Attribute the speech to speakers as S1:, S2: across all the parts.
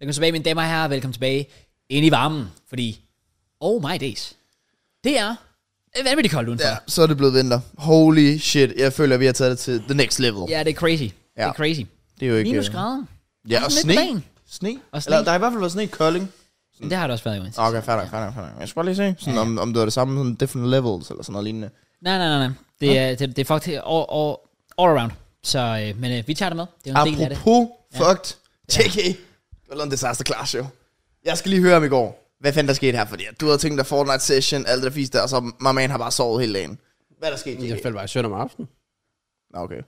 S1: Velkommen tilbage, mine damer og herrer. Velkommen tilbage ind i varmen, fordi... Oh my days. Det er vanvittigt koldt udenfor.
S2: Ja, så er det blevet vinter. Holy shit, jeg føler, at vi har taget det til the next level.
S1: Ja, det er crazy. Ja. Det er crazy.
S2: Det er jo ikke... øh,
S1: Minus grader.
S2: Ja, og
S1: Lidt
S2: sne.
S1: plan.
S2: Sne?
S1: Og sne.
S2: Eller, der har i hvert fald været sne i Kolding.
S1: Men det har det også været, Jonas.
S2: Mm. Okay, fair nok, fair nok, fair nok. Jeg skal bare lige se, sådan, om, om det var det samme, sådan different levels eller sådan noget lignende.
S1: Nej, nej, nej. nej. Det er, det, det er fucked all, all, all around. Så, øh, men øh, vi tager det med. Det er jo en del af det.
S2: Apropos fucked, JK, det var en disaster class jo. Jeg skal lige høre om i går, hvad fanden der skete her, fordi du havde tænkt dig Fortnite session, alt det der fisk der, og så my man har bare sovet hele dagen. Hvad er der skete,
S3: Jeg
S2: JK?
S3: faldt bare i søvn om aftenen.
S2: Nå, okay.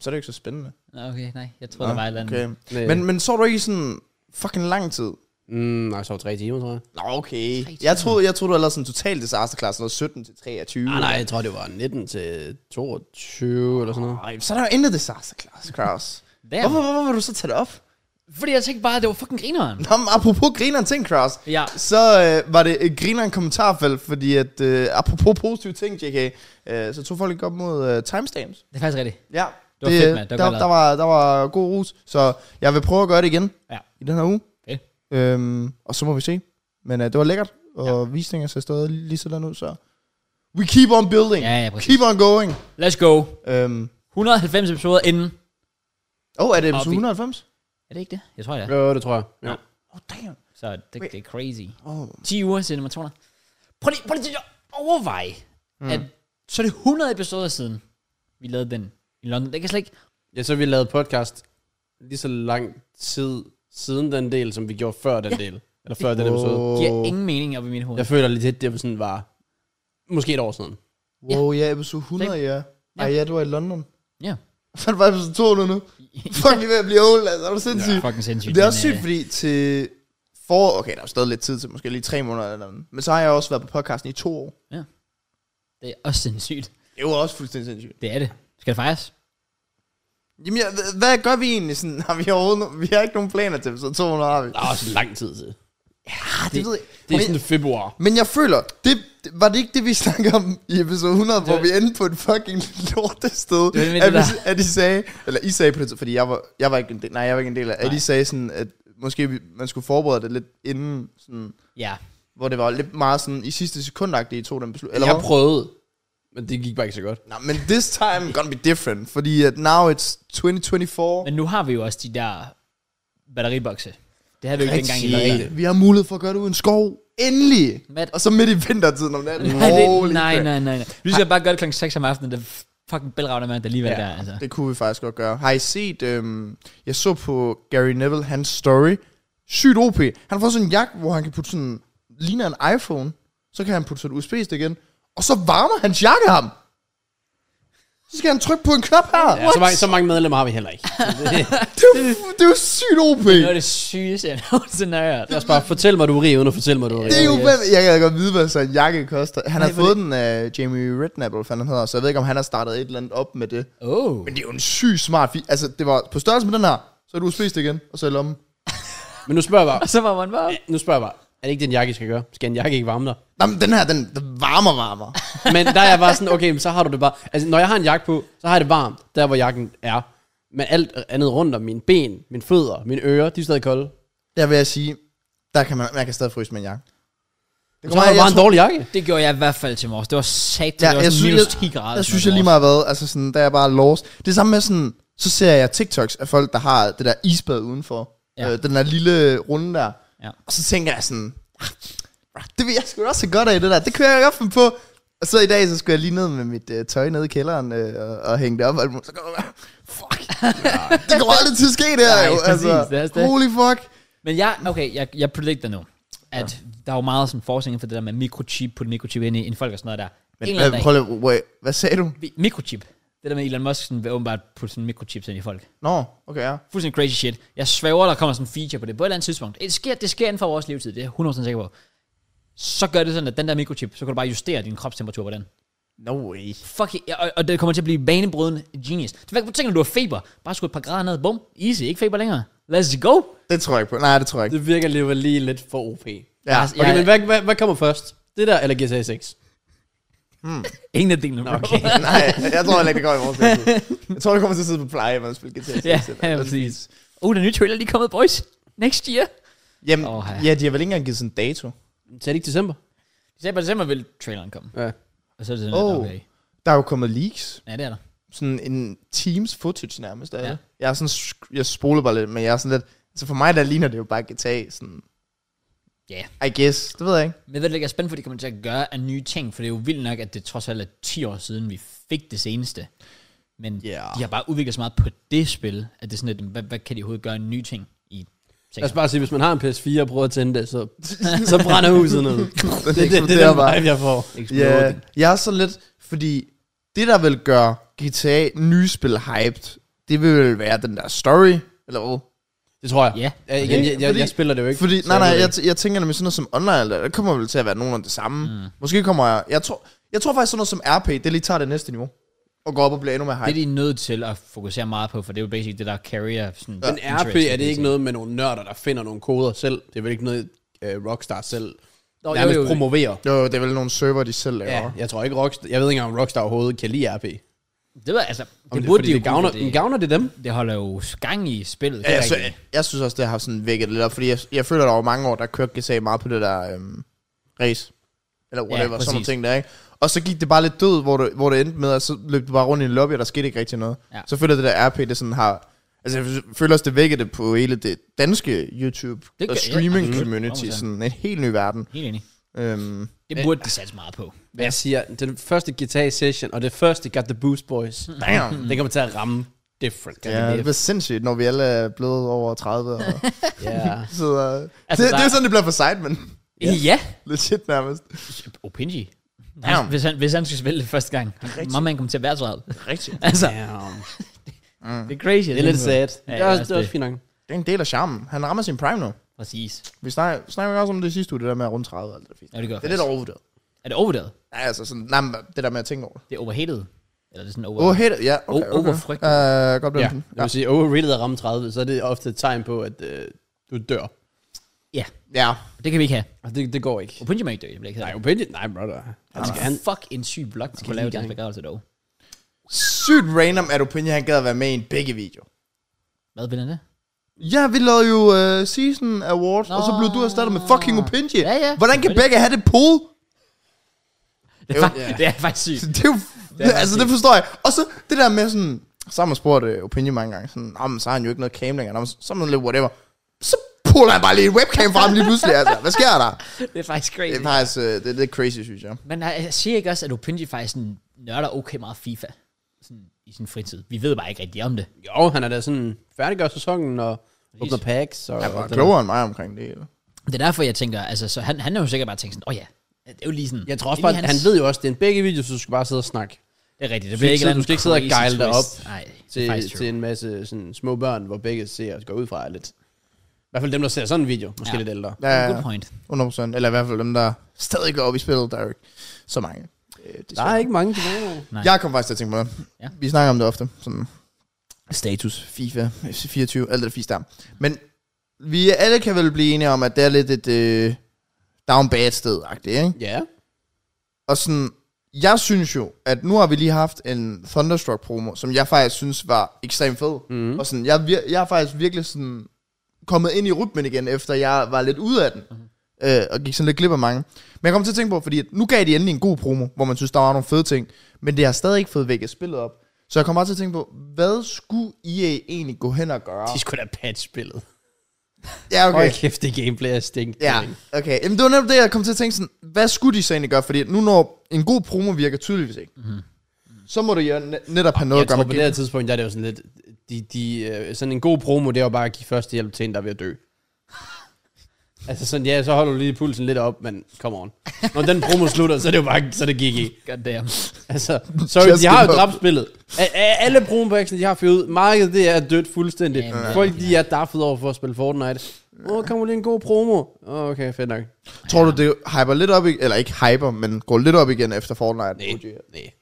S2: Så er det jo ikke så spændende.
S1: Nå, Okay, nej. Jeg tror, der var et eller andet.
S2: okay.
S3: Nej.
S2: Men, men så du ikke i sådan fucking lang tid?
S3: Mm, nej, jeg sov tre timer, tror jeg.
S2: Nå, okay. Jeg troede, jeg troede, du havde lavet sådan en total disaster class, noget 17 til 23.
S3: Ah, Nej, nej, jeg tror, det var 19 til 22 eller sådan noget.
S2: Nej, så er der jo intet disaster class, Kraus.
S1: Der.
S2: Hvorfor, hvorfor vil du så tage det op?
S1: Fordi jeg tænkte bare, at det var fucking grineren.
S2: Nå, men apropos grineren ting, Kraus.
S1: Ja.
S2: Så øh, var det øh, grineren kommentarfelt, fordi at øh, apropos positive ting, JK, øh, så tog folk ikke op mod øh, timestamps.
S1: Det er faktisk rigtigt.
S2: Ja.
S1: Det var fedt, mand. Det var
S2: der,
S1: godt
S2: der, var, der var god rus, så jeg vil prøve at gøre det igen
S1: Ja.
S2: i den her uge.
S1: Okay.
S2: Øhm, og så må vi se. Men øh, det var lækkert, og ja. visninger ser stadig lige sådan ud, så... We keep on building.
S1: Ja, ja, præcis.
S2: keep on going.
S1: Let's go.
S2: Øhm,
S1: 190 episoder inden.
S2: Åh, oh, er det episode
S1: vi-
S2: 190?
S1: Er det ikke det? Jeg tror, det er.
S3: Jo, det Ah. tror jeg. Ja.
S2: Åh, oh, damn.
S1: Så det, det er crazy.
S2: Oh.
S1: 10 uger siden nummer 200. Prøv lige, prøv lige at overveje, mm. at så er det 100 episoder siden, vi lavede den i London. Det kan slet ikke...
S3: ja, så vi lavede podcast lige så lang tid siden den del, som vi gjorde før den
S1: Ja.
S3: del. Eller før den episode.
S1: giver ingen mening op i mit hoved.
S3: Jeg føler lidt, at det sådan var måske et år siden.
S2: Wow, ja, episode 100, ja. Ej, ja, du var i London.
S1: Ja.
S2: Fandt var episode 200 nu. Fuck, vi er ved at blive old, altså. Er du sindssyg?
S1: ja. Fucking sindssygt.
S2: Det er
S1: men,
S2: også sygt,
S1: øh,
S2: fordi til for... Okay, der er jo stadig lidt tid til, måske lige tre måneder eller noget. Men så har jeg også været på podcasten i to år.
S1: Det er også sindssygt.
S2: Det var også fuldstændig sindssygt.
S1: Det er det. Skal det fejres?
S2: Jamen, jeg, hva- hvad gør vi egentlig sådan? Har vi overhovedet... no- Vi har ikke nogen planer til, så 200 har vi.
S3: Der er også lang tid til.
S2: Ah, det, ved jeg.
S3: Det er
S2: Men-
S3: sådan februar.
S2: Men jeg føler, det, det- var det ikke det, vi snakkede om i episode 100, hvor vi endte på et fucking lortested?
S1: Det er nemlig
S2: at,
S1: det
S2: vi, at de sagde, eller I sagde på det, fordi jeg var, jeg var ikke en del, nej, jeg var ikke en del af, at I sagde sådan, at måske vi- man skulle forberede det lidt inden, sådan,
S1: Ja.
S2: hvor det var lidt meget sådan, i sidste sekundagtigt, I tog den beslutning. Eller
S3: Jeg
S2: hvad?
S3: prøvede, men det gik bare ikke så godt.
S2: Nå, men this time gonna be different, fordi at now it's 2024.
S1: Men nu har vi jo også de der batteribokse. Det havde vi jo ikke dengang i
S2: Rigtig.
S1: London.
S2: Vi har mulighed for at gøre det uden skov. Endelig!
S1: Mat-
S2: Og så midt i vintertiden om natten.
S1: Nej, det,
S2: Holy
S1: nej,
S2: crap.
S1: nej, nej, nej. Vi skal bare gøre det klokken 6 om aftenen, det er fucking bælragende mand, der alligevel ja.
S3: Ja.
S1: der, altså.
S2: Det kunne vi faktisk godt gøre. Har I set, øhm, jeg så på Gary Neville, hans story. Sygt OP. Han har fået sådan en jakke, hvor han kan putte sådan, ligner en iPhone. Så kan han putte sådan en USB-stik igen. Og så varmer hans jakke ham. Så skal han trykke på en knap her.
S3: Ja, så, mange, så mange medlemmer har vi heller ikke.
S2: Det, er jo- det er jo sygt OP.
S1: Det var det sygeste, jeg nogensinde har hørt.
S3: Lad os bare fortæl mig, du er rig, uden at fortælle mig, du er rig.
S2: Det er jo,
S1: Yes.
S2: yes. jeg kan godt vide, hvad sådan en jakke koster. Han har
S1: Nej, hvor
S2: fået den af Jamie Redknapp, eller hvad han hedder, så jeg ved ikke, om han har startet et eller andet op med det.
S1: Oh.
S2: Men det er jo en syg smart fi- Altså, det var på størrelse med den her, så er du spist igen, og så i lommen.
S3: Men nu spørger jeg bare,
S1: Og så var man bare...
S3: nu spørger jeg bare, er det ikke den jakke, I skal gøre? Skal en jakke ikke varme dig?
S2: Nå, men den her, den, den varmer, varmer.
S3: Men der er jeg bare sådan, okay, men så har du det bare... Altså, når jeg har en jakke på, så har jeg det varmt, der hvor jakken er. Men alt andet rundt om mine ben, mine fødder, mine ører, de er stadig kolde.
S2: Der vil jeg sige, der kan man, man kan stadig fryse med en jakke. Det
S3: Så har jeg bare en
S2: tror-
S3: dårlig jakke.
S1: Det gjorde jeg i hvert fald til morges. Det var sat, ja,
S2: Ja,
S1: det var sådan
S2: jeg synes,
S1: minus
S2: jeg-
S1: 10 grader.
S2: Jeg synes, jeg lige meget hvad, altså sådan, der er jeg bare lost. Det er samme med sådan, så ser jeg TikToks af folk, der har det der isbad udenfor.
S1: Ja.
S2: Ja. Øh, den der lille runde der.
S1: Ja.
S2: Og så tænker jeg sådan, "Ah, brah, det vil jeg sgu da også have godt af, det der. Det kører jeg godt finde på. Og så i dag, så skulle jeg lige ned med mit øh, tøj nede i kælderen øh, og, og hænge det op. Og alt muligt. så kommer jeg bare, fuck. det kommer aldrig til at ske, det her
S1: Nej,
S2: jo. Altså,
S1: præcis, det er også det.
S2: holy fuck.
S1: Men jeg, okay, jeg, jeg predicter nu, at ja. der er jo meget sådan forskning for det der med mikrochip, putte mikrochip ind i en folk og sådan noget der. Men, en
S2: Men,
S1: eller anden
S2: hvad,
S1: dag,
S2: Øh, prøv lige, wait, hvad sagde du?
S1: vi- mikrochip. Det der med Elon Musk sådan, vil åbenbart putte sådan mikrochips ind i folk.
S2: Nå, okay, ja.
S1: Fuldstændig crazy shit. Jeg svæver, der kommer sådan en feature på det på et eller andet tidspunkt. Det sker, det sker inden for vores levetid, det er jeg 100% sikker på. Så gør det sådan, at den der mikrochip, så kan du bare justere din kropstemperatur på den.
S2: No way.
S1: Fuck, yeah, og, og det kommer til at blive banebrydende genius. Det er, hvad tænker du, du har feber? Bare skru et par grader ned, bum, easy, ikke feber længere. Let's go.
S2: Det tror jeg ikke på. Nej, det tror jeg ikke.
S3: Det virker alligevel lige lidt for OP.
S2: Ja.
S1: Altså,
S3: Okay,
S1: jeg-
S3: men hvad, hvad, hvad kommer først? Det der, eller GTA 6?
S1: Ingen af delene, bro. Okay.
S2: Nej, jeg tror heller ikke, det går i vores levetid. Jeg tror, det kommer til at sidde på pleje, man spiller GTA.
S1: ja, ja, præcis. Uh, den nye trailer lige kommet, boys. Next year.
S2: Jamen,
S1: Åh, ja.
S2: ja, de har vel ikke engang givet sådan en dato.
S3: Så er det ikke december?
S1: De sagde bare december vil traileren komme.
S3: Ja.
S1: Og så er det sådan,
S2: Åh.
S1: oh. okay.
S2: Der er jo kommet leaks.
S1: Ja, det er der.
S2: Sådan en Teams footage nærmest.
S1: Ja.
S2: Ja. Jeg er sådan, sk- jeg spoler bare lidt, men jeg er sådan lidt... Så for mig, der ligner det jo bare GTA, sådan...
S1: Ja.
S2: I guess. Det ved jeg ikke.
S1: Men jeg ved ikke, jeg er spændt på, at de kommer til at gøre af nye ting, for det er jo vildt nok, at det trods alt er 10 år siden, vi fik det seneste. Men
S2: Ja.
S1: de har bare udviklet så meget på det spil, at det er sådan lidt, hvad, hvad kan de overhovedet gøre af nye ting i
S3: Lad os
S1: sektoren?
S3: bare sige, hvis man har en PS4 og prøver at tænde det, så, så brænder huset ned.
S2: Den
S3: Det, det, det, er
S2: eksploderer
S3: den vibe, jeg får.
S2: Ja, jeg er så lidt, fordi det der vil gøre GTA nye spil hyped, det vil vel være den der story, eller hvad?
S3: Det tror jeg.
S1: Ja.
S3: Ja, igen, jeg, jeg,
S2: Fordi-
S3: jeg, spiller det jo ikke.
S2: Fordi,
S3: så
S2: nej, nej,
S3: ved
S2: jeg,
S3: ikke.
S2: t- jeg tænker nemlig sådan noget som online, der, der kommer vel til at være nogen af det samme. Mm. Måske kommer jeg, jeg tror, jeg tror faktisk sådan noget som RP, det lige tager det næste niveau, og går op og bliver endnu mere hyped.
S1: Det er de nødt til at fokusere meget på, for det er jo basic det, der carrier sådan...
S3: Men RP, er det ikke noget med nogle nørder, der finder nogle koder selv? Det er vel ikke noget, øh, Rockstar selv
S1: Nå, jo,
S3: nærmest
S1: jo, jo.
S3: promoverer?
S2: Jo, det er vel nogle server, de selv laver.
S3: Ja, jeg tror ikke Rockstar, jeg ved ikke engang, om Rockstar overhovedet kan lide RP. Det
S1: Det var altså... Det
S3: burde de
S1: jo
S3: jo
S1: kunne,
S3: gavner,
S1: for det,
S3: gavner det dem?
S1: det holder jo gang i spillet.
S2: Ja, altså-
S1: Ja,
S2: jeg,
S1: så,
S2: sy- jeg synes også, det har sådan vækket lidt op, fordi jeg, jeg føler, at der over mange år, der kørte GTA meget på det der øhm, race, eller whatever, ja, sådan nogle
S1: præcis.
S2: ting der, ikke? Og så gik det bare lidt død, hvor det, hvor det endte med, at så løb det bare rundt i en lobby, og der skete ikke rigtig noget.
S1: Ja.
S2: Så føler jeg, det der RP, det sådan har... Altså, jeg føler også, det vækkede det på hele det danske YouTube
S1: Det
S2: det
S1: gør-
S2: og
S1: ja,
S2: streaming
S1: absolut.
S2: community,
S1: Hundrede
S2: sådan en helt ny verden.
S1: Helt enig.
S2: Øhm,
S1: Det burde de satse meget på.
S3: Hvad jeg siger, den første GTA-session og det første Got The Boost Boys,
S2: damn!
S3: det kommer til at ramme different.
S2: Ja, det er sindssygt, når vi alle er blevet over 30 og
S3: ja.
S2: sidder... altså, det,
S1: Altså,
S2: det
S1: der-
S2: er jo sådan, det bliver for sejt, men
S1: Ja. ja.
S2: legit nærmest.
S1: Opinji.
S2: Damn.
S1: Han, hvis, han, hvis han skal spille det første gang, han, man kommer til at være 30.
S2: Rigtigt.
S1: altså,
S3: Damn.
S1: det er crazy.
S3: Det er lidt sad. Det
S1: det er
S3: er også,
S1: også
S3: det er også fint nok.
S2: Det er en del af charmen. Han rammer sin prime nu.
S1: Præcis.
S2: Vi snakker, snakker vi også om det sidste uge, det der med at runde 30 og alt det fisk.
S1: Ja, det gør
S2: Det er lidt
S1: faktisk.
S2: overvurderet.
S1: Er det overvurderet?
S2: Ja, altså sådan, nej, men det der med at tænke over. det.
S1: Det er overhated? Eller er det sådan over...
S2: Åh, oh, hey, ja, okay,
S1: O-
S2: okay.
S1: overfrygt.
S2: Uh, godt
S3: Ja,
S2: ja.
S3: det
S2: ja.
S3: vil sige, overrated at ramme 30, så er det ofte et tegn på, at øh, du dør.
S1: Ja,
S2: ja.
S1: det kan vi ikke have.
S3: Og det, det går ikke.
S1: Opinji må ikke dø, jeg bliver ikke
S3: Nej,
S1: hedder.
S3: opinion, nej, brother. Han skal, han,
S1: Fuck en syg blog, der skal lave
S3: lige
S1: deres
S3: gang.
S1: begravelse dog.
S2: Sygt random, at Opinion han gad at være med i en begge video.
S1: Hvad vil han det?
S2: Ja, vi lavede jo uh, Season Awards, Nå. og så blev du erstattet med fucking Opinion.
S1: Ja, ja.
S2: Hvordan kan begge have det pool?
S1: Det er,
S2: Jo,
S1: fakt-
S2: ja.
S1: det er faktisk sygt.
S2: Det er jo, det
S1: er
S2: altså, det
S1: rigtigt.
S2: forstår jeg. Og så det der med sådan, så har man spurgt uh, Opinion mange gange, sådan, "Nå, men så har han jo ikke noget cam længere, Nå, men så så er man lidt whatever. Så puller han bare lige et webcam frem lige pludselig, altså. Hvad sker der?
S1: Det er faktisk crazy.
S2: Det er faktisk øh, det, det er crazy, synes jeg.
S1: Men øh, jeg jeg siger ikke også, at Opinji faktisk sådan, nørder okay meget FIFA sådan, i sin fritid. Vi ved bare ikke rigtig om det.
S3: jo, han er da sådan færdiggør sæsonen og åbner packs. Og,
S2: Han var
S3: og den-
S2: klogere end mig omkring det. eller?
S1: Det er derfor, jeg tænker, altså, så han, han er jo sikkert bare tænkt sådan, åh oh, ja, det er jo lige sådan.
S3: Jeg tror også
S1: det er
S3: bare,
S1: lige
S3: at han ved jo også, at det er en begge video, så du skal bare sidde og snakke
S1: Det er rigtigt, det bliver
S3: Du skal
S1: ikke
S3: ikke sidde-
S1: en
S3: du skal ikke sidde og
S1: crazy
S3: gejle dig
S1: twist.
S3: op
S1: Nej, det er
S3: til,
S1: faktisk
S3: til
S1: true.
S3: en masse sådan, små børn, hvor begge ser, går ud fra er lidt. I hvert fald dem, der ser sådan en video. Måske
S1: Ja.
S3: lidt ældre.
S2: Ja, ja,
S1: Good point.
S2: 100%. Eller i hvert fald dem, der stadig går op i spillet. Der er jo ikke så mange. Øh,
S3: Der er ikke mange tilbage.
S1: Nej.
S2: Jeg kom faktisk til at tænke på det.
S1: Ja.
S2: Ja. Vi snakker om det ofte. Sådan status, FIFA, FC24, alt det fisk der. Men vi alle kan vel blive enige om, at det er lidt et øh, down bad sted ikke?
S3: Ja.
S2: Og sådan, jeg synes jo, at nu har vi lige haft en Thunderstruck promo, som jeg faktisk synes var ekstremt fed. Mm. Og sådan, jeg, er vir- jeg er faktisk virkelig sådan kommet ind i rytmen igen, efter jeg var lidt ude af den. Mm. Øh, og gik sådan lidt glip af mange. Men jeg kom til at tænke på, fordi at nu gav de endelig en god promo, hvor man synes, der var nogle fede ting. Men det har stadig ikke fået vækket spillet op. Så jeg kommer også til at tænke på, hvad skulle EA egentlig gå hen og gøre?
S3: De skulle da patch spillet.
S2: Ja,
S3: Okay. Hold kæft, det gameplay er stinkt.
S2: Ja, okay. Jamen, det var netop det, jeg kom til at tænke sådan, hvad skulle de så egentlig gøre? Fordi nu når en god promo virker tydeligvis ikke, mm-hmm. så må du jo ne- netop have noget
S3: Mhm. Jeg
S2: at gøre
S3: tror
S2: med
S3: på det her
S2: gameplay.
S3: tidspunkt, der er det jo sådan lidt... De, de, øh, sådan en god promo, det er jo bare at give første hjælp til en, der er ved at dø. altså sådan, ja, så holder du lige pulsen lidt op, men come on. Når den promo slutter, så er det jo bare, så er det GG.
S1: God damn.
S3: Altså, sorry,
S2: Just
S3: de har jo
S2: give up.
S3: dræbt spillet. A- a- alle bromobacks, de har fyret ud. Markedet, det er dødt fuldstændig.
S1: Jamen, ja.
S3: Folk, de er daffet over for at spille Fortnite. Åh, oh, kommer lige en god promo. Oh, okay, fedt nok.
S2: Tror du, det hyper lidt op, i- eller ikke hyper, men går lidt op igen efter Fortnite?
S3: Nej, nej.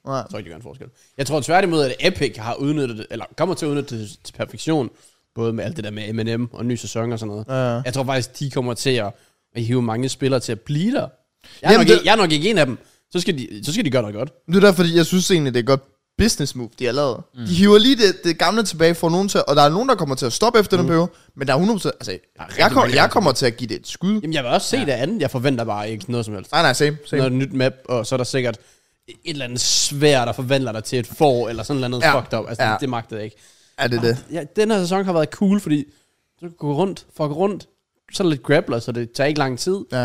S2: Nej.
S3: Jeg tror ikke, det gør en forskel. Jeg tror tværtimod, at Epic har udnyttet det, eller kommer til at udnytte det til perfektion. Både med alt det der med M&M og en ny sæson og sådan noget.
S2: Ja.
S3: Jeg tror faktisk, de kommer til at, at hive mange spillere til at blive der. Jeg er,
S2: Jamen,
S3: nok,
S2: det-
S3: ikke, jeg er nok ikke en af dem. Så skal de, så skal de gøre noget godt.
S2: Det er derfor, fordi jeg synes egentlig, det er et godt business move, de har lavet. Mm. De hiver lige det, det gamle tilbage for nogen til, og der er nogen, der kommer til at stoppe efter mm. den periode, men der er 100%, altså, jeg, kom, jeg kommer til at give det et skud.
S3: Jamen, jeg vil også se ja. det andet. Jeg forventer bare ikke noget som helst.
S2: Nej, nej, same, same.
S3: Når det er et nyt map, og så er der sikkert et eller andet svær, der forvandler dig til et får, eller sådan noget
S2: Ja.
S3: ja. fucked up. Altså,
S2: Ja.
S3: ja. det, det magtede jeg ikke.
S2: Er det det?
S3: Ja, den her sæson har været cool, fordi du kan gå rundt, fuck rundt, så er der lidt grappler, så det tager ikke lang tid.
S2: Ja.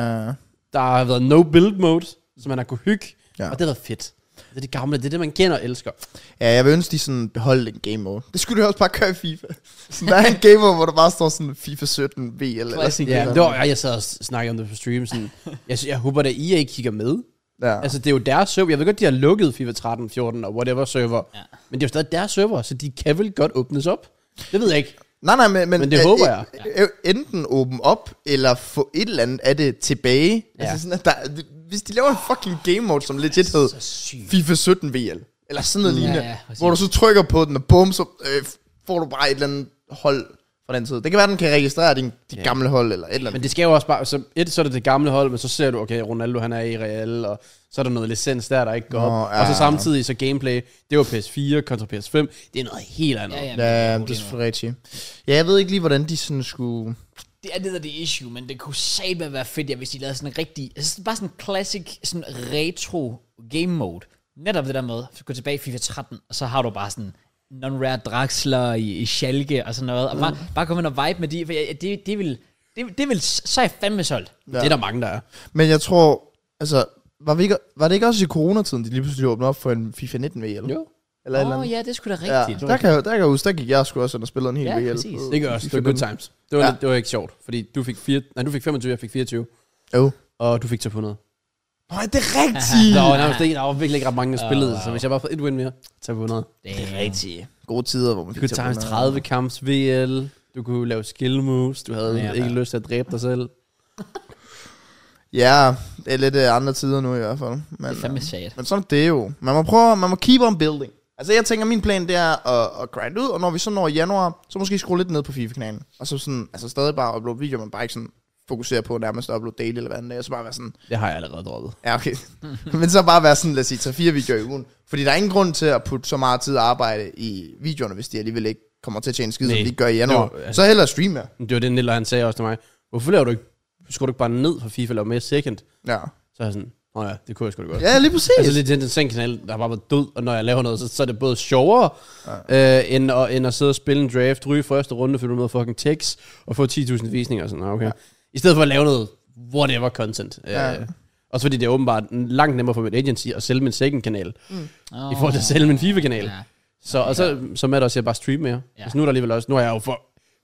S3: Der har været no build mode, som man har kunne hygge,
S2: Ja.
S3: ja. og det har været fedt. Det er det gamle, det er det, man kender og elsker.
S2: Ja, jeg vil ønske, de sådan beholdt en game mode. Det skulle du også bare køre i FIFA. Sådan, der er en game mode, hvor der bare står sådan FIFA 17 V eller, eller sådan
S3: Ja,
S2: noget.
S3: det var, jeg sad og snakkede om det på stream, sådan, jeg, jeg håber, at I ikke kigger med.
S2: Ja.
S3: Altså, det er jo deres server. Jeg ved godt, de har lukket FIFA 13, 14 og whatever server.
S1: Ja.
S3: Ja. Men det er jo stadig deres server, så de kan vel godt åbnes op. Det ved jeg ikke.
S2: Nej, nej, men,
S3: Men det
S2: øh,
S3: håber
S2: øh,
S3: jeg.
S2: øh, Enten åbne op, eller få et eller andet af det tilbage. Ja. Altså sådan, at der, hvis de laver en fucking game mode, som legit hed
S1: Så sygt.
S2: FIFA 17 VL, eller sådan noget
S1: Ja,
S2: lignende,
S1: ja, præcis.
S2: hvor du så trykker på den, og bum, så øh, får du bare et eller andet hold fra den tid. Det kan være, den kan registrere din, de
S3: Ja.
S2: gamle hold, eller et eller
S3: Men
S2: andet.
S3: det skal jo også bare... Så et, så er det det gamle hold, men så ser du, okay, Ronaldo han er i Real, og så er der noget licens der, der ikke går
S2: Nå,
S3: op.
S2: ja.
S3: Og så samtidig så gameplay, det var PS4 kontra PS5. Det er noget helt andet.
S1: Ja, ja, men
S2: Ja,
S1: det,
S2: det er
S1: er
S2: selvfølgelig rigtigt. Ja, jeg ved ikke lige, hvordan de sådan skulle...
S1: det er det, der er det issue, men det kunne satme være fedt, ja, hvis de lavede sådan en rigtig, altså bare sådan en classic, sådan retro game mode. Netop det der med, at gå tilbage i FIFA 13, og så har du bare sådan non-rare Draxler i, i Schalke og sådan noget, og bare, bare komme ind og vibe med de, for jeg, det, det vil, det, det vil, så er jeg fandme solgt.
S3: Det er der mange, der er.
S2: Men jeg tror, altså, var, vi ikke, var det ikke også i coronatiden, de lige pludselig åbnede op for en FIFA 19 VL? Eller
S3: Jo.
S2: et eller
S1: Åh
S2: andet?
S1: oh, ja, det skulle sgu da
S2: Ja,
S1: rigtigt.
S2: der kan, jeg- der kan jeg huske, der gik jeg sgu også, og spillede en hel
S1: Ja,
S2: VL.
S1: præcis.
S2: på
S3: Det gør også. Det var
S2: FIFA
S3: good
S2: 19.
S3: times. Det var,
S2: Ja.
S3: ja. det var ikke sjovt, fordi du fik, fire, nej, du fik 25, jeg fik 24,
S2: Jo.
S3: og du fik top 100.
S2: Nej, det er rigtigt.
S3: Der var, nærmest ikke, der var virkelig ikke ret mange, der spillede,
S1: wow.
S3: så hvis jeg bare får et win mere, top 100.
S1: Det er
S2: rigtigt. Gode tider, hvor man
S3: Du kunne tage 30 kamps VL, du kunne lave skill moves, du havde
S1: Ja,
S3: ja, ikke
S1: ja.
S3: lyst til at dræbe dig selv.
S2: Ja, det er lidt øh, andre tider nu i hvert fald. Men,
S1: Det er fandme sad.
S2: øh, men sådan er det jo. Man må prøve, man må keep on building. Altså jeg tænker, min plan det er at, at grind ud, og når vi så når januar, så måske skrue lidt ned på FIFA-kanalen. Og så sådan, altså stadig bare uploade videoer, men bare ikke sådan fokusere på nærmest at uploade daily eller hvad andet. Og så bare være sådan,
S3: Det har jeg allerede droppet.
S2: Ja, okay. Men så bare være sådan, lad os sige, 3-4 videoer i ugen. Fordi der er ingen grund til at putte så meget tid og arbejde i videoerne, hvis de alligevel ikke kommer til at tjene skid, som
S3: Nej.
S2: de gør i januar.
S3: Jo, altså-
S2: Så hellere streame.
S3: Men Det var det, Niller han sagde også til mig. Hvorfor laver du ikke, skulle du ikke bare ned for FIFA eller mere second?
S2: Ja.
S3: Så er jeg sådan, åh ja, det kunne jeg sgu da godt.
S2: ja, lige præcis.
S3: Altså lidt den den kanal, der har bare været død, og når jeg laver noget, så, så er det både sjovere, ja. øh, end, at, end at sidde og spille en draft, ryge første runde, fylde med fucking tekst, og få 10.000 visninger og sådan noget, okay. Ja. I stedet for at lave noget whatever content. Ja.
S2: Ja.
S3: Øh, også fordi det er åbenbart langt nemmere for mit agency at sælge min second kanal,
S1: Oh.
S3: i forhold til at sælge min FIFA-kanal.
S1: Ja.
S3: Så, og så, så med også, jeg bare stream mere.
S1: Ja.
S3: Ja. Altså nu er der alligevel også, nu er jeg jo for,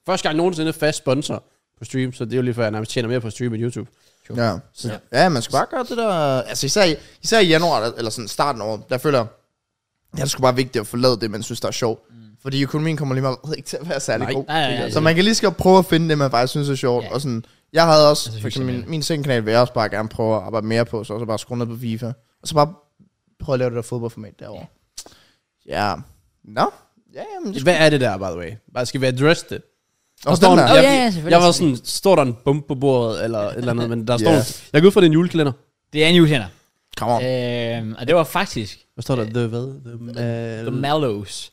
S3: første gang nogensinde fast sponsor på stream, så det er jo lige for, at jeg nærmest tjener mere på stream end YouTube.
S2: Ja. Så, ja, man skal bare gøre det der... Altså især i, især i januar, der- eller sådan starten af året, der føler jeg, det er sgu bare vigtigt at forlade det, man synes, der er sjovt. Fordi økonomien kommer lige meget ikke til at være særlig
S3: Nej.
S2: god.
S1: Mm. Nej, nej, nej,
S2: Så man kan lige skal prøve at finde det, man faktisk synes er sjovt.
S1: Ja.
S2: Og sådan, jeg havde også,
S1: Altså,
S2: for eksempel
S1: hygge sig
S2: min, min sengkanal vil jeg også bare gerne prøve at arbejde mere på, så så bare skrue ned på FIFA. Og så bare prøve at lave det der fodboldformat derovre. Ja. Nå. Ja, jamen, det
S3: Hvad er det der, by the way? Bare skal vi address det?
S2: Nå,
S3: Der står
S2: den
S3: en,
S2: der.
S1: Åh,
S3: jeg,
S1: Oh, ja, ja,
S3: jeg,
S1: selvfølgelig,
S3: jeg var sådan, står der en bombe på bordet, eller et eller andet, men der står,
S2: Ja.
S3: yeah. jeg går ud fra, det er en julekalender.
S1: Det er en julehænder.
S2: Come on.
S1: Øhm, og det var faktisk
S3: Hvad står der? The hvad? The, uh,
S1: The Mallows.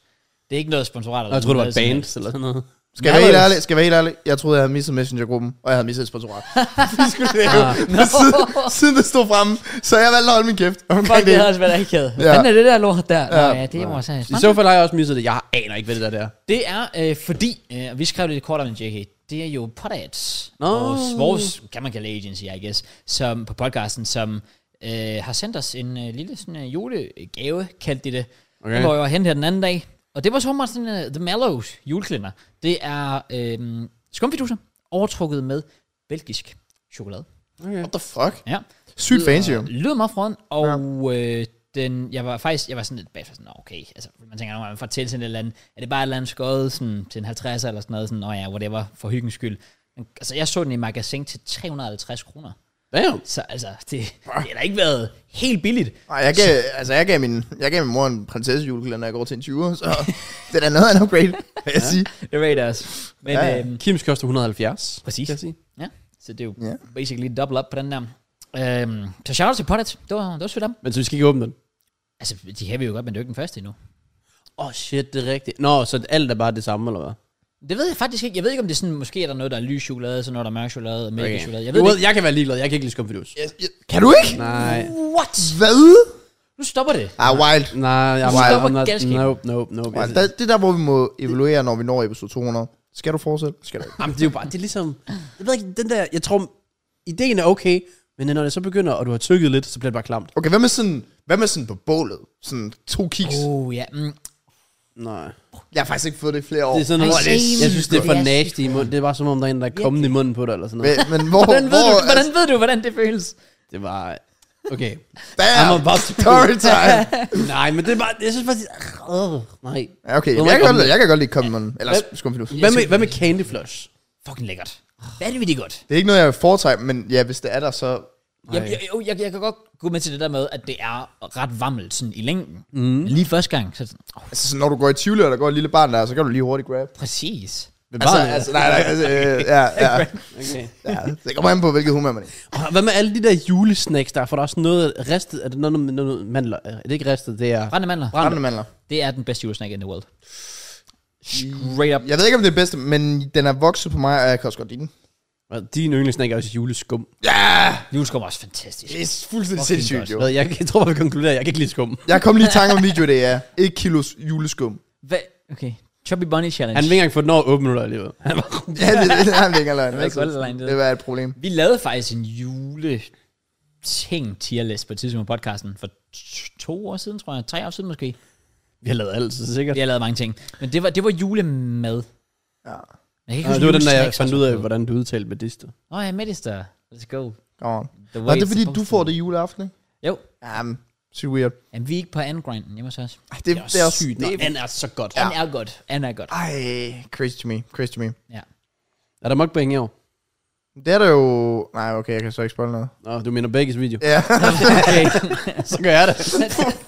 S1: Det er ikke noget sponsorat.
S3: jeg troede, det var et
S1: noget som
S3: band,
S1: helst.
S3: eller sådan noget.
S2: Skal jeg være helt
S1: Mavericks.
S2: ærlig? Skal jeg være helt ærlig? Jeg troede, jeg havde misset Messenger-gruppen, og jeg havde misset et sponsorat. Vi skulle lave. Men siden, siden det stod fremme, så jeg valgte at holde min kæft.
S1: Fuck,
S2: omkring
S1: det havde også været akavet. Hvad
S2: Ja.
S1: fanden er det der lort der? Ja, Nå,
S2: Ja.
S1: ja det øh, må også have.
S3: I så fald har jeg også misset det. Jeg aner ikke, hvad det der er.
S1: Det er øh, fordi, øh, og vi skrev det lidt kort om en JK, det er jo Podads,
S3: Nå.
S1: vores, vores, kan man kalde agency, I guess, som, på podcasten, som øh, har sendt os en øh, lille sådan, øh, julegave, kaldte de det. Okay.
S3: Okay.
S1: Den var jo hen her den anden dag. Og det var så åbenbart sådan øh, The Mallows juleklænder. Det er øh, skumfiduser overtrukket med belgisk chokolade.
S2: What the fuck?
S1: Ja.
S2: Sygt fancy jo.
S1: Lyder meget frøden, og ja. øh, den, jeg var faktisk, jeg var sådan lidt bagfra, sådan, "Nå, okay, altså, man tænker, når man får til sådan et eller andet, er det bare et eller andet skåret sådan, til en 50'er eller sådan noget, sådan, nå ja, whatever, for hyggens skyld. Men, altså, jeg så den i magasin til 350 kroner.
S3: Damn.
S1: Så altså, det, det har da ikke været helt billigt.
S2: Ej, jeg gav, altså, jeg gav, min, jeg gav min mor en prinsessejuleklæder, når jeg går til en 20'er, så det er da noget af en upgrade, vil jeg sige.
S1: Det var det også. Men,
S2: Ja, ja.
S1: ja, Øhm,
S3: Kims koster 170.
S1: Præcis.
S3: Kan jeg sige.
S1: ja, så det er jo
S2: Ja.
S1: basically double up på den der. Øhm, så shout out til Pottet. Det var, det var sødt af dem.
S3: Men så vi skal ikke åbne den.
S1: Altså, de kan vi jo godt, men det er jo ikke den første endnu.
S3: Åh oh shit, det er rigtigt. Nå, så alt er bare det samme, eller hvad?
S1: Det ved jeg faktisk ikke. Jeg ved ikke, om det er sådan, måske er der noget, der er lys chokolade, så når der er mørk chokolade og mælk okay. chokolade. Jeg ved
S3: du
S1: det
S3: ved, jeg kan være ligeglad. Jeg kan ikke lide skumfidus.
S2: Jeg, jeg, kan du ikke?
S3: Nej,
S1: ikke. What?
S2: Hvad?
S1: Nu stopper det.
S2: Ah, wild.
S3: nej, jeg
S1: Du stopper
S3: I'm not,
S1: galskaben.
S3: nope, nope, nope. Altså,
S2: wild. Det, det er der, hvor vi må evaluere, når vi når episode 200. Skal du fortsætte? Skal du ikke?
S3: Jamen, det er jo bare, det er ligesom, jeg ved ikke, den der, jeg tror, ideen er okay, men når det så begynder, og du har tykket lidt, så bliver det bare klamt.
S2: Okay, hvad med sådan, hvad med sådan på bålet? Sådan to kiks. Oh.
S1: Oh, ja. Mm.
S3: Nej.
S2: Jeg har faktisk ikke fået det i flere år.
S3: Det er sådan
S1: Ej,
S3: noget,
S1: same.
S3: jeg synes, det er for
S1: Det er
S3: nasty i munden. Det er bare som om, der er en, der er kommet i munden på dig, eller sådan
S2: Men,
S3: noget.
S2: men hvor,
S1: Hvordan ved,
S2: hvor,
S1: du, hvordan ved du, hvordan det føles?
S3: Det var, okay.
S2: Damn,
S3: I'm about to-
S2: story time.
S3: Nej, men det er bare, jeg synes faktisk, øh, nej.
S2: Ja, okay,
S3: Må
S2: men jeg kan,
S3: man komme
S2: godt,
S3: med?
S2: lide- jeg kan godt lide komme med Eller
S3: Hvad-
S2: skumfinus.
S3: Hvad med, hvad med Candy Flush?
S1: Fucking lækkert. Vanvittigt godt.
S2: Det er ikke noget, jeg foretrækker, men ja, hvis det er der, så...
S1: Jeg, jeg, jo, jeg, jeg kan godt gå med til det der med, at det er ret vammelt sådan i længden. Mm. Lige første gang. Så, er det sådan, oh,
S2: Altså, sådan, når du går i Tivoli, og der går et lille barn der, så kan du lige hurtigt grab.
S1: præcis.
S2: Altså,
S3: barnet, ja.
S2: altså, nej, nej, altså, øh, ja, ja,
S3: Okay.
S2: ja, det kommer an på, hvilket humør man er i.
S3: Og hvad med alle de der julesnacks der? For der er også noget ristet, er det noget med noget mandler? Er det ikke ristet, det er...
S1: Brændte mandler.
S2: Brændte mandler.
S1: Det er den bedste julesnack in the world. Straight up.
S2: Jeg ved ikke, om det er bedste, men den er vokset på mig, og jeg kan også godt lide den.
S3: Din yndlingssnack er også juleskum.
S2: Ja,
S1: Juleskum er også fantastisk.
S2: det er
S1: Fucking
S2: fuldstændig sindssygt,
S1: godt.
S2: jo.
S3: Hvad, Jeg, jeg tror bare, vi konkluderer, jeg kan ikke lide skum.
S2: Jeg kom lige i tanke om en video, det er. 1 kilos juleskum.
S1: Hvad? Okay. Chubby Bunny Challenge.
S3: Han vil ikke engang få den over 8 minutter alligevel. Han var
S2: Ja, det, det, det er en længere løgn. altså.
S1: Det var ikke godt, det er.
S2: det var et problem.
S1: Vi lavede faktisk en jule ting tier list på et tidspunkt på podcasten for t- to år siden, tror jeg. Tre år siden måske.
S3: Vi har lavet alt, så sikkert.
S1: Vi har lavet mange ting. Men det var, det var julemad.
S2: Ja.
S1: Jeg kan ikke
S3: Ja,
S1: huske
S3: det var den, der jeg
S1: julesnacks
S3: fandt
S1: og
S3: ud
S1: sådan
S3: af,
S1: noget.
S3: hvordan du udtalte med dister.
S1: Åh, oh, jeg med det der. Let's go.
S2: Oh.
S1: The
S2: Nå,
S1: way
S2: det
S1: it's
S2: er fordi,
S1: supposed
S2: du
S1: to
S2: får
S1: be.
S2: det juleaften, ikke?
S1: Jo.
S2: Jamen, sygt weird.
S1: Jamen, vi er ikke på anden grinden hjemme hos os.
S2: Ej, det, det er også...
S3: Det er, er så godt.
S1: Ja. er godt. Anden er godt.
S2: Ej, crazy to me, crazy to me.
S1: Ja.
S3: Er der mukbang i år?
S2: Det er der jo... Nej, okay, jeg kan så ikke spoil noget.
S3: Nå, du mener begges video.
S2: Ja,
S1: Okay.
S3: så gør jeg det.
S2: fuck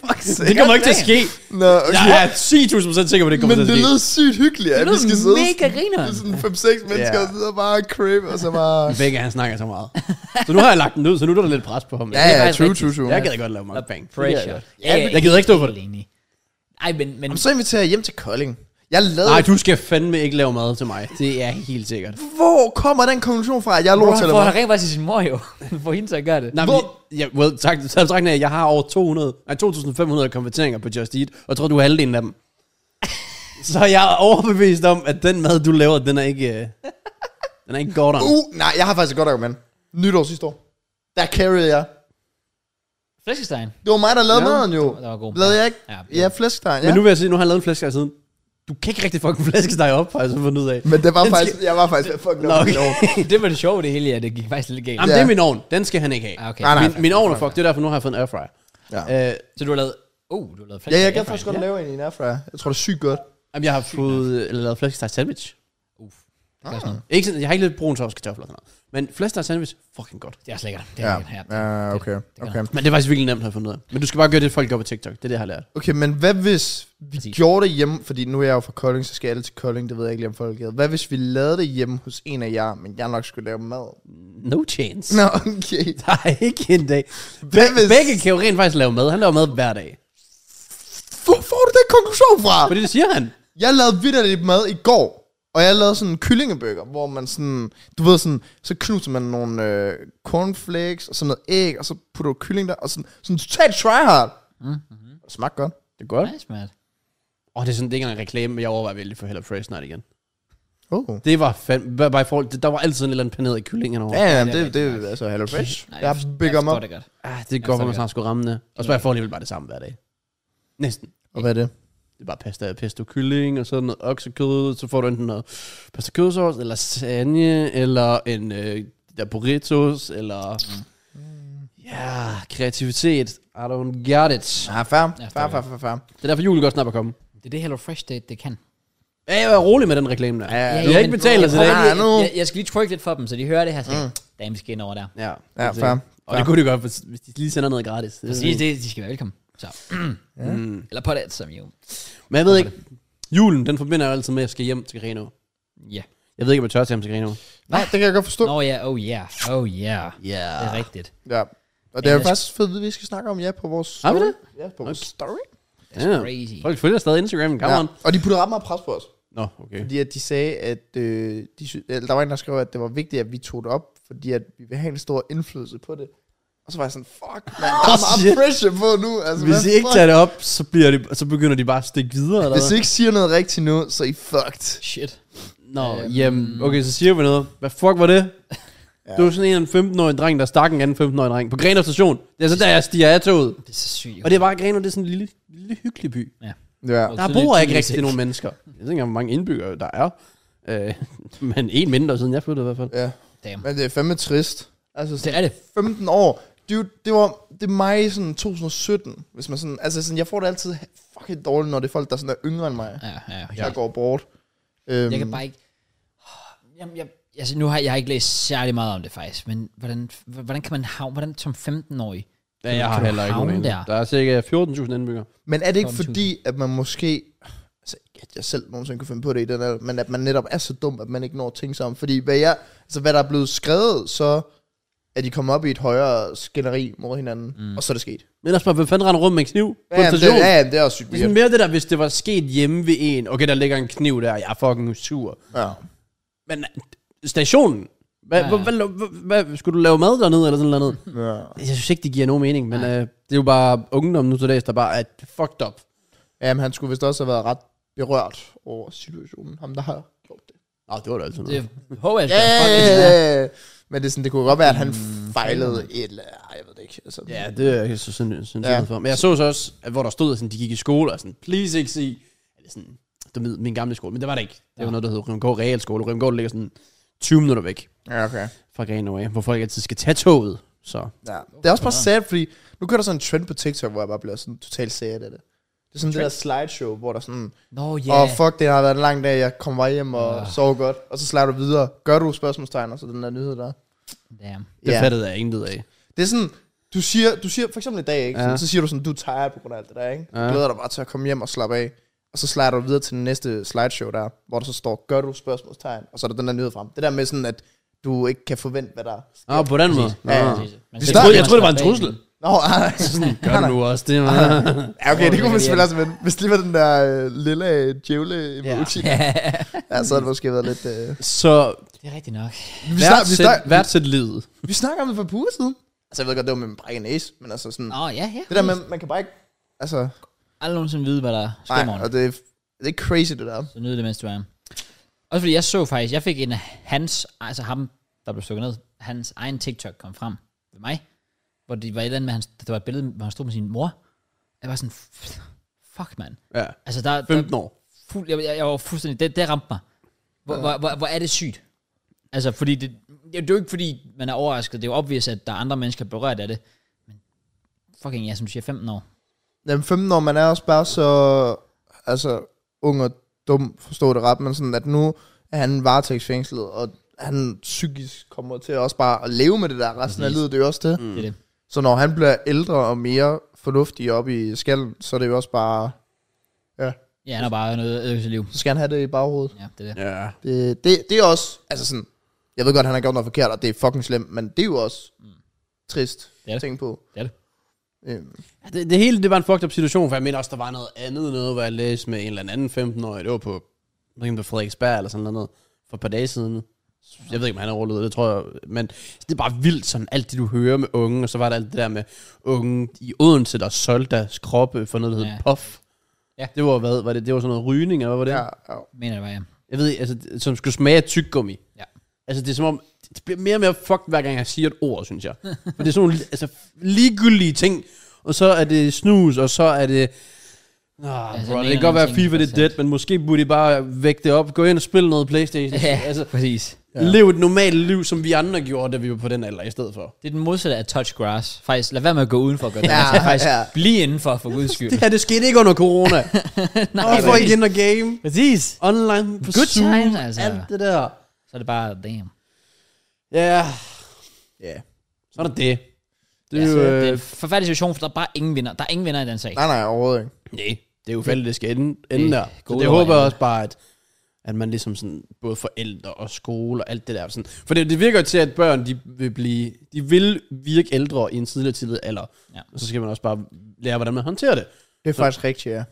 S3: det kommer ikke til at ske.
S2: Nå, okay.
S3: Jeg er 10.000 procent sikker på, at det kommer
S2: Men
S3: til at
S2: det
S3: ske.
S2: lyder sygt hyggeligt, at
S1: Det
S2: vi skal
S1: lyder
S2: sidde
S1: mega griner.
S2: sådan- sådan 5-6 mennesker
S3: Ja.
S2: og sidde og bare crave, og så bare...
S3: Begge, han snakker så meget. Så nu har jeg lagt den ud, så nu er der lidt pres på ham.
S2: Ja,
S1: det er
S2: ja,
S1: faktisk
S2: true,
S1: rigtigt.
S2: true, true.
S3: Jeg gad godt lave mukbang.
S1: Pressure.
S3: Ja, jeg gider ikke stå for det.
S1: Enig. Ej, men, men
S2: Jamen, så inviterer jeg hjem til Kolding. Jeg lavede...
S3: Nej, du skal fandme ikke lave mad til mig. Det er helt sikkert.
S2: Hvor kommer den konklusion fra, at jeg er lort til
S1: Hvorfor får han rent faktisk sin mor jo? For hende så gør det.
S3: Nej, men, ja, well, tak, tak, tak, jeg har over 200, nej, 2.500 konverteringer på Just Eat, og jeg tror, du er halvdelen af dem. så jeg er overbevist om, at den mad, du laver, den er ikke, øh, den er ikke godt
S2: Uh, nej, jeg har faktisk et godt argument. Nytår sidste år. Der carried jeg.
S1: Flæskestegn.
S2: Det var mig, der lavede
S3: Ja,
S2: maden jo.
S1: det var god.
S2: Lavede jeg ikke?
S1: Ja.
S2: Ja, ja flæsktegn, ja.
S3: Men nu vil jeg sige, nu har jeg lavet en flæskesteg siden. Du kan ikke rigtig fucking flæskesteg op, har jeg så fundet ud af.
S2: Men det var
S3: Den skal-
S2: faktisk, jeg var faktisk ved at fuck
S3: Nå,
S2: op.
S3: okay.
S1: det var det sjove det hele, ja. Det gik faktisk lidt galt.
S3: Jamen,
S2: Ja.
S3: det er min ovn. Den skal han ikke have.
S1: Ah, okay.
S2: Nej, nej.
S3: Min, min ovn er fuck, det er derfor, nu har jeg fået en airfryer.
S2: Ja.
S3: Øh,
S1: Så du har lavet... Oh, du har lavet
S2: Ja,
S1: flæskesteg.
S2: jeg kan faktisk godt lave en i en airfryer. Jeg tror, det er sygt godt.
S3: jamen, jeg har fået øh, lavet flæskesteg sandwich.
S1: Uff. Det er, sådan noget.
S3: Ikke sådan, jeg har ikke lidt brun sovs, kartofler og sådan noget. Men flæskesteg sandwich, fucking godt.
S1: det er også lækkert. Det er lækkert. Ja.
S2: ja okay. okay.
S3: Men det er faktisk virkelig nemt, har jeg fundet ud af. Men du skal bare gøre det, folk gør på TikTok. Det er det, jeg har lært.
S2: Okay, men hvad hvis vi
S1: Præcis.
S2: gjorde det hjemme, fordi nu er jeg jo fra Kolding, så skal alle til Kolding, det ved jeg ikke lige om folk havde. Hvad hvis vi lavede det hjemme hos en af jer, men jeg nok skulle lave mad?
S3: No chance.
S2: Nå, okay.
S3: Der er ikke en dag.
S2: Hvad hvis...
S3: Begge kan jo rent faktisk lave mad. Han laver mad hver dag.
S2: Hvor får du den konklusion fra?
S3: Fordi det siger han.
S2: Jeg lavede vidderligt mad i går, og jeg lavede sådan en kyllingebøger, hvor man sådan, du ved sådan, så knuser man nogle øh, cornflakes og sådan noget æg, og så putter du kylling der, og sådan, sådan totalt tryhard. Mm-hmm. Det smagte godt.
S3: Det er godt.
S1: Nice, man.
S3: Og det er sådan, det er ikke engang en reklame, men jeg overvejer vældig for HelloFresh snart igen.
S2: Oh.
S3: Det var fandme, by by fall, det- der var altid en eller anden paneret i kyllingen over.
S2: Ja, ja,
S1: det er
S2: det, det, det, altså, hello fresh.
S1: Nej,
S2: Jeg
S1: forstår-
S2: bygger mig
S1: forstår
S2: op.
S1: det godt.
S3: Ah, det
S2: Altså,
S3: er godt, hvor man
S1: så
S3: snart skulle ramme det. Og så bare jeg får alligevel bare det samme hver dag. Næsten.
S2: Og hvad er det?
S3: Det er bare pasta, pesto, kylling og sådan noget oksekød. Så får du enten noget pasta kødsovs, eller lasagne, eller en øh, de der burritos, eller...
S2: Mm.
S3: Ja, kreativitet. I don't get it.
S2: Ja, fair.
S1: Ja,
S2: Fair, fair, fair, fair.
S3: Det er derfor, julen godt snart er komme.
S1: Det er det Hello Fresh, det, det kan.
S3: Ja, jeg var rolig med den reklame der.
S2: Ja,
S3: du har ikke
S1: men-
S3: betalt os i dag.
S1: Jeg, prøver
S2: Ah, nu.
S1: lige- jeg, jeg, skal lige trykke lidt for dem, så de hører det her. Så mm. Damn, skin over der.
S3: Ja,
S2: Ja,
S3: det-
S2: fair.
S3: Og det kunne de godt, hvis, hvis de lige sender noget gratis. Det er
S1: Præcis, det, de skal være velkommen. Så. Mm. Eller på det, som jo.
S3: sådan. Men jeg ved ikke, julen, den forbinder jeg jo altid med, at jeg skal hjem til Greno.
S1: Ja.
S3: Jeg ved ikke, om jeg tør til hjem til Greno.
S2: Nej, det kan jeg godt forstå.
S1: Nå ja, oh yeah, oh yeah.
S3: Ja.
S1: Det er rigtigt.
S2: Ja. Og det er jo
S1: Ja,
S2: faktisk fedt, at vi skal snakke om ja på vores story.
S3: Har vi det?
S2: Ja, på vores story.
S1: That's crazy.
S3: Folk følger stadig Instagram, come ja. on.
S2: Og de puttede ret meget pres på os.
S3: Nå, okay.
S2: Fordi at de sagde, at øh, de, sy- eller, der var en, der skrev, at det var vigtigt, at vi tog det op, fordi at vi vil have en stor indflydelse på det. Og så var jeg sådan, fuck, man, der er meget
S3: shit.
S2: pressure på nu. Altså,
S3: Hvis
S2: hvad
S3: I ikke
S2: fuck?
S3: tager det op, så, bliver de, så begynder de bare at stikke videre, eller
S2: Hvis I
S3: hvad?
S2: ikke siger noget rigtigt nu, så er I fucked.
S1: Shit.
S3: Nå, jamen, okay, så siger vi noget. Hvad fuck var det? Ja. Du er sådan en eller anden 15-årig dreng, der stak en anden 15-årig dreng på Grenaa station. Det er så der, jeg stiger af toget.
S1: Det er så sygt.
S3: Og det er bare Grenaa, det er sådan en lille, lille hyggelig by.
S2: Ja.
S1: Og
S3: Der
S1: tidlig-
S3: bor ikke
S1: tidlig
S3: rigtig
S1: seng.
S3: nogen mennesker. Jeg ved ikke engang, hvor mange indbyggere der er. Øh, men en mindre, siden jeg flyttede i hvert fald.
S2: ja.
S1: Damn.
S2: Men det er fandme trist. Altså,
S1: Det
S2: sådan,
S1: er det.
S2: 15 år. Dude, det var det er mig i sådan 2017. Hvis man sådan, altså sådan, jeg får det altid fucking dårligt, når det er folk, der sådan er yngre end mig,
S1: Ja, ja,
S2: ja.
S1: ja.
S2: der går bort. Øhm,
S1: Jeg kan bare ikke... Jamen, jeg, altså, nu har jeg har ikke læst særlig meget om det faktisk, men hvordan, hvordan kan man havne, hvordan som 15-årig?
S3: Ja, jeg har
S1: Kan du
S3: heller ikke nogen
S1: havne
S3: anelse.
S1: der?
S3: Der er cirka 14.000 indbyggere.
S2: Men er det ikke
S1: 12.000?
S2: fordi, at man måske... Altså, ikke at jeg selv nogensinde kunne finde på det i den alder, men at man netop er så dum, at man ikke når at tænke sig om. Fordi hvad, jeg, altså, hvad der er blevet skrevet, så er de kommet op i et højere skænderi mod hinanden, mm. og så er det sket.
S3: Men også bare, hvem fanden render rundt med en kniv på en
S2: Ja, det,
S3: station?
S2: ja, jamen, det er også sygt
S3: Det er sådan
S2: weird.
S3: mere det der, hvis det var sket hjemme ved en. Okay, der ligger en kniv der, jeg er fucking sur.
S2: Ja.
S3: Men stationen? Hvad,
S1: Ja.
S3: ja. hvad, hvad, hvad, hvad, skulle du lave mad dernede, eller sådan noget?
S2: Ja.
S3: Jeg synes ikke, det giver nogen mening, men øh, det er jo bare ungdom nu til dags, der bare er fucked up.
S2: Jamen, han skulle vist også have været ret berørt over situationen, ham der har gjort det.
S3: Nå, det var da altid
S1: Det
S3: noget.
S1: håber jeg,
S2: Ja, ja, ja. Men det, er sådan, det kunne godt være, at han fejlede et eller Ej, jeg ved det ikke. Altså,
S3: Ja, det er jeg så sådan, sådan
S2: Ja.
S3: ja. for. Men jeg så så også, at hvor der stod, sådan, de gik i skole, og sådan, please ikke sige, eller sådan, det var min, min gamle skole, men det var det ikke. Det var
S1: Ja.
S3: noget, der hed Rømgaard Realskole. Rømgaard ligger sådan 20 minutter væk
S2: ja okay.
S3: fra Grenaa, af, hvor folk altid skal tage toget. Så
S2: Ja. Det er også bare sad, fordi nu kører der sådan en trend på TikTok, hvor jeg bare bliver sådan totalt sad af det. Det er sådan trend. det der slideshow, hvor der sådan,
S1: Nå, ja.
S2: åh yeah. oh, fuck, det har været en lang dag, jeg kommer bare hjem og
S1: Ah.
S2: sover godt. Og så slider du videre. Gør du spørgsmålstegn, og så den der nyhed der.
S1: Damn.
S3: det yeah. fattede jeg intet af.
S2: Det er sådan, du siger, du siger for eksempel i dag, ikke?
S3: Ja.
S2: Sådan, så siger du sådan, du er tired på grund af alt det der, ikke? Du
S3: Ja.
S2: glæder dig bare til at komme hjem og slappe af. Og så slider du videre til den næste slideshow der, hvor der så står, gør du spørgsmålstegn, og så er der den der nyhed frem. Det der med sådan, at du ikke kan forvente, hvad der...
S3: Nå, på den måde.
S2: Ja, ja.
S3: Nå.
S1: Præcis. Man
S2: Vi
S1: skal-
S2: snakker-
S1: man
S3: jeg troede, det var en
S1: skal-
S3: trussel.
S2: Nå, ej.
S3: Sådan gør du nu også det. Man.
S2: Ja, okay, det kunne
S1: det
S2: man
S1: er
S2: selvfølgelig også vende. Hvis det var den der øh, lille øh, djævle emoji, ja. ja, så havde det måske været lidt... Øh...
S3: Så
S1: Det er rigtigt nok.
S2: Vi, snak, vi, snak,
S3: værtsæt, værtsæt livet.
S2: vi snakker om det for på uger siden. Altså, jeg ved godt, det var med min brække næse, men altså sådan...
S1: Nå, ja, ja.
S2: Det der med, man kan bare ikke... Altså,
S1: Aldrig nogensinde vide, hvad der sker i
S2: nej,
S1: morgen.
S2: og det, er- det er crazy, det der.
S1: Så nyd det, mens du er. Også fordi jeg så faktisk, jeg fik en af hans, altså ham, der blev stukket ned, hans egen TikTok kom frem ved mig, hvor det var et eller andet med, hans, der var et billede, hvor han stod med sin mor. Jeg var sådan, "F- fuck mand.
S3: Ja.
S1: Altså der, der
S3: 15 år.
S1: fuld, jeg, jeg, jeg var fuldstændig, det, det ramte mig. Hvor, hvor, hvor, hvor er det sygt? Altså fordi, det, det er jo ikke fordi, man er overrasket, det er jo obvious, at der er andre mennesker berørt af det. Men fucking, jeg som du siger 15 år.
S2: Jamen, 15 år, man er også bare så... Altså, ung og dum, forstår det ret, men sådan, at nu er han varetægtsfængslet, og han psykisk kommer til også bare at leve med det der resten af
S1: Præcis.
S2: livet, det er jo også det.
S1: Mm. Det er det.
S2: Så når han bliver ældre og mere fornuftig op i skallen, så er det jo også bare... Ja,
S1: Ja, han er bare noget ødelagt liv.
S2: så skal han have det i baghovedet.
S1: Ja, det er det.
S3: Ja.
S2: Det, det, det er også... Altså sådan... Jeg ved godt, han har gjort noget forkert, og det er fucking slemt, men det er jo også trist
S1: Mm. Det er
S2: at
S1: det.
S2: tænke på.
S1: Det er det.
S2: Øhm,
S3: Ja, Det, det hele, det var en fucked up situation, for jeg mener også, der var noget andet noget, hvor jeg læste med en eller anden 15-årig. Det var på, jeg ved ikke, om det var Frederiksberg eller sådan noget, for et par dage siden. Jeg ved ikke, om han har rullet det, tror jeg. Men det er bare vildt, sådan alt det, du hører med unge. Og så var der alt det der med unge i Odense, der solgte deres kroppe for noget, der hed
S1: Ja.
S3: ja. Puff.
S1: Ja.
S3: Det var, hvad var det? Det var sådan noget rygning, eller hvad var det?
S2: ja, ja.
S1: Mener det bare, ja.
S3: Jeg ved ikke, altså, det- som skulle smage af tyggegummi.
S1: Ja.
S3: Altså, det er som om, det bliver mere og mere fucked, hver gang jeg siger et ord, synes jeg. For det er sådan nogle li- altså, ligegyldige ting, og så er det snus, og så er det... Ah,
S1: Altså,
S3: altså, bro,
S1: den
S3: det
S1: ene
S3: kan godt være, at
S1: ting,
S3: FIFA det er
S1: der er
S3: dead, men måske burde de bare vække det op, gå ind og spille noget Playstation.
S1: Ja,
S3: altså,
S1: præcis.
S3: ja. Lev et normalt liv, som vi andre gjorde, da vi var på den alder i stedet for.
S1: Det er den modsatte af touch grass. Faktisk, lad være med at gå udenfor og gøre det.
S2: Ja,
S1: altså, faktisk,
S2: ja.
S1: blive indenfor for guds skyld.
S3: Det her, det skete ikke under corona.
S1: Nej,
S3: Og folk ind og game.
S1: Præcis.
S3: Online på
S1: Good
S3: Zoom,
S1: times, altså.
S3: alt det der.
S1: Så er det bare, damn.
S3: Ja, yeah.
S2: ja.
S3: så er der det. Det
S1: Det
S3: er
S1: er,
S3: jo...
S1: altså, det er
S3: Øh,
S1: en forfærdelig situation, for der er bare ingen vinder. Der er ingen vinder i den sag.
S2: Nej, nej, overhovedet ikke.
S3: Nej, det er jo fældet, det skal ende, ende der.
S1: går
S3: Så
S1: ud
S3: det
S1: over
S3: håber jeg
S1: alle.
S3: også bare, at, at man ligesom sådan, både forældre og skole og alt det der. Sådan. For det, det virker jo til, at børn, de vil blive, de vil virke ældre i en tidligere tidlig alder.
S1: Ja.
S3: Og så skal man også bare lære, hvordan man håndterer det.
S2: Det er faktisk rigtigt, ja.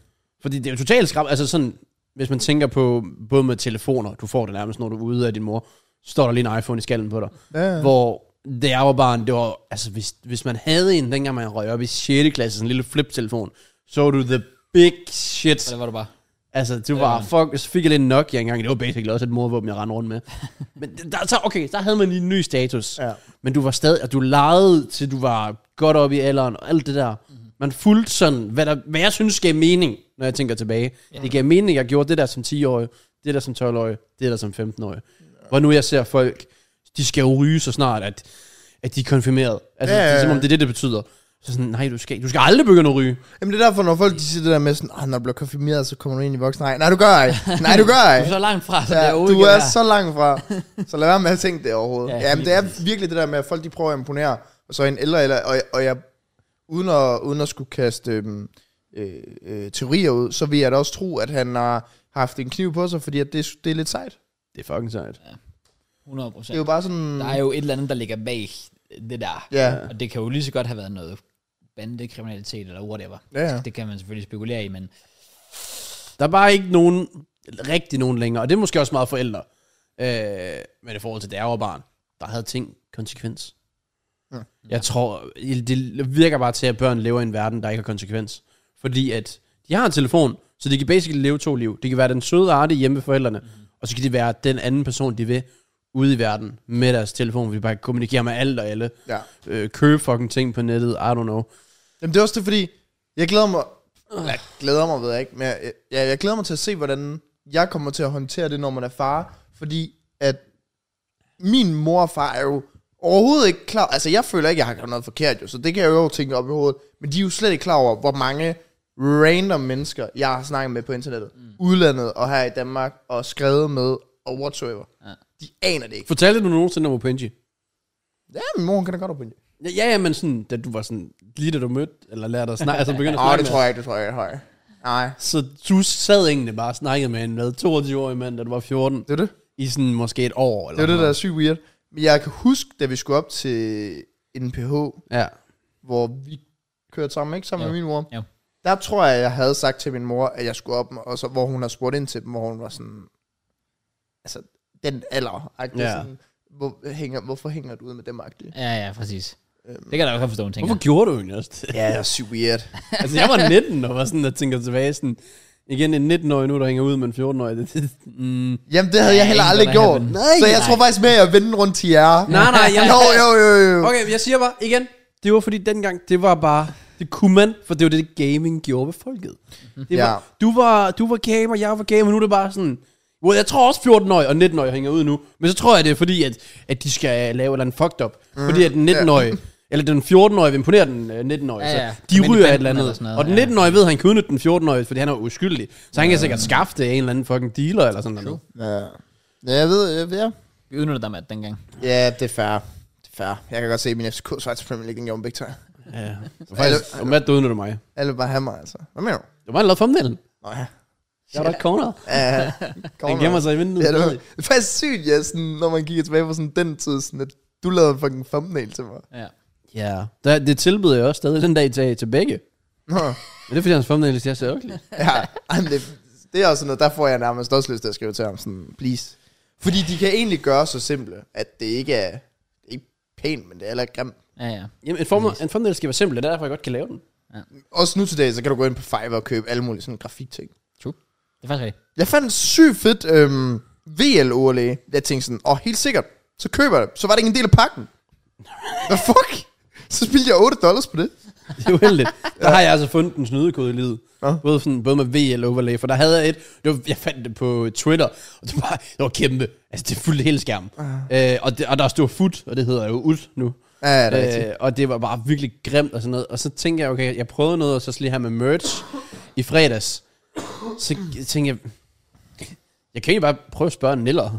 S3: Fordi det er jo totalt skræmt. Altså sådan, hvis man tænker på, både med telefoner, du får det nærmest, når du er ude af din mor, så står der lige en iPhone i skallen på dig.
S2: Ja.
S3: Hvor det jeg var barn, det var, altså hvis, hvis man havde en, dengang man røg op i 6. klasse, sådan en lille flip-telefon, så var du the big
S1: Og
S3: shit.
S1: det var du bare.
S3: Altså, du
S2: Øhm.
S3: var, fuck, så fik jeg lidt Nokia engang, det var basically også et morvåben, jeg rendte rundt med. Men der, så, okay, der havde man lige en ny status.
S2: Ja.
S3: Men du var stadig, og du legede til du var godt oppe i alderen, og alt det der.
S2: Mhm.
S3: Man fulgte sådan, hvad, der, hvad jeg synes gav mening, når jeg tænker tilbage. Det gav mening, jeg gjorde det der som 10-årig, det der som 12-årig, det der som 15-årig. Hvor nu jeg ser folk, de skal jo ryge så snart, at, at de er konfirmeret. Altså,
S2: Ja,
S3: ja,
S2: ja,
S3: ja,
S2: ja.
S3: Det, er, som om det er det, det betyder. Så sådan, nej, du skal, du skal aldrig begynde at ryge.
S2: Jamen det er derfor, når folk de siger det der med sådan, "Ah, når du bliver konfirmeret, så kommer du ind i voksen. Nej, nej, du gør ej. Nej, du gør ej.
S1: Du er så langt fra, så ja, det
S2: Ja,
S1: er ude
S2: du
S1: igen
S2: er
S1: her.
S2: så langt fra. Så lad være med at tænke det overhovedet.
S1: Ja,
S2: Ja, Jamen,
S1: lige
S2: det er virkelig det der med, at folk de prøver at imponere, og så en ældre, eller, og, og jeg, uden at, uden at skulle kaste øhm, øh, øh, teorier ud, så vil jeg da også tro, at han har haft en kniv på sig, fordi at det, det er lidt sejt.
S3: Det er fucking sejt.
S1: 100
S2: Det er
S1: procent.
S2: jo bare sådan...
S1: Der er jo et eller andet, der ligger bag det der.
S2: Ja.
S1: Og det kan jo lige så godt have været noget bandekriminalitet eller whatever.
S2: Ja, ja.
S1: Det kan man selvfølgelig spekulere i, men
S3: Der er bare ikke nogen, rigtig nogen længere, og det er måske også meget forældre. Øh, men i forhold til, da jeg var barn, der havde ting konsekvens.
S2: Ja.
S3: Jeg tror, det virker bare til, at børn lever i en verden, der ikke har konsekvens. Fordi at de har en telefon, så de kan basically leve to liv. Det kan være den søde arte hjemme ved forældrene,
S2: Mhm.
S3: mm-hmm. og så kan de være den anden person, de vil ude i verden med deres telefon, hvor de bare kan kommunikere med alt og alle.
S2: Ja.
S3: Øh, købe fucking ting på nettet, I don't know.
S2: Jamen, det er også det, fordi jeg glæder mig... Jeg glæder mig, ved jeg ikke, men jeg, jeg, jeg glæder mig til at se, hvordan jeg kommer til at håndtere det, når man er far, fordi at min mor og far er jo overhovedet ikke klar... Altså, jeg føler ikke, jeg har gjort noget forkert, jo, så det kan jeg jo tænke op i hovedet, men de er jo slet ikke klar over, hvor mange random mennesker, jeg har snakket med på internettet, mm. udlandet og her i Danmark, og skrevet med, og whatsoever. Ja. De aner det ikke.
S3: Fortalte du nogensinde om Opinji?
S2: Ja, min mor hun kan da godt op på det.
S3: Ja, ja, ja, men sådan, da du var sådan, lige da du mødte, eller lærte at snakke, altså begyndte at
S2: Åh,
S3: snakke
S2: det
S3: med-
S2: tror jeg ikke, det tror jeg ikke. det tror jeg ikke. Nej.
S3: Så du sad egentlig bare og snakkede med en, hvad, 22-årig mand, da du var 14,
S2: Det er det.
S3: i sådan måske et år,
S2: Det
S3: eller
S2: var det, der er
S3: noget.
S2: sygt weird. Men jeg kan huske, da vi skulle op til NPH,
S3: Ja.
S2: hvor vi kørte sammen, ikke? Sammen
S1: Jo.
S2: med min mor.
S1: Jo.
S2: Der tror jeg, jeg havde sagt til min mor, at jeg skulle op, og så, hvor hun har spurgt ind til dem, hvor hun var sådan, altså, den alder,
S3: Ja.
S2: ja. sådan, hvor, hænger, hvorfor hænger du ud med dem, agtig?
S1: ja, ja, præcis.
S3: Øhm.
S1: Det kan jeg da godt forstå, hun tænker.
S3: Hvorfor gjorde du egentlig også det?
S2: Ja, det er sygt weird.
S3: altså, jeg var 19, og var sådan, at tænker tilbage sådan, igen en 19-årig nu, der hænger ud med en 14-årig. Det, det, mm.
S2: Jamen, det havde jeg heller
S1: ingen,
S2: aldrig
S1: der havde
S2: gjort.
S1: den.
S2: Nej, så jeg
S1: nej.
S2: tror faktisk med, at jeg vendte rundt til jer.
S3: Nej, nej, jeg,
S2: Jo, jo, jo, jo. Okay.
S3: Okay, jeg siger bare, igen, det var fordi dengang, det var bare, det kunne man, for det var det, gaming gjorde ved folket. Det var,
S2: Ja.
S3: du, var, du var gamer, jeg var gamer, nu er det bare sådan, well, jeg tror også 14-årige og 19-årige hænger ud nu, men så tror jeg, det er fordi, at, at de skal lave et eller andet fucked up,
S2: Mhm.
S3: mm, fordi at den 19-årige, eller den 14-årige vil imponere den øh, 19-årige,
S1: Ja,
S3: ja,
S1: ja.
S3: ja. så de
S1: Men i
S3: ryger et
S1: banden eller
S3: eller andet,
S1: sådan noget,
S3: og den
S1: ja.
S3: 19-årige ved, at han kan udnytte den 14-årige, fordi han er uskyldig, så han kan sikkert skaffe det af en eller anden fucking dealer, eller sådan noget.
S2: Ja. ja, jeg ved, jeg, ja.
S1: Vi udnytter dig med dengang.
S2: Ja, det er fair. Det er fair. Jeg kan godt se, at min FCK Schweiz Premier League, den gjorde en big time.
S3: Ja. Så faktisk, og Matt, du udnytter mig.
S2: Alle vil bare have mig, altså. Hvad mener du?
S3: Det var en lavet thumbnail.
S2: Nå ja.
S3: Jeg var der corner.
S2: Uh,
S3: Han gemmer sig i vinduet.
S2: Ja, det, var, det er faktisk sygt, ja, sådan, når man kigger tilbage på sådan den tid, sådan at du lavede fucking thumbnail til mig.
S1: Ja.
S3: Ja. Der, det tilbyder jeg også stadig den dag til, til begge.
S2: Nå,
S3: Men det er fordi, hans thumbnail er så ugly.
S2: ja, ej, men det, det er også noget, der får jeg nærmest også lyst til at skrive til ham, sådan, please. Fordi de kan egentlig gøre så simple, at det ikke er, det er ikke pænt, men det er heller ikke grimt.
S1: Ja, ja.
S3: Jamen, en, thumbnail, en thumbnail skal være simpel, det er derfor, jeg godt kan lave den.
S2: Også nu til dag, så kan du gå ind på Fiverr og købe alle mulige sådan grafikting.
S1: Det er faktisk rigtigt.
S2: Jeg fandt en sygt fedt øhm, VL-overlæge. E. Jeg tænkte sådan, åh, helt sikkert, så køber jeg det. Så var det ikke en del af pakken. Hvad fuck? Så spildte jeg 8 dollars på det.
S3: Det er uheldigt. Der har jeg altså fundet en snydekode i livet.
S2: Nå.
S3: Både, sådan, både med VL overlay, for der havde jeg et, det var, jeg fandt det på Twitter, og det var, det var kæmpe. Altså, det fyldte hele skærmen. Øh, og, det, og der stod fut, og det hedder jo ud nu.
S2: Ah. Ja, det er rigtigt.
S3: Øh, og det var bare virkelig grimt og sådan noget. Og så tænkte jeg, okay, jeg prøvede noget, og så lige her med merch i fredags. Så tænkte jeg, jeg kan ikke bare prøve at spørge Niller.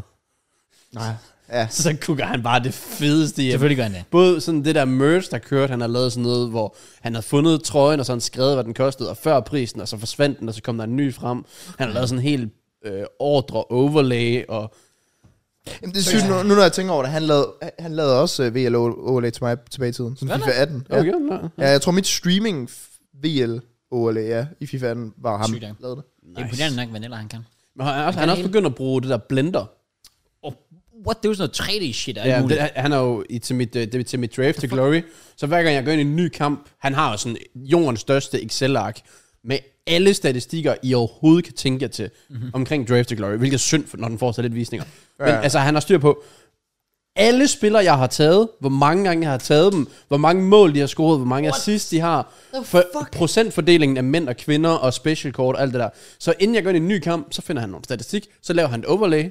S2: Nej. Ja.
S3: Så kukker han bare det fedeste hjem.
S1: Selvfølgelig gør han det.
S3: Både sådan det der merch, der kørte, han har lavet sådan noget, hvor han havde fundet trøjen, og så han skrevet, hvad den kostede, og før prisen, og så forsvandt den, og så kom der en ny frem. Han har lavet sådan en hel øh, ordre overlay, og
S2: Jamen, det er sygt, nu, nu, når jeg tænker over det, han lavede, han lavede også øh, VL overlæge til mig tilbage i tiden. Sådan
S1: Hvad
S2: FIFA 18. Ja.
S3: okay, ja.
S2: ja, jeg tror mit streaming VL OLA, E, ja, i FIFA var ham,
S1: Sygt, ja.
S2: der lavede det.
S1: Det er imponerende nok, Vanilla han kan.
S3: Men han, er også, han er også begyndt at bruge det der blender.
S1: Og what, det er jo sådan noget 3D-shit, der
S3: Ja,
S1: er
S3: det,
S1: muligt.
S3: han er jo i, til, mit, øh, det, er til mit draft til Glory. Så hver gang jeg går ind i en ny kamp, han har jo sådan jordens største Excel-ark med alle statistikker, I overhovedet kan tænke jer til mm-hmm. omkring draft til Glory. Hvilket er synd, for, når den får så lidt visninger. Men
S2: Mhm. Ja.
S3: altså, han har styr på alle spillere, jeg har taget, hvor mange gange jeg har taget dem, hvor mange mål de har scoret, hvor mange assist de har,
S1: The
S3: for
S1: fuck?
S3: procentfordelingen af mænd og kvinder og special kort og alt det der. Så inden jeg går ind i en ny kamp, så finder han nogle statistik, så laver han et overlay,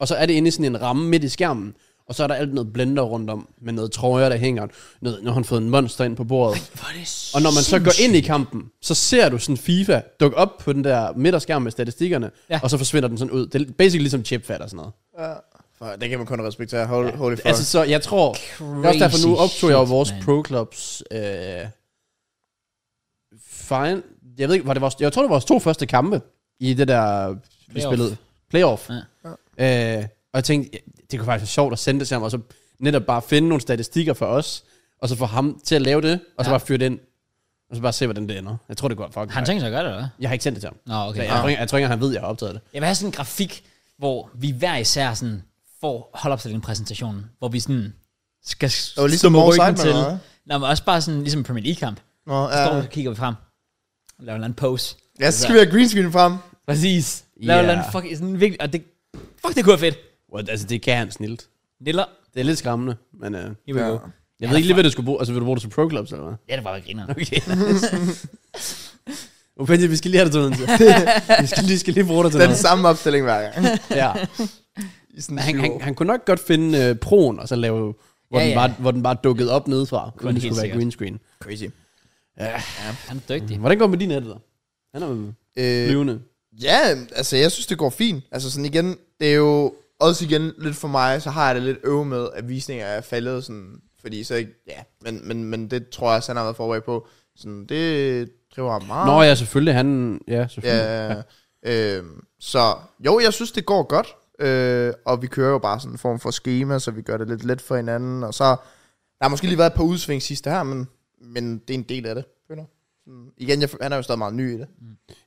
S3: og så er det inde i sådan en ramme midt i skærmen, og så er der alt noget blender rundt om, med noget trøjer, der hænger, noget, nu har han fået en monster ind på bordet.
S1: Hvor er det
S3: Og når man så går ind i kampen, så ser du sådan FIFA dukke op på den der midterskærm med statistikkerne,
S1: Ja.
S3: ja. og så forsvinder den sådan ud. Det er basically ligesom chipfat og sådan noget.
S2: For det kan man kun respektere. Holy, holy fuck.
S3: Altså,
S2: Altså,
S3: så jeg tror... Det er også derfor, nu
S1: Crazy
S3: optog jeg jo
S1: shit,
S3: vores
S1: mand.
S3: Pro Clubs... Øh, fine. Jeg ved ikke, var det vores, jeg tror, det var vores to første kampe i det der... Vi
S1: Playoff.
S3: spillede playoff. Ja. Øh, og jeg tænkte, ja, det kunne faktisk være sjovt at sende det til ham, og så netop bare finde nogle statistikker for os, og så få ham til at lave det, og så
S1: Ja.
S3: bare fyre det ind. Og så bare se, hvordan det ender. Jeg tror, det går fucking
S1: Har han
S3: godt.
S1: tænkt sig at gøre det, eller hvad?
S3: Jeg har ikke sendt det til ham.
S1: Nå, okay.
S3: Så jeg, tror ikke, jeg tror ikke, han ved, jeg har optaget det.
S1: Jeg vil have sådan en grafik, hvor vi hver især sådan får holdopstillingen præsentationen, hvor vi sådan skal
S2: det var ligesom
S1: med
S2: Morse
S1: ryggen
S2: Seidman, eller hvad?
S1: Nå, men også bare sådan ligesom en Premier League-kamp.
S2: Nå,
S1: Så står vi,
S2: ja.
S1: så kigger vi frem. Laver en eller anden pose.
S2: ja, så skal vi have green screen frem.
S1: Præcis. Laver en
S3: Ja.
S1: eller anden fuck, sådan virkelig, og det, fuck, det kunne være fedt.
S3: Well, altså, det kan han snilt.
S1: Niller,
S3: Det er lidt skræmmende, men øh,
S1: here we
S2: Ja.
S1: go.
S3: jeg ved ikke lige, hvad du skulle bruge. Altså, vil du bruge det til Pro Clubs, eller hvad?
S1: Ja, det var bare griner.
S3: Okay. Upendi, vi skal lige have dig til noget. vi skal lige, skal lige bruge dig til
S2: Det er den
S3: noget.
S2: samme opstilling hver gang.
S3: Ja.
S2: I sådan
S3: Han,
S2: syv
S3: han,
S2: år.
S3: han kunne nok godt finde uh, proen, og så lave,
S1: Ja,
S3: hvor, ja, den
S1: ja.
S3: bare, hvor den bare dukkede op nedefra, uden
S1: helt
S3: det skulle være
S1: sikkert.
S3: green screen.
S2: Crazy.
S1: Han er dygtig.
S3: Hvordan går det med din editor? Han er jo
S2: Øh,
S3: flyvende.
S2: Ja, altså jeg synes, det går fint. Altså sådan igen, det er jo også igen lidt for mig, så har jeg det lidt øve med, at visninger er faldet sådan, fordi så ikke, ja, men, men, men det tror jeg, også, han har været forberedt på. Sådan, det driver ham meget.
S3: Nå ja, selvfølgelig. Han, ja, selvfølgelig. Ja.
S2: ah. ja. Øh, så jo, jeg synes, det går godt. Øh, og vi kører jo bare sådan en form for schema, så vi gør det lidt let for hinanden. Og så, der har måske lige været et par udsving sidste her, men, men det er en del af det. føler jeg. Sådan, igen, jeg, han er jo stadig meget ny i det.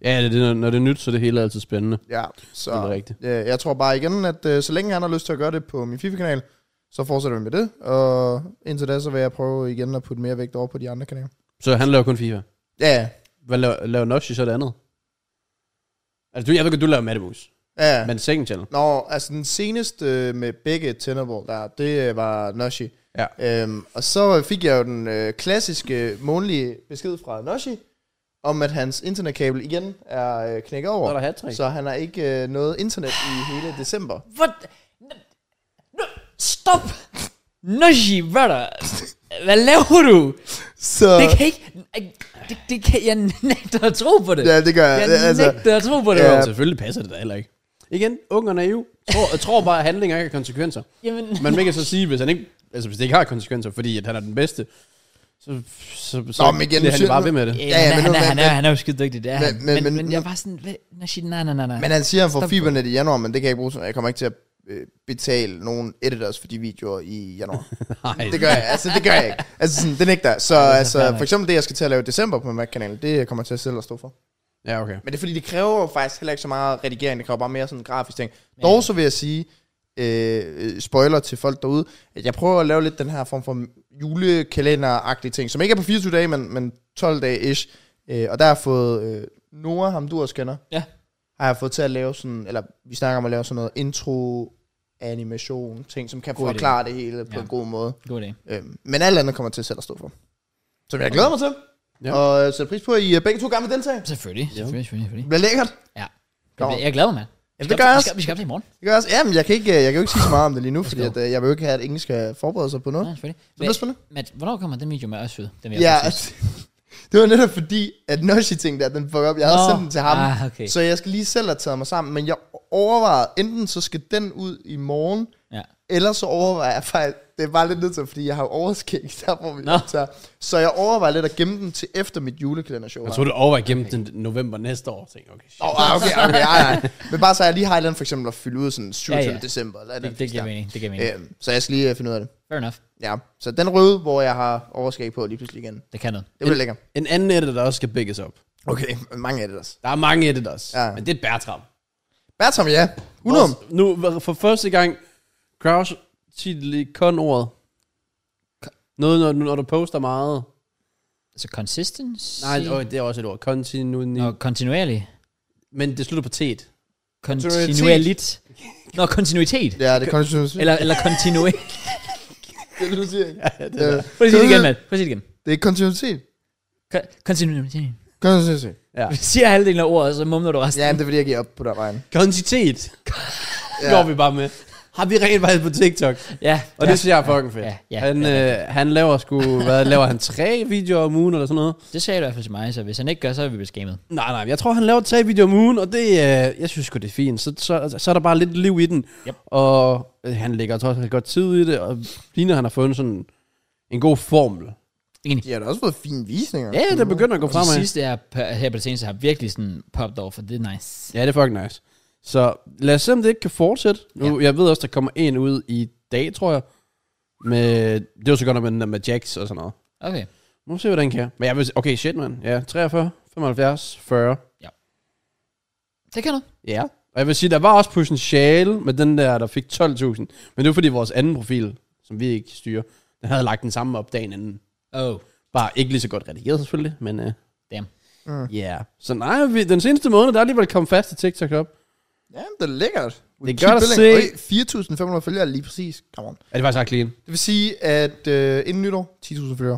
S3: ja det, det, når det er nyt, så er det hele altid spændende.
S2: Ja,
S3: Det er
S2: så
S3: rigtigt.
S2: Øh, Jeg tror bare igen, at øh, så længe han har lyst til at gøre det på min FIFA-kanal, så fortsætter vi med det. Og indtil da, så vil jeg prøve igen at putte mere vægt over på de andre kanaler.
S3: Så han laver kun FIFA.
S2: Ja, ja.
S3: Hvad laver, laver Noshi så det andet? Altså, du, jeg ved godt, du laver Mattemus.
S2: ja. ja.
S3: Men second channel.
S2: Nå, altså den seneste øh, med begge Tenable der, det øh, var Noshi.
S3: Ja.
S2: Øhm, og så fik jeg jo den øh, klassiske månedlige besked fra Noshi, om at hans internetkabel igen er øh, knækket
S3: Så er der
S2: over.
S3: hat
S2: Så han har ikke øh, noget internet i hele december.
S1: Hvad? N- n- Stop! Noshi, brother. Hvad laver du?
S2: Så
S1: Det kan ikke... Det, det kan... Jeg nægter at tro på det.
S2: ja, det gør jeg.
S1: Jeg
S2: Det- altså,
S1: nægter at tro på det.
S2: Ja.
S3: Ja. Selvfølgelig passer det da heller ikke. Igen, ung og naiv. Tror, tror bare, at handlinger ikke har konsekvenser.
S1: Jamen,
S3: Men man kan så sige, hvis, han ikke, altså, hvis det ikke har konsekvenser, fordi at han er den bedste, så, så, så
S2: Nå, men igen,
S3: bliver
S2: nu
S3: han
S2: siger-
S3: bare
S2: nu-
S3: ved med det.
S1: Ja,
S2: Ja, ja,
S1: ja,
S2: men
S1: han,
S2: nu-
S1: er, han,
S2: men-
S1: er, han er jo skide dygtig, det er
S2: Men-
S1: men, han.
S2: men-
S1: Men, men,
S2: men-
S1: jeg var sådan, hvad, Nashi, nej, nej, nej, nej.
S2: Men han siger, han får
S1: Stop
S2: fibernet i januar, men det kan jeg ikke bruge, til- jeg kommer ikke til at øh, betale nogen editors for de videoer i januar.
S3: Nej,
S2: det gør jeg, altså det gør jeg ikke. Altså sådan, det nægter jeg. Så altså,
S1: fair
S2: for eksempel det, jeg skal til at lave i december på min Mac-kanal, det kommer jeg til at selv at stå for.
S3: Ja, okay.
S2: Men det er fordi, det kræver jo faktisk heller ikke så meget redigering, det kræver bare mere sådan grafisk ting. Dog så vil jeg sige, øh, spoiler til folk derude, at jeg prøver at lave lidt den her form for julekalender-agtige ting, som ikke er på 24 dage, men, men 12 dage-ish. Øh, og der har jeg fået øh, Nora, ham du også kender,
S1: Ja.
S2: har jeg fået til at lave sådan, eller vi snakker om at lave sådan noget intro, animation, ting, som kan
S1: God idé.
S2: forklare det hele på
S1: Ja.
S2: en god måde.
S1: God dag.
S2: Øhm, men alt andet kommer jeg til selv at stå for. Som jeg glæder mig til.
S3: Ja.
S2: Ja. Og øh, sætter pris på, at I øh, begge to gerne vil deltage.
S1: Selvfølgelig, selvfølgelig, selvfølgelig. selvfølgelig.
S2: Det bliver lækkert.
S1: Jeg, bliver- jeg glæder mig, mand.
S2: Jamen,
S1: Vi skal
S2: det gør
S1: op-
S2: jeg
S1: vi
S2: også.
S1: skal- Vi skal op til i morgen.
S2: Det gør jeg også. Jamen, jeg kan, ikke, øh, jeg kan jo ikke sige så meget om det lige nu, fordi
S1: go.
S2: at, øh, jeg vil jo ikke have, at ingen skal forberede sig på noget.
S1: Ja, selvfølgelig.
S2: Så det bliver spændende.
S1: Men, Matt, hvornår kommer den video med os ud? Den vil jeg
S2: Ja, altså-
S1: godt se.
S2: det var netop fordi, at Noshi tænkte, at den fuck op. Jeg havde
S1: Nå,
S2: sendt den til ham.
S1: Ah, okay.
S2: Så jeg skal lige selv have taget mig sammen, men jeg overvejede, enten så skal den ud i morgen,
S1: Ja.
S2: eller så overvejer jeg faktisk, det er bare lidt nødt til, fordi jeg har jo overskæg, der hvor vi
S1: Nå.
S2: optager. Så jeg overvejer lidt at gemme den til efter mit julekalendershow.
S3: Jeg
S2: her.
S3: troede, du overvejede gennem den november næste år. Jeg tænkte, okay, shit.
S2: Åh, oh, okay, okay, nej, nej. Men bare så jeg lige har et eller andet, for eksempel at fylde ud sådan 27.
S1: Ja, ja.
S2: december. Eller et
S1: Det,
S2: eller
S1: det
S2: andet
S1: giver
S2: der.
S1: mening, det giver mening.
S2: Øhm, så jeg skal lige øh, finde ud af det.
S1: Fair enough.
S2: Ja, så den røde, hvor jeg har overskæg på lige pludselig igen.
S1: Det kan noget.
S2: Det bliver lækkert.
S3: En anden editor, der også skal bækkes op.
S2: Okay, mange editors.
S3: Der er mange editors,
S2: Ja.
S3: ja. men det er et Bertram.
S2: Bertram, ja. 100.
S3: Vores- Nu, for første gang, Kraus titel i kon-ordet. Noget, når, når du poster meget.
S1: Altså consistency?
S3: Nej, øh, det er også et ord. Kontinuitet.
S1: Nå, kontinuerlig.
S3: Men det slutter på tet.
S1: Kontinuerligt. Nå, kontinuitet.
S2: Ja, det kan du sige.
S1: Eller, eller kontinuerligt.
S2: Det, du siger. Øh, Ja, det, er,
S1: Prøv at sige det igen, Matt. Prøv at sige det igen.
S2: det er kontinuitet.
S1: Ko- Kontinuitet.
S2: Kontinuitet.
S3: Ja.
S1: Vi siger halvdelen af ordet, og så mumler du resten.
S2: Ja, men det er fordi, jeg giver op på dig, vejen.
S3: Kontitet.
S2: Ja.
S3: Ja. Går vi bare med. Har vi rent faktisk på TikTok?
S1: ja.
S3: Og det synes jeg er fucking fedt.
S1: Ja, ja,
S3: han, øh, han laver sgu, hvad laver han, tre videoer om ugen eller sådan noget?
S1: Det sagde du i hvert fald til mig, så hvis han ikke gør, så er vi blevet skamet.
S3: Nej, nej, jeg tror, han laver tre videoer om ugen, og det, øh, jeg synes sgu, det er fint. Så, så, så er der bare lidt liv i den.
S1: Yep.
S3: Og øh, han lægger trods alt godt tid i det, og ligner, han har fundet sådan en god formel.
S1: Enig.
S2: De har da også fået fine visninger.
S3: Ja, det begynder at gå
S1: Og de
S3: fremad.
S1: sidste her, på- her på det seneste har virkelig sådan popped off, og det er nice.
S3: Ja, det er fucking nice. Så lad os se, om det ikke kan fortsætte. Nu, ja. Jeg ved også, der kommer en ud i dag, tror jeg. Med, det var så godt nok med, den der med Jax og sådan noget.
S1: Okay.
S3: Nu må vi se, hvordan den kan. Men jeg vil, okay, shit, man. Ja, 43, 75, 40.
S1: Det kan du.
S3: Ja. Og jeg vil sige, der var også potentiale med den der, der fik 12.000. Men det var fordi vores anden profil, som vi ikke styrer, den havde lagt den samme op dagen inden.
S1: Oh.
S3: Bare ikke lige så godt redigeret selvfølgelig, men ja. Uh,
S1: Damn.
S2: Mm.
S3: yeah. Så nej, vi, den seneste måned, der er alligevel kommet fast til TikTok op.
S2: Ja, men det er lækkert. We
S3: Det
S2: keep
S3: gør der
S2: building. Øj, 4.500 følgere lige præcis. Come on.
S3: Ja, det var så clean.
S2: Det vil sige, at øh, inden nytår, 10.000 følgere.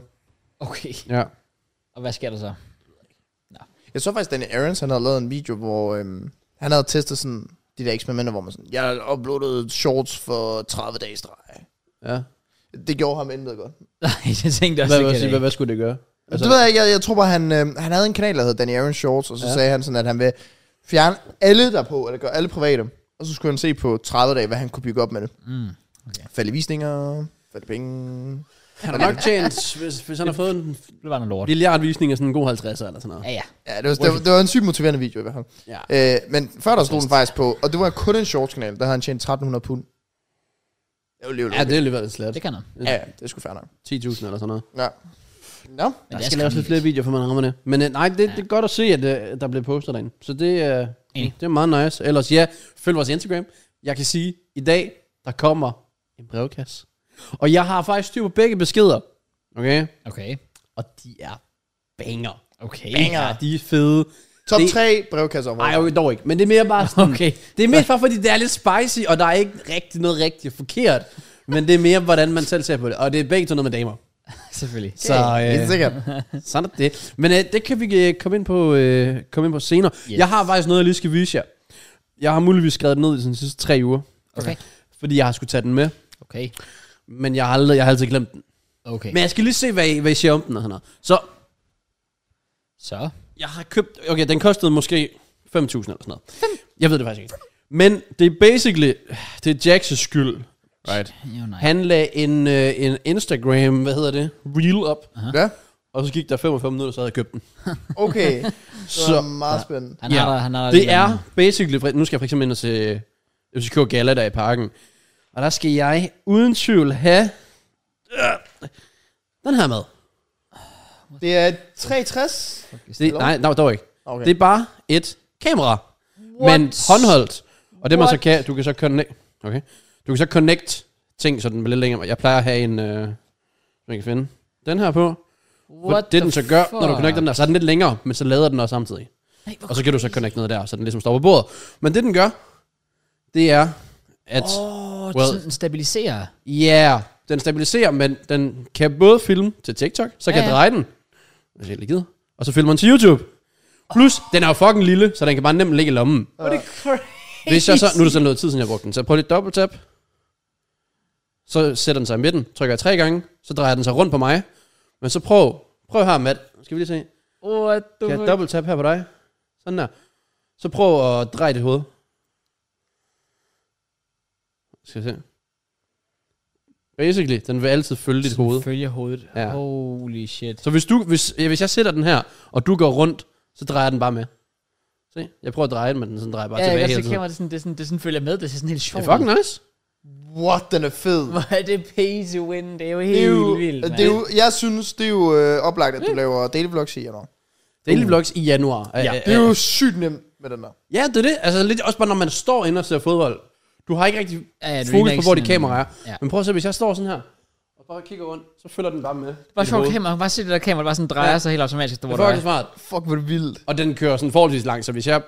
S1: Okay.
S3: Ja.
S1: Og hvad sker der så?
S2: Jeg så faktisk, Danny Aarons, han havde lavet en video, hvor øhm, han havde testet sådan de der eksperimenter, hvor man sådan, jeg har uploadet shorts for 30 dage i streg.
S3: Ja.
S2: Det gjorde ham intet godt.
S1: Nej, jeg tænkte også,
S3: Hvad,
S1: det
S3: hvad,
S1: kan
S3: hvad,
S1: det
S3: hvad,
S1: ikke.
S3: hvad skulle det gøre?
S2: Altså, det ved jeg ikke, jeg, jeg tror bare, han, øh, han havde en kanal, der hed Danny Aaron Shorts, og så ja.
S3: Ja.
S2: sagde han sådan, at han vil fjerne alle derpå, eller gøre alle private, og så skulle han se på 30 dage, hvad han kunne bygge op med det.
S1: Mm.
S2: Falde i visninger, falde penge.
S3: Han har nok tjent, hvis, hvis han har fået en
S1: Det var noget lort.
S3: milliard visninger, sådan en god 50'er eller sådan noget.
S1: Ja, ja.
S2: Ja, det var, det, var, det var en sygt motiverende video i hvert fald.
S3: Ja.
S2: Øh, men før der stod den faktisk på, og det var kun en shorts-kanal, der havde han tjent 1300 pund. Det var lige
S3: Ja, det er alligevel slet.
S1: Det kan han.
S2: Ja, ja, det er sgu fair nok.
S3: 10.000 eller sådan noget.
S2: Ja. Nå,
S1: Men
S3: Der
S1: det er
S3: skal laves
S1: skræmmende.
S3: lidt flere videoer, for man rammer det. Men øh, nej, det, det er godt at se, at øh, der bliver postet derinde. Så det, øh,
S1: Enig.
S3: det er meget nice. Ellers ja, følg vores Instagram. Jeg kan sige, i dag, der kommer en brevkasse. Og jeg har faktisk styr på begge beskeder. Okay?
S1: Okay.
S3: Og de er banger.
S1: Okay.
S3: Ja, de er fede.
S2: top
S3: Det-
S2: 3 brevkasser om
S3: Nej, okay, dog ikke. Men det er mere bare sådan...
S1: Okay.
S3: Det er mest bare, fordi det er lidt spicy, og der er ikke rigtig noget rigtigt forkert. Men det er mere, hvordan man selv ser på det. Og det er begge to noget med damer.
S1: Selvfølgelig.
S3: Så,
S2: Det er
S3: øh,
S2: sikkert.
S3: sådan er det. Men øh, det kan vi øh, komme ind på, øh, komme ind på senere.
S1: Yes.
S3: Yes. Jeg har faktisk noget, jeg lige skal vise jer. Jeg har muligvis skrevet det ned i sådan de sidste tre uger.
S1: Okay.
S3: Fordi jeg har skulle tage den med.
S1: Okay.
S3: Men jeg har, aldrig, jeg har altid glemt den.
S1: Okay.
S3: Men jeg skal lige se, hvad I, hvad I siger om den og sådan noget. Så
S1: Så.
S3: jeg har købt... Okay, den kostede måske 5.000 eller sådan noget. Jeg ved det faktisk ikke. Men det er basically... Det er Jacks' skyld. Right.
S1: Jo, nej.
S3: Han lagde en, øh, en Instagram, hvad hedder det? Reel op.
S2: Ja,
S3: Og så gik der 45 minutter, så havde jeg købt den.
S2: okay. Det
S3: Så-
S2: var meget spændende.
S1: Han
S3: Ja.
S1: har der, han har der
S3: Det
S1: lidt
S3: er
S1: andet.
S3: basically, for- nu skal jeg for eksempel ind og se FCK Gala der i parken, og der skal jeg uden tvivl have øh, den her med.
S2: Det er 63.
S3: Det, nej, nej, dog ikke.
S2: Okay.
S3: Okay. Det er bare et kamera, What? men håndholdt. Og det man så
S1: What?
S3: kan, du kan så connect, okay. du kan så connect ting, så den bliver lidt længere. Jeg plejer at have en, øh, man kan finde den her på. What det den så gør, når du connecter den der, så er den lidt længere, men så lader den også samtidig.
S1: Nej, hvor
S3: Og så kan du så connecte noget der, så den ligesom står på bordet. Men det den gør, det er, at...
S1: Åh, oh,
S3: Well-
S1: well. den stabiliserer.
S3: Ja, yeah, den stabiliserer, men den kan både filme til TikTok, så kan
S1: Ja,
S3: ja,
S1: ja.
S3: jeg dreje den, hvis jeg lige gider, og så filmer den til YouTube. Plus, den er jo fucking lille, så den kan bare nemt ligge i lommen.
S1: Hvor er det
S3: Hvis jeg så, nu er det sådan noget tid, siden jeg brugte den, så prøv lige dobbelt tap. Så sætter den sig i midten, trykker jeg tre gange, så drejer den sig rundt på mig. Men så prøv, prøv her, Matt. Skal vi lige se.
S1: What the
S3: Kan jeg
S1: fuck?
S3: dobbelt tap her på dig? Sådan der. Så prøv at dreje dit hoved. Skal vi se. Basically, den vil altid følge dit hoved.
S1: Følger hovedet.
S3: Ja.
S1: Holy shit.
S3: Så hvis, du, hvis, ja, hvis jeg sætter den her, og du går rundt, så drejer den bare med. Se, jeg prøver at dreje den, men den sådan drejer bare
S1: Ja, jeg
S3: tilbage
S1: kan godt
S3: hele
S1: se
S3: tiden.
S1: kameraet, det, er sådan- det, er sådan- det sådan følger med, det er sådan helt
S3: Det
S1: sjovt.
S3: er fucking nice.
S2: What, den er fed.
S1: Hvor er det pay to win, det er jo
S2: Det
S1: helt
S2: er jo,
S1: vildt,
S2: det er jo, jeg synes, det er jo øh, oplagt, at du laver daily vlogs i januar.
S3: Daily vlogs i januar.
S1: Uh. Ja.
S3: Øh, øh,
S2: Det er jo sygt nemt med den der.
S3: Ja, det er det. Altså lidt også bare, når man står inde og ser fodbold. Du har ikke rigtig
S1: Ja, ja,
S3: ja,
S1: du ligner
S3: fokus
S1: ikke
S3: på, hvor dit
S1: sådan en-
S3: kamera er.
S1: Ja.
S3: Ja. Men prøv at se, hvis jeg står sådan her, og bare kigger rundt, så følger den bare med.
S1: Bare
S3: i
S1: sjovt
S3: hovedet.
S1: kamera, man kan bare se det der kamera, der bare sådan drejer sig helt automatisk, der, hvor
S3: Det
S1: du
S3: er
S1: er.
S3: faktisk smart.
S2: Fuck, hvor er det vildt.
S3: Og den kører sådan forholdsvis langt, så hvis jeg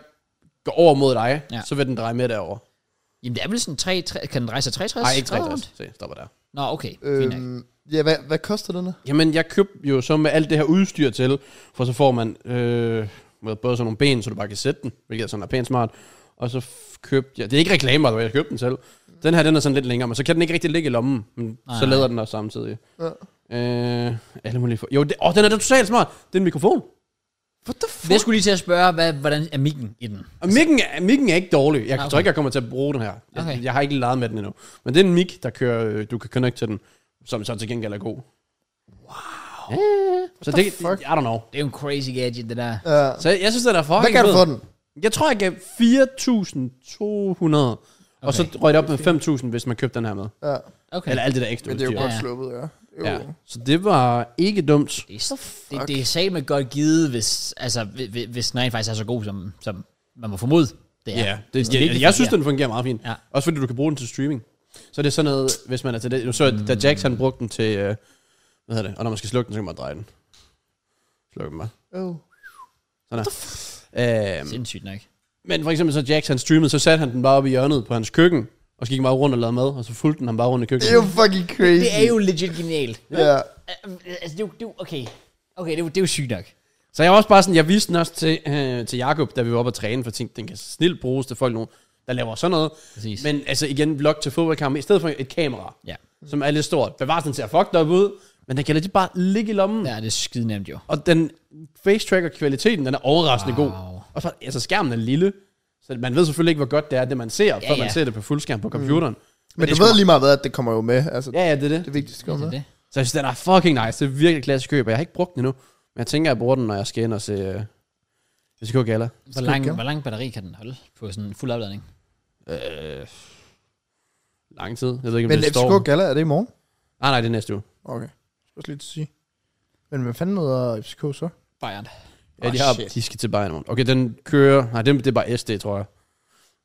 S3: går over mod dig,
S1: Ja.
S3: ja. så vil den dreje med derover.
S1: Jamen det er vel sådan 3, 3 kan den dreje sig 63?
S3: Nej, ikke
S1: 30?
S3: 63. Se, stopper der.
S1: Nå, okay. Fint nok.
S2: Øhm, ja, hvad, hvad koster den her?
S3: Jamen, jeg købte jo så med alt det her udstyr til, for så får man øh, med både sådan nogle ben, så du bare kan sætte den, hvilket er sådan er pænt smart. Og så f- købte jeg, det er ikke reklamer, jeg købte den selv. Den her, den er sådan lidt længere, men så kan den ikke rigtig ligge i lommen, men
S1: Nej,
S3: så
S1: nej.
S3: lader den også samtidig.
S2: Ja.
S3: Øh, alle mulige for... Jo, det, åh, den er da totalt smart. Det er en mikrofon.
S2: What the
S1: Jeg
S2: fuck?
S1: skulle lige til at spørge, hvad, hvordan er mikken i den?
S3: Og mikken, er- mikken er ikke dårlig. Jeg
S1: Ah, okay.
S3: tror ikke, jeg kommer til at bruge den her. Jeg,
S1: Okay.
S3: okay. jeg har ikke leget med den endnu. Men det er en mic, der kører, øh, du kan connecte til den, som så til gengæld er god. Wow. Yeah. Så
S2: What the
S3: det,
S2: fuck?
S3: I don't know.
S1: Det er jo en crazy gadget, det der.
S2: Ja.
S3: Så jeg, jeg synes, den er fucking
S2: Hvad kan du
S3: fed.
S2: for den?
S3: Jeg tror, jeg gav 4.200, okay. og så
S1: Okay.
S3: røg det op med 5.000, hvis man købte den her med.
S2: Ja.
S1: Okay.
S3: Eller alt det der ekstra
S2: Men det er jo
S3: udstyr.
S2: godt
S1: Ja.
S2: sluppet, ja. Jo.
S3: Ja. Så det var ikke dumt.
S1: Det, er, det, det er sagde man godt givet, hvis, altså, hvis, hvis den rent faktisk er så god, som, som man må formode. Det er.
S3: Ja, ja det,
S1: virkelig
S3: jeg, jeg synes,
S1: fungerer.
S3: den fungerer meget fint.
S1: Ja.
S3: Ja. Også fordi du kan bruge den til streaming. Så det er sådan noget, hvis man er til det. Nu så jeg, da Jax han brugte den til, øh, hvad hedder det, og når man skal slukke den, så kan man dreje den. Slukke den bare.
S2: Oh.
S3: Øhm,
S1: Sindssygt nok.
S3: men for eksempel så Jax han streamede, så satte han den bare op i hjørnet på hans køkken, og så gik han bare rundt og lavede mad, og så fulgte den ham bare rundt i
S2: Det
S3: køkkenet.
S2: er jo fucking crazy.
S1: Det er jo legit genialt.
S2: Ja.
S1: Altså, det er jo, det er jo- okay. Okay, det er jo, det er jo sygt nok.
S3: Så jeg var også bare sådan, jeg viste den også til, øh, til Jakob, da vi var oppe at træne, for jeg tænkte, den kan snilt bruges til folk nu, der laver sådan noget.
S1: Præcis.
S3: Men altså igen, vlog til fodboldkampe, i stedet for et kamera,
S1: Ja.
S3: som er lidt stort. Bevares den ser fucked up ud, men den kan lige bare ligge i lommen. Ja.
S1: Ja, det er skide nemt jo.
S3: Og den face tracker kvaliteten, den er overraskende
S1: Wow.
S3: wow. god. Og så, altså skærmen er lille, så man ved selvfølgelig ikke, hvor godt det er, det man ser, ja, før
S1: ja.
S3: ja. man ser det på fuldskærm på computeren. Mm.
S2: Men du ved lige meget hvad, at det kommer jo med. Altså,
S3: Ja, ja, det er
S2: det
S3: det.
S2: vigtigste
S1: Det
S2: kommer med.
S1: er Altså, det.
S3: Så jeg synes, den er fucking nice. Det er virkelig klassisk køb, og jeg har ikke brugt den endnu. Men jeg tænker, jeg bruger den, når jeg skal ind og se... Øh, hvis jeg gala.
S1: Hvor
S2: Skal vi
S1: lang,
S2: gøre?
S1: hvor lang batteri kan den holde på sådan en fuld opladning?
S3: Øh, lang tid. Jeg ved ikke, om
S2: Men
S3: Men det
S2: FCK
S3: står.
S2: Gala, er det i morgen?
S3: Nej, nej, det er næste uge.
S2: Okay. Det skal også lige til at sige. Men hvad fanden hedder FCK så?
S1: Bayern.
S3: Ja,
S1: Åh,
S3: de, har,
S1: shit.
S3: de skal til Bayern morgen. Okay, den kører... Nej, den, det er bare SD, tror jeg.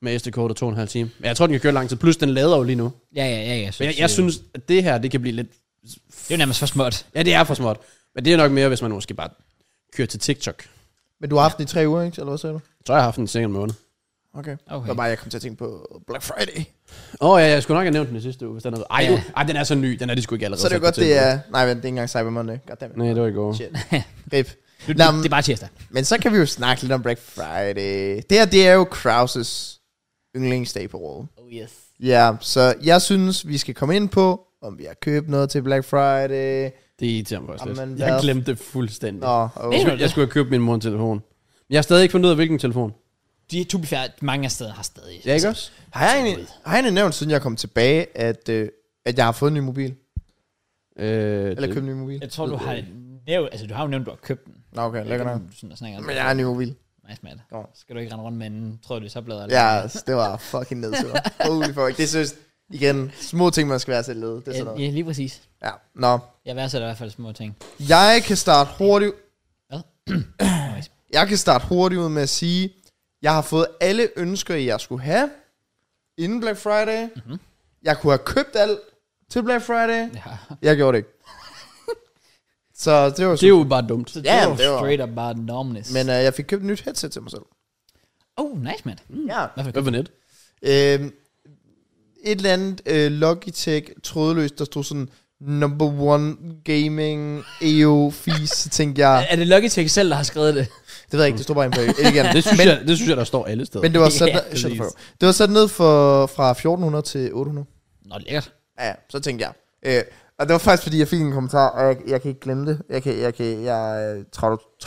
S3: Med SD kort og to og en halv time. Men jeg tror, den kan køre lang tid. Plus, den lader jo lige nu.
S1: Ja, ja, ja. ja så
S3: Men jeg,
S1: det-
S3: jeg synes, at det her, det kan blive lidt...
S1: Det er jo nærmest for småt.
S3: Ja, det er for småt. Men det er nok mere, hvis man måske bare kører til TikTok.
S2: Men du har haft den i tre uger, ikke? Eller hvad sagde du?
S3: Jeg tror, jeg har haft den i sikkert en måned.
S2: Okay.
S1: Okay.
S2: Det var bare, jeg kom til at tænke på Black Friday.
S3: Åh oh, ja, jeg skulle nok have nævnt den i sidste uge, hvis den havde... Ej,
S1: Ja.
S3: ja. ej, den er så ny. Den er de sgu ikke allerede.
S2: Så er det jo
S3: sat
S2: godt,
S3: på
S2: det
S3: tilbud.
S2: er... Nej, men det er ikke engang Cyber Monday. Goddammit.
S3: Nej, det var i går.
S2: Shit. Rip.
S1: Det,
S2: Nå,
S1: det,
S2: men-
S1: det er bare tirsdag.
S2: Men så kan vi jo snakke lidt om Black Friday. Det her, det er jo Krauses yndlingsdag på året.
S1: Oh yes.
S2: Ja, så jeg synes, vi skal komme ind på, om vi har købt noget til Black Friday.
S3: Det irriterer mig faktisk lidt.
S2: Jamen,
S3: Jeg
S2: hvad-
S3: glemte det fuldstændig.
S2: Nå,
S1: Det er
S2: okay.
S1: jo-
S3: Jeg, jeg skulle have købt min mor en telefon. Men Jeg har stadig ikke fundet ud af, hvilken telefon.
S1: De to be fair, mange af steder har stadig.
S3: Ja, ikke også?
S2: Har jeg egentlig, har jeg egentlig nævnt, siden jeg kom tilbage, at, øh, at jeg har fået en ny mobil?
S3: Øh,
S2: Eller købt
S3: det,
S2: en ny mobil?
S1: Jeg tror, du har nævnt, altså du har jo nævnt, du har købt den.
S2: Nå, okay, lækker nok.
S1: Du sådan, snakker om
S2: Men jeg har en ny mobil.
S1: Nice, Matt.
S2: Kom.
S1: Skal du ikke rende rundt med en trådløs oplader? eller
S2: Ja, yes, det var fucking nedtur. Holy fuck. Det synes igen, små ting, man skal være selv led. Det er sådan
S1: noget?
S2: noget.
S1: Ja, ja, lige præcis.
S2: Ja, nå.
S1: Jeg værdsætter i hvert fald små ting.
S2: Jeg kan starte hurtigt
S1: Nice.
S2: Jeg kan starte hurtigt ud med at sige, jeg har fået alle ønsker, jeg skulle have inden Black Friday. Mm-hmm. Jeg kunne have købt alt til Black Friday.
S1: Ja.
S2: Jeg gjorde det ikke. så det var
S3: det er
S2: så.
S3: jo bare dumt.
S1: Så
S2: Ja,
S1: det var
S2: det var-
S1: straight up bare normness.
S2: Men øh, jeg fik købt et nyt headset til mig selv.
S1: oh, nice, Matt. Mm.
S2: Ja.
S1: Hvad for
S3: Hvad for net?
S2: Øhm, et eller andet øh, Logitech trådløst, der stod sådan number one gaming EO fis, så tænkte jeg,
S1: Er det Logitech selv, der har skrevet det?
S2: det ved jeg ikke, det stod bare inde på Elgiganten.
S3: Det synes, jeg, det synes jeg, der står alle steder.
S2: Men det var sat,
S1: Ja,
S2: yeah, shut the
S3: præcis.
S2: fuck up. det var sat ned for, fra 1400 til 800.
S1: Nå, lækkert.
S2: Ja, så tænkte jeg. Øh, og det var faktisk, fordi jeg fik en kommentar, og jeg, jeg kan ikke glemme det. Jeg, kan, jeg, kan, jeg er trau-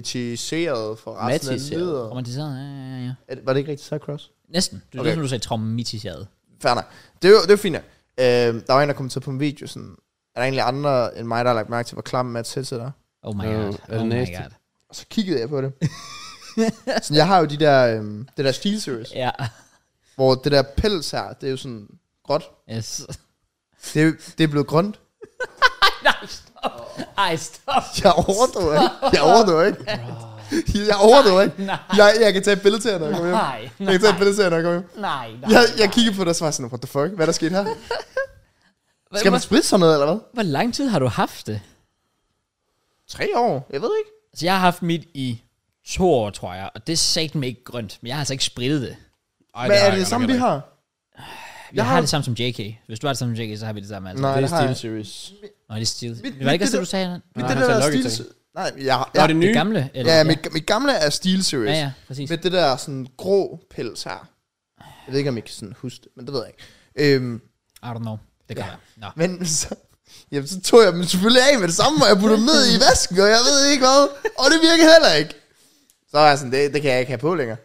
S2: traumatiseret for resten af
S3: Matiseret.
S2: livet.
S1: Romantiseret, ja, ja, ja, ja.
S2: Er det- Var det ikke rigtigt så, Cross?
S1: Næsten. Det er
S2: Okay.
S1: okay. som du sagde, traumatiseret.
S2: Fair nok. Det er jo det er fint. nok. Øh, der var en, der kommenterede på en video, sådan, er der egentlig andre end mig, der har lagt mærke til, hvor klam Mads headset er?
S1: Oh my
S3: Nå,
S1: god.
S3: er det
S1: Oh my
S3: næste?
S1: god.
S2: Og så kiggede jeg på det. så jeg har jo de der, øh, det der SteelSeries,
S1: Ja.
S2: hvor det der pels her, det er jo sådan gråt.
S1: Yes.
S2: Det, er- det er blevet grønt.
S1: Nej, stop. Ej, stop.
S2: Jeg overdriver ikke. Jeg overdriver ikke. Jeg overdøver ikke.
S1: Nej.
S2: Jeg, jeg kan tage et billede til jer, når jeg kommer hjem.
S1: Nej,
S2: Jeg kan tage et
S1: nej,
S2: billede til jer, når jeg kommer hjem.
S1: nej, nej.
S2: Jeg, jeg kiggede på det, og så var jeg sådan, what the fuck? Hvad er der sket her? Skal man spritte sådan noget, eller hvad?
S1: Hvor lang tid har du haft det?
S2: Tre år? Jeg ved ikke.
S1: Altså, jeg har haft mit i to år, tror jeg, og det er satme ikke grønt, men jeg har altså ikke spritet det.
S3: Ej,
S2: Men
S3: har
S2: er
S3: jeg
S2: det
S3: godt
S2: det samme,
S3: nok
S2: vi
S3: heller
S2: har?
S1: Jeg har
S2: har-
S1: det samme som JK. Hvis du har det samme som JK, så har vi det samme. Altså.
S2: Nej,
S3: ikke. Det
S2: det
S3: er
S2: har jeg.
S3: Steel Series.
S1: Nå, det er stilet.
S2: Mit-
S1: Var det ikke
S2: mit-
S1: også det, du sagde?
S2: Mit
S3: Nej,
S2: det
S3: han
S2: der
S3: sagde
S2: stil...
S3: Logitech.
S2: Nej, jeg,
S3: Nå,
S2: jeg,
S3: det er nye.
S1: Det gamle? Eller?
S2: ja, mit, mit gamle er Steel
S1: ja,
S2: Series.
S1: ja, præcis.
S2: Med det der sådan grå pels her. Jeg ved ikke, om I kan sådan huske det, men det ved jeg ikke. Øhm,
S1: I don't know. Det gør jeg. Nå.
S2: men så, jamen, så tog jeg dem selvfølgelig af med det samme, og jeg puttede dem ned i vasken, og jeg ved ikke hvad. Og det virkede heller ikke. Så var jeg sådan, det, det kan jeg ikke have på længere.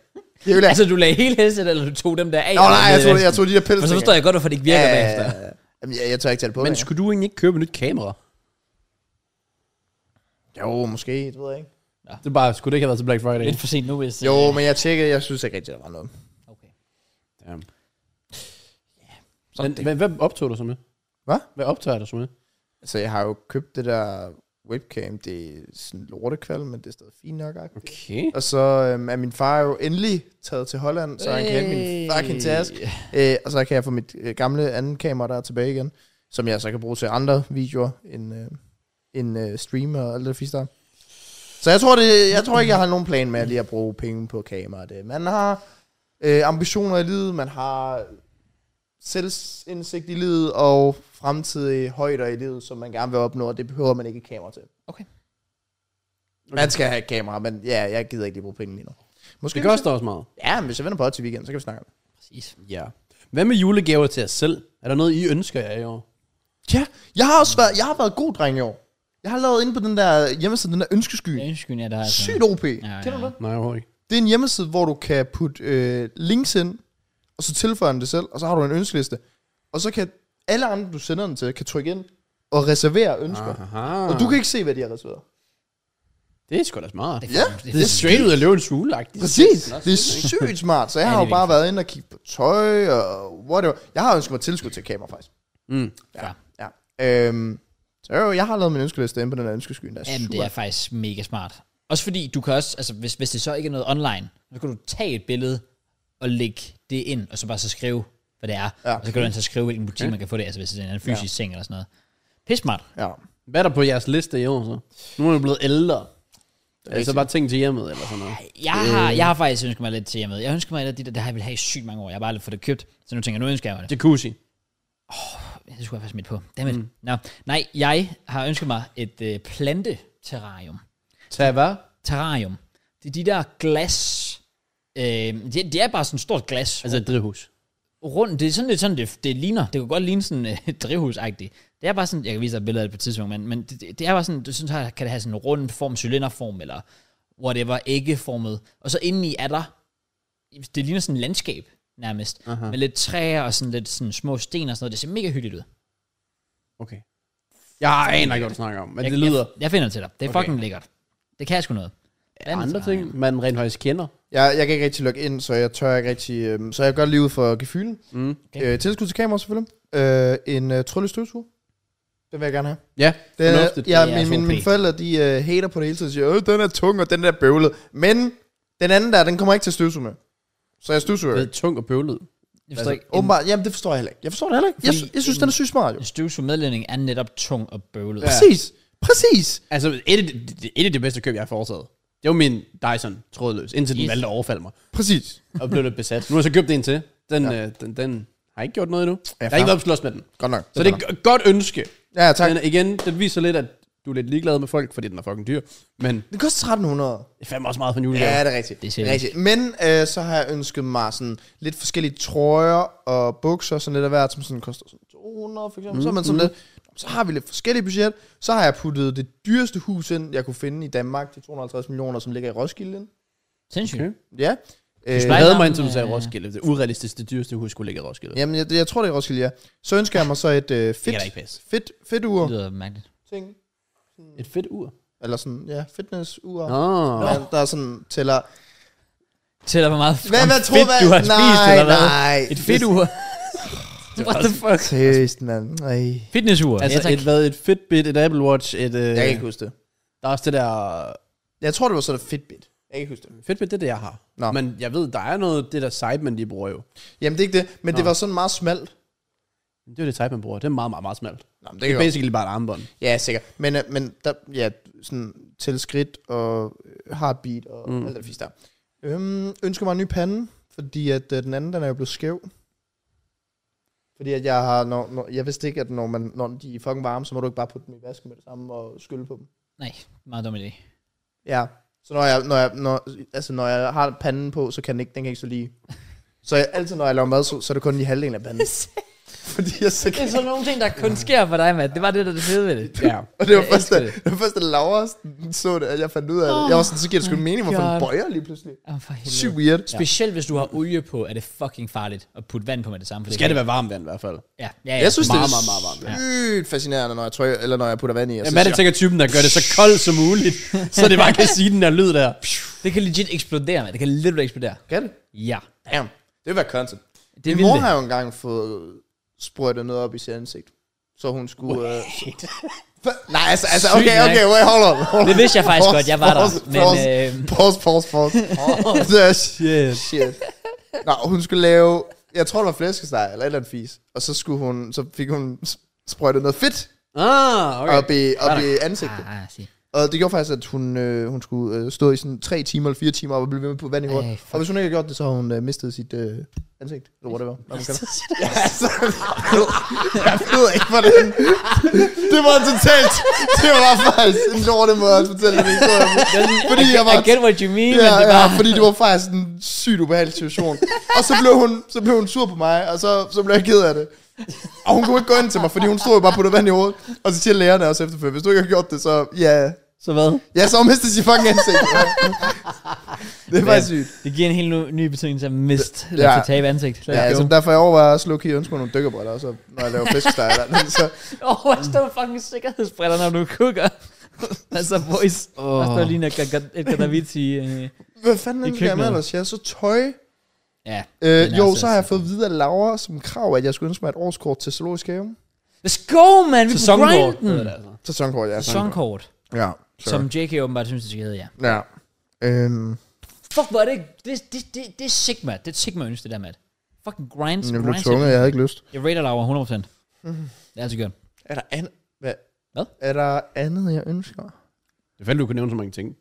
S2: Det vil jeg. Altså,
S1: Altså, du lagde hele headset, eller du tog dem der af?
S2: Nå, nej, jeg tog, jeg tog de der pels.
S1: Og altså, så forstår jeg godt, hvorfor det ikke virker ja, bagefter.
S2: Jamen, jeg, jeg tør ikke tage det på
S3: Men
S2: men
S3: skulle du egentlig ikke købe et nyt kamera?
S2: Jo, måske, det ved jeg ikke.
S3: Det er bare, skulle det ikke have været til Black Friday?
S1: Lidt for sent nu, hvis...
S2: Jo,
S1: øh,
S2: men jeg tjekkede, jeg synes ikke rigtig, der var noget.
S1: Okay.
S3: Damn.
S2: Sådan
S3: Men,
S2: det.
S3: hvad, hvad optog du så med?
S2: Hvad?
S3: Hvad optager du så med?
S2: Altså, jeg har jo købt det der webcam, det er sådan lortekvald, men det er stadig fint nok.
S3: Mm.
S2: Okay.
S3: Okay.
S2: Og så øhm, er min far jo endelig taget til Holland, så han kan hente min fucking task. Øh, og så kan jeg få mit øh, gamle andet kamera der tilbage igen, som jeg så kan bruge til andre videoer end, øh, end øh, stream og alt det fister. Så jeg tror, det, jeg tror ikke, jeg har nogen plan med lige at bruge penge på kamera. Det. Man har øh, ambitioner i livet, man har selvindsigt i livet og fremtidige højder i livet, som man gerne vil opnå, og det behøver man ikke et kamera til.
S1: Okay.
S2: Man skal have et kamera, men ja, jeg gider ikke lige bruge penge lige nu. Måske
S3: Det koster også meget.
S2: Ja, men hvis jeg vender på til weekend, så kan vi snakke om det.
S1: Præcis.
S3: Ja. Hvad med julegaver til jer selv? Er der noget, I ønsker jer i år?
S2: Ja, jeg har også været, jeg har været god dreng i år. Jeg har lavet inde på den der hjemmeside, den der ønskesky.
S1: Jeg ønsker, jeg der er altså...
S2: Sygt OP.
S1: Ja, ja.
S2: Kender du det?
S3: Nej, overhovedet ikke.
S2: Det er en hjemmeside, hvor du kan putte øh, links ind, og så tilføjer den det selv, og så har du en ønskeliste. Og så kan alle andre, du sender den til, kan trykke ind og reservere ønsker. Aha.
S3: Aha.
S2: Og du kan ikke se, hvad de har reserveret.
S3: Det er sgu da smart.
S2: Ja,
S3: Det er straight ud af løvens hule -agtigt.
S2: præcis. Det er sygt smart. Så jeg
S1: Ja,
S2: har
S1: det
S2: jo
S1: er
S2: bare været inde og kigge på tøj og whatever. Jeg har ønsket mig tilskud til et kamera, faktisk.
S3: Mm.
S1: Ja.
S2: Ja. Øhm, så jo, jeg har lavet min ønskeliste inde på den der ønskeskyen. Der er
S1: Jamen,
S2: super
S1: det er faktisk mega smart. Også fordi du kan også, altså hvis, hvis det så ikke er noget online, så kan du tage et billede og lægge det ind, og så bare så skrive, hvad det er.
S2: Ja.
S1: Ja. Og så kan du altså skrive, hvilken butik man kan få det, altså hvis det er en fysisk ja. ting eller sådan noget. Pisse smart.
S2: Ja.
S3: Hvad er der på jeres liste i år så? Nu er du blevet ældre. Er det så
S2: rigtigt.
S3: bare ting til hjemmet eller sådan noget?
S1: Jeg har, jeg har faktisk ønsket mig lidt til hjemmet. Jeg ønsker mig lidt af de der, det har jeg vil have i sygt mange år. Jeg har bare aldrig fået det købt. Så nu tænker jeg, nu ønsker jeg mig det.
S3: Jacuzzi.
S1: Det skulle jeg faktisk midt på. Dammit. Mm. Nå. Nej, jeg har ønsket mig et øh, planteterrarium.
S3: Tag hvad?
S1: Terrarium. Det er de der glas... Øh, det, det, er bare sådan et stort glas.
S3: Altså et drivhus.
S1: rundt. Det er sådan lidt sådan, det, det ligner. Det kunne godt ligne sådan øh, et drivhusagtigt. Det er bare sådan, jeg kan vise dig et billede af det på et tidspunkt, men, men det, det, det er bare sådan, du synes, her kan det have sådan en rund form, cylinderform, eller whatever, æggeformet. Og så indeni er der, det ligner sådan et landskab nærmest,
S3: Aha.
S1: med lidt træer og sådan lidt sådan små sten og sådan noget. Det ser mega hyggeligt ud.
S3: Okay. Jeg aner ikke, hvad du snakker om, men det lyder...
S1: Jeg, jeg finder det til dig. Det er
S3: Okay.
S1: okay. fucking lækkert. Det kan jeg sgu noget.
S3: Er der andre ting, man rent faktisk kender?
S2: Jeg, jeg kan ikke rigtig logge ind, så jeg tør ikke rigtig... Øhm, så jeg gør lige ud for gefylen.
S3: Mm.
S1: Okay.
S2: Okay. Øh, tilskud til kamera selvfølgelig. Øh, en øh, tryllelig støvsuger. Den vil jeg gerne have.
S3: Ja,
S2: Den er,
S3: fornuftigt.
S2: ja,
S1: Det er
S2: min,
S1: altså
S2: min, mine
S1: OP.
S2: forældre, de øh, hater på det hele tiden. og Siger, øh, den er tung, og den der er bøvlet. Men den anden der, den kommer jeg ikke til at støvsuge med. Så jeg støvsuger.
S3: Det
S2: ikke.
S3: er tung og bøvlet.
S1: Jeg forstår
S2: Altså,
S1: ikke. En,
S2: åbenbart, jamen det forstår jeg heller ikke. Jeg forstår det heller ikke. Jeg,
S1: Fordi-
S2: sy- jeg synes, den er sygt smart, jo.
S1: en støvsugmedledning er netop tung og bøvlet.
S3: Ja.
S2: Præcis. Præcis.
S3: Altså, et af, de, et af de bedste køb, jeg har foretaget, det var min Dyson trådløs, indtil den
S1: Yes.
S3: valgte at overfalde mig,
S2: Præcis.
S3: og blev lidt besat. Nu har jeg så købt en til. Den, ja. øh, den, den har ikke gjort noget endnu. jeg har
S2: fair.
S3: ikke været på slås med den.
S2: Godt nok.
S3: Så det er et go- godt ønske.
S2: Ja, tak.
S3: Men igen, det viser lidt, at du er lidt ligeglad med folk, fordi den er fucking dyr. Men
S2: Det koster 1300.
S3: det er fandme også meget for en julegave.
S2: Ja, det er rigtigt.
S1: Det er
S2: Det
S1: sjældent.
S2: er rigtigt. Men øh, så har jeg ønsket mig sådan lidt forskellige trøjer og bukser, sådan lidt af hvert, som sådan koster sådan 200 for eksempel. Mm, så er man
S1: Mm-hmm.
S2: sådan mm. lidt, så har vi lidt forskellige budget. Så har jeg puttet det dyreste hus ind, jeg kunne finde i Danmark, de 250 millioner, som ligger i Roskilde. ind.
S1: Sindssygt.
S3: Okay.
S2: Ja. Øh,
S3: Jeg havde mig
S1: Spejderhamn,
S3: indtil du sagde
S1: øh,
S3: Roskilde. Det urealistiske, det dyreste hus skulle ligge i Roskilde.
S2: jamen, jeg, jeg tror, det er i Roskilde, ja. Så ønsker jeg mig så et øh,
S3: Det kan da
S2: fedt,
S3: ikke passe.
S2: fedt, fedt
S1: Det
S2: ur.
S1: lyder mærkeligt.
S2: Ting.
S3: Et fedt ur.
S2: Eller sådan, ja, fitnessur.
S3: Nå.
S2: Der, der er sådan, tæller...
S1: Tæller hvor meget
S2: Hvad,
S1: om
S2: hvad tror
S1: fedt, du har
S2: nej,
S1: spist, eller hvad?
S2: Nej,
S1: Et fedt ur. What the fuck?
S2: Seriøst, mand. Ej.
S1: Fitnessur.
S3: Altså,
S1: ja, tak.
S3: et, hvad, et Fitbit, et Apple Watch, et... Øh,
S2: Jeg kan ikke huske det.
S3: der er også det der...
S2: Jeg tror, det var sådan et Fitbit. Jeg kan ikke huske det.
S3: Fedt med det, det jeg har.
S2: Nå.
S3: Men jeg ved, der er noget, det der site, man de bruger jo.
S2: Jamen, det er ikke det, men Nå. det var sådan meget smalt.
S3: Det er jo det type, man bruger. Det er meget, meget, meget smalt.
S2: Nå, men
S3: Det er basically bare et armbånd.
S2: Ja, sikkert. Men, øh, men der, ja, sådan til skridt og øh, heartbeat og mm. alt det fisk der. Øhm, ønsker mig en ny pande, fordi at øh, den anden, den er jo blevet skæv. Fordi at jeg har, når, når, jeg vidste ikke, at når, man, når de er fucking varme, så må du ikke bare putte dem i vasken med det samme og skylle på dem.
S1: Nej, meget dum idé.
S2: Ja. Så når jeg, når jeg, når, altså når jeg har panden på, så kan den ikke, den kan ikke så lige. Så jeg, altid, når jeg laver mad, så, så er det kun lige halvdelen af panden. fordi jeg så
S1: Det er sådan nogle ting, der kun sker for dig, mand. Det var det, der er det fede ved det.
S3: Ja.
S2: Og det var
S1: Jeg
S2: først, da,
S1: elsker det.
S2: det var først, da Laura sådan så det, at jeg fandt ud af det. Jeg var sådan, så giver det sgu en mening, hvorfor
S1: God.
S2: den bøjer lige pludselig.
S1: Oh, for helvede.
S2: Sygt weird. Ja.
S1: Specielt hvis du har olie på, er det fucking farligt at putte vand på med det samme. For
S3: Skal det
S1: kan-
S3: være varmt vand i hvert fald?
S1: Ja, ja, ja.
S2: Jeg synes,
S3: Meget,
S2: det er
S3: meget, meget varmt,
S1: ja.
S2: sygt fascinerende, når jeg, trykker, eller når jeg putter vand i. Jeg
S3: Jamen, er det sikkert typen, der gør det så koldt som muligt, så det bare kan sige den der lyd der.
S1: det kan legit eksplodere, mand. Det kan literally eksplodere.
S2: Kan det?
S1: Ja.
S2: Damn. Det vil være content.
S1: Det
S2: Min
S1: vil
S2: mor
S1: det.
S2: har jo engang fået sprøjtet noget op i sit ansigt. Så hun skulle... Øh, Hva- Nej, altså, altså
S1: Sygt
S2: okay,
S1: nok.
S2: okay, wait, hold on. Hold on.
S1: Det vidste jeg faktisk godt, jeg var der, men,
S2: Pause,
S1: øhm.
S2: pause, pause, pause. Det er shit. shit. Nå, hun skulle lave, jeg tror det var flæskesteg eller et eller andet fis, og så, skulle hun, så fik hun s- sprøjtet noget fedt
S3: Ah, okay.
S2: op i, op i ansigtet.
S1: Ah, ah, sig.
S2: Og det gjorde faktisk, at hun, øh, hun skulle øh, stå i sådan 3 timer eller 4 timer og blive ved med på vand i hovedet.
S1: Ej, fuck.
S2: og hvis hun ikke havde gjort det, så havde hun øh, mistet sit øh, ansigt. Eller whatever. Nå, man kalder. det. Ja, altså, jeg ved ikke, hvordan... Det var totalt... Det var faktisk en dårlig måde at fortælle den historie. på. Fordi jeg var...
S1: I get what you mean, men det
S2: Ja,
S1: var...
S2: ja, fordi det var faktisk en sygt ubehagelig situation. Og så blev hun, så blev hun sur på mig, og så, så blev jeg ked af det. Og hun kunne ikke gå ind til mig, fordi hun stod jo bare på det vand i hovedet. Og så siger lærerne også efterfølgende, hvis du ikke har gjort det, så ja,
S1: Så hvad?
S2: Ja, så har hun mistet sit fucking ansigt. det er faktisk sygt.
S1: Det giver en helt ny, ny betydning til at mist, eller
S2: Ja.
S1: til tabe ansigt. Let's
S2: Ja, altså,
S1: go.
S2: derfor jeg overvejer også low-key at ønske mig nogle dykkerbriller, og så når jeg laver flæskesteg eller andet, så...
S1: Åh, oh, der står fucking sikkerhedsbriller, når du kukker. altså, boys. Oh. Der står lige en Edgar- Edgar Davici. Øh.
S2: Hvad fanden
S1: I
S2: er det, jeg med
S1: køkkenet.
S2: ellers? Jeg er så tøj.
S1: Ja.
S2: Øh,
S1: Den er
S2: jo,
S1: altså
S2: så har jeg
S1: sådan.
S2: fået videre Laura som krav, at jeg skulle ønske mig et årskort til Zoologisk Have.
S1: Let's go, man. Vi er på
S3: Sæsonkort.
S1: grinden.
S2: Sæsonkort, ja.
S1: Sæsonkort,
S2: Ja,
S1: som
S2: som...
S1: JK åbenbart synes, det skal hedde, ja.
S2: Ja. Øhm,
S1: Fuck, hvor er det, det, det, det, det er Sigma. Det er et Sigma-ønske, det der, Matt. Fucking grinds,
S2: jeg blev
S1: grinds.
S2: tvunget, jeg havde ikke lyst.
S1: Jeg rater Laura 100%. Det er altid godt.
S2: Er der andet... Hvad?
S1: Hvad?
S2: Er der andet, jeg ønsker?
S3: Det fandt du kunne nævne så mange ting.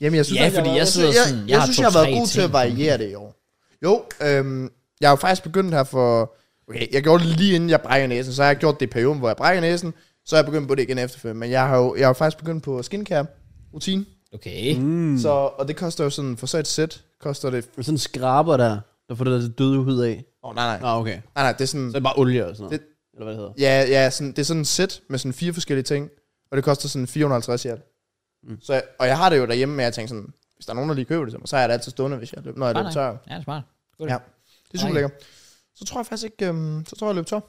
S2: Jamen, jeg synes,
S1: Ja,
S2: at
S1: fordi
S2: var-
S1: jeg sidder
S2: synes-
S1: sådan,
S2: jeg,
S1: jeg
S2: jeg,
S1: har
S2: synes,
S1: to,
S2: jeg har været
S1: tre
S2: god til at
S1: ting.
S2: variere det i år. Jo, øhm, jeg har jo faktisk begyndt her for... Okay, jeg gjorde det lige inden jeg brækker næsen, så har jeg gjort det i perioden, hvor jeg brækker næsen, så har jeg begyndt på det igen efterfølgende. Men jeg har jo jeg har jo faktisk begyndt på skincare rutine.
S1: Okay.
S2: Mm. Så, og det koster jo sådan, for så et sæt, koster det...
S3: Det er sådan en skraber der, der får det der døde hud af.
S2: Åh, oh, nej, nej.
S3: Ah, okay.
S2: Nej, nej, det er
S3: Så
S2: sådan...
S3: er det bare olie og sådan noget.
S2: Det-
S3: Eller hvad det hedder.
S2: Ja, ja sådan, det er sådan et sæt med sådan fire forskellige ting, og det koster sådan 450 i alt. Mm. Så, jeg- og jeg har det jo derhjemme, men jeg tænker sådan, hvis der er nogen, der lige køber det til mig, så er jeg det altid stående, hvis jeg løber, når jeg
S1: Nej,
S2: løber
S1: nej.
S2: tør.
S1: Ja, det er smart. Godt.
S2: Ja. Det er super
S1: Nej.
S2: lækkert. Så tror jeg faktisk ikke, øhm, så tror jeg, jeg løb tør.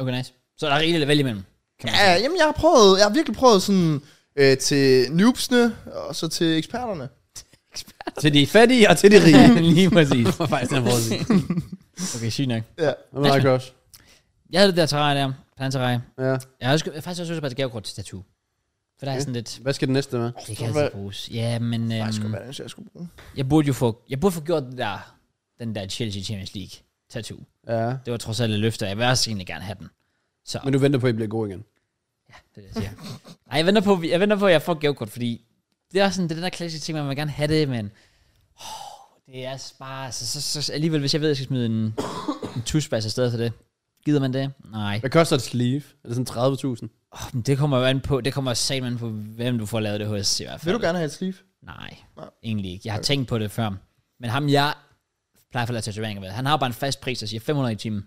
S1: Okay, nice. Så der er rigeligt at vælge imellem. Kan man
S2: Ja, jamen jeg har prøvet, jeg har virkelig prøvet sådan øh, til noobsne, og så til eksperterne.
S3: Til de fattige og til de rige.
S1: Lige præcis.
S3: Det var faktisk den måde at sige.
S1: Okay, sygt nok.
S2: Ja.
S3: Det var nok også.
S1: Jeg havde det der terrarie der, planterrarie.
S3: Ja.
S1: Jeg har også, jeg har faktisk også ønsket mig et gavekort til tattoo. For der er
S3: Okay.
S1: sådan lidt,
S3: Hvad skal det næste med?
S1: det
S2: så
S1: kan
S2: hvad-
S1: altid bruges. Ja, men
S2: Nej, jeg skulle
S1: øhm,
S2: være den, jeg skulle bruge.
S1: jeg burde jo få, jeg burde få gjort det der, den der Chelsea Champions League tattoo.
S3: Ja.
S1: Det var trods alt et løfter. Jeg vil også egentlig gerne have den. Så
S3: Men du venter på, at I bliver gode igen.
S1: Det er det, jeg siger. Nej, jeg venter på, jeg venter på, at jeg får et gavekort, fordi det er også sådan, det er den der klassiske ting, man vil gerne have det, men oh, det er bare, altså, så, så, så, alligevel, hvis jeg ved, at jeg skal smide en, en tusbas afsted for det, gider man det? Nej.
S3: Hvad koster et sleeve? Er det sådan 30.000?
S1: Oh, men det kommer jo an på, det kommer satme an på, hvem du får lavet det hos, i hvert fald.
S2: Vil du gerne have et sleeve?
S1: Nej,
S2: Nej.
S1: egentlig ikke. Jeg har tænkt på det før. Men ham, jeg plejer at få lavet tatoveringer med, han har jo bare en fast pris, der siger 500 i timen.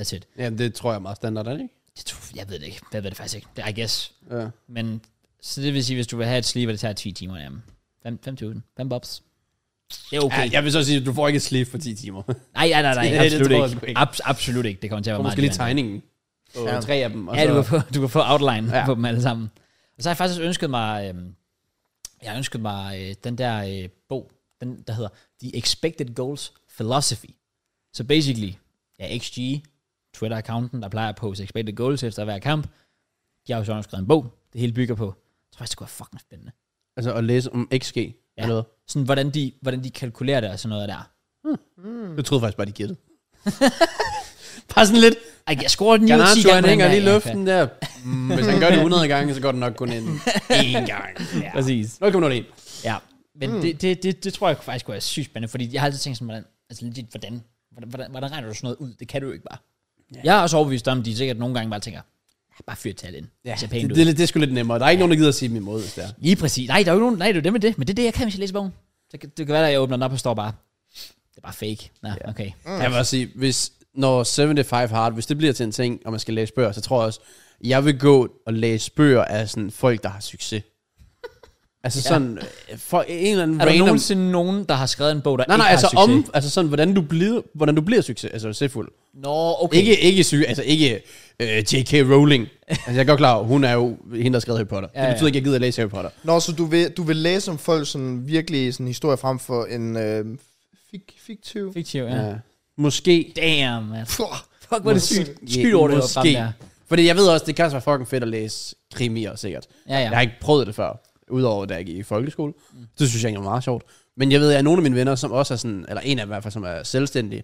S1: That's it.
S3: Jamen, det tror jeg er meget standard, er det ikke?
S1: Det tror- Jeg ved det ikke. Jeg ved det faktisk ikke. Det er, I guess.
S3: Ja.
S1: Men så det vil sige, hvis du vil have et sleeve, og det tager 10 timer, jamen. 5.000. 5 bobs. Det er okay.
S3: Okay. Ja, jeg vil så sige, at du får ikke et sleeve for 10 timer. Du
S1: nej, nej, nej, nej.
S3: det
S1: Absolut
S3: tror jeg sgu
S1: ikke.
S3: ikke.
S1: Abs- absolut ikke. Det kommer til at være
S3: får
S1: meget
S3: måske lige
S1: dyrere.
S3: tegningen. Og
S2: Ja.
S3: tre af dem. Og
S1: Ja, du
S3: så,
S1: kan, få, du kan få outline ja.
S3: Ja.
S1: på dem alle sammen. Og så har jeg faktisk også ønsket mig, øhm, jeg har ønsket mig øh, den der øh, bog, den, der hedder The Expected Goals Philosophy. Så basically, ja, XG, Twitter-accounten, der plejer at poste expected goals efter hver kamp, de har jo så skrevet en bog, det hele bygger på. Jeg tror faktisk, det kunne være fucking spændende.
S3: altså, at læse om XG.
S1: Ja.
S3: Ja. Eller hvad?
S1: Sådan, hvordan de, hvordan de kalkulerer det og sådan noget der.
S3: Jeg troede faktisk bare, de gættede. bare sådan lidt.
S1: Ej, jeg scorer den jo 10 gange.
S3: Garnaccio, han
S1: den
S3: hænger
S1: der.
S3: lige i
S1: Ja,
S3: luften der. Mm, hvis han gør det 100 gange, så går det nok kun en, en gang. Hmm.
S1: Ja.
S3: Præcis. 0,01.
S1: Ja, men mm. det, det, det, det tror jeg faktisk kunne være sygt spændende, fordi jeg har altid tænkt sådan, hvordan, altså legit, hvordan, hvordan, hvordan, hvordan regner du sådan noget ud? Det kan du jo ikke bare. Yeah. Jeg er også overbevist om, at de sikkert nogle gange bare tænker, "Ja, bare fyr et tal ind. Ja, det ser pænt
S3: det,
S1: ud.
S3: det, er lidt- det er sgu lidt nemmere. Der er ikke nogen, der gider at sige dem imod, hvis det er.
S1: Lige præcis. Nej, der er jo ikke nogen, nej, det er jo det med det, men det er det, jeg kan, hvis jeg læser bogen. Så kan- det kan være, at jeg åbner den op og står bare, det er bare fake. Nå, yeah. okay.
S3: Mm. Jeg vil også sige, hvis, når 75 Hard, hvis det bliver til en ting, og man skal læse bøger, så tror jeg også, jeg vil gå og læse bøger af sådan folk, der har succes. Altså sådan, øh, for en eller anden
S1: Er der
S3: random...
S1: nogensinde nogen, der har skrevet en bog, der
S3: Nej,
S1: ikke
S3: nej,
S1: har
S3: altså
S1: succes?
S3: om, altså sådan, hvordan du bliver, hvordan du bliver succes, altså succesfuld.
S1: Nå, okay.
S3: Ikke, ikke syg, altså ikke øh, J.K. Rowling. altså jeg er godt klar over, hun er jo hende, der har skrevet Harry Potter. Ja,
S1: ja.
S3: det betyder ikke, at jeg gider at læse Harry Potter.
S2: Nå, så du vil, du vil læse om folk sådan virkelig sådan historie frem for en øh, fik, fiktiv...
S1: Fiktiv, ja.
S3: Ja. Måske.
S1: Damn, man.
S2: Puh,
S1: Fuck, hvor er det
S3: Måske.
S1: sygt. Sygt over det,
S3: Ja,
S1: der var fremme der.
S3: Fordi jeg ved også, det kan også være fucking fedt at læse krimier, sikkert.
S1: Ja, ja.
S3: Jeg har ikke prøvet det før, udover da jeg gik i folkeskole. Mm. Det synes jeg egentlig var meget sjovt. Men jeg ved, at nogle af mine venner, som også er sådan, eller en af dem i hvert fald, som er selvstændig,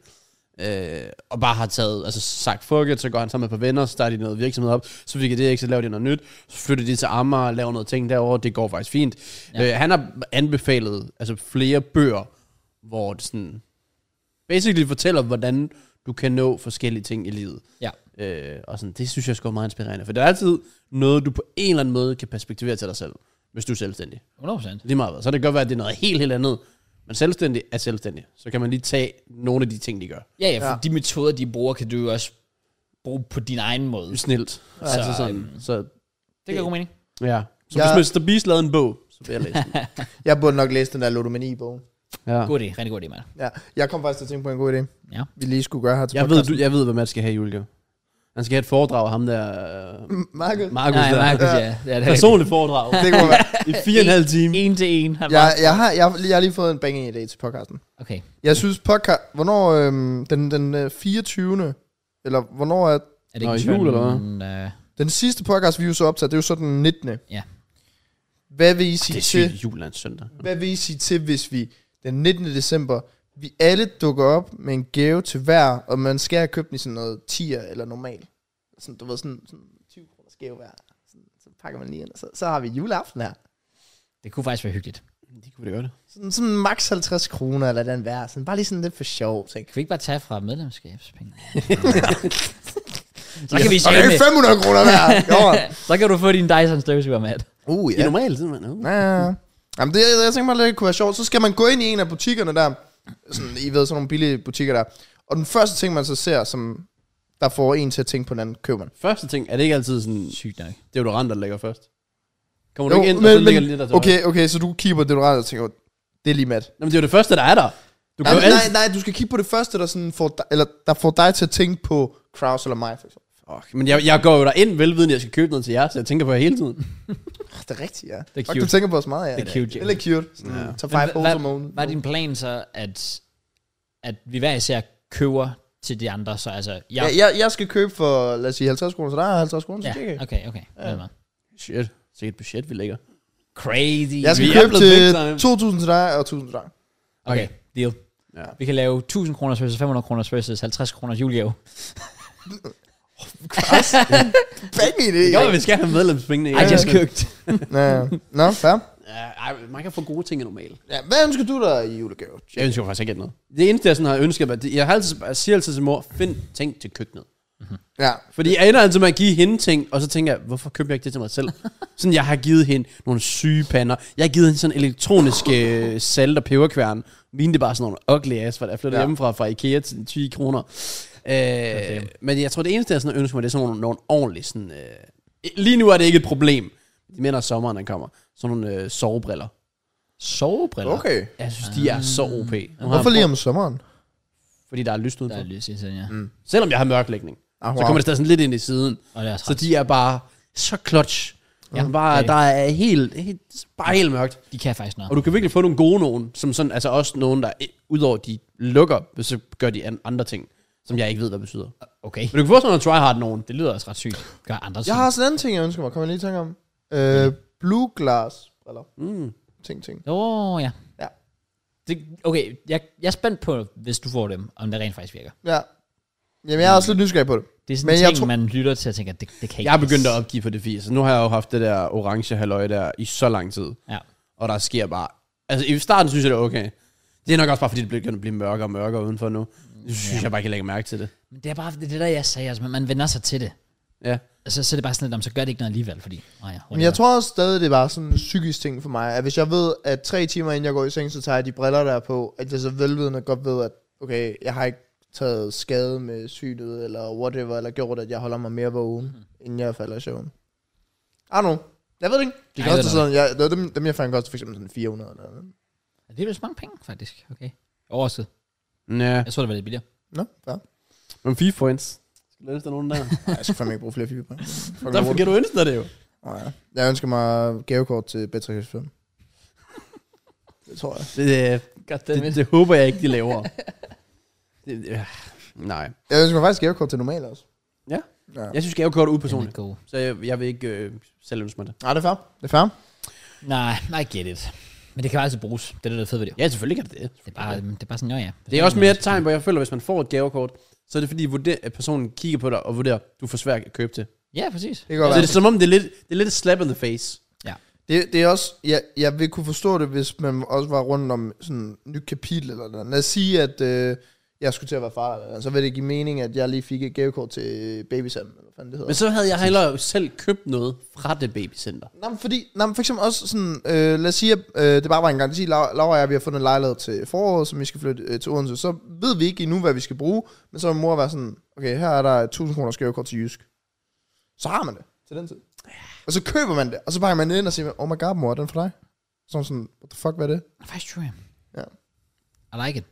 S3: øh, og bare har taget, altså sagt fuck it, så går han sammen med et par venner, så starter de noget virksomhed op, så fik jeg det ikke, så laver de noget nyt, så flytter de til Amager og laver noget ting derovre, det går faktisk fint. Ja. Øh, han har anbefalet altså flere bøger, hvor det sådan, basically fortæller, hvordan du kan nå forskellige ting i livet.
S1: Ja.
S3: Øh, og sådan, det synes jeg sgu er meget inspirerende. For der er altid noget, du på en eller anden måde kan perspektivere til dig selv, hvis du er selvstændig.
S1: 100%.
S3: Lige meget hvad. Så kan det godt være, at det er noget helt, helt andet. Men selvstændig er selvstændig. Så kan man lige tage nogle af de ting, de gør.
S1: Ja, ja, for ja.
S2: Ja.
S1: de metoder, de bruger, kan du jo også bruge på din egen måde. Det
S3: Snilt. Ja, altså
S1: Så, øhm,
S3: sådan. Så,
S1: giver god mening.
S3: ja. Så
S2: Jeg-
S3: hvis Mr. Beast lavede en bog, så vil jeg læse den.
S2: Jeg burde nok læse den der Lodomani-bogen.
S3: Ja.
S1: God idé, rigtig god idé, mand.
S2: Ja, jeg kom faktisk til at tænke på en god idé,
S1: Ja.
S2: vi lige skulle gøre her til
S3: Jeg ved,
S2: podcasten.
S3: du, jeg ved, hvad man skal have i julegave. Han skal have et foredrag af ham der... Øh,
S2: Markus,
S3: Markus
S1: Nej,
S3: der.
S1: Markus, ja. ja det er
S3: Personligt foredrag.
S2: det kunne være.
S3: I fire og en halv time.
S1: en til en. Han
S2: Jeg,
S1: bare-
S2: jeg, har, jeg, jeg har lige fået en banging idé til podcasten.
S1: Okay.
S2: Jeg synes podcast... Hvornår... Øhm, den, den øh, 24. Eller hvornår er...
S1: Er det
S3: Nå,
S1: ikke øh,
S3: jul, eller hvad?
S1: hvad?
S2: Den sidste podcast, vi jo så optager, det er jo så den 19.
S1: Ja. Ah,
S2: Hvad vil I
S3: Det
S2: sige
S3: er
S2: til...
S3: sygt, julen er en søndag.
S2: Hvad vil I sige til, hvis vi den 19. december, vi alle dukker op med en gave til hver, og man skal have købt den i sådan noget 10'er eller normal. Sådan, du ved, sådan, sådan 20 kroners gave hver. Sådan, så pakker man lige ind, og så, så har vi juleaften her.
S1: Det kunne faktisk være hyggeligt.
S3: Det kunne vi da godt.
S2: Sådan, sådan maks 50 kroner eller den hver. Sådan, bare lige sådan lidt for sjov, tænk.
S1: Kan vi ikke bare tage fra medlemskabspenge? så kan vi
S2: Og det
S1: sige
S2: er 500 kroner hver. Jo.
S1: Så kan du få din Dyson støvsuger med.
S2: Uh,
S3: I
S2: ja.
S3: normalt tid, man.
S2: Ja, ja, ja. Jamen, det, jeg tænker mig, at det kunne være sjovt. Så skal man gå ind i en af butikkerne der, sådan, I ved, sådan nogle billige butikker der. Og den første ting, man så ser, som der får en til at tænke på den anden, køber man.
S3: Første ting, er det ikke altid sådan,
S1: Sygt nok.
S3: deodorant, der ligger først? Kommer du
S2: Jo,
S3: ikke ind, og så
S2: men,
S3: ligger det lidt der
S2: men,
S3: til højre?
S2: okay, okay, så du kigger på det, du og tænker, "Åh, det er lige mat.
S3: Nå, men det er jo det første, der er der. Du
S2: Nej,
S3: kan jo
S2: nej,
S3: altid...
S2: nej, du skal kigge på det første, der, sådan får dig, eller, der får dig til at tænke på Kraus eller mig, for eksempel.
S3: Fuck, men jeg, jeg går jo derind velvidende, at jeg skal købe noget til jer, så jeg tænker på jer hele tiden.
S2: Ah, Det er rigtigt, ja.
S1: Det er
S2: Fuck,
S1: cute.
S2: du tænker på os meget, ja.
S1: Det er cute,
S2: Det er lidt cute. Sådan,
S3: Ja.
S2: ja. Tag
S1: Men
S2: five
S1: hva-
S2: holes
S1: hva-
S2: om morgenen.
S1: Hvad er din plan så, at, at vi hver især køber til de andre? Så altså, jeg...
S2: Ja, jeg, jeg skal købe for, lad os sige, 50 kroner, så der er 50 kroner, så
S1: ja.
S2: ja. okay.
S1: okay, okay. Ja.
S3: Shit. Sikkert et budget, vi lægger.
S1: Crazy.
S2: Jeg skal
S3: Vi er
S2: købe til
S3: blevet big time.
S2: 2.000 til dig og 1.000 til dig.
S1: Okay, deal.
S3: Ja.
S1: Vi kan lave 1000 kroners versus 500 kroners versus 50 kroners julegave.
S2: Bang i det.
S3: Jo, vi skal have medlemspengene.
S1: I just cooked.
S2: Ja. Nå, fair.
S3: Ja, ej, man kan få gode ting af normalt.
S2: Ja, hvad ønsker du dig i julegave?
S3: Jeg ønsker faktisk ikke noget. Det eneste, jeg sådan har ønsket, mig, det- jeg, har altid, jeg siger altid til mor, find ting til køkkenet.
S2: Ja.
S3: Fordi jeg ender altid med at give hende ting, og så tænker jeg, hvorfor købte jeg ikke det til mig selv? sådan, jeg har givet hende nogle syge pander. Jeg har givet hende sådan en elektronisk øh, salt- og peberkværn. Mine det er bare sådan nogle ugly ass, for jeg flyttede ja.
S2: Ja.
S3: hjemmefra fra Ikea til 20 kroner. Øh, men jeg tror, det eneste, jeg sådan ønsker mig, det er sådan nogle, nogle ordentlige sådan... Øh, lige nu er det ikke et problem. Det mener sommeren, den kommer. Sådan nogle øh, sovebriller.
S1: Sovebriller.
S2: Okay.
S3: Jeg synes, de er så OP. Nu har
S2: Hvorfor
S3: jeg-
S2: lige om sommeren?
S3: Fordi der er lyst
S1: Der
S3: udenfor.
S1: er lys i siden, ja.
S3: Selvom jeg har mørklægning,
S2: Ah,
S3: så
S2: wow.
S3: kommer det stadig sådan lidt ind i siden.
S1: Og det er
S3: Så
S1: træt.
S3: de er bare så clutch.
S1: Ja.
S3: Ja, bare,
S1: Ja.
S3: der er helt, helt, bare helt mørkt.
S1: De kan faktisk noget.
S3: Og du kan virkelig få nogle gode nogen, som sådan, altså også nogen, der eh, udover de lukker, så gør de an- andre ting, som jeg ikke ved, hvad betyder.
S1: Okay.
S3: Men du kan få sådan nogle tryhard nogen.
S1: Det lyder også ret sygt. Gør andre
S2: Jeg har også en anden ting, jeg ønsker mig. Kommer jeg lige i tanke om? Øh, blue glass. Eller?
S3: Mm.
S2: ting, ting.
S1: Åh, oh, ja.
S2: Ja.
S1: Det, okay, jeg, jeg er spændt på, hvis du får dem, om det rent faktisk virker.
S2: Ja. Jamen, jeg er også lidt nysgerrig på det.
S1: Det er sådan
S2: Men
S1: en
S2: jeg
S1: ting,
S2: tror-
S1: man lytter til og tænker, det, det kan ikke
S3: Jeg er begyndt at
S1: passe.
S3: opgive på det fis. Nu har jeg jo haft det der orange halløj der i så lang tid.
S1: Ja.
S3: Og der sker bare... Altså, i starten synes jeg, det er okay. Det er nok også bare, fordi det begynder at blive mørkere og mørkere udenfor nu. Nu synes jeg bare ikke, jeg lægger mærke til det.
S1: Men det er bare det, er det der, jeg sagde, altså, man- man vender sig til det.
S3: Ja.
S1: Altså, så er det bare sådan lidt, om så gør det ikke noget alligevel, fordi... Oh ja,
S2: Men jeg tror også stadig, det var sådan en psykisk ting for mig, at hvis jeg ved, at tre timer inden jeg går i seng, så tager jeg de briller der er på, at jeg så velvidende godt ved, at okay, jeg har ikke taget skade med synet, eller whatever, eller gjort, at jeg holder mig mere vågen, mm. inden jeg falder i søvn. I don't know. Jeg ved det ikke. Det
S1: Ej,
S2: kan
S1: det
S2: også
S1: er
S2: sådan, jeg, det var dem, dem jeg fandt godt, for eksempel sådan 400 eller noget.
S1: Det er vist mange penge, faktisk. Okay. Overskud.
S3: Ja.
S1: Jeg tror, det var lidt billigere.
S2: Nå, ja.
S3: Men FIFA points. Skal du ønske dig nogen der?
S2: Ej, jeg skal fandme ikke bruge flere fiberbriller. Fucking
S3: Derfor
S2: lort.
S3: kan du ønske dig det jo.
S2: Nå ja. Jeg ønsker mig gavekort til B365. Det tror jeg.
S3: Det, øh, det, det håber jeg ikke, de laver. det, det, ja. Nej.
S2: Jeg ønsker mig faktisk gavekort til normal også.
S3: Ja.
S2: ja.
S3: Jeg synes, gavekort er
S1: Personligt.
S3: upersonligt. Så jeg, jeg vil ikke øh, selv ønske mig det.
S2: Nej, det er fair. Det er fair.
S1: Nej, I get it. Men det kan altså bruges. Det er det, der er fedt ved det.
S3: Ja, selvfølgelig kan det det.
S1: Det er bare, det er bare sådan, jo ja.
S3: Det er også mere et tegn, hvor jeg føler, hvis man får et gavekort, så er det fordi, vurder, at personen kigger på dig og vurderer, du får svært at købe det.
S1: Ja, præcis.
S2: Det kan godt
S3: Så
S2: være.
S3: det er som om, det er lidt, det er lidt et slap in the face.
S2: Det, det er også, jeg, jeg vil kunne forstå det, hvis man også var rundt om sådan et nyt kapitel eller noget. Lad os sige, at øh, jeg skulle til at være far, eller, noget, så vil det give mening, at jeg lige fik et gavekort til babysand, eller hvad fanden det hedder.
S3: Men så havde jeg hellere selv købt noget fra det babycenter.
S2: Nå, men fordi, nå, men for eksempel også sådan, øh, lad os sige, at øh, det bare var en garanti, Laura Laura og jeg, vi har fundet en lejlighed til foråret, som vi skal flytte øh, til Odense, så ved vi ikke endnu, hvad vi skal bruge, men så vil mor være sådan, okay, her er der 1000 kroner skævekort til Jysk. Så har man det til den tid. Og så køber man det, og så pakker man det ind og siger, oh my god, mor, er den for dig? Så er hun sådan, what the fuck, hvad er det?
S1: Det er faktisk true,
S2: Ja.
S1: I like it.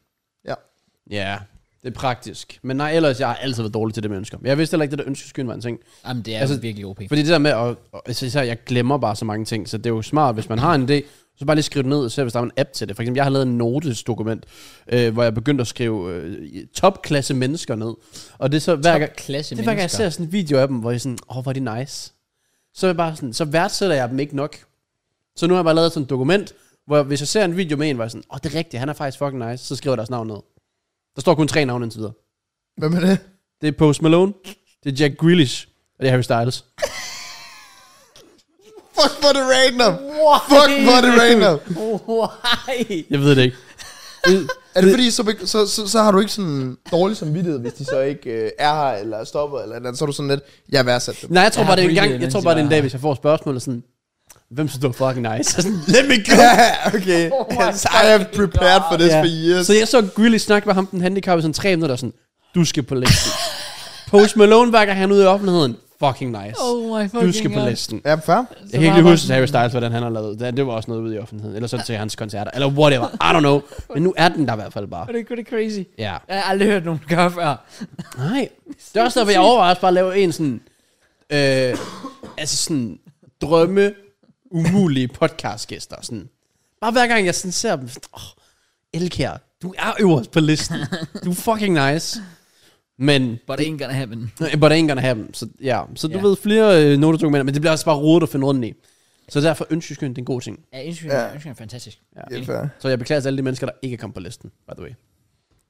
S3: Ja, det er praktisk. Men nej, ellers, jeg har altid været dårlig til det med ønsker. Jeg vidste heller ikke, det der ønskeskyen var en ting.
S1: Jamen, det er altså,
S3: Altså,
S1: virkelig OP.
S3: Fordi det der med, at, og, altså især, jeg glemmer bare så mange ting, så det er jo smart, hvis man har en idé, så bare lige skrive det ned, selv hvis der er en app til det. For eksempel, jeg har lavet en notesdokument, øh, hvor jeg begyndte at skrive øh, topklasse mennesker ned. Og det er så hver gang,
S1: klasse
S3: det er hver gang jeg ser sådan en video af dem, hvor jeg sådan, åh, oh, hvor er de nice. Så, er jeg bare sådan, så værdsætter jeg dem ikke nok. Så nu har jeg bare lavet sådan et dokument, hvor jeg, hvis jeg ser en video med en, hvor jeg sådan, åh, oh, det er rigtigt, han er faktisk fucking nice, så skriver jeg deres navn ned. Der står kun tre navne indtil videre.
S2: Hvad med det?
S3: Det er Post Malone, det er Jack Grealish, og det er Harry Styles.
S2: Fuck, hvor er det random! Fuck, hvor er det random!
S1: Why?
S3: Jeg ved det ikke. Det-
S2: Er det fordi, så, be- så, så, så har du ikke sådan dårlig samvittighed, hvis de så ikke øh, er her, eller stopper, eller, et eller andet, så er du sådan lidt, jeg værdsætter dem.
S3: Nej, jeg tror
S1: Jeg
S3: bare,
S1: har
S3: det er en
S1: breathet,
S3: gang, jeg
S1: mens
S3: tror
S1: I
S3: bare, det er
S1: var
S3: en dag,
S1: her.
S3: hvis jeg får spørgsmål, og sådan, hvem synes du er fucking nice? Og sådan, Let me go!
S2: Ja, okay.
S1: Oh my
S2: yes, I have prepared for this
S3: Ja.
S2: for years.
S3: Så jeg så Grilly snakke med ham, den handicappede, sådan tre minutter, og sådan, du skal på listen. Post Malone bakker han ud i offentligheden. Fucking nice.
S1: Oh my fucking
S3: du skal på
S1: God.
S3: listen.
S2: Ja, fair.
S3: Jeg kan ikke lige huske Harry Styles, hvordan han har lavet det. Det var også noget ude i offentligheden. Eller så til hans koncerter. Eller whatever. I don't know. Men nu er den der i hvert fald bare.
S1: Det er det crazy.
S3: Ja.
S1: Jeg har aldrig hørt nogen gøre før.
S3: Nej. Det er også derfor, jeg overvejer også bare at lave en sådan... Øh, altså sådan drømme umulige podcastgæster. Sådan. Bare hver gang jeg sådan ser dem, sådan, åh, oh, Elkær, du er øverst på listen. Du er fucking nice. Men,
S1: But it ain't gonna happen.
S3: but I ain't gonna have dem. Så, ja. så du
S1: Ja.
S3: ved flere øh, notedokumenter, men det bliver også bare rodet at finde rundt i. Så derfor ønskeskøn, det er en god ting.
S1: Ja, Instagram,
S2: Ja.
S1: Instagram er fantastisk.
S2: Ja, fair.
S3: Så jeg beklager til alle de mennesker, der ikke er kommet på listen, by the way. Det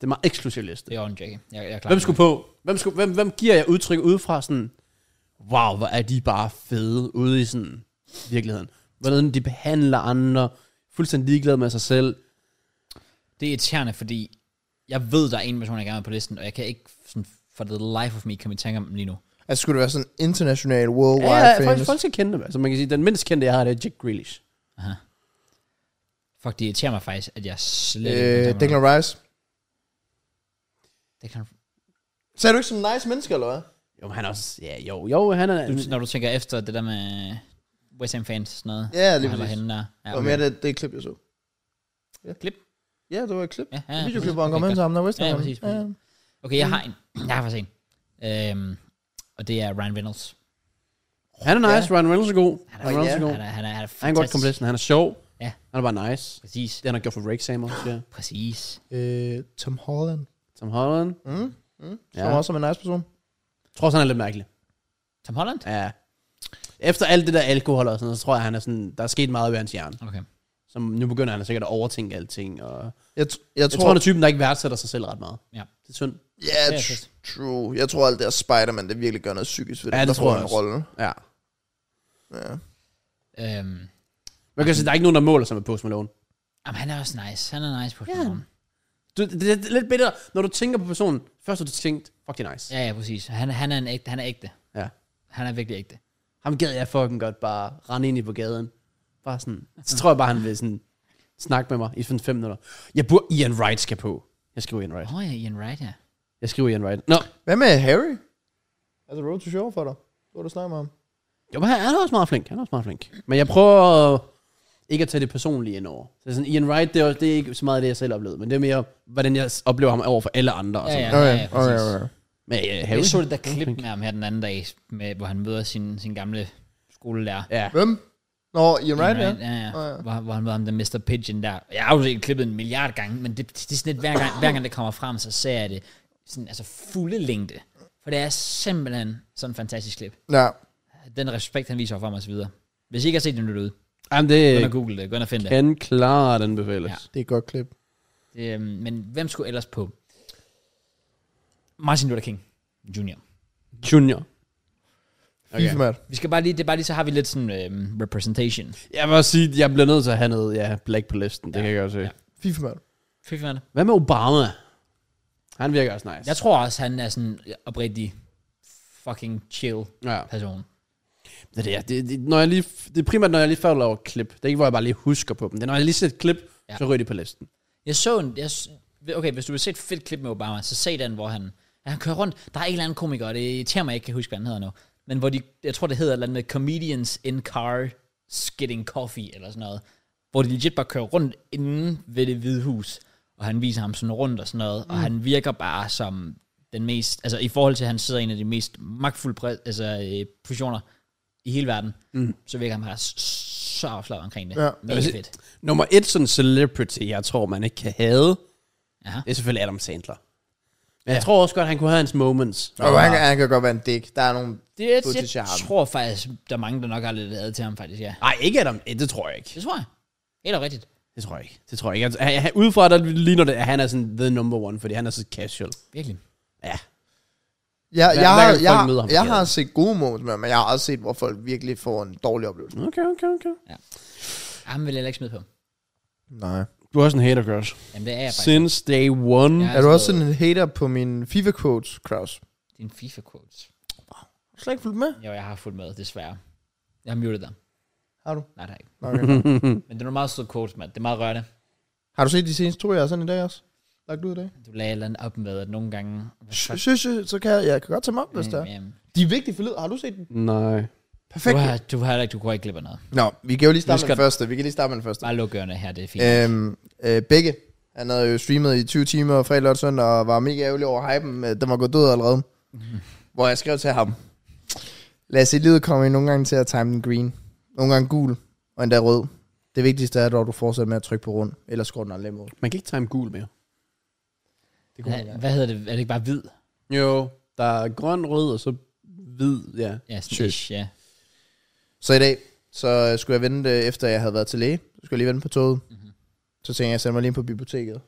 S3: er en meget eksklusiv liste.
S1: Det er on, Jackie. Jeg, jeg er klar.
S3: Hvem skulle på? Hvem, skulle, hvem, hvem giver jeg udtryk udefra sådan, wow, hvor er de bare fede ude i sådan virkeligheden. Hvordan de behandler andre, fuldstændig ligeglade med sig selv.
S1: Det er irriterende, fordi jeg ved, der er en person, jeg gerne vil på listen, og jeg kan ikke sådan, for the life of me, kan vi tænke om dem lige nu.
S2: Altså, skulle det være sådan international,
S3: Ja,
S2: worldwide
S3: ja, folk,
S2: famous?
S3: folk skal kende dem. Altså man kan sige, den mindst kendte, jeg har, det er Jack Grealish.
S1: Fuck, det irriterer mig faktisk, at jeg slet
S2: øh,
S1: ikke...
S2: Declan Rice.
S1: Declan,
S2: Så er du ikke som nice menneske, eller hvad?
S3: Jo, men han er også, ja, jo, jo, han er...
S1: du, når du tænker efter det der med West Ham fans og sådan noget.
S2: Ja,
S1: hvor
S2: lige
S1: han var
S2: præcis.
S1: henne der. Ja,
S2: Det var mere det, det klip, jeg så.
S1: Klip?
S2: Ja, det var et klip.
S1: Ja, ja, ja,
S2: Ja, Videoklip,
S1: præcis.
S2: hvor han kom
S1: Okay,
S2: hen til ham, der West
S1: Ja,
S2: Ham.
S1: præcis,
S2: Ja,
S1: præcis. Okay, jeg har en. Jeg har faktisk en. Øhm, og det er Ryan Reynolds.
S3: Han er nice, Ryan Reynolds er god. Han er,
S2: Åh,
S3: Reynolds
S2: ja.
S3: er god.
S1: Han er, han er, han er fantastisk.
S3: Han er godt kompleks, han er sjov.
S1: Ja.
S3: Han er bare nice.
S1: Præcis.
S3: Det han har gjort for Rake Samer, ja.
S1: Præcis.
S2: Øh, Tom Holland.
S3: Tom Holland.
S2: Mm. Mm. Som
S3: Ja.
S2: også er en nice person.
S3: Jeg tror også, han er lidt mærkelig.
S1: Tom Holland?
S3: Ja. Efter alt det der alkohol og sådan noget, så tror jeg, han er sådan, der er sket meget ved hans hjerne.
S1: Okay.
S3: Som nu begynder han sikkert at overtænke alting. Og jeg,
S2: Jeg, t- jeg, jeg
S3: tror,
S2: tror,
S3: tror, han er typen, der ikke værdsætter sig selv ret meget.
S1: Ja.
S3: Det er synd.
S2: Ja,
S1: Ja,
S2: tr-
S1: fedt.
S2: true. Jeg tror, alt det der Spider-Man, det virkelig gør noget psykisk ved det.
S3: Ja, det
S2: der
S3: tror
S2: får
S3: jeg
S2: en
S3: også.
S2: rolle.
S3: Ja.
S2: Ja.
S1: Øhm,
S3: Man kan sige, der er ikke nogen, der måler sig med Post Malone.
S1: jamen, han er også nice. Han er nice på
S3: Ja.
S1: ja.
S3: Du, det, det, er lidt bedre, når du tænker på personen. Først har du tænkt, fuck det er nice. Ja.
S1: ja, ja, præcis. Han, han er en ægte. Han er ægte.
S3: ja.
S1: Han er virkelig ægte.
S3: Ham gad jeg fucking godt bare rende ind i på gaden. Bare sådan, så tror jeg bare, han vil sådan snakke med mig i sådan fem minutter. Jeg burde Ian Wright skal på. Jeg skriver Ian Wright.
S1: Åh oh, ja, Ian Wright, ja.
S3: Jeg skriver Ian Wright. Nå,
S2: Hvad med Harry? Er The Road to Show for dig? Hvad du snakker om?
S3: jo, men han han er også meget flink. Han er også meget flink. Men jeg prøver ikke at tage det personlige ind over. Så sådan, Ian Wright, det er, også- det er ikke så meget det, jeg selv oplevede. Men det er mere, hvordan jeg oplever ham over for alle andre. Og
S1: Ja,
S3: sådan.
S1: ja.
S2: Okay, okay,
S1: præcis.
S2: okay.
S3: Men uh, Harry,
S1: Jeg så det der klip med ham her den anden dag, med, hvor han møder sin, sin gamle skolelærer.
S3: ja.
S2: Hvem? Nå, Ian Wright, ja.
S1: ja. ja.
S2: Åh, ja.
S1: Hvor, hvor han var ham, der Mr. Pigeon der. Jeg har jo set klippet en milliard gange, men det, det er sådan lidt, hver gang, hver gang det kommer frem, så ser jeg det sådan, altså fulde længde. For det er simpelthen sådan en fantastisk klip.
S2: Ja.
S1: Den respekt, han viser for mig og så videre. Hvis I ikke har set den, lyt ud.
S3: Jamen,
S1: Gå ind
S3: det
S1: og google det. Gå ind og find det.
S3: Øh, kan klare den befales.
S1: Ja.
S3: Ja.
S2: Det er et godt klip.
S1: det øhm, men hvem skulle ellers på? Martin Luther King Jr.
S3: Junior.
S2: Okay. FIFA, mand.
S1: Vi skal bare lige, det er bare lige, så har vi lidt sådan øhm, representation.
S3: Jeg vil også sige, jeg bliver nødt til at have noget ja, black på listen. Det
S1: Ja.
S3: kan jeg godt se.
S1: Ja.
S2: FIFA, mand.
S1: Fy fanden.
S3: Hvad med Obama? Han virker også nice.
S1: Jeg tror også, han er sådan oprigtig fucking chill
S3: ja.
S1: person.
S3: Det, er det, jeg- det, det, når jeg lige, det er primært, når jeg lige falder over klip. Det er ikke, hvor jeg bare lige husker på dem. Det er, når jeg lige ser et klip,
S1: Ja.
S3: ja. så ryger de på listen.
S1: Jeg så en, jeg, s- okay, hvis du vil se et fedt klip med Obama, så se den, hvor han, han kører rundt. Der er en eller anden komiker, og det irriterer mig, jeg ikke kan huske, hvad han hedder nu. Men hvor de, jeg tror, det hedder et eller andet Comedians in Car Getting Coffee, eller sådan noget. Hvor de legit bare kører rundt inden ved det hvide hus, og han viser ham sådan rundt og sådan noget, mm. og han virker bare som den mest, altså i forhold til, at han sidder i en af de mest magtfulde præ, altså, øh, positioner i hele verden, mm. så virker han bare s- så afslappet omkring det.
S2: Ja.
S1: Ja. Mega
S3: Altså,
S1: fedt.
S3: Nummer et sådan celebrity, jeg tror, man ikke kan have.
S1: Aha.
S3: Det er selvfølgelig Adam Sandler. Men jeg tror også godt, han kunne have hans moments.
S2: Og han, kan- han kan godt være en dick. Der er nogle...
S1: Det er,
S2: Gå til
S1: jeg
S2: charmen.
S1: tror faktisk, der er mange, der nok har lidt ad til ham faktisk, ja.
S3: Nej, ikke Adam. eh, Det tror jeg ikke.
S1: Det tror jeg. Helt og rigtigt.
S3: Det tror jeg ikke. Det tror jeg ikke. Altså, han- han- Udefra, der ligner det, at han er sådan the number one, fordi han er så casual.
S1: Virkelig.
S3: Ja.
S2: Ja,
S3: Hver-
S2: jeg,
S3: hver
S2: har,
S3: gang folk
S2: jeg,
S3: møder ham på
S2: jeg har
S3: gaden.
S2: set gode moments med ham, men jeg har også set, hvor folk virkelig får en dårlig oplevelse.
S3: Okay, okay, okay.
S1: Ah, Ham vil jeg heller ikke smide på.
S2: Nej.
S3: Du er også en hater, Grosh.
S1: Jamen, det er jeg faktisk.
S3: Since day one.
S1: Ja.
S2: Er du også sådan en hater på min FIFA quotes, Kraus?
S1: Det er en FIFA quotes.
S2: Har du slet ikke fulgt med?
S1: Jo, jeg har fulgt med, desværre. Jeg har muted dig.
S2: Har du?
S1: Nej, det har jeg ikke.
S2: Nå, Okay.
S1: Men det er nogle meget søde quotes, mand. Det er meget rørende.
S2: har du set de seneste to, jeg har sådan i dag også? Lagt ud i dag?
S1: Du lagde et eller andet op med, at nogle gange...
S2: Sh- sh- sh- så kan jeg, jeg kan godt tage dem op, hvis det er.
S1: Jamen,
S2: De er vigtige forlyd. Har du set dem?
S3: Nej.
S1: Du
S2: Perfekt.
S1: har, du har heller ikke, du kunne ikke glippe af noget.
S2: Nå, vi kan jo lige
S3: Vi
S2: starte
S3: skal-
S2: med den første. Vi kan lige starte med den første.
S1: Bare luk ørerne her, det er fint.
S2: Øhm, øh, begge. Han havde jo streamet i 20 timer fredag lørdag, søndag, og var mega ærgerlig over hypen. Øh, Den var gået død allerede.
S1: Mhm.
S2: Hvor jeg skrev til ham. Lad os se, livet kommer I nogle gange til at time den green. Nogle gange gul, og endda rød. Det vigtigste er dog, at du fortsætter med at trykke på rund. Ellers går den aldrig mod.
S3: Man kan ikke time gul mere.
S2: Det
S1: Hva, hvad hedder det? Er det ikke bare hvid?
S3: Jo, der er grøn, rød og så hvid, ja.
S1: Ja, sådan
S3: Shit.
S1: ish, ja.
S2: Så i dag, så øh, skulle jeg vente, øh, efter jeg havde været til læge. Så skulle jeg lige vente på toget.
S1: Mhm.
S2: Så tænkte jeg, jeg sender mig lige ind på biblioteket.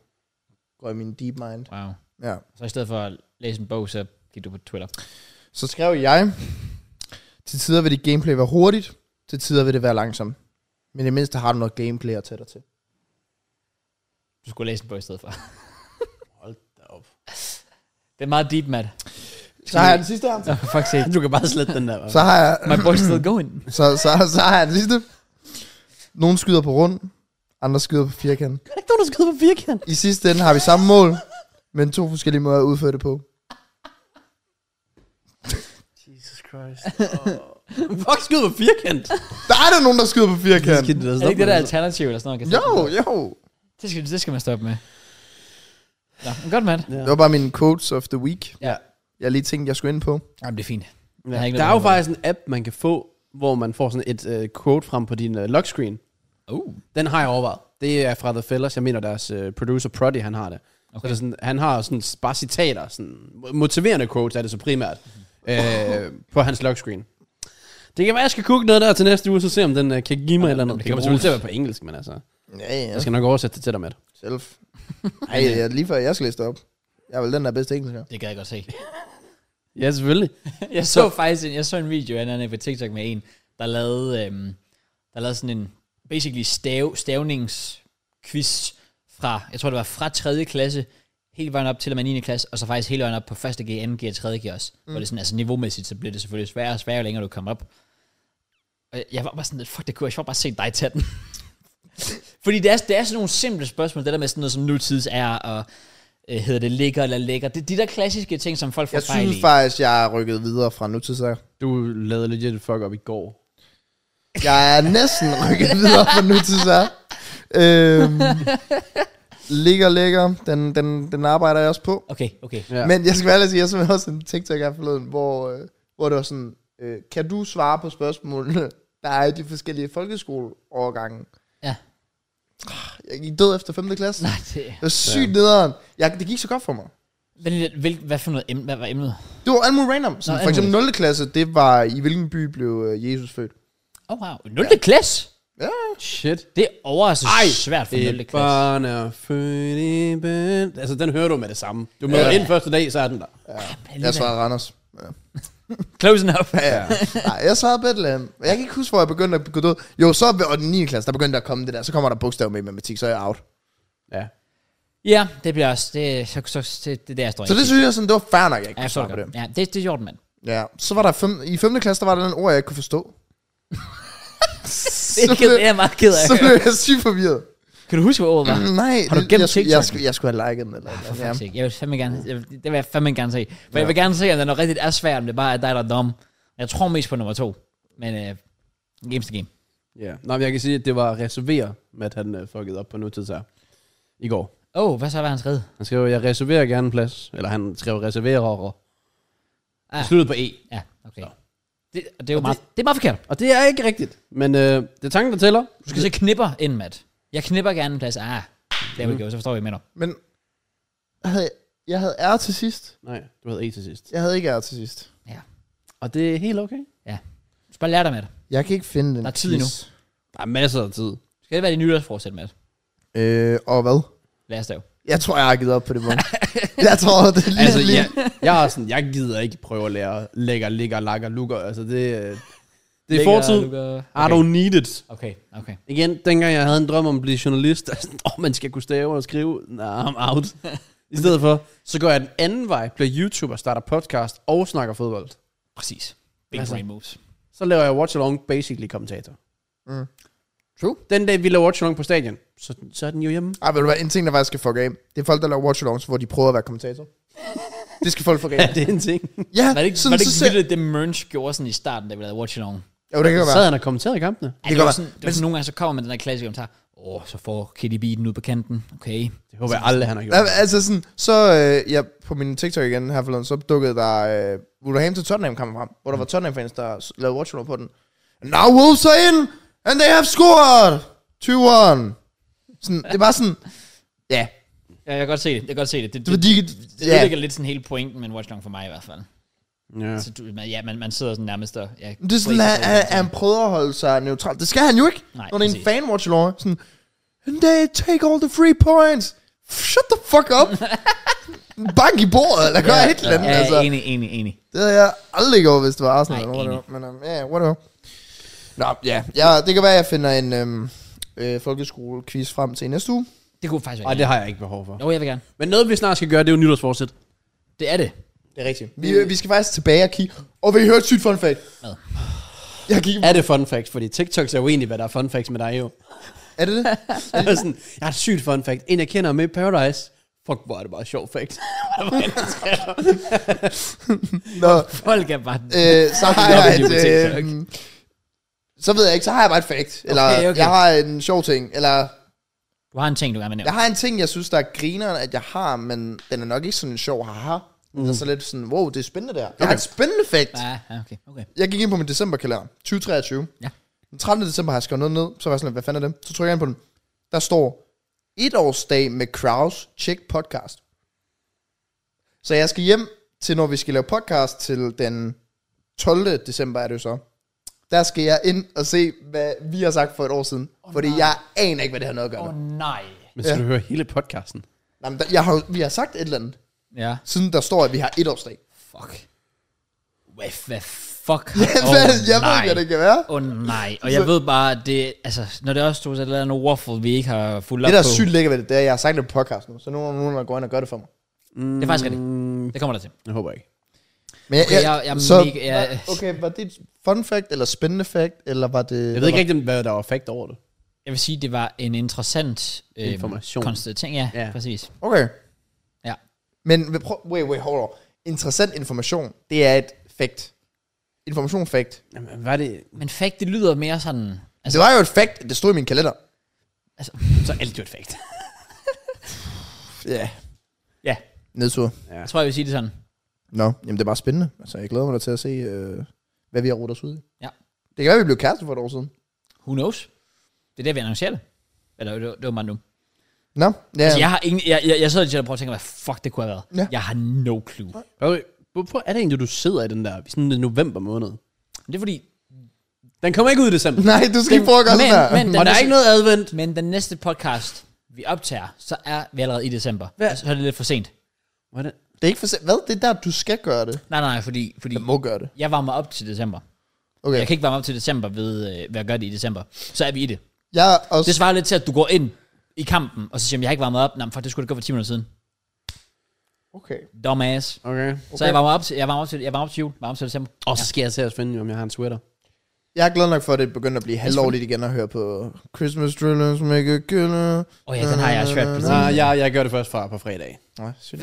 S2: Går i min deep mind.
S1: Wow.
S2: Ja.
S1: Så i stedet for at læse en bog, så gik du på Twitter.
S2: Så skrev jeg, til tider vil dit gameplay være hurtigt, til tider vil det være langsomt. Men i det mindste har du noget gameplay at tage dig til.
S1: Du skulle læse en bog i stedet for.
S3: Hold da op.
S1: Det er meget deep, Matt.
S2: Så har jeg den sidste her.
S1: Nå, for fuck's sake.
S3: Du kan bare slette den der.
S2: Så har jeg,
S1: My boy's still going.
S2: så, så, så har jeg den sidste. Nogle skyder på rund, andre skyder på firkant.
S3: er ikke nogen, der skyder på firkant.
S2: I sidste ende har vi samme mål, men to forskellige måder at udføre det på.
S3: Jesus Christ. Oh. Fuck, skyder på firkant.
S2: Der er der nogen, der skyder på firkant.
S1: Er det ikke det der alternativ eller sådan noget? man kan
S2: Jo,
S1: stoppe med?
S2: jo.
S1: Det skal, det skal man stoppe med. Nå, men godt, mand.
S2: Det var bare mine quotes of the week.
S1: Ja.
S2: Jeg lige tænkte, jeg skulle ind på.
S1: Jamen, det er fint. Jeg har
S3: Ja.
S1: ikke
S3: Der
S1: noget
S3: er jo
S1: med.
S3: faktisk en app, man kan få, hvor man får sådan et uh, quote frem på din uh, lockscreen.
S1: Uh.
S3: Den har jeg overvejet. Det er fra The Fellers. Jeg mener, deres uh, producer, Proddy, han har det. Okay. Så
S1: Okay.
S3: det er sådan, han har sådan bare citater. Sådan, motiverende quotes er det så primært. Øh, på hans lockscreen. Det kan være, jeg skal google noget der til næste uge, så se om den uh, kan give mig et eller andet.
S1: det
S3: Det
S1: kan
S3: kommer selvfølgelig til at være på engelsk, men altså.
S2: Ja, ja.
S3: Jeg skal nok oversætte det til dig, Matt.
S2: Selv. Ej, jeg, er lige før jeg skal læse det op. Jeg er vel den, der er bedst til engelsk her.
S1: øh, Det kan jeg godt se.
S3: Ja, selvfølgelig.
S1: jeg så faktisk en, jeg så en video af en på TikTok med en, der lavede, øhm, der lavede sådan en basically stav, stavningsquiz fra, jeg tror det var fra 3. klasse, hele vejen op til og med 9. klasse, og så faktisk hele vejen op på 1. G, 2. G og 3. G også. Mm. Hvor det er sådan, altså niveaumæssigt, så bliver det selvfølgelig sværere og sværere, jo længere du kommer op. Og jeg var bare sådan lidt, fuck det kunne jeg, jeg bare se dig tage den. Fordi det er, det er sådan nogle simple spørgsmål, det der med sådan noget som nutids er, og øh, hedder det ligger eller lækker. Det er de der klassiske ting, som folk får
S2: Jeg
S1: fejl i.
S2: synes faktisk, jeg er rykket videre fra nutidssager.
S3: Du lavede legit et fuck op i går.
S2: Jeg er næsten rykket videre fra nutidssager. Øhm, ligger, ligger. Den, den, den arbejder jeg også på.
S1: Okay, okay.
S3: Ja.
S2: Men jeg skal være ærlig og sige, jeg så også en TikTok her forleden, hvor, øh, hvor det var sådan, øh, kan du svare på spørgsmålene, der er i de forskellige folkeskoleovergange?
S1: Ja.
S2: Jeg gik død efter 5. klasse.
S1: Nej, det
S2: Det var sygt nederen. Jeg, det gik så godt for mig.
S1: Men lidt, hvil, hvad for noget emne, hvad var emnet?
S2: Det var alt muligt random. Sådan,
S1: Nå,
S2: for
S1: alt
S2: eksempel 0. klasse, det var i hvilken by blev øh, Jesus født?
S1: Oh wow, 0. Ja. klasse?
S3: Shit.
S1: Det er overraskende Ej, svært for 0.
S3: Et
S1: klasse.
S3: barn er født i ben- Altså, den hører du med det samme. Du møder
S2: Ja.
S3: ind første dag, så er den der.
S2: Jeg svarede Randers. Ja.
S1: Close enough.
S2: Ja. Nej, jeg svarede Bethlehem. Jeg kan ikke huske, hvor jeg begyndte at gå død. Jo, så ved- og den 9. klasse, der begyndte der at komme det der. Så kommer der bogstaver med i matematik, så er jeg out.
S3: Ja.
S1: Ja, det bliver også, det, så, så, det, det er der, jeg står
S2: Så det synes jeg sådan, det var fair nok, jeg ikke
S1: ja, jeg
S2: kunne
S1: står
S2: svare på
S1: det.
S2: det.
S1: godt. Ja, det, det er Jordan, mand.
S2: Ja, så var der fem, i 5. klasse, der var der den ord, jeg ikke kunne forstå.
S1: Det, er ked, det er jeg meget ked af.
S2: så blev jeg sygt forvirret.
S1: Kan du huske, hvad ordet var?
S2: Mm, Nej,
S1: Har du
S2: det-
S1: gemt
S2: jeg, skulle- jeg,
S1: TikTok'en?
S2: skulle, jeg skulle have liket den. Eller,
S1: For
S2: eller,
S1: fuck's
S2: ja.
S1: sake. Jeg vil fandme gerne, jeg, vil- det vil jeg fandme gerne se. For jeg vil gerne se, om det er noget rigtigt er svært, om det bare er dig, der er dum. Jeg tror mest på nummer to. Men øh, games to game.
S3: Ja. Nå, men jeg kan sige, at det var reservere, Matt han øh, fuckede op på nutidssager. I går.
S1: Åh, oh, hvad så var hans redde?
S3: Han skrev, jeg reserverer gerne en plads. Eller han skrev reserverer.
S1: Ah.
S3: Ah. Sluttede på E.
S1: Ja, okay. Det, og det er jo meget, det, det er meget forkert.
S3: Og det er ikke rigtigt. Men øh, det er tanken, der tæller.
S1: Du skal så knipper ind, Matt. Jeg knipper gerne en plads. Ah,
S2: Mm.
S1: der vi go, så forstår jeg, hvad jeg mener.
S2: Men jeg havde, jeg havde R til sidst.
S3: Nej, du havde E til sidst.
S2: Jeg havde ikke R til sidst.
S3: Og det er helt okay.
S1: Du skal bare lære dig, Matt.
S2: Jeg kan ikke finde den.
S1: Der er tid endnu.
S2: quiz.
S3: Der er masser af tid.
S1: Skal det være dit nytårsforsæt, Matt?
S2: Øh, og hvad?
S1: Lad os da jo.
S2: Jeg tror, jeg har givet op på det punkt. jeg tror, det er lige, altså,
S3: Altså,
S2: lige.
S3: jeg, jeg, er sådan, jeg gider ikke prøve at lære lækker, ligger, lakker, lukker. Altså, det, øh, det er fortid. I
S1: Okay.
S3: don't need it.
S1: okay, okay.
S3: Igen, dengang jeg havde en drøm om at blive journalist, altså, åh, man skal kunne stave og skrive, nah, I'm out. I stedet for, så går jeg den anden vej, bliver YouTuber, starter podcast og snakker fodbold.
S1: Præcis. Big
S3: Altså.
S1: brain moves.
S3: Så laver jeg watch along basically kommentator.
S2: Mm.
S3: True. Den dag, vi laver watch along på stadion, så, så er den jo hjemme.
S2: Ej, ved du hvad, en ting, der faktisk skal fuck af, det er folk, der laver watch-alongs, hvor de prøver at være kommentator. det skal folk fuck af.
S3: Ja, det er en ting.
S2: Ja,
S1: Var det ikke,
S2: sådan,
S1: var det,
S2: så
S1: ikke
S2: ser-
S1: vildt, at det Merns gjorde sådan i starten, da vi lavede Watch Along? Det,
S2: Jo, det kan
S3: Så
S2: godt
S3: sad
S2: være.
S3: han og kommenterede kampene.
S1: det,
S2: kan
S1: var
S2: være.
S1: sådan, det var sådan, nogle gange, så kommer man den der klassiske kommentar. Åh, oh, så får Kitty Beaten ud på kanten. Okay.
S3: Det håber jeg aldrig, han har gjort.
S2: Ja, Altså sådan, så øh, jeg, på min TikTok igen her forleden, så dukkede der øh, Wolverhampton til Tottenham kamp frem, hvor der var Tottenham-fans, der s- lavede watch på den. Now Wolves are in, and they have scored 2-1. Sådan, det var sådan, ja,
S1: Ja, jeg kan godt se det. Jeg kan godt se det. Det,
S2: det
S1: det,
S2: var de,
S1: det
S2: ja.
S1: ligger lidt sådan hele pointen med en Watch Along for mig i hvert fald.
S3: Ja.
S1: Så du, man, ja, man, man sidder sådan nærmest og... Ja,
S2: Det er sådan, at, at han prøver at holde sig neutral. Det skal han jo ikke,
S1: Nej,
S2: når det er en
S1: præcis.
S2: fan watch along. Sådan, and they take all the free points. Shut the fuck up. Bank i bordet, eller gør
S1: Ja,
S2: et eller andet.
S1: ja, ja,
S2: altså.
S1: enig, enig, enig.
S2: Det havde jeg aldrig gjort, hvis det var Arsenal.
S1: Nej,
S2: Nej, eller whatever. Men um, ja, yeah, whatever. Nå, ja. ja. Det kan være, jeg finder en øhm, øh, folkeskolequiz frem til i næste uge.
S1: Det kunne faktisk være.
S3: Ej, det har jeg ikke behov for.
S1: Jo, jeg vil gerne.
S3: Men noget, vi snart skal gøre, det er jo nytårsforsæt.
S1: Det er det.
S2: Det er rigtigt. Vi, vi skal faktisk tilbage og kigge. Og vi hørte et sygt fun fact.
S1: Hvad?
S2: Jeg gik...
S3: Er det fun facts? Fordi TikToks er jo egentlig, hvad der er fun facts med dig jo.
S2: Er det det?
S3: Jeg, er sådan, jeg har et sygt fun fact. En, jeg kender med i Paradise. Fuck, hvor er det bare et sjovt fact.
S2: Nå,
S1: Folk er bare...
S2: øh, så har
S1: Nå,
S2: jeg
S1: det er jo
S2: et...
S1: TikTok.
S2: Øh, så ved jeg ikke, så har jeg bare et fact. Eller
S1: Okay, okay.
S2: jeg har en sjov ting. Eller
S1: Du har en ting, du gerne vil nævne.
S2: jeg har en ting, jeg synes, der er grineren, at jeg har, men den er nok ikke sådan en sjov haha.
S1: Mhm.
S2: Mm. Den er så lidt sådan, wow, det er spændende der. Okay. Jeg har et spændende fact.
S1: Ja, ja, okay, okay.
S2: jeg gik ind på min decemberkalender, 2023.
S1: Ja.
S2: Den 13. december har jeg skrevet noget ned, så var jeg sådan, lidt, hvad fanden er det? Så trykker jeg ind på den. Der står, et årsdag med Kraus, check podcast. Så jeg skal hjem til, når vi skal lave podcast, til den 12. december er det jo så. der skal jeg ind og se, hvad vi har sagt for et år siden. Oh, fordi nej. jeg aner ikke, hvad det har noget at gøre
S1: Åh
S2: med.
S1: oh, nej.
S3: Men skal ja. du høre hele podcasten?
S2: Nej, men der, jeg har, jo- vi har sagt et eller andet,
S1: Ja.
S2: siden der står, at vi har et årsdag.
S1: Fuck. Hvad, hvad fuck? har-
S2: Oh, jeg ved ikke, hvad det kan være.
S1: Åh oh, nej, og jeg ved bare, at det, altså, når det også stod, så er der noget waffle, vi ikke har fuldt op
S2: Det, der
S1: på.
S2: er sygt lækkert ved det, det er, at jeg har sagt det på podcast nu, så nu er der nogen, der går ind og gør det for mig.
S1: Det er faktisk rigtigt. Det kommer der til.
S3: Mm, Jeg håber ikke.
S2: Men
S1: Okay, jeg- jeg er mega- jeg-
S2: okay, var det et fun fact, eller spændende fact, eller var det...
S3: Jeg ved ikke rigtig, hvad der var fakt over det.
S1: Jeg vil sige, det var en interessant øh,
S3: Information.
S1: konstant ting. Ja, ja,
S3: Ja.
S1: præcis.
S2: Okay.
S1: Ja.
S2: Men vi prøv, wait, wait, hold on. Interessant information, det er et fact. Information fact.
S1: Altså-
S3: Jamen, hvad er det?
S1: Men fact, det lyder mere sådan...
S2: Altså, det var jo et fact, det stod i min kalender.
S1: Altså,
S3: Så er alt jo et fakt.
S2: Ja, yeah.
S1: ja,
S2: nedtur.
S1: jeg tror, jeg vil sige det sådan.
S2: Nå, jamen det er bare spændende. Altså, jeg glæder mig da til at se, øh, hvad vi har rodet os ud i.
S1: Ja.
S2: Det kan være, vi blev kærester for et år siden.
S1: Who knows? Det er der, vi annoncerer det. Eller det var, det var mig nu.
S2: Nå, ja.
S1: Altså, jeg har ingen... Jeg, jeg, jeg sad lige og prøvede at tænke, hvad fuck det kunne have været.
S2: Ja.
S1: Jeg har no clue.
S3: Okay. Hvorfor er det egentlig, du sidder i den der, i sådan en november måned?
S1: Men Det er fordi...
S3: Den kommer ikke ud i december.
S2: Nej, du skal ikke prøve at gøre
S1: men,
S2: sådan her.
S1: men, den
S3: og der er
S1: næste,
S3: ikke noget advent.
S1: men den næste podcast, vi optager, så er vi allerede i december.
S3: Hvad?
S1: Altså, så er det lidt for sent.
S3: Hvordan?
S2: Det er ikke for se- Hvad? Det er der, du skal gøre det.
S1: Nej, nej, fordi, fordi
S2: Jeg må gøre det.
S1: jeg varmer op til december.
S2: Okay.
S1: Jeg kan ikke varme op til december ved, øh, ved at gøre det i december. Så er vi i det.
S2: Jeg er også...
S1: Det svarer lidt til, at du går ind i kampen, og så siger, jeg, jeg har ikke varmet op. Nej, men fuck, det skulle du gøre for 10 minutter siden.
S2: Okay.
S1: Dumbass.
S3: Okay.
S1: Okay. Så jeg varmer op til, jeg varmer op til, jeg varmer op til jul, varmer op til december.
S3: Og så skal jeg til at finde, om jeg har en sweater.
S2: Jeg er glad nok for, at det begynder at blive halvlovligt igen at høre på Christmas Drillers Make a Killer.
S1: Åh oh, ja, den har jeg svært på.
S3: Nej, jeg, jeg gør det først fra på fredag.
S2: Nej, sygt.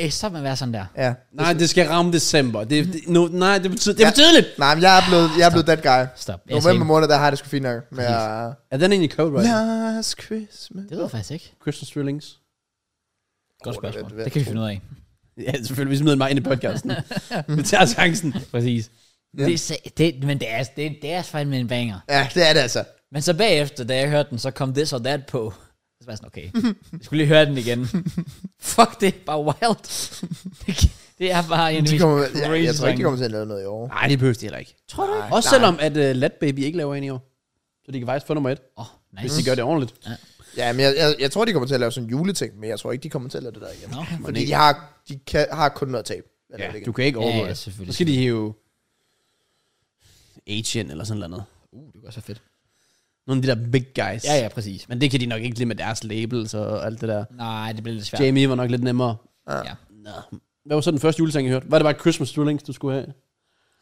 S1: Øh, Stop med at være sådan der.
S2: Ja.
S3: Nej, det skal ramme december. Det, det, no, nej, det betyder, det er for tidligt.
S2: Nej, men jeg er blevet, jeg er blevet that guy.
S1: Stop. Jeg
S2: November
S1: November.
S2: måned, der har jeg det sgu fint nok. Men jeg...
S3: Er den egentlig cold, right?
S2: Last Christmas.
S1: Det ved jeg faktisk ikke.
S3: Christmas Drillings.
S1: Godt
S2: Åh,
S1: spørgsmål.
S2: det er-
S1: Det kan vi finde ud af.
S3: Ja, selvfølgelig. Vi smider mig ind i podcasten. vi tager chancen.
S1: Præcis.
S2: Ja.
S1: Det, er sa- det, men det er, det, er- det er faktisk med en banger.
S2: Ja, det er det altså.
S1: Men så bagefter, da jeg hørte den, så kom this or that på. Så var jeg sådan, okay, jeg skulle lige høre den igen. Fuck, det er bare wild. det er bare en
S2: De kommer, ja,
S1: crazy
S2: jeg tror ikke,
S1: sang.
S2: de kommer til at lave noget i år.
S3: Nej, det behøver det heller ikke.
S1: Tror du ikke?
S3: Også selvom, at uh, Let Baby ikke laver en i år. Så de kan faktisk få nummer et,
S1: Åh, oh, nice.
S3: hvis de gør det ordentligt.
S2: Ja, men jeg, jeg, jeg, tror, de kommer til at lave sådan en juleting, men jeg tror ikke, de kommer til at lave det der igen.
S1: Nå,
S2: Fordi de har, de kan, har kun noget tab.
S3: Ja, du kan ikke
S1: Ja,
S3: overgå
S1: ja,
S3: det.
S1: selvfølgelig.
S3: Så skal de hive Asian eller sådan noget.
S1: Uh, det var så fedt.
S3: Nogle af de der big guys.
S1: Ja, ja, præcis.
S3: Men det kan de nok ikke lige med deres labels og alt det der.
S1: Nej, det blev lidt svært.
S3: Jamie var nok lidt nemmere.
S1: Ja.
S3: Nå. Hvad var så den første julesang, I hørte? Var det bare Christmas Drillings, du skulle have?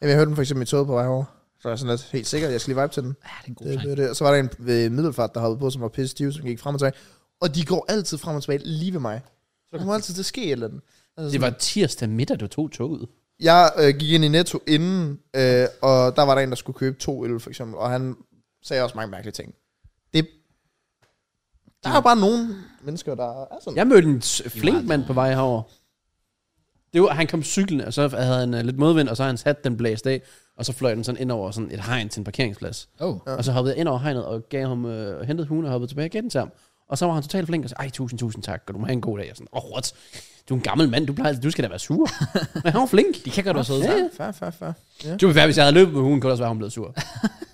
S2: Jamen, jeg hørte den for eksempel i toget på vej over. Så er jeg sådan lidt helt sikker, jeg skal lige vibe til den.
S1: Ja, det er en god
S2: Det,
S1: sang.
S2: det, det. Og så var der en ved middelfart, der hoppede på, som var pisse stiv, som gik frem og tilbage. Og de går altid frem og tilbage lige ved mig. Så der kommer altid til at ske et eller andet. Altså,
S3: Det var tirsdag middag, du tog toget.
S2: Jeg øh, gik ind i Netto inden, øh, og der var der en, der skulle købe to øl, for eksempel. Og han sagde også mange mærkelige ting. Det, der er jo bare nogle mennesker, der er sådan.
S3: Jeg mødte en s- flink mand på vej herover. Det var, han kom cyklen, og så havde han øh, lidt modvind, og så havde hans hat, den blæst af. Og så fløj den sådan ind over sådan et hegn til en parkeringsplads.
S1: Oh.
S2: Ja.
S3: Og så hoppede jeg ind over hegnet og gav ham, øh, og hentede hunden og hoppede tilbage og gav den til ham. Og så var han totalt flink og sagde, ej, tusind, tusind tak, og du må have en god dag. Jeg sådan, åh, oh, what? Du er en gammel mand, du, plejer, du skal da være sur. Men han var flink.
S1: De kan godt være søde.
S3: Ja, ja.
S2: Fair, fair, fair.
S3: Du vil være, hvis jeg havde løbet med hunden, kunne det også være, hun blev sur.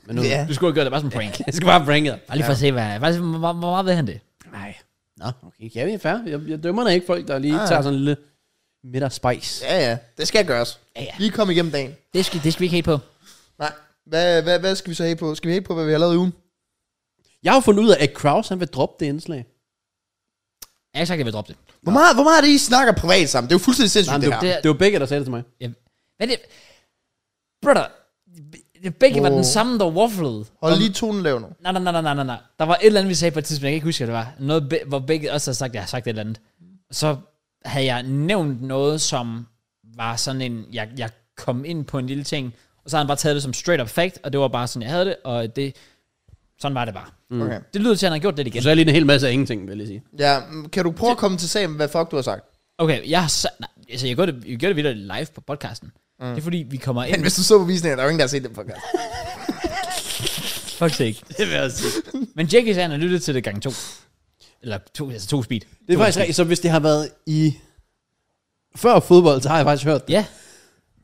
S3: Men nu,
S2: Ja.
S3: yeah.
S1: Du skulle have gjort det bare som prank.
S3: jeg skal bare bringe det.
S1: Bare lige for at se, hvad, hvad, hvor, hvor, hvor meget ved han det?
S3: Nej. Nå, okay, ja, vi er fair. Jeg, jeg dømmer da ikke folk, der lige
S2: Ah.
S3: ah. tager sådan en lille middagsspice.
S2: Ja, ja. Det skal gøres.
S1: Ja, ja.
S2: Lige kom igennem dagen.
S1: Det skal, det skal vi ikke have på.
S2: Nej. Hvad, hvad, hvad skal vi så have på? Skal vi have på, hvad vi har lavet i ugen?
S3: Jeg har fundet ud af, at Kraus, han vil droppe det indslag.
S1: Jeg har ikke sagt, at jeg vil droppe det.
S2: Hvor meget, hvor meget er det, I snakker privat sammen? Det er jo fuldstændig sindssygt,
S3: Nej, men
S2: det,
S3: det,
S2: her.
S3: det, det var begge, der sagde det til mig.
S1: Jeg, hvad er det? Brother, det begge var den
S2: Wow.
S1: samme, der wafflede.
S2: Hold lige tonen lav nu.
S1: Nej, nej, nej, nej, nej, nej, nej. Der var et eller andet, vi sagde på et tidspunkt, jeg kan ikke huske, hvad det var. Noget, be- hvor begge også havde sagt, at jeg har sagt et eller andet. Så havde jeg nævnt noget, som var sådan en, jeg, jeg kom ind på en lille ting, og så havde han bare taget det som straight up fact, og det var bare sådan, jeg havde det, og det, sådan var det bare.
S2: Mm. Okay.
S1: Det lyder til, at han har gjort det igen.
S3: Så er jeg lige en hel masse af ingenting, vil jeg lige sige.
S2: Ja, mm, kan du prøve at komme til sagen, hvad fuck du har sagt?
S1: Okay, jeg har sagt, nej, altså jeg gør det, jeg gør det videre live på podcasten. Mm. Det er fordi, vi kommer
S2: Men
S1: ind.
S2: hvis du så på visningen, der er jo ingen, der har set den podcast.
S1: Fuck ikke.
S3: Det vil jeg sige.
S1: Men Jackie sagde, han har lyttet til det gang to. Eller to, altså to speed.
S3: Det er faktisk rigtigt, så hvis det har været i... Før fodbold, så har jeg faktisk hørt det.
S1: Ja.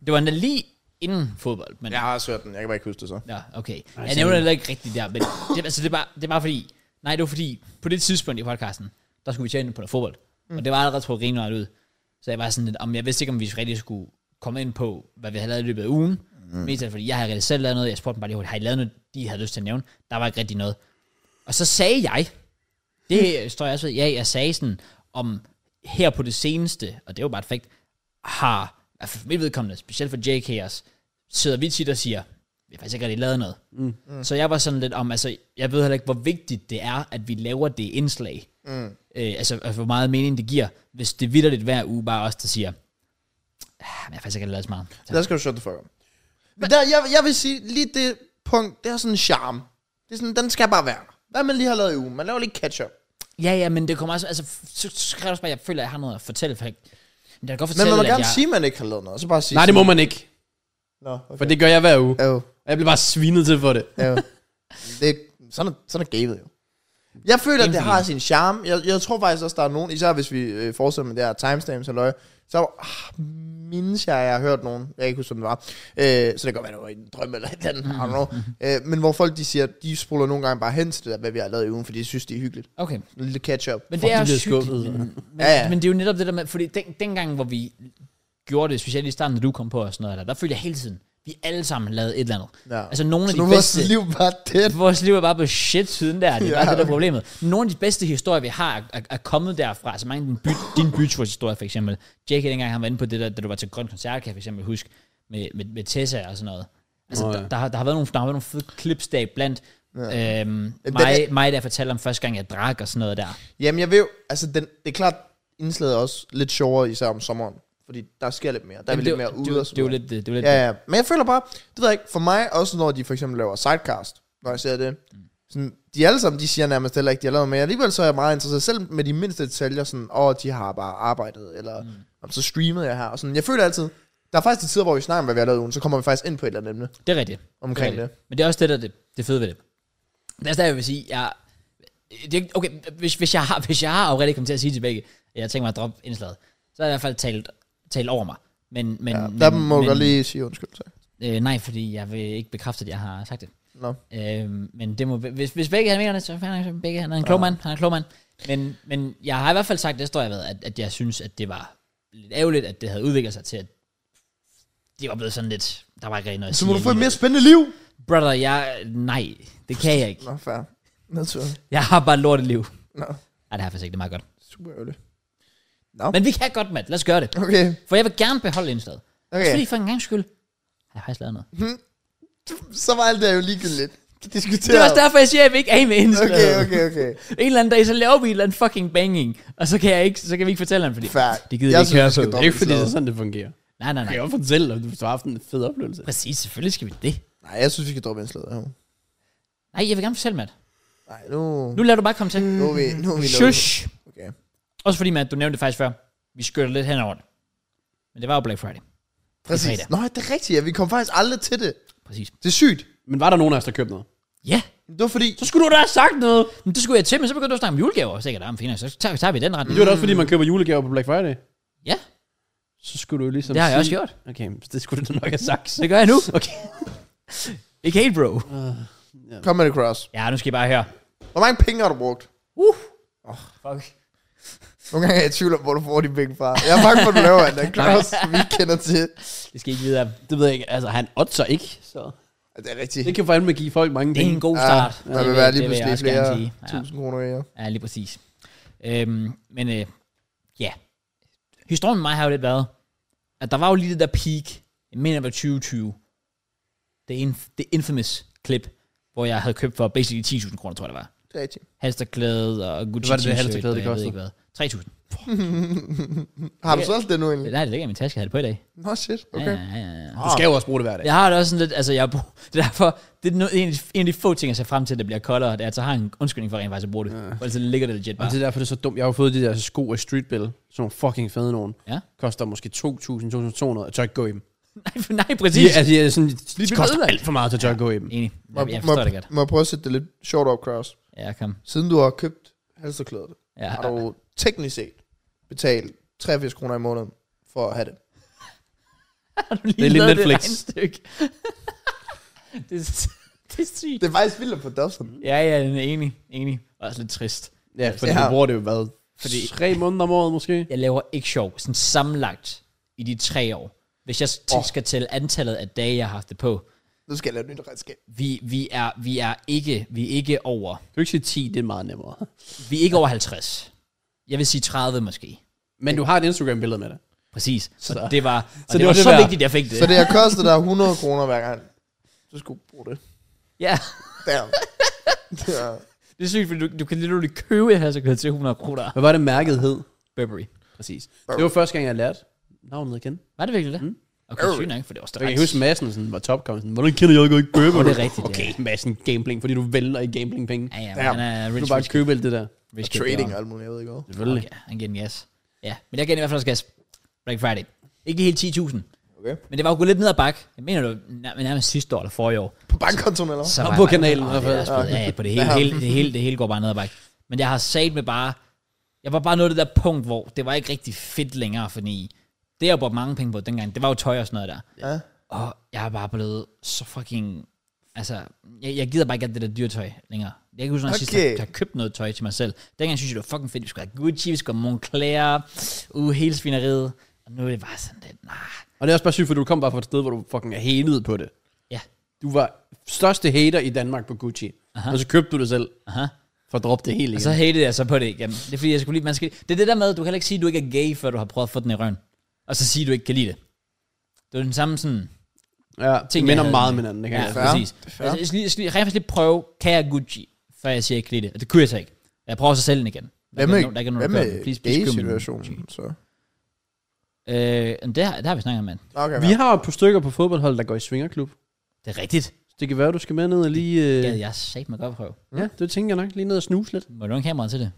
S1: Det var endda lige inden fodbold. Men,
S2: Jeg har også hørt den, jeg kan bare ikke huske det så.
S1: Ja, okay. jeg nævner det heller ikke rigtigt der, men det, altså, det, er bare, det er bare fordi, nej, det var fordi, på det tidspunkt i podcasten, der skulle vi tjene på noget fodbold, mm. og det var allerede trukket rimelig meget ud. Så jeg var sådan lidt, om jeg vidste ikke, om vi rigtig skulle komme ind på, hvad vi havde lavet i løbet af ugen. Mm. Mest af, alt fordi jeg havde rigtig selv lavet noget, jeg spurgte dem bare lige hurtigt, har I lavet noget, de havde lyst til at nævne? Der var ikke rigtig noget. Og så sagde jeg, det øh, står jeg også ved, ja, jeg sagde sådan, om her på det seneste, og det var bare et fact, har, altså for mit vedkommende, specielt for JK også, sidder vi tit og siger, vi har faktisk ikke rigtig lavet noget. Mm. Så jeg var sådan lidt om, altså, jeg ved heller ikke, hvor vigtigt det er, at vi laver det indslag. Mm. Øh, altså, altså, hvor meget mening det giver, hvis det vidderligt hver uge bare os, der siger, ah, men jeg har faktisk ikke rigtig lavet så meget. Så,
S2: Der skal du shut the fuck up. Men der, jeg, jeg vil sige, lige det punkt, det har sådan en charme. Det er sådan, den skal bare være. der. Hvad man lige har lavet i ugen? Man laver lige catch-up.
S1: ja, ja, men det kommer også, altså, så, så skrev jeg også bare, at jeg føler, at jeg har noget at fortælle, for jeg, men jeg kan godt
S2: Men
S1: fortælle,
S2: man må
S1: at
S2: gerne
S1: jeg,
S2: sige, at man ikke har lavet noget. Og så bare sige
S3: Nej, det må man ikke.
S2: Nå, okay.
S3: For det gør jeg hver uge.
S2: Jo,
S3: Og jeg bliver bare svinet til for det.
S2: jo. det, er- sådan, er- sådan er gamet jo. Jeg føler, at det har sin charme. Jeg, jeg tror faktisk også, der er nogen, især hvis vi øh, fortsætter med det her timestamps og løg, så ah, mindes jeg, at jeg har hørt nogen, jeg kan ikke huske, hvem det var, øh, så det kan godt være, det var i en drøm eller et eller andet, I don't know. Øh, men hvor folk de siger, at de spoler nogle gange bare hen til det der, hvad vi har lavet i ugen, fordi de synes, det er hyggeligt.
S1: Okay,
S2: En lille catch-up.
S1: Men det er
S3: de
S1: også
S3: bliver
S1: skuffet.
S3: skuffet.
S1: Men, men,
S2: Ja, ja.
S1: men det er jo netop det der med, fordi den, dengang, hvor vi gjorde det, specielt i starten, da du kom på og sådan noget, der, der følte jeg hele tiden, vi alle sammen lavede et eller andet.
S2: Ja.
S1: Altså nogle af
S2: Så
S1: de
S2: nu er
S1: bedste...
S2: vores liv bare det.
S1: Vores liv er bare på shit siden der, det er
S2: Ja.
S1: bare det, der er problemet. Nogle af de bedste historier, vi har, er, er kommet derfra. Altså mange af din, by, din byturshistorie, for eksempel. Jake, dengang han var inde på det der, da du var til Grøn Koncert, kan jeg for eksempel huske, med, med, med Tessa og sådan noget. Altså,
S3: Nå,
S1: oh,
S3: ja.
S1: ja. der, der, har, der, har været nogle, der har været nogle fede clips der blandt ja. øhm, mig,
S2: det-
S1: mig, der fortalte om første gang, jeg drak og sådan noget der.
S2: Jamen, jeg vil jo, altså den, det er klart, indslaget er også lidt sjovere, især om sommeren. Fordi der sker lidt mere. Der er vi
S1: Jamen,
S2: lidt
S1: det,
S2: mere
S1: det,
S2: ude og
S1: det, det, er jo lidt, det, det er jo lidt
S2: Ja, ja, men jeg føler bare, det ved jeg ikke, for mig, også når de for eksempel laver sidecast, når jeg ser det,
S1: Mm.
S2: sådan, de alle sammen, de siger nærmest heller ikke, de har lavet, men alligevel så er jeg meget interesseret, selv med de mindste detaljer, sådan, åh, de har bare arbejdet, eller mm. så streamede jeg her, og sådan, jeg føler altid, der er faktisk de tider, hvor vi snakker om, hvad vi har lavet i ugen, så kommer vi faktisk ind på et eller andet emne
S1: Det er rigtigt.
S2: omkring
S1: det. er
S2: det.
S1: rigtigt. Men det er også det, der er det, det fede ved det. Det er også der, jeg vil sige, jeg... Det, er ikke- okay, hvis, hvis, jeg har, hvis jeg har already kommet til at sige til begge, at jeg tænker mig at droppe indslaget, så er jeg i hvert fald talt, talt over mig. Men, men,
S2: Ja,
S1: men,
S2: der må
S1: men,
S2: jeg godt lige sige undskyld til.
S1: Øh, nej, fordi jeg vil ikke bekræfte, at jeg har sagt det.
S2: Nå.
S1: Øh, men det må, hvis, hvis begge han mener det, så finder jeg begge. Han er en klog mand, han er en klog mand. Men, men jeg har i hvert fald sagt, det står jeg ved, at, at jeg synes, at det var lidt ærgerligt, at det havde udviklet sig til, at det var blevet sådan lidt, der var ikke rigtig noget at
S2: Så må
S1: sige
S2: du få et
S1: alligevel.
S2: mere spændende liv.
S1: Brother, jeg... Nej, det kan jeg ikke.
S2: Nå, fair. Naturligt.
S1: Jeg har bare et lortet liv.
S2: Nå,
S1: Nej, det har jeg faktisk ikke. Det er meget godt.
S2: super ærgerligt.
S1: Men vi kan godt, Matt. Lad os gøre det.
S2: Okay,
S1: For jeg vil gerne beholde indslaget. Okay.
S2: okay.
S1: Fordi for en gang skyld har jeg faktisk lavet noget.
S2: Så var alt det jo ligegyldigt.
S1: Det er også derfor, jeg siger, at jeg vil ikke af med indslaget.
S2: Okay, okay, okay.
S1: En eller anden dag, så laver vi en eller anden fucking banging. Og så kan, jeg ikke, så kan vi ikke fortælle ham, fordi
S2: Fair.
S1: det gider
S2: Jeg
S1: jeg ikke
S2: synes,
S1: høre på.
S2: vi skal
S3: Det er ikke fordi, det er sådan, det fungerer.
S1: Nej, nej,
S3: Jeg
S1: nej.
S3: kan jo fortælle, om du har haft en fed oplevelse.
S1: Præcis, selvfølgelig skal vi det.
S2: Nej, jeg synes, vi skal droppe indslaget her.
S1: Nej, jeg vil gerne fortælle, Matt.
S2: Nej, nu...
S1: Nu lader du bare komme til.
S2: Nu er vi... Nu er vi nået-
S1: Shush.
S2: Okay.
S1: Også fordi, Matt, du nævnte det faktisk før. Vi skørte lidt henover det. Men det var jo Black Friday.
S2: Præcis.
S1: fredag.
S2: Nå, det er rigtigt, ja. Vi kom faktisk aldrig til det.
S1: Præcis.
S2: Det er sygt.
S3: Men var der nogen af os, der købte noget?
S1: Ja,
S2: Det var fordi...
S3: Så skulle du da have sagt noget.
S1: Men det skulle jeg til, men så begyndte du at snakke om julegaver. Så jeg kan fint, nok, så tager, tager vi den retning.
S3: Det var da også, fordi man køber julegaver på Black Friday.
S1: Ja,
S3: Så skulle du jo ligesom
S1: det har jeg
S3: sige-
S1: også gjort.
S3: Okay, men det skulle du nok have sagt.
S1: Det gør jeg nu. Okay. Ikke helt, bro.
S2: Kom med det cross.
S1: Ja, nu skal I bare høre.
S2: Hvor mange penge har du brugt?
S1: Uh. Oh, fuck.
S2: Nogle gange er jeg i tvivl om, hvor du får de penge fra. Jeg er bange for, at du laver en af cross, vi kender til.
S1: Det skal I ikke vide af.
S3: Det ved jeg ikke. Altså, han otter ikke, så...
S2: Ja, Det er rigtigt.
S3: Det kan fandme give folk mange
S1: Det er
S3: penge.
S1: en god start.
S2: Ja, der vil være lige
S1: det vil jeg
S2: pludselig
S1: også
S2: flere
S1: gerne sige. Ja,
S2: tusind kroner i. Ja.
S1: ja, lige præcis. Øhm, men øh, ja, historien med mig har jo lidt været, at der var jo lige det der peak, jeg mener det var 2020, det, inf- det infamous klip, hvor jeg havde købt for basically 10.000 kroner, tror jeg det var.
S2: Det er rigtigt.
S1: halsterklæde og Gucci
S3: var det, det
S1: t-shirt,
S3: halsterklæde,
S1: og
S3: det
S1: jeg ved
S3: kostede?
S1: ikke hvad. 3.000.
S2: Har du solgt det nu egentlig?
S1: Nej, det ligger i min taske, jeg havde det på i dag.
S2: Nå, shit.
S1: Ja,
S2: Okay. Ah,
S1: ja, ja, ja.
S3: Du skal jo også bruge det hver dag.
S1: Jeg har det også sådan lidt, altså jeg, br- det er derfor, det er noget, en, af de- en af de få ting, jeg ser frem til, at det bliver koldere, det er, at så har jeg en undskyldning for rent faktisk at bruge det. Ja. For ellers så ligger det legit
S3: Og
S1: bare.
S3: det er derfor, det er så dumt. Jeg har jo fået de der sko af Streetbill, som er fucking fede nogen.
S1: Ja.
S3: Koster måske 2.000, 2.200, jeg tør ikke gå i dem.
S1: Nej, for- nej,
S3: De,
S1: præcis.
S3: altså, de, er sådan, de, de
S1: ved
S3: koster
S1: det.
S3: alt for meget, så jeg tør ikke gå i dem.
S1: Enig.
S2: Må,
S1: Jeg, jeg
S2: må,
S1: forstår det godt.
S2: må jeg prøve at sætte det lidt sjovt op, cross?
S1: Ja, kom.
S2: Siden du har købt halserklædet,
S1: Ja,
S2: har du teknisk set betalt 83 kroner i måneden for at have det.
S1: Har du lige
S3: Det er lidt
S1: lavet
S3: Netflix.
S1: Det regnestykke? det, er, det er sygt.
S2: Det er faktisk vildt på Dawson.
S1: Ja, ja, den er enig. Enig. Og også lidt trist.
S3: Ja, fordi
S2: Ja.
S3: ja. du bruger det jo, hvad?
S1: Fordi-
S3: Fordi... Tre måneder om året måske?
S1: Jeg laver ikke sjov, sådan sammenlagt i de tre år. Hvis jeg t- skal tælle antallet af dage, jeg har haft det på.
S2: Nu skal jeg lave et nyt redskab.
S1: Vi, vi, er, vi, er ikke, vi er ikke over.
S3: Du kan ikke sige 10, det er meget nemmere.
S1: Vi er ikke over 50. Jeg vil sige 30 måske.
S3: Men du har et Instagram-billede med det.
S1: Præcis. Så
S3: Så-
S1: og det var, og så, det
S3: det
S1: var
S3: var det
S1: så
S3: værd.
S1: vigtigt, jeg fik det.
S2: Så det har kostet dig 100 kroner hver gang. Du skulle bruge det.
S1: Ja,
S2: Der. Der.
S1: det er sygt, fordi du, du kan literally købe et halserkød til 100 kroner.
S3: Hvad var det mærket hed?
S1: Burberry.
S3: Præcis. Det var første gang, jeg lærte navnet at kende.
S1: Var det virkelig det? Mm. Okay, sygt nok, for det var
S3: Jeg
S1: stærkt.
S3: kan huske, Madsen sådan, var topkommet. Sådan, Hvordan kender jeg ikke Burberry?
S1: Åh, det er rigtigt,
S3: Okay, Madsen gambling, fordi du vælger i gamblingpenge.
S1: Ja, ja,
S2: Ja.
S1: men han er
S3: Du
S1: rich,
S3: bare
S1: rich,
S3: købe alt det der.
S1: rich kid
S2: Trading
S1: derovre.
S2: og alt muligt, jeg ved ikke hvad.
S3: Selvfølgelig.
S1: Okay, han giver den gas. Ja, men jeg gav den i hvert fald også gas. Black Friday. Ikke helt 10.000,
S2: Okay.
S1: men det var jo gået lidt ned ad bakke. Jeg mener du, nær- nærmest sidste år eller forrige år.
S2: På bankkontoen eller hvad?
S1: Så
S3: Og
S1: var
S3: på
S1: jeg-
S3: kanalen i
S1: Åh,
S3: hvert
S1: det er
S3: fald.
S1: også blevet- Ja, på det hele,
S2: Ja.
S1: hele, det hele, det hele går bare ned ad bakke. Men jeg har sat med bare, jeg var bare nået det der punkt, hvor det var ikke rigtig fedt længere, fordi det jeg brugte mange penge på dengang, det var jo tøj og sådan noget der.
S2: Ja.
S1: Og jeg er bare blevet så fucking... Altså, jeg, jeg gider bare ikke alt det der dyrtøj længere. Jeg kan ikke huske, når jeg sidst
S2: Okay.
S1: har, har købt noget tøj til mig selv. Dengang synes jeg, det var fucking fedt. Vi skulle have Gucci, vi skulle have Moncler, uh, hele svineriet. Og nu er det bare sådan lidt, nej.
S3: Og det er også bare sygt, for du kom bare fra et sted, hvor du fucking er hated på det.
S1: Ja,
S3: Du var største hater i Danmark på Gucci. Aha. Og så købte du det selv,
S1: aha. Altså,
S3: for at droppe det helt
S1: Og
S3: igen.
S1: så hatede jeg så på det igen. Det er fordi, jeg skulle lige, man skal, det er det der med, at du kan heller ikke sige, at du ikke er gay, før du har prøvet at få den i røven. Og så sige, at du ikke kan lide det. Det er den samme sådan...
S3: ja,
S1: ting,
S3: ting,
S1: jeg
S3: minder
S1: havde
S3: meget
S1: med.
S3: om hinanden, det kan
S1: Ja,
S3: jeg.
S2: fair.
S1: præcis.
S2: Det er fair.
S1: Altså, jeg skal, lige- jeg skal lige- jeg kan faktisk lige prøve, kan jeg Gucci, før jeg siger, at jeg ikke kan lide det. Og det kunne jeg så ikke. Jeg prøver så selv den igen. Der er
S2: Hvad
S1: ikke
S2: med,
S1: nogen- der er ikke
S2: hvad
S1: nogen, der kører den.
S2: med
S1: Please, please køb min Gucci.
S2: gay-situationen? Så?
S1: Øh, men det, har, det har vi snakket om, mand.
S2: Okay,
S3: Vi har jo et par stykker på fodboldholdet, der går i svingerklub.
S1: Det er rigtigt.
S2: Øh.
S3: Så det kan være, du skal med ned og lige... Øh,
S1: Ja, jeg sagde mig godt prøve.
S3: ja, det tænker jeg nok. Lige ned og snuse lidt.
S1: Må du have kameraet til det?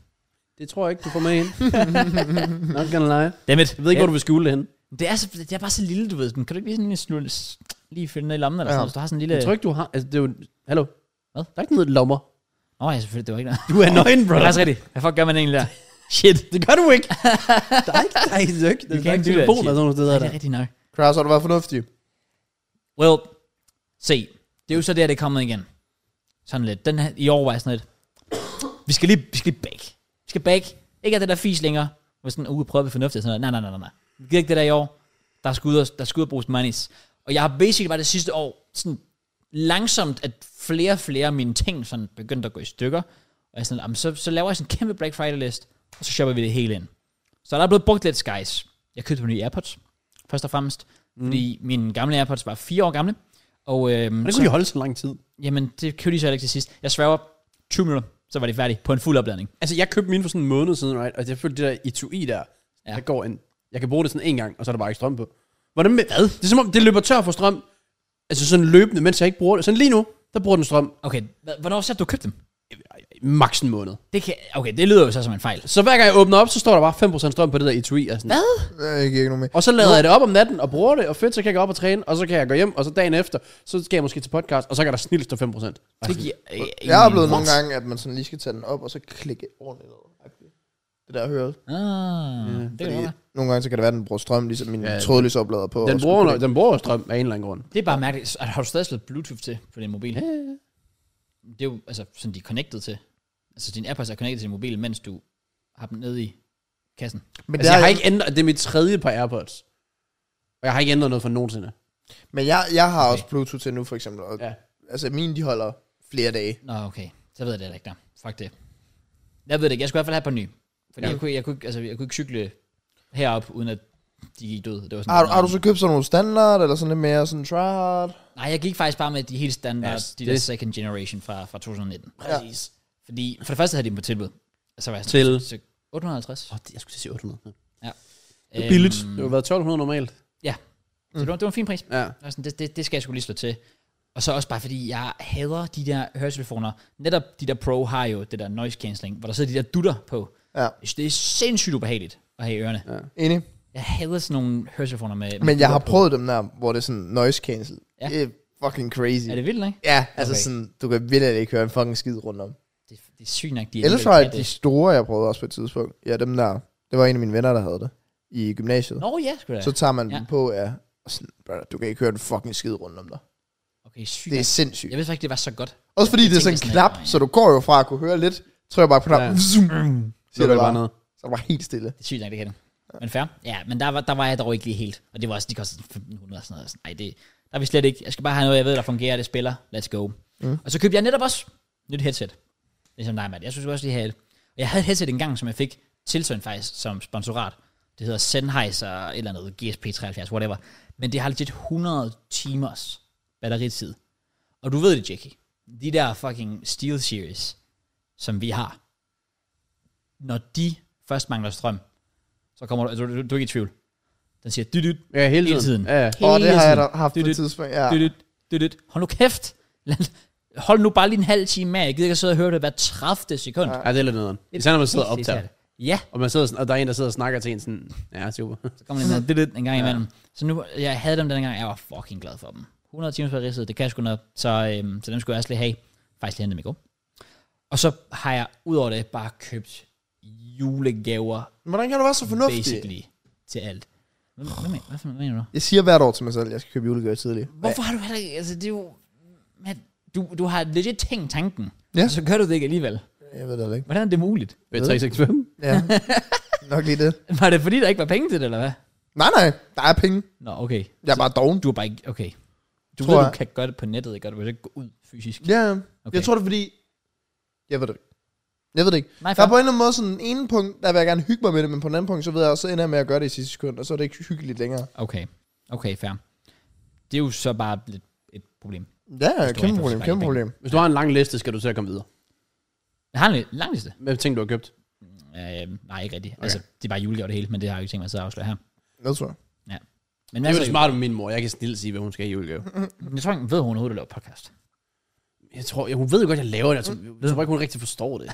S3: Det tror jeg ikke, du får med ind. Not gonna lie.
S1: Dammit.
S3: Jeg ved ikke, hvor du vil skjule det hen.
S1: Det er, så, det er bare så lille, du ved. Den Kan du ikke lige sådan lige, snu, lige finde ned i lommen eller sådan
S2: Ja.
S1: noget? Hvis du har sådan en lille...
S3: Jeg tror ikke, du har... Altså, det er jo... Hallo?
S1: Hvad?
S3: Der er ikke noget lommer.
S1: Nå ja, selvfølgelig. Det var ikke noget.
S3: Du er nøgen,
S1: Det er faktisk rigtigt. Hvad fuck gør man egentlig der? Shit.
S3: Det gør du ikke. der er ikke... Der er ikke... Der er ikke,
S1: kan
S3: der er
S1: ikke
S3: ikke
S1: do that
S3: telefoner
S1: shit.
S3: og sådan noget
S1: Det er,
S3: steder
S1: det
S3: der.
S1: er rigtigt nok.
S2: Kraus, har du været fornuftig?
S1: Well, se. Det er jo så der, det er kommet igen. Sådan lidt. Den her, I år var jeg sådan lidt. Vi skal lige, vi skal lige back. Vi skal back. Ikke af det der fis længere. Hvor sådan, uh, prøv at være fornuftig. og Sådan noget. Nej, nej, nej, nej, nej. Vi gider ikke det der i år. Der er skud, der er skud at bruges monies. Og jeg har basically bare det sidste år, sådan langsomt, at flere og flere af mine ting sådan begyndte at gå i stykker. Og jeg sådan, jamen, så, så laver jeg sådan en kæmpe Black Friday list, og så shopper vi det hele ind. Så der er blevet brugt lidt skies. Jeg købte nogle nye AirPods, først og fremmest. Mm. Fordi mine gamle AirPods var fire år gamle. Og øhm,
S3: Men det
S1: så-
S3: kunne de holde så lang tid.
S1: Jamen, det købte de så heller ikke til sidst. Jeg sværger 20 minutter, så var de færdige på en fuld opladning.
S3: Altså, jeg købte mine for sådan en måned siden, right? Og jeg følte det der etui der,
S1: Ja.
S3: ja. der går en... Jeg kan bruge det sådan en gang, og så er der bare ikke strøm på. Hvordan med... Hvad? Det er som om, det løber tør for strøm. Altså sådan løbende, mens jeg ikke bruger det. Sådan lige nu, der bruger den strøm
S1: Okay, hva- hvornår så du købte dem?
S3: maks en måned.
S1: Det kan, okay, det lyder jo så som en fejl.
S3: Så hver gang jeg åbner op, så står der bare 5% strøm på det der etui. Og, sådan.
S1: Hvad?
S2: Nej, jeg giver ikke nogen med.
S3: og så lader jeg det op om natten og bruger det, og fedt, så kan jeg gå op og træne, og så kan jeg gå hjem, og så dagen efter, så skal jeg måske til podcast, og så kan der snilt stå 5%.
S1: Det giver, øh,
S2: Jeg er oplevet
S1: ingen-
S2: nogle gange, at man sådan lige skal tage den op, og så klikke ordentligt over. Det der hører.
S1: Ah, det, kan
S2: Fordi
S1: godt være.
S2: nogle gange, så kan det være, at den bruger strøm, ligesom min
S3: Ja.
S2: trådløse oplader på.
S3: Den
S2: og
S3: bruger,
S2: skulle
S3: den bruger jo strøm af en eller anden grund.
S1: det er bare mærkeligt. Så Har du stadig slået Bluetooth til på din mobil? Det er jo altså, sådan, de er connected til. Altså, din app er connected til din mobil, mens du har dem nede i kassen.
S2: klikke. Men,
S3: Altså,
S2: der,
S3: jeg har ikke ændret, det er mit tredje par AirPods. Og jeg har ikke ændret noget for nogensinde.
S2: men jeg, jeg har også Bluetooth til nu, for eksempel. Og,
S3: Ja.
S2: Altså, mine, de holder flere dage.
S1: Nå, okay. Så ved jeg det heller ikke der. Fuck det. Jeg ved det ikke. Jeg skulle i hvert fald have et par nye. Fordi ja. jeg, kunne, jeg, kunne, ikke- altså, jeg kunne ikke cykle herop, uden at de gik død. Det var sådan,
S2: Har, du- har du så købt sådan nogle standard, eller sådan lidt mere sådan tryhard?
S1: Nej, jeg gik faktisk bare med de helt standard, yes,
S3: Yes,
S1: de der
S3: det-
S1: second generation fra, fra 2019.
S3: Præcis.
S1: Fordi for det første havde de dem på tilbud. Altså, Og Så var jeg
S3: Til?
S1: så- 850.
S3: Oh, det, jeg skulle til at sige 800. Ja. Det er
S1: Øhm,
S3: billigt. Det har været 1200 normalt.
S1: Ja. Så det var, det var en fin pris.
S3: Ja.
S1: Jeg var sådan, det, det, det skal jeg sgu lige slå til. Og så også bare fordi, jeg hader de der høretelefoner. Netop de der Pro har jo det der noise cancelling, hvor der sidder de der dutter på.
S2: Ja.
S1: Jeg synes, Det er sindssygt ubehageligt at have i ørerne. Ja.
S2: Enig.
S1: Jeg hader sådan nogle høretelefoner med, med
S2: Men jeg har
S1: dutter på.
S2: prøvet dem der, hvor det er sådan noise cancel.
S1: Ja.
S2: Ja. Det er fucking crazy.
S1: Er det vildt, ikke?
S2: Ja, altså
S1: Okay.
S2: okay. sådan, du kan virkelig ikke høre en fucking skid rundt om.
S1: Det, det er sygt nok, de
S2: Ellers
S1: alligevel
S2: var
S1: kan
S2: det de
S1: det.
S2: store, jeg prøvede også på et tidspunkt. Ja, dem der. Det var en af mine venner, der havde det i gymnasiet.
S1: Nå ja, sgu da.
S2: Så tager man
S1: Ja.
S2: dem på, ja. Og sådan, brother, du kan ikke høre en fucking skid rundt om dig.
S1: Okay, sygt.
S2: Det er sindssygt.
S1: Jeg vidste faktisk, det var så godt.
S2: Også fordi
S1: Jeg
S2: det er sådan
S1: tænkte
S2: en
S1: sådan,
S2: knap,
S1: at-
S2: så du går jo fra at kunne høre lidt, tror jeg bare på knap,
S3: Ja.
S2: ja. zoom,
S3: Så er
S2: siger
S3: det
S2: det
S3: bare
S2: bare.
S3: noget.
S2: Så er det bare helt stille.
S1: Det er sygt nok, det kan det. Men fair. Ja, men der var, der var jeg dog ikke lige helt. Og det var også, de kostede 1500 og sådan noget. Sådan, Ej, det, der er vi slet ikke. Jeg skal bare have noget, jeg ved, der fungerer, det spiller. Let's go. Mm. Og så købte jeg netop også nyt headset. Ligesom dig, Matt. Jeg synes også, de havde et. Og jeg havde et headset engang, som jeg fik tilsendt faktisk som sponsorat. Det hedder Sennheiser eller et eller andet, GSP73, whatever. Men det har legit 100 timers batteritid. Og du ved det, Jackie. De der fucking Steel Series, som vi har, når de først mangler strøm, så kommer du, altså, du, du, du er ikke i tvivl. Den siger, dyt, dyt,
S3: Ja, hele
S1: hele
S3: tiden.
S1: tiden.
S3: Ja, ja.
S2: Og det har jeg da
S1: tiden.
S2: haft på
S1: Det-
S2: et tidspunkt. Ja.
S1: Dyt, dyt, dyt, dyt. Hold nu kæft. Lad- Hold nu bare lige en halv time med. Jeg gider ikke at sidde og høre det hver 30 sekund.
S3: ja, det er lidt nederen. Især når man sidder og optager.
S1: Ja,
S3: Og, man sidder sådan, og der er en, der sidder og snakker til en sådan, ja, super.
S1: så kommer den der dyt, dyt en gang imellem. Så nu, jeg havde dem den gang, jeg var fucking glad for dem. 100 timers på ridset, det kan jeg sgu noget. Så, øhm, så dem skulle jeg også lige have. Faktisk lige hente dem i går. Og så har jeg udover det bare købt julegaver,
S2: Hvordan kan du være så fornuftig?
S1: basically, til alt. Hvad, hvad, men- hvad, hvad mener du?
S2: Jeg siger hvert år til mig selv, at jeg skal købe julegaver tidligt.
S1: Hvorfor har du heller ikke... Altså, det er jo... Man, du, du har legit tænkt tanken,
S2: Ja.
S1: og så gør du det ikke alligevel.
S2: Jeg ved det ikke.
S1: Hvordan er det muligt?
S3: Ved 365.
S2: Ja. Nok lige det.
S1: Var det fordi, der ikke var penge til det, eller hvad?
S2: Nej, nej. Der er penge.
S1: Nå, okay.
S2: Jeg er bare doven.
S1: Du er bare ikke... Okay. Du
S2: Tror
S1: ved,
S2: jeg.
S1: du kan gøre det på nettet, ikke? Og du vil ikke gå ud fysisk.
S2: Ja, okay.
S1: Okay.
S2: jeg tror det er fordi... Jeg ved det ikke. Jeg ved det ikke.
S1: Nej,
S2: Der er
S1: fair.
S2: på en eller anden måde sådan en ene punkt, der vil jeg gerne hygge mig med det, men på den anden punkt, så ved jeg også, så ender jeg med at gøre det i sidste sekund, og så er det ikke hyggeligt længere.
S1: Okay. Okay, fair. Det er jo så bare lidt et problem.
S2: Ja,
S1: du rent
S2: kæmpe
S1: faktisk
S2: problem,
S1: bare
S2: kæmpe
S1: ikke
S2: problem.
S3: Hvis du har en lang liste, skal du til at komme videre.
S1: Jeg har en lidt- lang liste.
S3: Hvad ting, du har købt?
S1: Øh, nej, ikke rigtigt. Okay. Altså, det er bare julegaver det hele, men det har jeg jo ikke tænkt mig at sidde og afsløre her.
S2: Det tror jeg.
S1: Men
S3: Det er jo det smarte med min mor. Jeg kan snille sige, hvad hun skal have i julegave.
S1: jeg tror ikke, hun ved, hun overhovedet laver podcast.
S3: Jeg tror, jeg, hun ved jo godt, jeg laver det. Altså, jeg tror ikke, hun rigtig forstår det.
S2: Han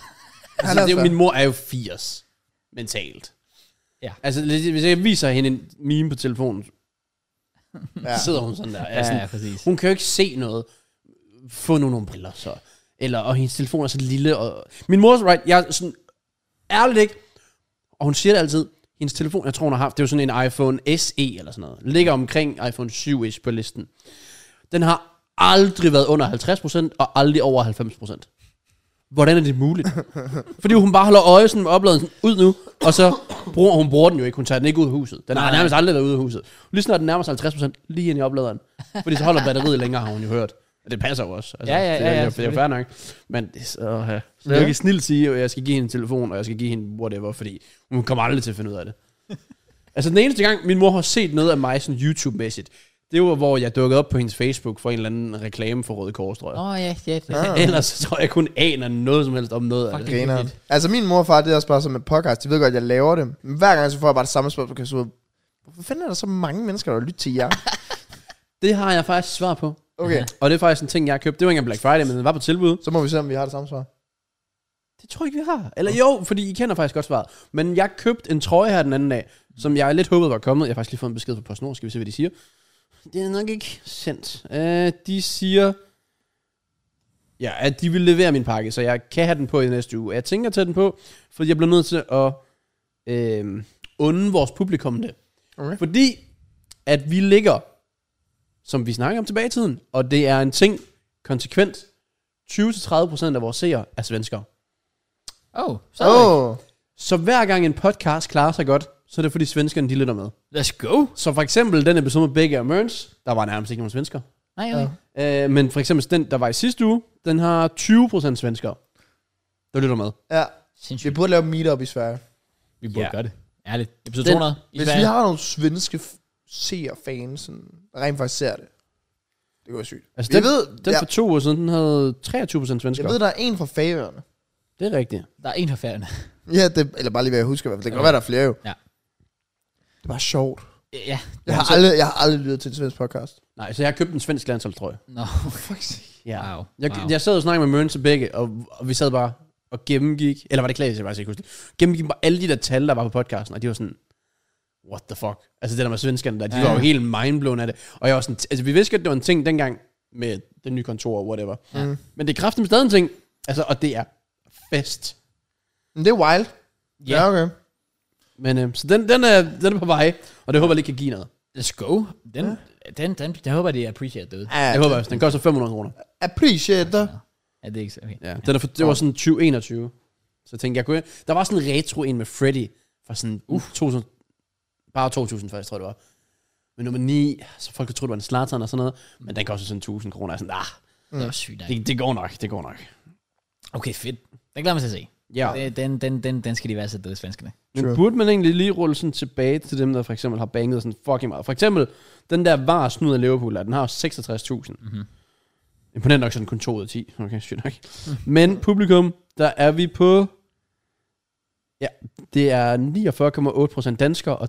S2: er
S3: altså, det er, jo-
S2: fair.
S3: min mor er jo 80 mentalt.
S1: Ja.
S3: Altså, hvis jeg viser hende en meme på telefonen,
S2: Ja.
S3: ja. sidder hun sådan der.
S1: Ja,
S3: Altså,
S1: ja, præcis.
S3: Hun kan jo ikke se noget. Få nu nogle briller så. Eller, og hendes telefon er så lille. Og... Min mor er right, jeg er sådan, ærligt ikke. Og hun siger det altid. Hendes telefon, jeg tror hun har haft, det er jo sådan en iPhone SE eller sådan noget. Ligger omkring iPhone 7-ish på listen. Den har aldrig været under 50% og aldrig over 90%. Hvordan er det muligt? Fordi hun bare holder øje sådan med opladelsen ud nu, og så bruger hun bruger den jo ikke. Hun tager den ikke ud af huset. Den har
S1: Nej.
S3: nærmest aldrig været ude af huset. Lige snart den nærmer sig 50% lige ind i opladeren. Fordi så holder batteriet længere, har hun jo hørt. Og det passer jo også. Altså,
S1: Ja, ja,
S3: det,
S1: ja, ja,
S3: det, er- det, er jo
S1: selvfølgelig.
S3: fair nok. Men det, er så, ja. så
S2: Ja.
S3: jeg kan snilt sige, at jeg skal give hende en telefon, og jeg skal give hende whatever, fordi hun kommer aldrig til at finde ud af det. altså den eneste gang, min mor har set noget af mig sådan YouTube-mæssigt, det var, hvor jeg dukkede op på hendes Facebook for en eller anden reklame for Røde Kors, tror jeg.
S1: Åh, oh, ja, ja. Det.
S2: Ah.
S3: Ellers så tror jeg kun aner noget som helst om noget af
S1: Fuck
S3: det.
S1: det.
S2: Griner. Altså min mor og far, det er også bare som et podcast. De ved godt, at jeg laver det. Men hver gang, så får jeg bare det samme spørgsmål. Kan jeg så ud, Hvorfor fanden er der så mange mennesker, der lytter til jer?
S3: Det har jeg faktisk svar på.
S2: Okay,
S3: Og det er faktisk en ting, jeg har købt. Det var ikke engang Black Friday, men den var på tilbud.
S2: så må vi se, om vi har det samme svar.
S3: Det tror jeg ikke, vi har. Eller jo, fordi I kender faktisk godt svaret. Men jeg købte en trøje her den anden dag, som jeg lidt håbede var kommet. Jeg har faktisk lige fået en besked fra PostNord, skal vi se, hvad de siger. Det er nok ikke sendt. Uh, de siger, ja, at de vil levere min pakke, så jeg kan have den på i næste uge. Og Jeg tænker at tage den på, fordi jeg bliver nødt til at øh, unde vores publikum det.
S2: Okay.
S3: Fordi at vi ligger, som vi snakker om tilbage i tiden, og det er en ting konsekvent, 20-30% af vores seere er svenskere.
S1: Oh, så
S2: Åh, oh,
S3: Så hver gang en podcast klarer sig godt, så er det fordi svenskerne de lytter med.
S1: Let's go.
S3: Så for eksempel den episode med Begge og Mørns, der var nærmest ikke nogen svensker.
S1: Nej, okay.
S3: Øh, men for eksempel den, der var i sidste uge, den har 20% svenskere, der lytter med.
S2: ja. Vi
S1: Sindssygt.
S2: burde lave meetup i Sverige.
S1: Vi burde
S3: Ja.
S1: gøre det. Ærligt. Episode
S3: Den-
S1: 200. I
S2: Hvis
S1: Sverige.
S2: vi har nogle svenske f- seerfans, sådan, der rent faktisk ser det. Det går sygt.
S3: Altså
S2: Jeg
S3: den,
S2: ved,
S3: den
S2: ja,
S3: for to uger siden, den havde 23%
S2: jeg
S3: svenskere.
S2: ved, der er en fra Færøerne.
S3: Det er rigtigt.
S1: Der er en fra færgerne.
S2: Ja, det, eller bare lige hvad jeg husker i hvert fald. Det kan godt være, der er flere jo.
S1: Ja.
S2: Det var sjovt.
S1: Ja.
S2: Jeg har, aldrig, jeg har aldrig lyttet til en svensk podcast.
S3: Nej, så jeg har købt en svensk landsholdstrøje.
S1: Nå,
S3: Ja.
S1: Wow.
S3: Jeg,
S1: Wow.
S3: jeg sad og snakkede med Mørns og Begge, og, og vi sad bare og gennemgik, eller var det Klaas, jeg faktisk ikke husker det. gennemgik bare alle de der tal, der var på podcasten, og de var sådan, what the fuck? Altså det der med svenskerne der, de
S1: Ja.
S3: ja. var jo helt mindblown af det. Og jeg var sådan, altså vi vidste godt, det var en ting dengang med den nye kontor og whatever.
S1: Ja.
S2: Mm.
S3: Men det er kraftigt stadig en ting, altså, og det er fest.
S2: Men det er wild.
S1: Ja.
S2: Ja, okay.
S3: øhm, Men øh, så den, den, er, den er på vej, og det håber jeg lige kan give noget.
S1: Let's go. Den, ja. den, den, den, håber, jeg, det er appreciate derude.
S2: Ja,
S3: Jeg håber også. Den koster 500 kroner.
S2: Appreciate dig.
S1: Ja, det er ikke så- okay.
S3: Ja. Den er for, det var sådan 2021. Så tænkte jeg, kunne jeg, der var sådan en retro en med Freddy fra sådan, uh, 2000, bare 2000 faktisk, tror jeg det var. Men nummer 9, så folk troede, det var en Slateren og sådan noget. Men den koster sådan 1000 kroner. Jeg er sådan, ah,
S1: Det var sygt. nok.
S3: det, det, går nok, det går nok.
S1: Okay, fedt. Den glæder mig til at se.
S3: Ja.
S1: Ja. Den, den, den, den skal de være så døde svenskerne.
S3: Men
S2: True.
S3: burde man egentlig lige rulle sådan tilbage til dem, der for eksempel har banket sådan fucking meget? For eksempel, den der var snud af Liverpool, der, den har jo 66.000.
S2: Mhm.
S3: Mm-hmm. Imponent nok sådan kun 2 ud af 10. Okay, sygt nok. Men publikum, der er vi på... Ja, det er 49,8% danskere og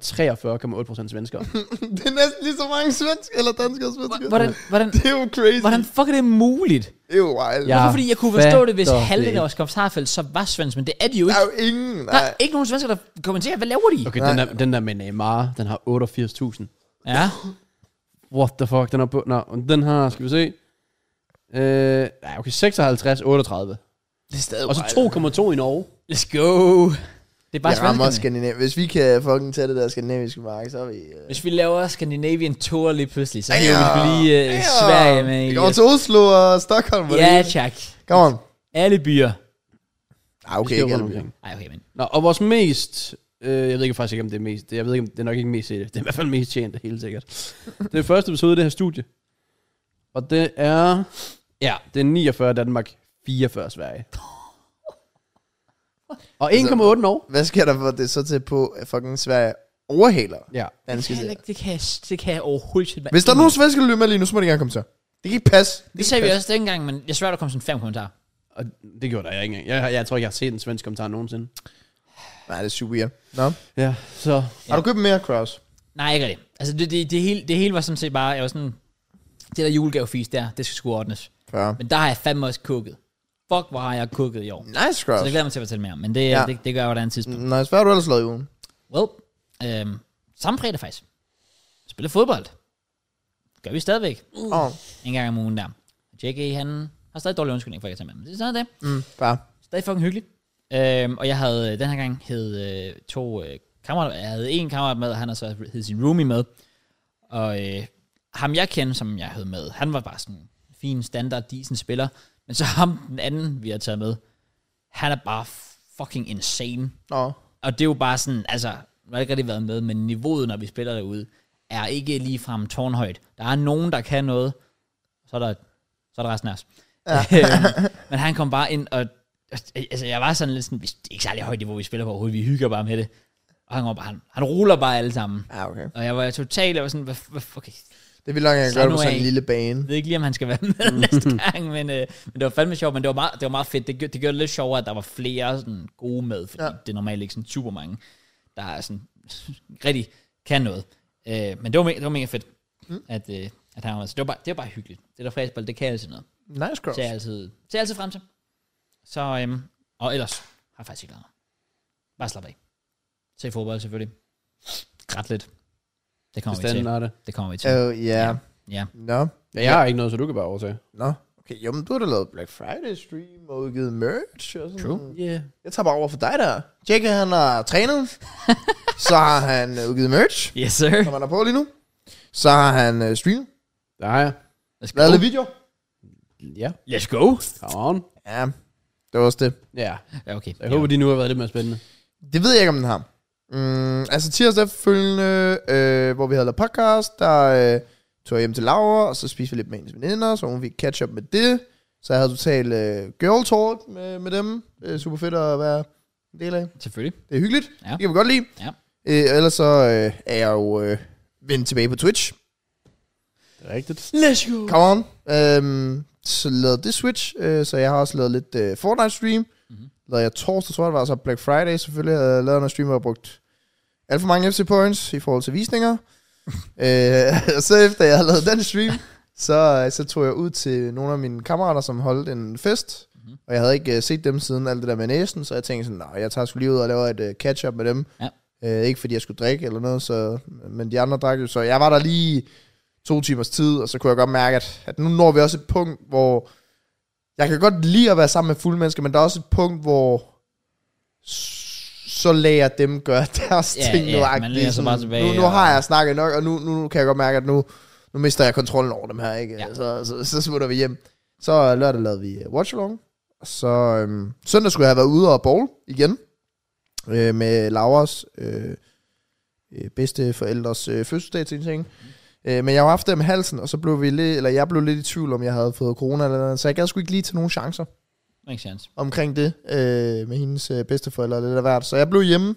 S3: 43,8% svenskere.
S2: det er næsten lige så mange svensker, eller danskere og svensker.
S1: Hvordan, hvordan,
S2: Det er jo crazy.
S1: hvordan fuck er det muligt?
S2: Det er jo wild.
S3: Ja.
S1: Hvorfor? Fordi jeg kunne forstå det, hvis
S3: fatter
S1: halvdelen
S3: det
S1: af vores kommentarfelt så var svensk, men det er de jo
S2: Der
S1: ikke.
S2: er jo ingen.
S1: Der
S2: Nej.
S1: er ikke nogen svensker, der kommenterer, hvad laver de?
S3: Okay,
S2: Nej.
S3: den der, den der med Neymar, den har 88.000.
S1: Ja.
S3: What the fuck, den er på... Nå, den har, skal vi se... Øh, nej, okay, 56, 38.
S2: Det er stadig
S3: Og så 2,2 i Norge.
S1: Let's go. Det er bare
S2: Jeg rammer
S1: svenskerne.
S2: Skandinavien. Hvis vi kan fucking tage det der skandinaviske marked, så er vi... øh,
S1: Hvis vi laver Scandinavian Tour lige pludselig, så hiver vi
S2: Ja.
S1: lige uh,
S2: Ja.
S1: Sverige med i. øh,
S2: Vi kommer til Oslo og Stockholm.
S1: Ja,
S2: hvordan?
S1: tak.
S2: Come on.
S1: Alle byer.
S2: Ah, okay,
S3: Det er
S2: ikke
S3: rundt
S2: alle
S3: omkring.
S1: Ej, okay, men.
S3: Nå, og vores mest... Øh, jeg ved ikke faktisk ikke, om det er mest... Jeg ved ikke, om det er nok ikke mest set. Det er i hvert fald mest tjent, helt sikkert. det er første episode af det her studie. Og det er... Ja, det er 49 Danmark, 44 Sverige. Og 1,8 Norge.
S2: Hvad sker der for at det er så til på, at fucking Sverige overhaler
S3: Ja.
S2: danske
S1: Det kan, jeg
S2: serier?
S1: ikke- det, kan jeg, det kan jeg overhovedet ikke.
S2: Hvis der er nogen svensker, der lytter med lige nu, så må de gerne komme til. Det kan ikke passe.
S1: Det sagde vi også dengang, men jeg svært, der kom sådan fem kommentarer.
S3: Og det gjorde der jeg ikke engang. Jeg, jeg tror ikke, jeg har set en svensk kommentar nogensinde.
S2: Nej, det er super weird. Nå.
S3: Ja, så...
S2: Har du købt mere, Kraus?
S1: Nej, ikke rigtigt. Altså, det, det, det, hele, det hele var sådan set bare, jeg var sådan, det der julegavefis der, det skal sgu ordnes.
S2: Ja.
S1: Men der har jeg fandme også kukket. Fuck, hvor har jeg kukket i år.
S2: Nice,
S1: Så
S2: Kraus.
S1: det glæder jeg mig til at fortælle mere om, men det, ja.
S2: Ja. Mm.
S1: det, det gør jeg på et andet tidspunkt.
S2: Nice. Hvad har du ellers lavet i ugen?
S1: Well, øhm, samme fredag faktisk. Spiller fodbold. Gør vi stadigvæk.
S2: Åh, oh,
S1: En gang om ugen der. JK, han har stadig dårlig undskyldning for ikke at tage med, men det er sådan er det.
S2: mm, bare.
S1: Stadig fucking hyggeligt. Øhm, og jeg havde øh, den her gang hed øh, to øh, kammerater. Jeg havde en kammerat med, og han har så hed sin roomie med. Og øh, ham jeg kendte, som jeg havde med, han var bare sådan en fin standard, decent spiller. Men så ham, den anden, vi har taget med, han er bare fucking insane.
S2: Nå.
S1: Og det er jo bare sådan, altså, nu har jeg ikke rigtig været med, men niveauet, når vi spiller derude, er ikke ligefrem tårnhøjt. Der er nogen, der kan noget, så er der, så er der resten af os. Ja. men han kom bare ind, og altså, jeg var sådan lidt sådan, vi- det er ikke særlig højt niveau, vi spiller på overhovedet, vi hygger bare med det. Og han, går bare, han, han ruller bare alle sammen.
S2: Ja, okay.
S1: Og jeg var totalt, jeg var sådan, hvad, hvad okay,
S2: Det vil langt, jeg
S1: Så
S2: kan gøre det
S1: nu
S2: på sådan
S1: af.
S2: en lille bane.
S1: jeg ved ikke lige, om han skal være med næste gang, men, øh, men det var fandme sjovt, men det var meget, det var meget fedt. Det, gjorde, det gjorde det lidt sjovere, at der var flere sådan, gode med, fordi ja.
S2: Ja.
S1: det er normalt ikke sådan super mange, der er sådan, rigtig kan noget. Øh, men det var, me- det var mega fedt, mm. at, øh, at han var med. Så det var, bare, det var bare hyggeligt. Det der fræsbold, det kan altid noget.
S2: Nice, Kraus.
S1: Så jeg altid, så jeg altid frem til. Så, øhm, og ellers har jeg faktisk ikke lavet noget. Bare slap af. Se fodbold selvfølgelig. Græt lidt. Det kommer vi
S3: Bestanden
S1: til.
S3: har det.
S1: Det kommer vi til.
S2: Oh, yeah.
S1: Ja.
S2: Nå.
S3: Ja, jeg har ikke noget, så du kan bare overtage.
S2: Nå. Okay, jo, men du har da lavet Black Friday stream og udgivet merch og sådan
S1: True.
S3: Yeah.
S2: Jeg tager bare over for dig der. Jake, han har trænet. så har han øh, udgivet merch,
S1: Yes, sir.
S2: som han er på lige nu. Så har han øh, streamet.
S3: Der har jeg.
S1: Let's go.
S2: Lavet lidt video.
S3: Ja,
S1: Let's go.
S3: come on.
S2: Ja, det var også det.
S3: Ja,
S1: Ja, okay.
S3: så jeg håber, de nu har været lidt mere spændende.
S2: Det ved jeg ikke, om den har. Mm, altså tirsdag efterfølgende, øh, hvor vi havde lavet podcast, der øh, tog jeg hjem til Laura, og så spiste vi lidt med hendes veninder, så hun fik catch up med det. Så jeg havde totalt øh, girl talk med, med dem. Øh, super fedt at være en del af.
S1: Selvfølgelig.
S2: Det er hyggeligt.
S1: Ja.
S2: Ja. Det kan vi godt lide.
S1: Ja.
S2: Øh, ellers så øh, er jeg jo øh, vendt tilbage på Twitch.
S3: Det er rigtigt.
S1: Let's go.
S2: Come on. Øhm, så lavede det Switch, øh, så jeg har også lavet lidt øh, Fortnite-stream.
S1: Mhm.
S2: Mm-hmm. Lavede jeg torsdag, tror jeg det var, så Black Friday selvfølgelig. Jeg lavede noget stream, hvor jeg brugt alt for mange FC Points i forhold til visninger. øh, og så efter jeg havde lavet den stream, så, øh, så tog jeg ud til nogle af mine kammerater, som holdt en fest.
S1: Mhm.
S2: Mm-hmm. Og jeg havde ikke øh, set dem siden alt det der med næsen, så jeg tænkte sådan, nej, jeg tager sgu lige ud og laver et øh, catch-up med dem.
S1: Ja.
S2: Øh, ikke fordi jeg skulle drikke eller noget, så, men de andre drak jo, så jeg var der lige to timers tid, og så kunne jeg godt mærke, at, at nu når vi også et punkt, hvor jeg kan godt lide at være sammen med fulde mennesker, men der er også et punkt, hvor s- så lad jeg dem gøre deres
S1: Ja,
S2: ting
S1: ja,
S2: nu.
S1: man
S2: agtigt,
S1: læner sig
S2: sådan,
S1: bare tilbage
S2: nu, nu
S1: og-
S2: har jeg snakket nok, og nu, nu kan jeg godt mærke, at nu, nu mister jeg kontrollen over dem her. Ikke?
S1: Ja.
S2: Ja. Så, så, så smutter vi hjem. Så lørdag lavede vi øh, watch along. Og Så øhm, søndag skulle jeg have været ude og bowl igen. Øh, med Lauras øh, øh, bedste forældres øh, fødselsdag til en ting. Øh, men jeg har haft det med halsen, og så blev vi lidt, eller jeg blev lidt i tvivl, om jeg havde fået corona eller noget, så jeg gad sgu ikke lige til nogen chancer
S1: Makes sense.
S2: omkring det øh, med hendes øh, bedsteforældre og lidt af hvert. Så jeg blev hjemme,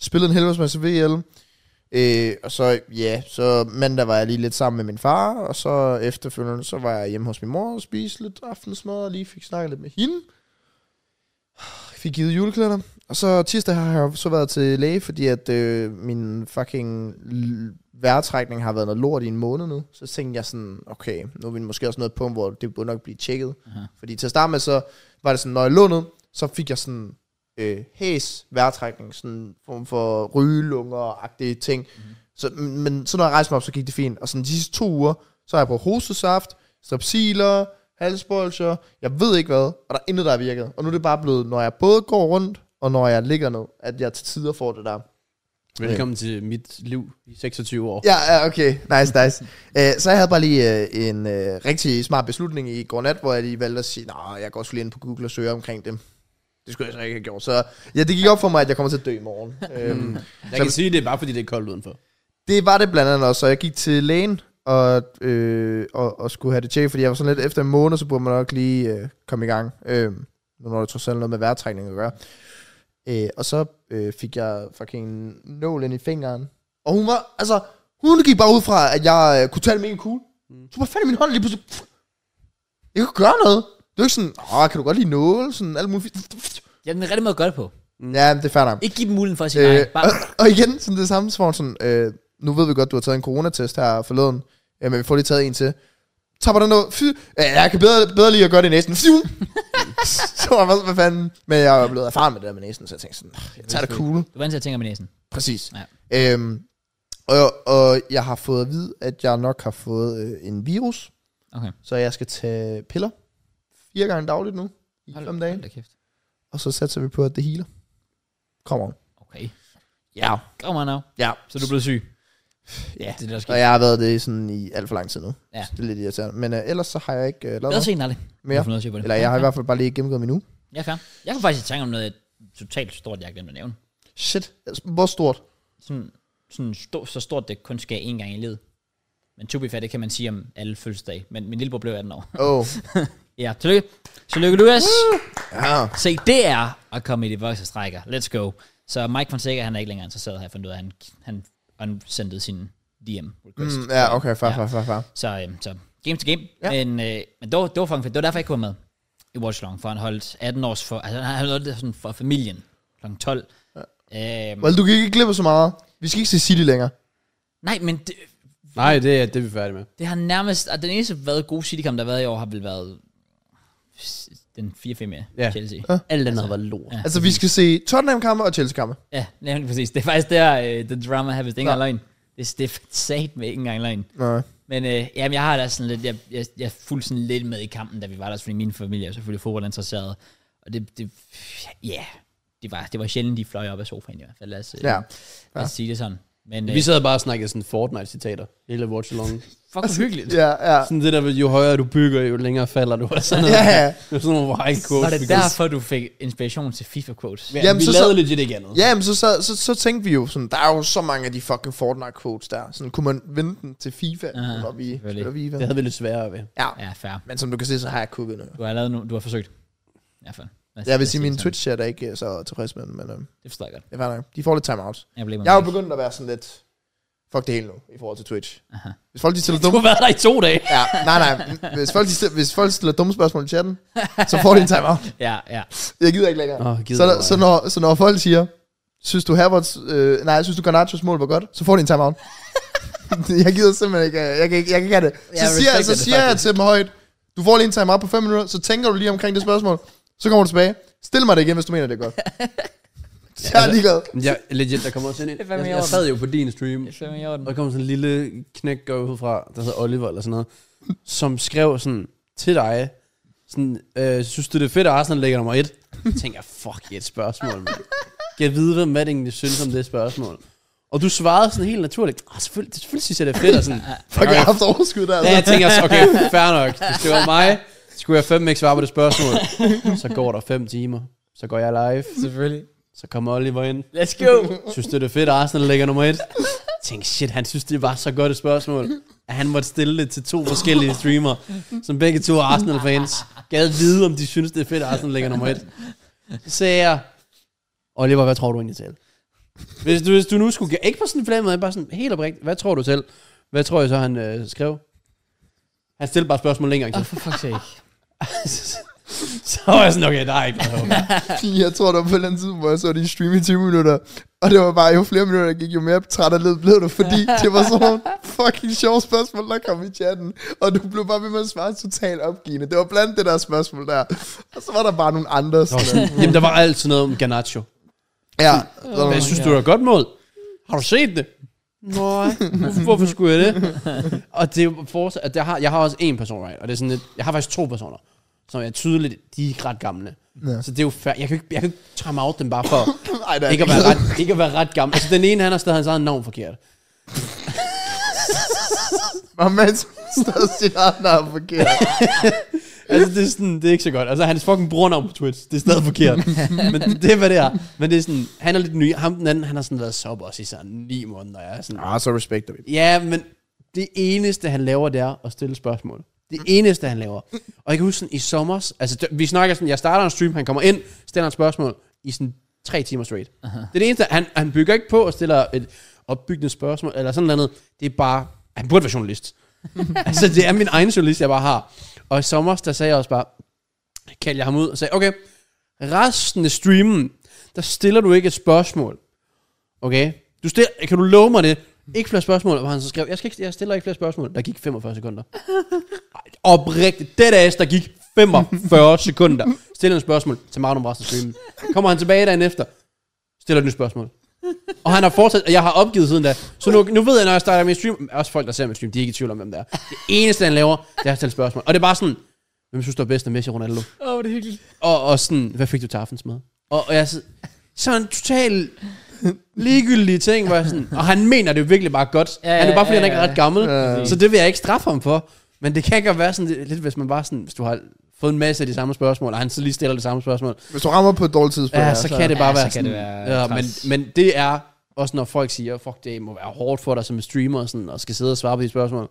S2: spillede en helvedes masse VL, øh, og så, ja, så mandag var jeg lige lidt sammen med min far, og så efterfølgende, så var jeg hjemme hos min mor og spiste lidt aftensmad, og lige fik snakket lidt med hende. Fik givet juleklæder. Og så tirsdag har jeg jo så været til læge, fordi at øh, min fucking l- vejrtrækning har været noget lort i en måned nu. Så tænkte jeg sådan, okay, nu er vi måske også nået på, hvor det burde nok blive tjekket.
S1: Aha.
S2: Fordi til at starte med, så var det sådan, når jeg lå ned, så fik jeg sådan øh, hæs vejrtrækning, sådan en form for rygelunger og agtige ting. Mm-hmm. Så, men, men så når jeg rejste mig op, så gik det fint. Og sådan de sidste to uger, så har jeg brugt hostesaft, strepsiler, halsbolger, jeg ved ikke hvad, og der er intet, der har virket. Og nu er det bare blevet, når jeg både går rundt, og når jeg ligger ned, at jeg til tider får det der.
S3: Velkommen til mit liv i 26 år.
S2: Ja, ja, okay. Nice, nice. Æ, så jeg havde bare lige øh, en øh, rigtig smart beslutning i går nat, hvor jeg lige valgte at sige, nej, jeg går også lige ind på Google og søger omkring det. Det skulle jeg så ikke have gjort. Så ja, det gik op for mig, at jeg kommer til at dø i morgen. øhm,
S3: Jeg kan sige, det er bare fordi, det er koldt udenfor.
S2: det var det blandt andet også, og jeg gik til lægen og, øh, og, og skulle have det tjekket, fordi jeg var sådan lidt efter en måned, så burde man nok lige øh, komme i gang. Øh, nu når det trods alt noget med vejrtrækning at gøre. Øh, og så øh, fik jeg fucking nålen i fingeren. Og hun var, altså, hun gik bare ud fra, at jeg øh, kunne tage det mega cool. Så var fat i min hånd og lige pludselig. pff. Jeg kunne gøre noget. Det var ikke sådan, åh, kan du godt lide nåle? Sådan alt muligt.
S1: Ja, den rigtige måde at gøre det på.
S2: Ja, men det er fair nok.
S1: Ikke give dem muligheden for at sige
S2: Øh,
S1: nej. Bare,
S2: og, og igen, sådan det samme svar, sådan, øh, nu ved vi godt, du har taget en coronatest her forleden, øh, men vi får lige taget en til. Tapper den noget, fy, øh, jeg kan bedre, bedre lige at gøre det i næsen. Fy! så var jeg bare sådan, hvad fanden? Men jeg er blevet erfaren med det der med næsen, så jeg tænkte sådan, "Ah, jeg tager det cool.
S1: du er vant til at tænke med næsen.
S2: Præcis.
S1: Ja.
S2: Øhm, og, og jeg har fået at vide, at jeg nok har fået øh, en virus,
S1: Okay.
S2: så jeg skal tage piller fire gange dagligt nu, i fem dage,
S1: da kæft.
S2: og så satser vi på, at det healer. Kommer
S1: Okay.
S2: Ja.
S1: Kom on now.
S2: Ja.
S1: Så du er blevet syg.
S2: Ja.
S1: Det er det, der sker.
S2: Og jeg har været det sådan i alt for lang tid nu.
S1: Ja.
S2: Ja. Det er lidt irriterende. Men øh, ellers så har jeg ikke øh, lavet
S1: Bedre
S2: noget
S1: sent end aldrig. Jeg
S2: mere.
S1: får noget at se på det.
S2: Eller jeg har i
S1: Ja,
S2: hvert fald bare lige gennemgået min uge.
S1: Ja, fair. Jeg kan faktisk i tanke om noget totalt stort, jeg glemte at nævne.
S2: Shit. Altså, Hvor stort?
S1: Sådan, sådan stå, så stort, det kun sker én gang i livet. Men to be fair, det kan man sige om alle fødselsdage. Men min lillebror blev 18 år.
S2: Åh. Oh.
S1: ja, tillykke. Tillykke, Lukas.
S2: ja.
S1: Se, det er at komme i de voksne strækker. Let's go. Så Mike Fonseca, han er ikke længere interesseret, har jeg fundet ud af. Han, han unsendede sin DM request.
S2: Mm, ja, okay. Far,
S1: Ja.
S2: far, far, far.
S1: Så, øhm, så game to game. Ja.
S2: Ja.
S1: Men, øh, men det, var, det var fucking fedt. Det var derfor, jeg ikke var med i Watch Long, for han holdt 18 års for, altså, han han holdt det sådan for familien kl. 12. Ja. Øhm,
S2: Well, du kan ikke glippe så meget. Vi skal ikke se City længere.
S1: nej, men det,
S3: Nej, det er det, er vi er færdige med.
S1: det har nærmest, at den eneste været gode citykamp, der har været i år, har vel været s- den 4-5 med
S3: Ja.
S1: Chelsea.
S3: Alt andet har været lort.
S1: Ja.
S2: Altså, vi skal se Tottenham-kampe og Chelsea-kampe.
S1: Ja, nemlig præcis. Det er faktisk der, øh, the drama her, hvis det ikke engang
S2: Nå.
S1: er løgn. Det, det er sat med ikke engang løgn.
S2: Nej.
S1: Men øh, jamen, jeg har da sådan lidt, jeg, jeg, jeg fulgte sådan lidt med i kampen, da vi var der, fordi min familie er selvfølgelig fodboldinteresseret. Og det, det ja, yeah, det var, det var sjældent, de fløj op af sofaen i hvert fald. Lad os, øh,
S2: Ja.
S1: lad os sige det sådan. Men øh,
S3: Vi sad bare og snakkede sådan Fortnite-citater. Hele watch along.
S1: fuck, hvor hyggeligt.
S2: Altså, Ja, ja.
S3: Sådan det der, med, jo højere du bygger, jo længere falder du. Og sådan noget.
S2: Ja, ja.
S3: Det var sådan nogle white quotes.
S1: Var det
S3: vi
S1: derfor, du fik inspiration til FIFA-quotes?
S3: kunne- Ja,
S2: Jamen,
S3: vi
S2: så- så-
S3: lavede legit ikke andet.
S2: Ja, men så, så, så, så tænkte vi jo sådan, der er jo så mange af de fucking Fortnite-quotes der. Sådan, kunne man vente den til FIFA,
S1: Ah,
S2: når vi
S1: selvfølgelig.
S2: spiller FIFA?
S3: Det havde vi lidt sværere ved.
S2: Ja.
S1: Ja, fair.
S2: Men som du kan se, så har jeg kukket noget.
S1: Du har lavet nu, du har forsøgt. I hvert fald. Lad os-
S2: Jeg
S1: lad
S2: vil
S1: os
S2: sige,
S1: det
S2: min
S1: Altså, sådan.
S2: Twitch-chat er ikke øh, så tilfreds med den, men øh,
S1: Det forstår jeg godt.
S2: det er fair nok. De får lidt timeouts.
S1: Jeg blev
S2: Jeg er jo begyndt at være sådan lidt, fuck det hele nu, i forhold til Twitch.
S1: Aha.
S2: Hvis folk, de stiller
S1: Du
S2: dumme,
S1: har været der i to dage.
S2: ja, nej, nej, hvis folk, de stiller, hvis folk stiller dumme spørgsmål i chatten, så får de en timeout.
S1: Ja, ja.
S2: Jeg gider ikke længere.
S3: Åh, gider
S2: så, der,
S3: du,
S2: så,
S3: ej.
S2: når, så når folk siger, synes du Herberts, øh, nej, synes du Garnachos mål var godt, så får de en timeout. jeg gider simpelthen ikke, øh, jeg kan ikke, jeg kan ikke have det. Så
S1: Jeg
S2: siger, jeg,
S1: respekter
S2: så
S1: det
S2: siger jeg
S1: faktisk.
S2: til dem højt, du får lige en timeout på 5 minutter, så tænker du lige omkring det spørgsmål, så kommer du tilbage. Stil mig det igen, hvis du mener det er godt. Jeg er ligeglad.
S3: Men Jeg, legit, der kommer også en,
S1: er
S3: jeg,
S1: fandme i
S3: jeg
S1: orden.
S3: sad jo på din stream,
S1: Det er fandme i orden.
S3: og der kom sådan en lille knæk går jeg ud fra, der hedder Oliver eller sådan noget, som skrev sådan til dig, sådan, øh, synes du det er fedt, at Arsenal ligger nummer et? Jeg tænker, fuck, et spørgsmål, mand. Kan jeg vide, hvad Madding synes om det spørgsmål? Og du svarede sådan helt naturligt, ah, selvfølgelig, selvfølgelig synes jeg, det er fedt, og sådan,
S2: Fuck, jeg har haft overskud der.
S3: Ja,
S2: Altså.
S3: jeg tænker også, okay, fair nok. Hvis det var mig, skulle jeg fem ikke svare på det spørgsmål. Så går der 5 timer. Så går jeg live.
S1: Selvfølgelig.
S3: Så kommer Oliver ind.
S1: Let's go.
S3: Synes du, det er fedt, at Arsenal ligger nummer et? Jeg tænkte, shit, han synes, det var så godt et spørgsmål. At han måtte stille det til to forskellige streamere, som begge to er Arsenal-fans. Gad vide, om de synes, det er fedt, at Arsenal ligger nummer et. Så sagde jeg, Oliver, hvad tror du egentlig selv? Hvis du, hvis du nu skulle... Ikke på sådan en flamme, men bare sådan helt oprigtigt. Hvad tror du selv? Hvad tror jeg så, han øh, skrev? Han stillede bare spørgsmål længere.
S1: Åh, oh, for fuck's sake.
S3: så var jeg sådan, okay, der er ikke noget håb.
S2: Jeg tror, der var på et eller andet tidspunkt, hvor jeg så det i stream i 20 minutter. Og det var bare, jo flere minutter der gik, jo mere træt og led blev du, fordi det var sådan nogle fucking sjove spørgsmål, der kom i chatten. Og du blev bare ved med at svare totalt opgivende. Det var blandt det der spørgsmål der. Og så var der bare nogle andre. Sådan.
S3: Jamen, der var altid noget om Garnacho.
S2: Ja, der var
S3: Hvad
S2: nogle-
S3: synes du, det var et godt mål? Har du set det? Nej. Hvorfor, hvorfor skulle jeg det? og det er jo fortsat, at jeg har, jeg har også en person, right? Og det er sådan lidt, jeg har faktisk to personer, som er tydeligt, de er ikke ret gamle.
S2: Ja.
S3: Så det er jo fair. Jeg kan jo ikke, jeg kan jo ikke time out dem bare for
S2: Ej, der er
S3: ikke at være ret, ikke at være ret gammel. Altså, den ene, han har stadig hans eget navn forkert.
S2: Og mens stadig sit eget navn forkert.
S3: Altså, det er, sådan, det er ikke så godt. Altså, hans fucking brugernavn på Twitch, det er stadig forkert. Men det er, hvad det er. Men det er sådan, han er lidt ny. Ham den anden, han har sådan været sober i sådan ni måneder. Jeg er sådan,
S2: Ah, så respekter vi.
S3: Ja, men det eneste, han laver, det er at stille spørgsmål. Det eneste, han laver. Og jeg kan huske sådan, i sommer, altså det- vi snakker sådan, jeg starter en stream, han kommer ind, stiller et spørgsmål i sådan tre timer straight. Aha. Det er det eneste, han, han bygger ikke på og stiller et opbyggende spørgsmål, eller sådan noget. Det er bare, han burde være journalist. altså det er min egen journalist, jeg bare har. Og i sommer, der sagde jeg også bare, kaldte jeg ham ud og sagde, okay, resten af streamen, der stiller du ikke et spørgsmål. Okay? Du stiller, kan du love mig det? Ikke flere spørgsmål, hvor han så skrev, jeg, skal ikke, jeg stiller ikke flere spørgsmål. Der gik 45 sekunder. Ej, Oprigtigt, det der der gik 45 sekunder. Stiller en spørgsmål til Magnum resten af streamen. Kommer han tilbage dagen efter, stiller et nyt spørgsmål. Og han har fortsat, og jeg har opgivet siden da. Så nu, nu ved jeg, når jeg starter min stream, også folk, der ser min stream, de er ikke i tvivl om, hvem det er. Det eneste, han laver, det er at stille spørgsmål. Og det er bare sådan, hvem synes du er bedst af Messi og Ronaldo?
S1: Åh, oh, det er hyggeligt.
S3: Og, og sådan, hvad fik du til aftensmad? Og, og jeg sådan, sådan en total ligegyldige ting, hvor jeg sådan, og han mener det jo virkelig bare godt.
S1: Ja, ja,
S3: han er jo bare, fordi
S1: ja,
S3: han ikke
S1: ja,
S3: er ret gammel,
S2: ja.
S3: så det vil jeg ikke straffe ham for. Men det kan godt være sådan lidt, lidt, hvis man bare sådan, hvis du har fået en masse af de samme spørgsmål, og han så lige stiller det samme spørgsmål,
S2: Hvis du rammer på et dårligt tidspunkt,
S3: ja, så kan det bare
S1: ja, så
S3: være
S1: kan
S3: sådan.
S1: det være
S3: ja, men,
S1: træls.
S3: men det er også, når folk siger, fuck det må være hårdt for dig som en streamer, og, sådan, og skal sidde og svare på de spørgsmål.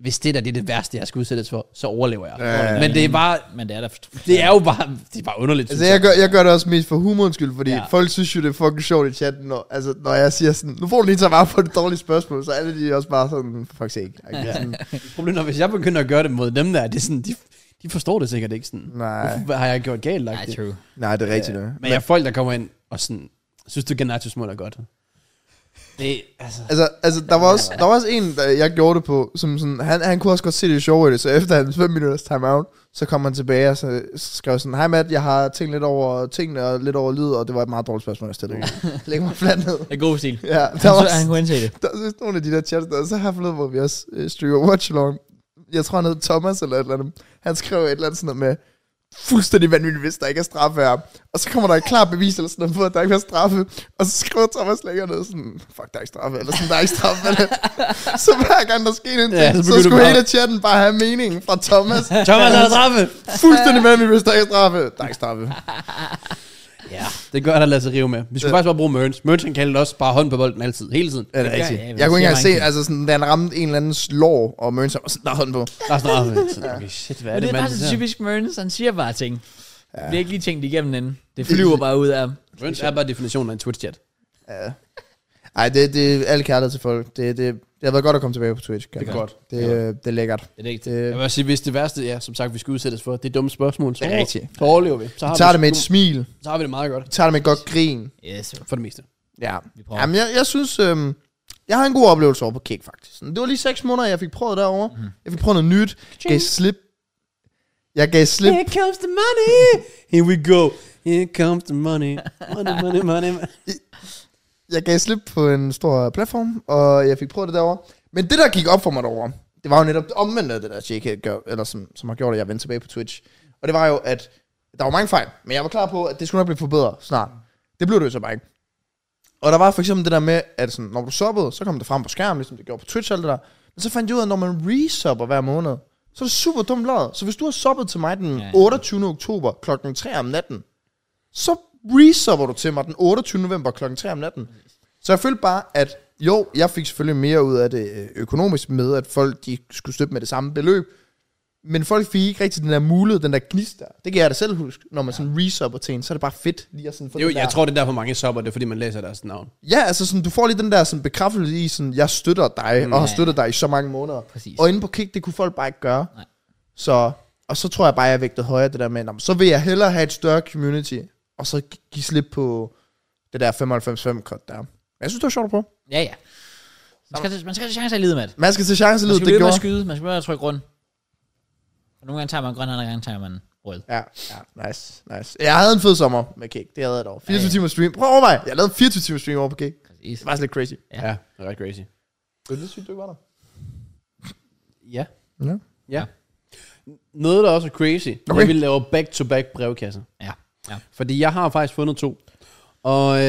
S3: Hvis det der det er det værste, jeg skal udsættes for, så overlever jeg.
S2: Ja.
S3: Men det er bare,
S1: Men det er der.
S3: det er jo bare, det er bare underligt.
S2: Altså,
S3: synes
S2: jeg gør, jeg gør det også mest for humorens skyld, fordi
S1: Ja.
S2: ja. folk synes jo, det er fucking sjovt i chatten, når, altså, når jeg siger sådan, nu får du lige tage vare på et dårligt spørgsmål, så er det de også bare sådan, for fuck's sake. Ja. Sådan,
S3: Problemet er, hvis jeg begynder at gøre det mod dem der, det er sådan, de, de forstår det sikkert ikke sådan.
S2: nej,
S3: Hvad har jeg gjort galt?
S1: Nej,
S3: lagt det?
S1: true.
S2: Mm. nej, det er rigtigt. Ja.
S3: Men jeg er folk, der kommer ind og sådan, synes du Gennadius mål er godt? Det, altså...
S2: Altså, altså der, var også, der var også en, der jeg gjorde det på, som sådan, han, han kunne også godt se det sjove i det, så efter hans 5 minutters timeout, så kom han tilbage og så skrev sådan, hej Matt, jeg har tænkt lidt over tingene og lidt over lyd, og det var et meget dårligt spørgsmål, jeg stillede. Læg mig fladt ned.
S1: Det er god stil.
S2: Ja,
S1: Der
S2: der var,
S1: så, han kunne indse det.
S2: Der er vist nogle af de der chats, der er så her forleden, hvor vi også øh, streamer Watch Along. Jeg tror, han hed Thomas eller et eller andet. Han skrev et eller andet sådan noget med, fuldstændig vanvittigt, hvis der ikke er straffe her. Og så kommer der et klart bevis eller sådan noget på, at der ikke er straffe. Og så skriver Thomas længere ned sådan, fuck, der er ikke straffe, eller sådan, der er ikke straffe. Eller. så hver gang der skete en ting,
S3: Ja, så
S2: ja, så,
S3: begynder
S2: så
S3: du
S2: skulle
S3: bare-
S2: hele chatten bare have meningen fra Thomas.
S3: Thomas er straffe!
S2: fuldstændig vanvittigt, hvis der ikke er straffe. Der er ikke straffe.
S3: Ja, det gør der lade sig rive med. Vi skulle faktisk bare bruge Mørns. Mørns han kaldte også bare hånd på bolden altid, hele tiden.
S2: Ja, det er
S1: Ja,
S2: rigtigt.
S1: ja,
S2: Ja,
S1: men
S2: jeg,
S1: det
S2: kunne
S1: siger
S2: ikke engang se,
S1: mange ting.
S2: altså sådan, da han ramte en eller anden slår, og Møns var sådan, der er hånden på.
S3: Der er straffe. Sådan, Okay, shit, hvad er
S1: Men det
S3: det,
S1: er
S3: mand,
S1: bare så
S3: der?
S1: typisk Mørens, han siger bare ting. Det bliver ikke lige tænkt igennem den. Det
S2: Det-
S1: flyver bare ud af ham.
S3: Mørns er bare definitionen af en Twitch-chat.
S2: Ja. Ej, det, det er alle kærlighed til folk. Det, det, det har været godt at komme tilbage på Twitch. Kan
S3: Det er
S2: jeg
S3: godt.
S2: mærke. Det, øh, det er lækkert.
S1: Det er ikke det.
S2: Det,
S3: Jeg vil også sige, hvis det værste, ja, som sagt, vi skal udsættes for, det er dumme spørgsmål. Så,
S2: det er rigtigt.
S3: så overlever vi. Så har
S2: Vi
S3: vi,
S2: tager det med et smil.
S3: så har vi det meget godt.
S2: Vi tager det med et godt grin.
S1: Yes.
S3: For det meste.
S2: Ja.
S1: Vi prøver.
S2: Jamen, jeg, jeg synes... Øhm, jeg har en god oplevelse over på Kick, faktisk. Sådan, Det var lige 6 måneder, jeg fik prøvet derovre.
S3: Mhm.
S2: Mm. Jeg fik prøvet noget nyt. Gav slip. Jeg gav slip.
S3: Here comes the money. Here we go. Here comes the money. Money, money, money.
S2: Jeg gav slip på en stor platform, og jeg fik prøvet det derovre. Men det, der gik op for mig derovre, det var jo netop det omvendte af det, der JK gør, eller som, som har gjort, at jeg vendte tilbage på Twitch. Og det var jo, at der var mange fejl, men jeg var klar på, at det skulle nok blive forbedret snart. Det blev det jo så bare ikke. Og der var for eksempel det der med, at sådan, når du subbede, så kom det frem på skærmen, ligesom det gjorde på Twitch og alt det der. Men så fandt jeg ud af, at når man resubber hver måned, så er det super dumt lavet. Så hvis du har subbet til mig den
S1: Ja, ja.
S2: 28. oktober kl. 3 om natten, så resubber du til mig den 28. november kl. 3 om natten. Så jeg følte bare, at jo, jeg fik selvfølgelig mere ud af det øh, økonomisk med, at folk de skulle støtte med det samme beløb, men folk fik ikke rigtig den der mulighed, den der gnist der. Det kan jeg da selv huske, når man sådan resubber til en, så er det bare fedt lige at sådan få
S3: Jo,
S2: den der...
S3: jeg tror, det er derfor mange shopper, det er fordi, man læser deres navn.
S2: Ja, altså sådan, du får lige den der sådan, bekræftelse i, sådan, jeg støtter dig, mm, og har
S1: Ja.
S2: støttet dig i så mange måneder.
S1: Præcis.
S2: Og inde på Kick, det kunne folk bare ikke gøre.
S1: Nej.
S2: Så, og så tror jeg bare, jeg vægtede højere det der med, "Nå, men så vil jeg hellere have et større community, og så gi- give slip på det der 95-5-kort der. Men Jeg synes, det var sjovt på.
S1: Ja, ja. Man skal, man skal tage chancer i livet, Matt.
S2: Man skal se chance
S1: Man
S2: lidt,
S1: skal blive
S2: det
S1: ved med at
S2: gjorde.
S1: skyde. Man skal blive ved med at trykke rundt. Og nogle gange tager man grøn, andre gange tager man rød.
S2: Ja, ja, nice, nice. Jeg havde en fed sommer med Kick, det havde jeg dog. 24
S1: Ja, ja.
S2: timer stream. Prøv at overveje, jeg lavede 24 timer stream over på Kick. Det
S1: Præcis.
S2: var faktisk lidt crazy.
S1: Ja.
S3: Ja, ja det er ret crazy.
S2: Det er lidt sygt, du ikke var der.
S3: Ja.
S2: Ja.
S3: Ja. Noget, der også er crazy, okay.
S2: Okay.
S3: det er, vi laver back-to-back brevkasser.
S1: Ja. ja.
S3: Fordi jeg har faktisk fundet to. Og øh,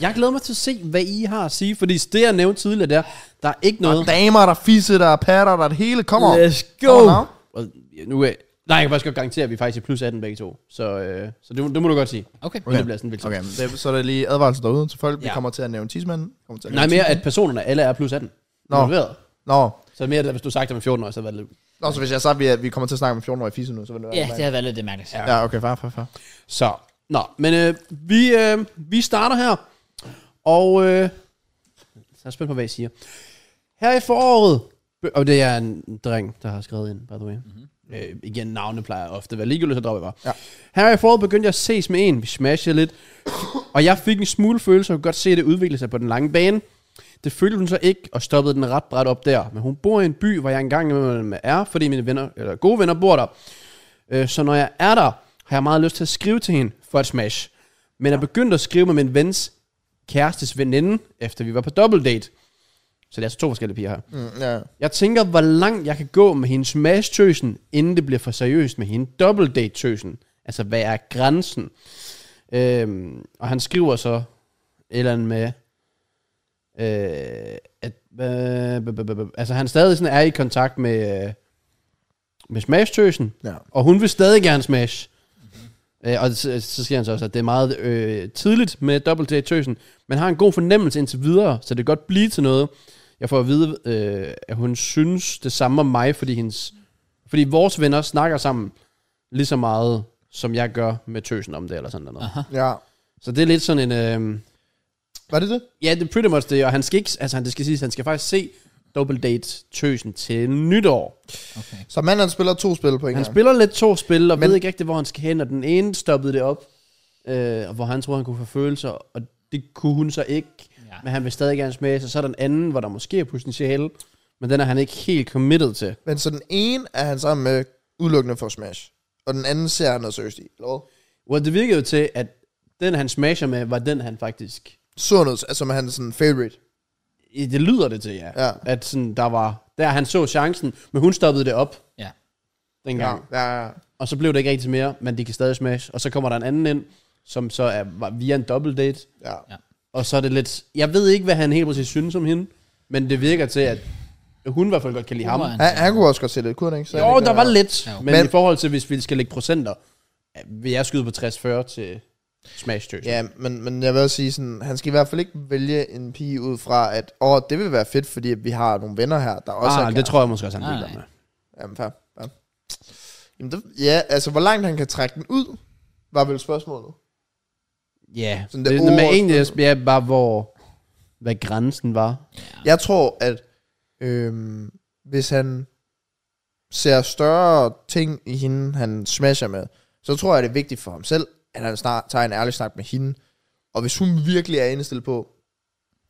S3: jeg glæder mig til at se, hvad I har at sige. Fordi det, jeg nævnte tidligere, der, der er ikke
S2: Der
S3: noget...
S2: er damer, der er fisse, der er patter, der er det hele. Kom on.
S3: Let's
S2: Come on now.
S3: Og nu er, nej, jeg kan faktisk godt garantere, at vi faktisk er plus 18 begge to. Så, øh, så det, det, må du godt sige.
S1: Okay.
S3: Okay. Det bliver sådan vildt.
S2: Okay, men det, så er der lige advarsel derude til folk. Ja. Vi
S1: Ja.
S2: kommer til at nævne tidsmanden. Kommer til at
S3: Nej,
S2: nævne
S3: mere at personerne alle er plus 18.
S2: Nå.
S3: Involveret.
S2: tidsmanden. Nå.
S3: Så mere, at hvis du sagde om 14 år, så var det
S2: Nå, så hvis jeg sagde, at vi kommer til at snakke om 14 år i fisse nu, så vil det være...
S1: Ja, det har været lidt det mærkeligt. Ja.
S2: Ja, okay, far, far, far.
S3: Så, nå, men øh, vi, øh, vi starter her, og øh, jeg er spændt på, hvad I siger. Her i foråret, og det er en dreng, der har skrevet ind, by the way. Mm-hmm. Øh, igen, navne plejer ofte at være ligegyldigt, så dropper jeg bare. Ja. Her i foråret begyndte jeg at ses med en, vi smashede lidt, og jeg fik en smule følelse, og kunne godt se det udvikle sig på den lange bane. Det følte hun så ikke, og stoppede den ret bræt op der. Men hun bor i en by, hvor jeg engang imellem er, fordi mine venner, eller gode venner bor der. Øh, Så når jeg er der, har jeg meget lyst til at skrive til hende for et smash. Men jeg begyndte at skrive med min vens kærestes veninde, efter vi var på double date. Så det er altså to forskellige piger her.
S2: Mm, ja.
S3: Jeg tænker, hvor langt jeg kan gå med hendes smash-tøsen, inden det bliver for seriøst med hende double date-tøsen. Altså, hvad er grænsen? Øhm, og han skriver så et eller andet med, øh, at, øh, b- b- b- b- altså han stadig sådan er i kontakt med, øh, med smash-tøsen,
S2: ja.
S3: og hun vil stadig gerne smash. Mm-hmm. Øh, og så, så siger han så også, at det er meget øh, tidligt med dobbelt date tøsen, men har en god fornemmelse indtil videre, så det kan godt blive til noget. Jeg får at vide, øh, at hun synes det samme om mig, fordi, hendes, fordi vores venner snakker sammen lige så meget, som jeg gør med tøsen om det, eller sådan noget. Aha.
S2: ja.
S3: Så det er lidt sådan en... Øh,
S2: Var det det?
S3: Ja, det er pretty much det, og han skal ikke, altså han, det skal siges, han skal faktisk se Double Date tøsen til nytår.
S1: Okay.
S2: Så manden han spiller to spil på en
S3: Han
S2: gang.
S3: spiller lidt to spil, og
S2: Men-
S3: Men... ved ikke rigtig, hvor han skal hen, og den ene stoppede det op, øh, og hvor han troede, han kunne få følelser, og det kunne hun så ikke.
S1: Ja.
S3: Men han vil stadig gerne smage sig. Så er der den anden, hvor der måske er potentiale, men den er han ikke helt committed til.
S2: Men så den ene er han sammen med udelukkende for Smash. Og den anden ser han noget seriøst i. Eller hvad?
S3: Hvor det virkede jo til, at den, han smasher med, var den, han faktisk...
S2: Så noget, altså med hans sådan favorite.
S3: I- Det lyder det til, ja.
S2: Ja.
S3: At sådan, der var... Der han så chancen, men hun stoppede det op
S1: Ja.
S3: dengang.
S2: Ja, ja.
S3: Og så blev det ikke rigtig til mere, men de kan stadig smash. Og så kommer der en anden ind, som så er var via en double date.
S2: ja.
S1: Ja.
S3: Og så er det lidt... Jeg ved ikke, hvad han helt præcis synes om hende, men det virker til, at hun i hvert fald godt kan lide ham.
S1: Hun var en-
S2: Han, han kunne også godt se det, kunne han ikke? Så
S3: Jo, der var lidt,
S1: Ja.
S3: men,
S2: Men-
S3: i forhold til, hvis vi skal lægge procenter, vil jeg skyde på 60-40 til smash tøs.
S2: Ja, men, men jeg vil også sige sådan, han skal i hvert fald ikke vælge en pige ud fra, at åh, det vil være fedt, fordi vi har nogle venner her, der også er
S3: ah,
S2: klar."
S3: det tror jeg måske også, han
S1: Nej,
S3: vil med.
S1: nej.
S2: Jamen, fair. Ja. Jamen, det, ja, altså, hvor langt han kan trække den ud, var vel spørgsmålet.
S3: Ja,
S2: Sådan
S3: det,
S2: det
S3: det, men
S2: overordnede.
S3: egentlig jeg- ja, bare, hvor, hvad grænsen var.
S1: altså.
S2: Jeg tror, at øhm, hvis han ser større ting i hende, han smasher med, så tror jeg, det er vigtigt for ham selv, at han snart tager en ærlig snak med hende. Og hvis hun virkelig er indstillet på,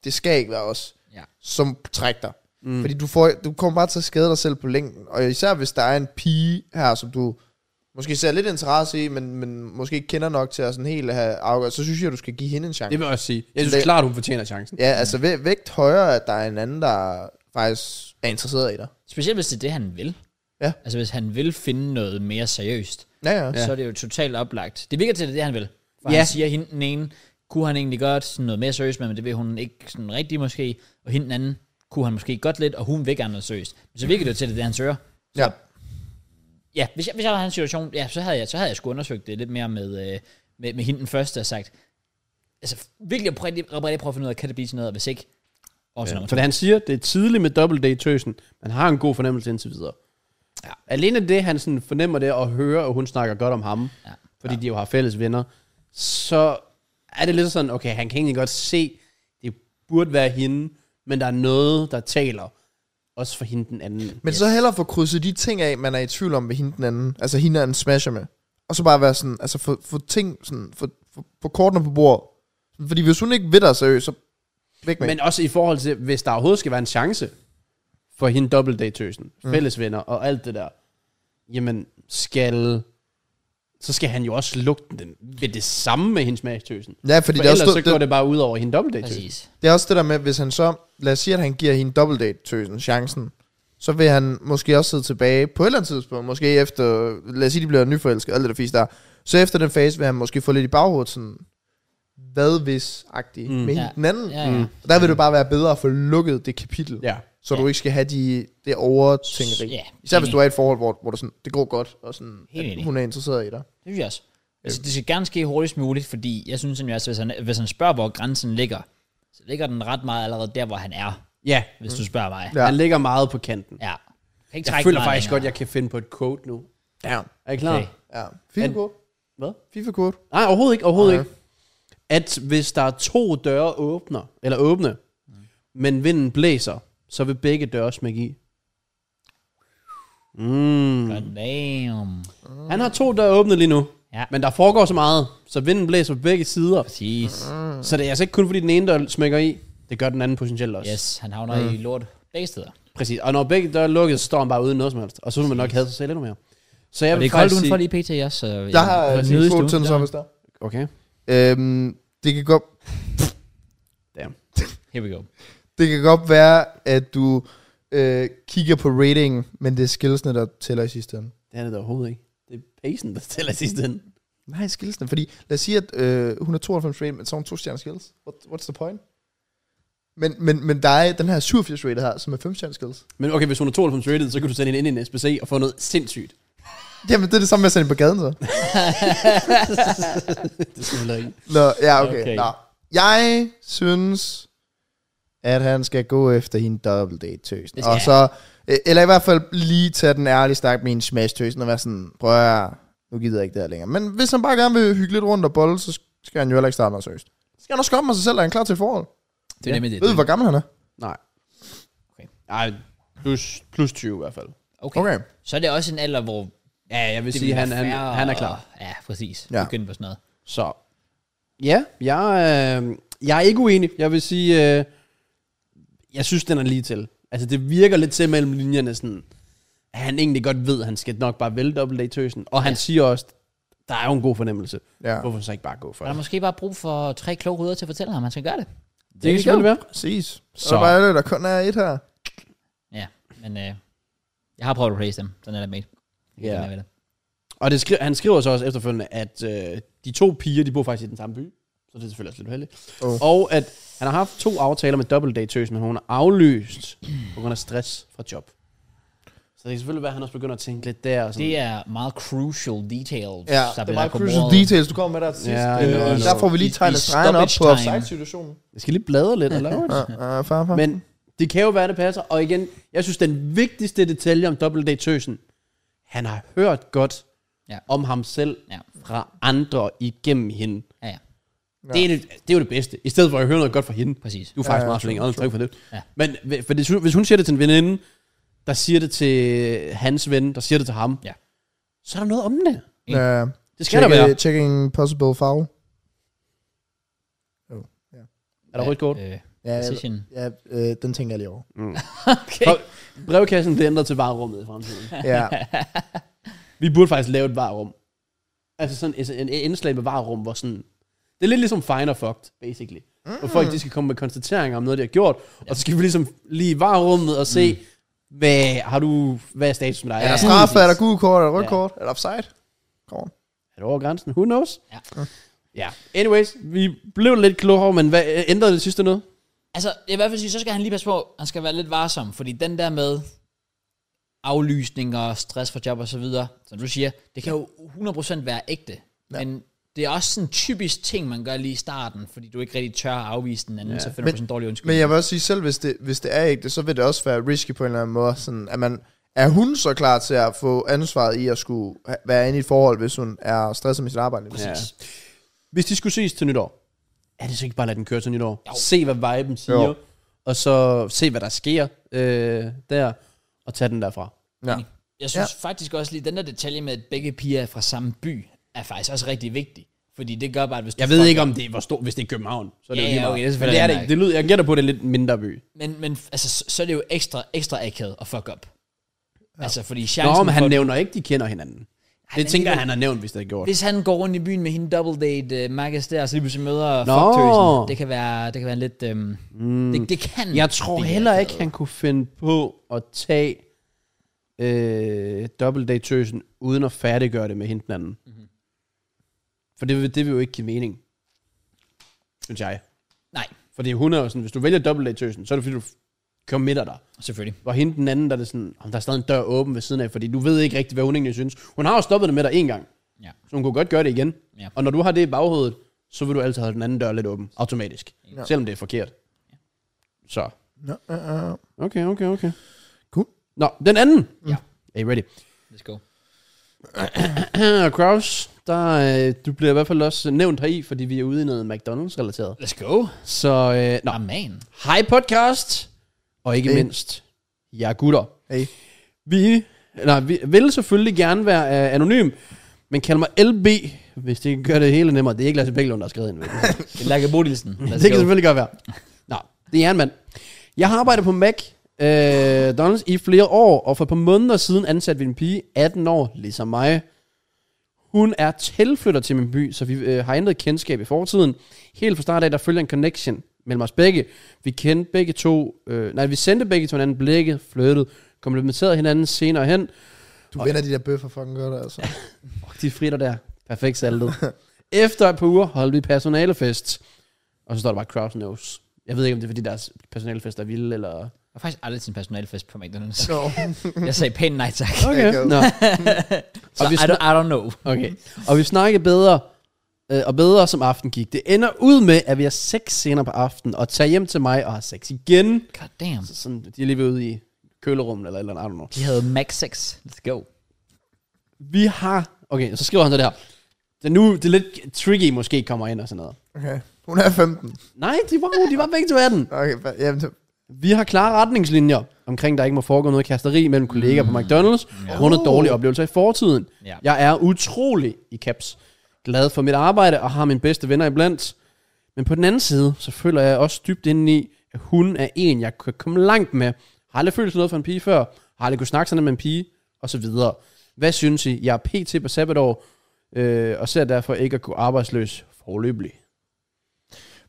S2: det skal ikke være os,
S1: Ja.
S2: som trækker dig. Mm.
S3: Mm.
S2: Fordi du, får, du kommer bare til at skade dig selv på længden. Og især hvis der er en pige her, som du måske ser lidt interesse i, men, men måske ikke kender nok til at sådan helt have afgørelse, så synes jeg, du skal give hende en chance.
S3: Det vil jeg også sige. Jeg synes
S2: Det-
S3: klart, hun fortjener chancen.
S2: Ja, altså væ- vægt højere, at der er en anden, der faktisk er interesseret i dig.
S1: Specielt hvis det er det, han vil.
S2: Ja.
S1: Altså hvis han vil finde noget mere seriøst,
S2: Ja, ja.
S1: ja. så er det jo totalt oplagt. Det virker til, at det er det, han vil. For
S3: Ja.
S1: ja. han siger hende den ene, kunne han egentlig godt sådan noget mere seriøst med, men det ved hun ikke sådan rigtigt måske. Og hende den anden kunne han måske godt lidt, og hun vil gerne noget seriøst. Men så virker det jo til, at det er det, han søger.
S2: Ja.
S1: Ja, hvis jeg, hvis jeg var i hans situation, ja, så havde jeg, så havde jeg sgu undersøgt det lidt mere med, øh, med, med hende den første og sagt, altså virkelig at prøve, at prøve at finde ud af, kan det blive sådan noget, og hvis ikke, og sådan
S3: Ja.
S1: noget.
S3: For han siger, det er tidligt med double date tøsen. Man har en god fornemmelse indtil videre. Ja. Alene det, han sådan fornemmer det og hører, og hun snakker godt om ham, ja. fordi ja. de jo har fælles venner, så er det lidt sådan, okay, han kan egentlig godt se, det burde være hende, men der er noget, der taler, også for hende den anden.
S2: Men yes. så hellere få krydset de ting af, man er i tvivl om ved hende den anden. Altså hende han smasher med. Og så bare være sådan, altså få, få ting, sådan, få, få, få kortene på bordet. Fordi hvis hun ikke ved dig seriøst, så væk med
S3: Men også i forhold til, hvis der overhovedet skal være en chance for hende double date tøsen, mm. fællesvenner og alt det der, jamen skal, så skal han jo også lugte den ved det samme med hendes smagstøsen.
S2: Ja, fordi
S3: For
S2: det er,
S3: ellers
S2: også,
S3: så
S2: det,
S3: går
S2: det,
S3: det, det bare ud over hende double date tøsen.
S1: Præcis.
S2: det er også det der med, hvis han så, lad os sige, at han giver hende double date tøsen chancen, så vil han måske også sidde tilbage på et eller andet tidspunkt, måske efter, lad os sige, de bliver nyforelsket, alt det der fisk der, så efter den fase vil han måske få lidt i baghovedet sådan, hvad hvis-agtig mm. med
S1: Ja.
S2: ja. den anden.
S1: Ja, ja.
S3: Mm.
S2: Og der vil det bare være bedre at få lukket det kapitel.
S3: Ja.
S2: Så
S1: Ja.
S2: du ikke skal have de, det overtænkeri.
S1: Ja,
S2: Især hvis
S1: enig.
S2: du er i et forhold, hvor, hvor det, sådan, det går godt, og sådan,
S1: Helt enig.
S2: at hun er interesseret i dig.
S1: Det synes jeg også. Altså, det skal gerne ske hurtigst muligt, fordi jeg synes simpelthen også, hvis han, hvis han spørger, hvor grænsen ligger, så ligger den ret meget allerede der, hvor han er,
S3: Mm. Ja,
S1: hvis du spørger mig.
S2: Ja.
S3: han ligger meget på kanten.
S1: ja. Kan ikke
S3: Jeg
S1: trække
S3: føler
S1: meget
S3: faktisk godt,
S1: længere.
S3: jeg kan finde på et quote nu.
S2: Ja.
S3: Er I klar?
S1: Okay.
S3: Okay.
S2: ja. FIFA-kort.
S3: Hvad?
S2: FIFA-kort.
S3: Nej, overhovedet ikke, overhovedet
S2: Nej.
S3: ikke. At hvis der er to døre åbner, eller åbne, men vinden blæser, så vil begge døre smække i. Mm.
S1: God damn.
S3: Han har to døre åbne lige nu,
S1: Ja.
S3: men der foregår så meget, så vinden blæser på begge sider.
S1: Præcis.
S3: Så det er altså ikke kun fordi den ene dør smækker i, det gør den anden potentielt også.
S1: Yes, han havner
S3: Mm.
S1: i lort begge steder.
S3: Præcis, og når begge døre er lukket, så står han bare uden noget som helst, og så vil man nok have sig selv endnu mere. Så jeg
S1: Og
S3: vil
S1: det er koldt
S3: faktisk
S1: udenfor
S3: sige-
S1: lige pt. også, så
S2: Jeg har øh,
S1: nødig
S2: en
S1: stue.
S2: quote til den
S1: Ja.
S2: samme hvis der.
S3: Okay.
S2: Øhm, det, kan godt,
S3: Damn.
S1: Here we go.
S2: det kan godt være, at du øh, kigger på ratingen, men det er skillsene, der tæller i sidste ende.
S3: Det er det da overhovedet ikke. Det er pacen, der tæller sidst den.
S2: Nej, skillsene, fordi lad os sige, at øh, hun er 92 rated, men så er hun to stjerner skills. What, what's the point? Men, men, men der er den her 87 rated her, som er 5 stjerner skills.
S3: Men okay, hvis hun er 92 rated, så kan du sende hende ind i en SBC og få noget sindssygt.
S2: Jamen, det er det samme med at sende på gaden, så.
S3: Det skal vi ikke.
S2: Nå, ja, okay.
S1: Okay.
S2: okay. Nå. Jeg synes, at han skal gå efter hende double date tøsen.
S1: Det skal
S2: Og så, øh, eller i hvert fald lige tage den ærlige snak med en smash tøsen og være sådan, prøv at høre, nu gider jeg ikke det her længere. Men hvis han bare gerne vil hygge lidt rundt og bolle, så skal han jo heller ikke starte noget seriøst. Så skal han også komme med sig selv, og han er klar til et forhold.
S1: Det er nemlig det.
S2: Ved du, hvor gammel han er?
S3: Nej.
S1: Okay.
S3: Okay. Nej, plus, plus 20 i hvert fald.
S1: Okay. okay. Så er det også en alder, hvor
S3: Ja, jeg vil
S1: det
S3: sige,
S1: vil
S3: han,
S1: være
S3: han,
S1: færre-
S3: han er klar.
S1: Ja, præcis. Ja.
S2: Ja.
S1: Begynd på sådan noget.
S3: Så. Ja, jeg, øh, jeg er ikke uenig. Jeg vil sige, øh, jeg synes, den er lige til. Altså, det virker lidt til mellem linjerne sådan, at han egentlig godt ved, at han skal nok bare vælge dobbelt i tøsen. Og han
S1: Ja.
S3: ja. siger også, der er jo en god fornemmelse.
S2: Ja.
S3: Hvorfor så ikke bare gå for
S1: Der er
S3: det?
S1: måske bare brug for tre kloge hoveder til at fortælle ham, at han skal gøre det.
S3: Det kan selvfølgelig være.
S2: Præcis. Så.
S3: Så.
S2: Og bare det, der kun er et her.
S1: Ja, men øh, jeg har prøvet at praise dem. Sådan er det med.
S3: Ja.
S1: Yeah.
S3: Og det skri- han skriver så også efterfølgende, at øh, de to piger, de bor faktisk i den samme by. Så det er selvfølgelig også lidt uheldigt.
S2: Åh.
S3: Og at han har haft to aftaler med double date tøs, men hun har aflyst på grund af stress fra job. Så det kan selvfølgelig være, at han også begynder at tænke lidt der. Og sådan.
S1: Det er meget crucial details,
S2: Ja,
S1: der
S2: det
S1: bliver
S2: er meget
S1: lagt på
S2: crucial
S1: bordet.
S2: details, du kommer med der til sidst.
S3: Ja,
S2: Øh,
S3: I know, I
S2: der
S3: know.
S2: får vi lige
S1: I-
S2: tegnet
S1: i
S2: stregen op
S1: stoppage
S2: på
S1: time.
S2: offside-situationen.
S3: Jeg skal lige bladre lidt og lave det.
S2: Ja, far, far.
S3: Men det kan jo være, det passer. Og igen, jeg synes, den vigtigste detalje om double date tøsen, han har hørt godt
S1: Ja.
S3: om ham selv
S1: Ja.
S3: fra andre igennem hende.
S1: Ja, ja,
S3: Ja. Det, er det, det er jo det bedste. I stedet for at høre noget godt fra hende.
S1: præcis.
S3: Du er faktisk
S2: Ja,
S3: ja,
S2: ja,
S3: meget flink, og tak for det.
S1: Ja.
S3: Ja. Men hv- for det, hvis hun siger det til en veninde, der siger det til hans ven, der siger det til ham,
S1: Ja.
S3: så er der noget om det.
S2: Ja.
S3: Det skal der være.
S2: Checking possible foul.
S3: Er der rødt kort?
S1: Øh,
S2: Ja,
S1: Position.
S2: ja øh, den tænker jeg lige over.
S1: okay.
S3: Prøv- Brevkassen bliver ændret til varerummet i fremtiden.
S2: ja.
S3: Vi burde faktisk lave et varerum. Altså sådan et, en, et indslag med varerum, hvor sådan... Det er lidt ligesom fine og fucked, basically. Mm. Hvor folk de skal komme med konstateringer om noget, de har gjort, ja. og så skal vi ligesom lige i varerummet og se, mm. hvad, har du, hvad er status med dig?
S2: Er der
S3: du
S2: straffe? Er der
S3: udvist?
S2: gul kort? Er der rødt
S3: Ja.
S2: kort? Er der offside? Kom on.
S3: Er du over grænsen? Who knows?
S1: Ja.
S3: Ja. Ja. Anyways, vi blev lidt klogere, men hvad, øh, ændrede det sidste noget?
S1: Altså, jeg vil i hvert fald sige, så skal han lige passe på, han skal være lidt varsom, fordi den der med aflysning og stress for job og så videre, som du siger, det kan jo 100% være ægte, ja. men det er også sådan en typisk ting, man gør lige i starten, fordi du ikke rigtig tør at afvise den anden, ja. så finder men, du
S2: Men-
S1: sådan en dårlig undskyldning.
S2: Men jeg vil også sige, selv hvis det, hvis det er ægte, så vil det også være risky på en eller anden måde. Sådan, at man, er hun så klar til at få ansvaret i at skulle ha- være inde i et forhold, hvis hun er stresset med sit arbejde? Ja.
S3: Hvis de skulle ses til nytår, er det så ikke bare at lade den køre til nytår? Jo. Se, hvad viben siger, jo.
S2: Jo.
S3: og så se, hvad der sker øh, der, og tage den derfra.
S2: Ja.
S1: Jeg synes ja. faktisk også lige, den der detalje med, at begge piger er fra samme by, er faktisk også rigtig vigtig. Fordi det gør bare, at hvis du
S3: Jeg ved ikke, om det er, hvor stor, hvis det er København, så er det
S1: Ja,
S3: jo lige
S1: ja,
S3: meget.
S1: okay, det er
S3: Men
S1: selvfølgelig
S3: det er det
S1: rigtig
S3: ikke. Det lyder, jeg gætter på, at det er lidt mindre by.
S1: Men, men altså, så, så er det jo ekstra, ekstra akavet at fuck op. Ja. Altså, fordi chancen
S3: Nå, men han
S1: for,
S3: nævner ikke, de kender hinanden. Det
S1: men
S3: tænker jeg,
S1: alligevel-
S3: han har nævnt, hvis det er gjort.
S1: hvis han går rundt i byen med hende double date uh, Marcus der, og så lige pludselig møder
S3: Nå.
S1: fucktøsen, det kan være, det kan være lidt... Øhm, mm. det, det, altså kan
S3: Jeg tror
S1: blive
S3: heller
S1: akavet.
S3: ikke, han kunne finde på at tage øh, dobbeltdatøsen, uden at færdiggøre det med hende den anden. Mm-hmm.
S1: Mhm.
S3: For det, vil- det vil jo ikke give mening. Synes jeg.
S1: Nej,
S3: Fordi hun er jo sådan, hvis du vælger dobbeltdatøsen, så er det fordi, du f- committer dig.
S1: selvfølgelig.
S3: Hvor hende den anden, der er det sådan, om der er stadig en dør åben ved siden af, fordi du ved ikke rigtig, hvad hun egentlig synes. Hun har jo stoppet det med dig en gang,
S1: Ja.
S3: så hun kunne godt gøre det igen.
S1: Ja.
S3: Og når du har det i baghovedet, så vil du altid have den anden dør lidt åben, automatisk. Ja.
S2: Ja.
S3: Selvom det er forkert. Så.
S2: Nå, øh, øh.
S3: Okay, okay, okay.
S2: Cool.
S3: Nå, den anden.
S1: Ja.
S3: Er I ready?
S1: Let's go.
S3: Kraus, der, øh, du bliver i hvert fald også nævnt heri, fordi vi er ude i noget McDonald's-relateret.
S1: Let's go.
S3: Så, øh, nå.
S1: Nå, man.
S3: Hej podcast, og ikke hey.
S2: Hey.
S3: mindst, jeg er gutter.
S2: Hey.
S3: Vi, nej, vi vil selvfølgelig gerne være øh, anonym, men kald mig LB, hvis det gør det hele nemmere. Det er ikke Lasse Bæklund, der har skrevet ind. vel?
S1: Det er Lærke Bodilsen. Let's
S3: det kan
S1: go.
S3: selvfølgelig godt være. Nå, det er en mand. Jeg har arbejdet på Mac øh, Donalds i flere år, og for et par måneder siden ansatte vi en pige, 18 år, ligesom mig. Hun er tilflytter til min by, så vi øh, har ændret kendskab i fortiden. Helt fra start af, der følger en connection mellem os begge. Vi kendte begge to, øh, nej, vi sendte begge to hinanden blikket, flyttede, komplementerede hinanden senere hen,
S2: Du vender de der bøffer fucking godt, altså.
S3: Fuck, de fritter der. Perfekt saltet. Efter et par uger holdt vi personalefest. Og så står der bare crowd knows. Jeg ved ikke, om det er, fordi deres personalefest er vilde, eller...
S1: Jeg har faktisk aldrig til en personalfest på McDonald's.
S2: Nå.
S1: Jeg sagde pænt nej tak.
S2: Okay.
S3: Nå.
S1: Så
S3: Og vi
S1: I, don't, I don't know.
S3: Okay. Og vi snakkede bedre øh, og bedre, som aften gik. Det ender ud med, at vi har sex senere på aftenen, og tager hjem til mig og har sex igen.
S1: God damn.
S3: Så sådan, de er lige ved ude i kølerummet, eller et eller andet, I don't know.
S1: De havde Max 6. Let's go.
S3: Vi har... Okay, så skriver han så det her. Det, er nu, det er lidt tricky, måske kommer ind og sådan noget.
S2: Okay. Hun er 15.
S3: Nej, de var, de var begge to 18.
S2: Okay, fa- jamen, det-
S3: Vi har klare retningslinjer omkring, der ikke må foregå noget kasteri mellem kollegaer på McDonald's, Mm. ja. Uh. grundet dårlige oplevelser i fortiden.
S1: Ja.
S3: Jeg er utrolig i caps glad for mit arbejde og har mine bedste venner iblandt. Men på den anden side, så føler jeg også dybt indeni, at hun er en, jeg kan komme langt med. Har aldrig følt sådan noget for en pige før, har aldrig kunne snakke sådan med en pige, og så videre. Hvad synes I? Jeg er pt på sabbatår, øh, og ser derfor ikke at kunne arbejdsløs forløbelig.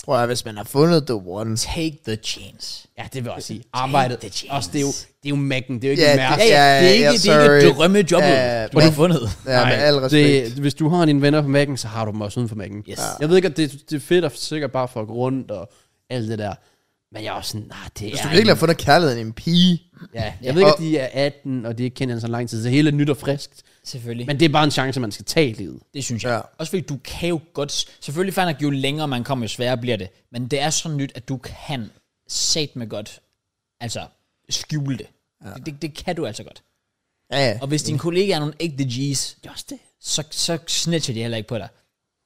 S2: Prøv at høre, hvis man har fundet the one.
S1: Take the chance.
S3: Ja, det vil jeg også sige. Arbejdet.
S1: the chance.
S3: Også, det er jo, det er jo Mac'en, det er jo ikke
S2: Ja,
S3: yeah,
S2: det-
S3: Mærsk.
S1: Ja, ja, det er ikke,
S2: ja,
S1: det er ikke
S2: sorry.
S1: drømmejobbet,
S2: Ja,
S1: du har fundet.
S2: Ja, med al respekt.
S3: Det, hvis du har dine venner på Mac'en, så har du dem også uden for Mac'en.
S1: Yes.
S3: Ja. Jeg ved ikke, at det, det er fedt at sikkert bare for at gå rundt og alt det der. Men jeg er også sådan, nej, det
S2: Hvis
S3: er...
S2: du virkelig har fundet kærligheden i en pige,
S3: ja, jeg ved ikke, at
S2: Og-
S3: de er 18, og de ikke kender hinanden så lang tid, så hele er nyt og friskt.
S1: Selvfølgelig. Men
S3: Men det er bare en chance, man skal tage i livet.
S1: det synes jeg.
S2: Ja.
S1: Også fordi du kan jo godt... Selvfølgelig fandt at jo længere man kommer, jo sværere bliver det. Men det er så nyt, at du kan sat med godt, altså skjule det. Ja. Det, det. det kan du altså godt.
S2: ja, ja.
S1: Og hvis dine kollegaer er nogle ægte G's,
S3: Det er også det.
S1: så, så snitcher de heller ikke på dig.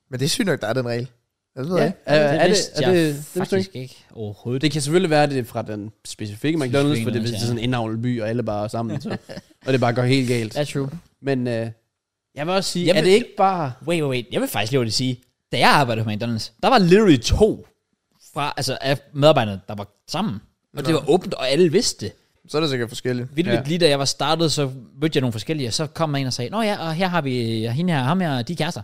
S2: Men det er sygt nok, der er den regel. Jeg ved
S3: Ja,
S2: ikke.
S3: er, er, det,
S1: vidste
S3: er
S1: jeg
S3: det, det, det,
S1: faktisk ikke overhovedet.
S3: det kan selvfølgelig være, at det er fra den specifikke McDonald's, for det, hvis
S1: McDonald's,
S3: det er
S1: ja.
S3: sådan en indavlet by, og alle bare er sammen, så, og det bare går helt galt.
S1: That's true.
S3: Men øh, jeg vil også sige,
S1: Jeg
S3: er
S1: vil-
S3: det ikke bare...
S1: Wait, wait, wait. Jeg vil faktisk lige hurtigt sige, da jeg arbejdede på McDonald's, der var literally to fra, altså af medarbejderne, der var sammen. Og det var åbent, og alle vidste det.
S2: Så er det sikkert forskelligt.
S1: Vildt
S3: Ja.
S1: ja. lige da jeg var startet, så mødte jeg nogle forskellige, og så kom man ind og sagde, Nå ja, og her har vi og hende her, og ham her, og de er kærester.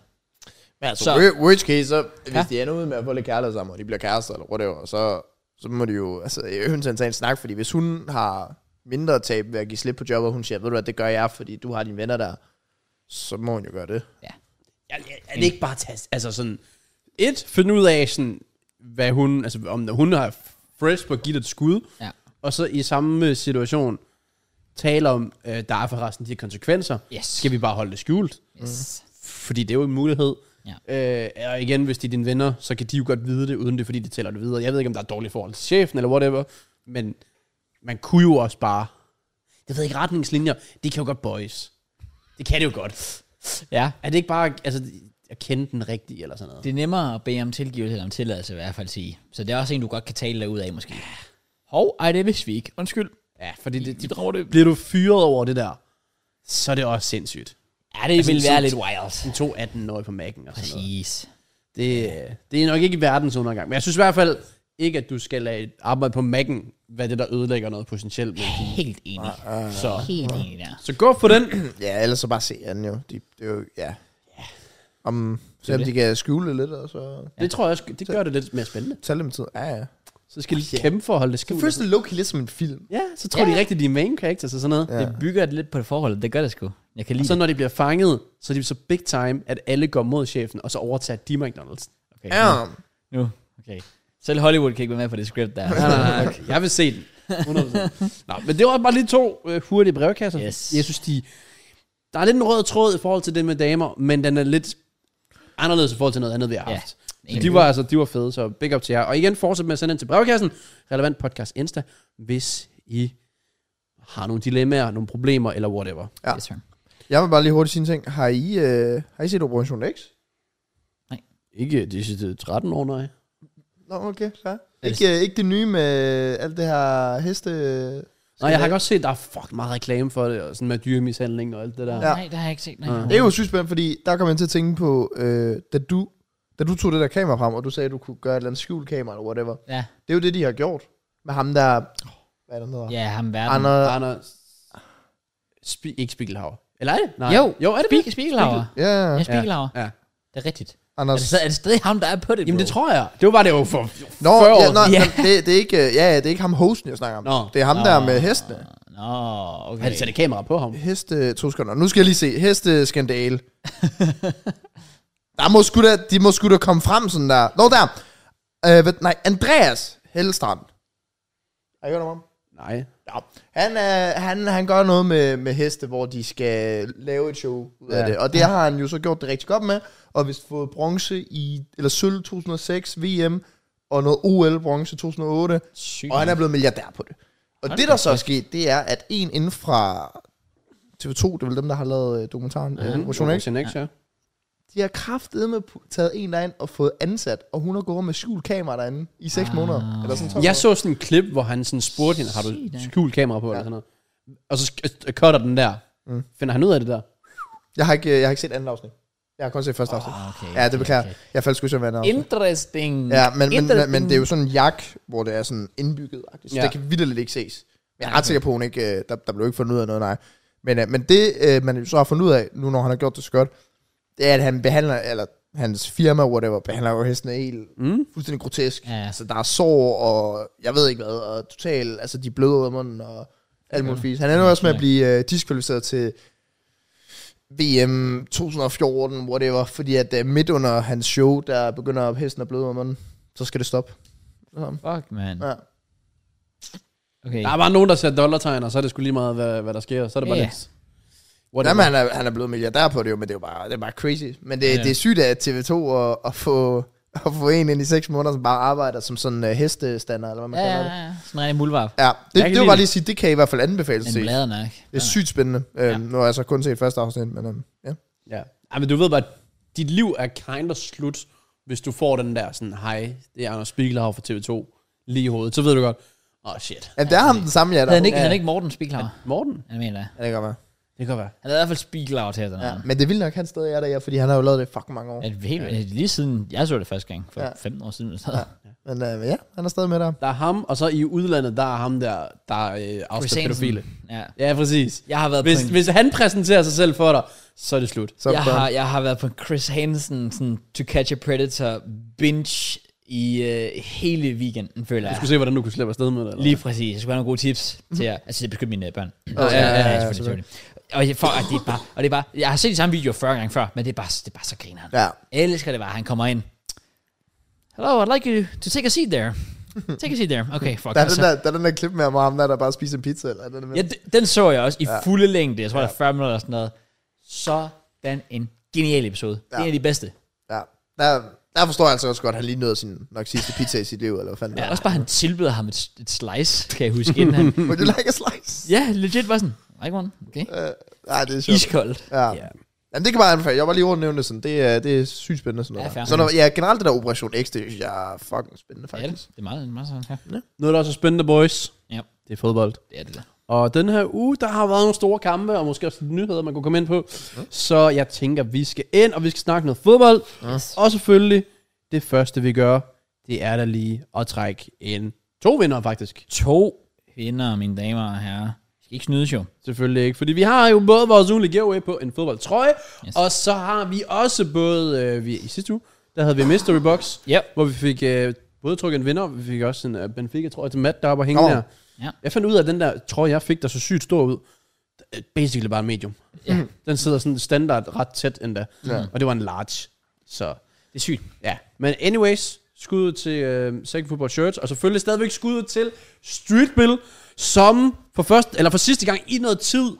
S2: Men altså,
S1: Så-
S2: så, worst case, så, hvis
S1: Ja.
S2: de ender ud med at få lidt kærlighed sammen, og de bliver kærester eller whatever, så, så må de jo, altså, øvrigt tage en snak, fordi hvis hun har mindre tab ved at give slip på jobbet, og hun siger, ved du hvad, det gør jeg, fordi du har dine venner der, så må hun jo gøre det.
S3: Er det ikke bare at tage, altså sådan, et, finde ud af, sådan, hvad hun, altså, om hun har fresh på at give det et skud,
S1: Ja.
S3: og så i samme øh, situation tale om, øh, der er forresten de her konsekvenser.
S1: Yes.
S3: Skal vi bare holde det skjult?
S1: Yes.
S3: Fordi det er jo en mulighed. Ja. Øh, og igen, hvis de er dine venner, så kan de jo godt vide det, uden det, fordi de tæller det videre. Jeg ved ikke, om der er et dårligt forhold til chefen, eller whatever, men man kunne jo også bare... Jeg ved ikke, retningslinjer, det kan jo godt bøjes. Det kan det jo godt.
S1: Ja.
S3: Er det ikke bare altså, at kende den rigtige, eller sådan noget?
S1: Det er nemmere at bede om tilgivelse eller om tilladelse i hvert fald sige. Så det er også en, du godt kan tale dig ud af måske. Hov, ej, det vidste vi ikke. Undskyld.
S3: ja, fordi det,
S1: De
S3: det,
S1: drager det.
S3: bliver du fyret over det der, så er det også sindssygt.
S1: Ja, det
S3: Altså,
S1: vil
S3: sådan-
S1: være lidt wild.
S3: En 2-18-årig på Mac'en og sådan noget.
S1: Præcis.
S3: Det, det er nok ikke verdens undergang. Men jeg synes i hvert fald ikke, at du skal lade arbejde på Mac'en, hvad det der ødelægger noget potentielt. Med.
S1: Helt enig.
S3: Så,
S1: Helt enig der.
S3: så gå for den.
S2: Ja, ellers så bare se anden jo. De, det er jo, ja. Om, selvom de kan skjule lidt, og så
S3: Det tror jeg også, det gør det lidt mere spændende.
S2: tage dem tid. Ja, ja.
S3: Så skal de kæmpe for at holde det skjult.
S2: Først er Loki lidt som en film.
S3: Ja, så tror de rigtigt, de er main characters og sådan noget. Ja.
S1: Det bygger det lidt på et forhold. Det gør det sgu. Jeg kan
S3: Og
S1: lide
S3: så
S1: det.
S3: når de bliver fanget, så er de så big time, at alle går mod chefen, og så overtager de McDonald's.
S1: Okay,
S2: Ja.
S1: nu. nu. Okay. Selv Hollywood kan ikke være med på det script der.
S3: Nej, nej, nej. Jeg vil se den. 100%. Nå, men det var bare lige to øh, hurtige brevkasser.
S1: Yes.
S3: Jeg synes, de... Der er lidt en rød tråd i forhold til det med damer, men den er lidt anderledes i forhold til noget andet, vi har
S1: Ja.
S3: haft. Så
S1: Enig.
S3: de var altså de var fede, så big up til jer. Og igen, fortsæt med at sende ind til brevkassen, relevant podcast Insta, hvis I har nogle dilemmaer, nogle problemer eller whatever.
S2: Ja.
S1: Yes, sir.
S2: Jeg vil bare lige hurtigt sige en ting. Har I, øh, har I set Operation X?
S3: Ikke de sidste 13 år, nej.
S2: Nå, okay, klar.
S1: det-
S2: Ikke, øh, ikke det nye med alt det her heste... øh,
S3: Nej, jeg har godt set, der er fucking meget reklame for det, og sådan med dyremishandling og alt det der.
S2: Ja.
S1: Nej, det har jeg ikke set. Nej.
S3: Ja.
S2: Det er jo sygt spændende, fordi der kom jeg til at tænke på, øh, da, du, da du tog det der kamera frem, og du sagde, at du kunne gøre et eller andet skjult kamera eller whatever.
S1: Ja,
S2: Det er jo det, de har gjort med ham der... Hvad er det, han hedder?
S1: ja ham verden.
S2: Anders...
S3: Anders... Spi- ikke Spiegelhauer. Eller er det? Nej.
S1: Jo,
S3: jo er det det?
S1: Spie- Spiegelhauer.
S2: Ja,
S1: Ja, Spiegelhauer.
S3: Ja.
S1: Det er rigtigt. Er
S2: Anders...
S1: det, stadig, er det stadig ham, der er på det,
S3: Jamen
S1: bro?
S3: det tror jeg. Det var bare det jo for 40
S2: Nå,
S3: år
S2: ja, nej,
S1: Ja.
S2: yeah. det, det, er ikke, øh, ja, ja, det er ikke ham hosten, jeg snakker om.
S3: Nå.
S2: Det er ham der med hestene.
S1: Nå, okay.
S3: Har de sat et kamera på ham?
S2: Heste... To sekunder. Nu skal jeg lige se. Hesteskandale. der må sgu da, de må sgu da komme frem sådan der. Nå, der. Øh, hvad, nej, Andreas Hellestrand. Har I hørt om ham?
S3: Nej.
S2: Ja. Han, øh, han, han gør noget med, med heste, hvor de skal lave et show ud af
S3: Ja.
S2: det. Og det har han jo så gjort det rigtig godt med. Og hvis fået bronze i, eller sølv 2006 VM, og noget OL bronze 2008.
S1: Sygt.
S2: Og han er blevet milliardær på det. Og
S1: Hold
S2: det,
S1: da
S2: der så er sket, det er, at en inden fra TV2, det er vel dem, der har lavet øh, dokumentaren, ja, Operation X,
S3: Operation X, ja.
S2: de har kraftedeme pu- taget en derind og fået ansat, og hun har gået med skjult kamera derinde i 6
S1: Ah.
S2: måneder. Eller sådan 12
S3: Jeg så sådan en klip, hvor han sådan spurgte hende, har du
S1: Sygt, ja.
S3: skjult kamera på, eller sådan noget. Og så sk- øh, cutter den der. Finder han ud af det der?
S2: måneder. Jeg har ikke, øh, jeg har ikke set anden afsnit. Jeg har kun set første afsnit.
S1: Ah, okay,
S2: ja,
S1: okay,
S2: det beklager
S1: okay.
S2: jeg. Jeg faldt sgu som andet afsnit.
S1: Interesting.
S2: Ja, men, men,
S1: Interesting.
S2: men, men, det er jo sådan en jak, hvor det er sådan indbygget. Så
S3: Ja.
S2: ja. det kan vidderligt ikke ses. Men jeg er ret sikker på, at hun ikke, øh, der, der blev ikke fundet ud af noget, nej. Men, øh, men det, øh, man jo så har fundet ud af, nu når han har gjort det så godt, det er, at han behandler, eller hans firma, whatever, behandler jo hesten helt mm. fuldstændig grotesk.
S1: Ja, ja.
S2: Altså, der er sår, og jeg ved ikke hvad, og totalt, altså, de bløder ud af munden, og alt muligt fisk. Han ender også med at blive øh, diskvalificeret til VM 2014, whatever, fordi at øh, midt under hans show, der begynder hesten at bløde ud af munden, så skal det stoppe. Så,
S1: Fuck, man.
S2: ja.
S1: Okay.
S3: Der er bare nogen, der ser dollartegn, og så er det sgu lige meget, hvad, hvad der sker. Så er det bare
S1: Ja.
S3: lidt... Whatever.
S2: Jamen, han er, han er blevet milliardær på det jo, men det er jo bare, det er bare crazy. Men det,
S1: Ja,
S2: ja,
S1: ja.
S2: det er sygt at TV2 at, at, få, at få en ind i seks måneder, som bare arbejder som sådan uh, hestestander, eller hvad man
S1: Ja,
S2: kalder
S1: ja,
S2: det.
S1: ja. Sådan en rigtig muldvarp.
S2: Ja,
S3: Jeg
S2: det,
S3: kan
S2: det var
S3: lide
S2: bare
S3: det.
S2: lige at sige, det kan I i hvert fald anbefale at
S1: Men
S2: se.
S1: blader nok.
S2: Det er sygt spændende. Ja. Øhm, nu har jeg så kun set første afsnit, men øhm, ja.
S3: Ja. Ej, men du ved bare, dit liv er kind of slut, hvis du får den der sådan, hej, det er Anders Spiegelhauer fra TV2, lige i hovedet. Så ved du godt, åh oh, shit.
S2: ja. det er ham den samme, ja. Der.
S1: Havde han ikke,
S2: ja.
S1: havde han ikke Morten Spiegelhauer?
S3: Morten?
S1: Jeg mener det.
S2: Ja, det kan være.
S3: Det kan være.
S1: Han havde i hvert fald Spiegelhauer til den
S2: Ja.
S1: her.
S2: Men det vil nok, han stadig er der, ja, fordi han har jo lavet det i fucking mange år.
S1: At helt, ja. Lige siden jeg så det første gang, for
S2: Ja.
S1: 15 år siden. Ja.
S2: Men øh, ja, han er stadig med der.
S3: Der er ham, og så i udlandet, der er ham der, der er øh, afsted pædofile.
S1: Ja.
S3: Ja, præcis.
S1: Jeg har været på
S3: Hvis,
S1: en-
S3: hvis han præsenterer sig selv for dig, så er det slut.
S2: Så
S1: jeg,
S2: på-
S1: har, jeg har været på Chris Hansen, sådan To Catch a Predator binge i øh, hele weekenden, føler
S3: Du
S1: jeg.
S3: skal se, hvordan du kunne slippe afsted med det. Eller?
S1: Lige præcis. Jeg skulle have nogle gode tips til at, altså, det beskytter mine øh, børn. Oh,
S2: ja, ja, ja,
S1: selvfølgelig, selvfølgelig. Og, jeg, for, og, det er bare, og det er bare, jeg har set de samme videoer 40 gange før, men det er bare, det er bare så griner han.
S2: Ja.
S1: Jeg elsker det bare, han kommer ind. Hello, I'd like you to take a seat there. Take a seat there. Okay, fuck.
S2: Der er,
S1: altså.
S2: den der, der er den der klip med ham og ham, der, der bare spiser en pizza. Eller er det den med?
S1: Ja, d- den så jeg også i ja. fulde længde. Jeg tror, der er 40 minutter eller sådan noget. Sådan en genial episode. Ja. Det er en af de bedste.
S2: Ja. Der, der forstår jeg altså også godt, at han lige nåede sin nok sidste pizza i sit liv, eller hvad fanden
S1: Ja.
S2: det
S1: Ja.
S2: er.
S1: Også bare, han tilbyder ham et, et slice, kan jeg huske. Inden han,
S2: Would you like a slice?
S1: ja, legit var sådan, like one, okay?
S2: Øh, Nej, det er sjovt.
S1: Iskoldt.
S2: Ja.
S3: Ja.
S2: Jamen, det kan bare anbefale. Jeg var lige rundt nævne det sådan. Det er, det er sygt spændende sådan
S1: Ja,
S2: noget.
S1: fair.
S2: Ja, så når, ja, generelt det der Operation X, det synes jeg er fucking spændende
S1: Ja,
S2: faktisk.
S1: det det er meget, meget sådan her.
S3: Noget, der også er spændende, boys.
S1: Ja.
S3: Det er fodbold.
S1: Det er det der.
S3: Og den her uge, der har været nogle store kampe, og måske også lidt nyheder, man kunne komme ind på.
S1: Mhm.
S3: Så jeg tænker, vi skal ind, og vi skal snakke noget fodbold.
S1: Yes.
S3: Og selvfølgelig, det første vi gør, det er da lige at trække en to vinder faktisk.
S1: To vinder, mine damer og herrer. I Skal ikke snydes jo.
S3: Selvfølgelig ikke, fordi vi har jo både vores ugenlige giveaway på en fodboldtrøje,
S1: Yes.
S3: yes. og så har vi også både, øh, vi, i sidste uge, der havde vi Mystery Box,
S1: Ja.
S3: hvor vi fik øh, både trukket en vinder, og vi fik også en øh, Benfica-trøje til Matt deroppe og hænge
S2: Nå.
S3: der.
S1: Ja.
S3: Jeg fandt ud af, at den der trøje, jeg fik, der så sygt stor ud, det er basically bare en medium.
S1: Ja.
S3: Den sidder sådan standard ret tæt endda,
S2: Ja.
S3: og det var en large. Så
S1: Det er sygt.
S3: ja, men anyways, skud til øh, Second Football Shirts, og selvfølgelig stadigvæk skud til Streetbill, som for, første, eller for sidste gang i noget tid,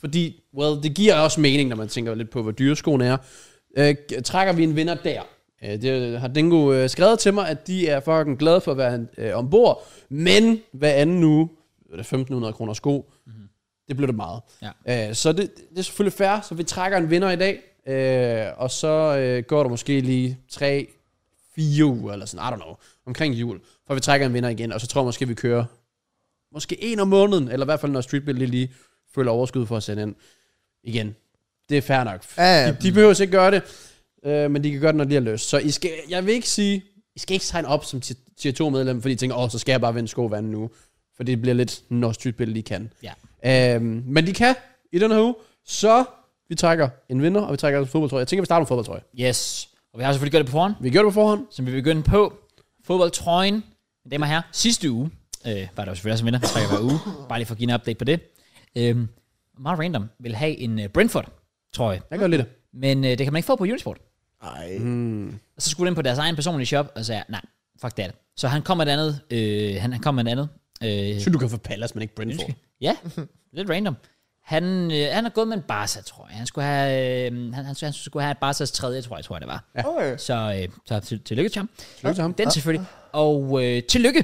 S3: fordi, well, det giver også mening, når man tænker lidt på, hvor dyre skoene er, øh, trækker vi en vinder der. Øh, det har Dingo øh, skrevet til mig, at de er fucking glade for at være øh, ombord, men hver anden uge, øh, 1.500 kroner sko, det blev det meget. Øh, så det, det er selvfølgelig fair, så vi trækker en vinder i dag, øh, og så øh, går der måske lige 3, 4 uger eller sådan, I don't know, omkring jul, for vi trækker en vinder igen, og så tror jeg måske, vi kører måske en om måneden, eller i hvert fald når Streetbill lige, lige føler overskud for at sende ind igen. Det er fair nok.
S2: Ja, ja.
S3: De, de behøver ikke gøre det, øh, men de kan gøre det, når de har lyst. Så I skal, jeg vil ikke sige, I skal ikke signe op som tier 2 medlem, fordi I tænker, åh, så skal jeg bare vende sko hver anden uge. For det bliver lidt, når Streetbill lige kan.
S1: Ja.
S3: Øhm, men de kan i den her uge, så vi trækker en vinder, og vi trækker en fodboldtrøje. Jeg tænker, vi starter med fodboldtrøje.
S1: Yes. Og vi har selvfølgelig gjort det på forhånd,
S3: Vi gjorde det på forhånd.
S1: som vi begynder på. Fodboldtrøjen, mine damer og herrer. Sidste uge øh, var der jo selvfølgelig også en vinder, der trækker hver uge. Bare lige for at give en update på det. Øhm, meget random vil have en øh, Brentford-trøje,
S3: Jeg gør lidt det.
S1: men øh, det kan man ikke få på Unisport.
S2: Nej.
S1: Og så skulle den på deres egen personlige shop, og sagde, nej, fuck det. Så han kom med et andet, øh, han, han kom med et andet. Øh,
S3: Synes du kan få Pallas, men ikke Brentford.
S1: Ja, lidt random. Han, øh, han er gået med en Barca, tror jeg. Han skulle have, øh, han, han, han skulle have et Barca's tredje, tror jeg, tror jeg, det var. Ja.
S2: Okay.
S1: Så, øh, så til, tillykke til ham.
S3: Tillykke til ham.
S1: Den selvfølgelig. Og øh, tillykke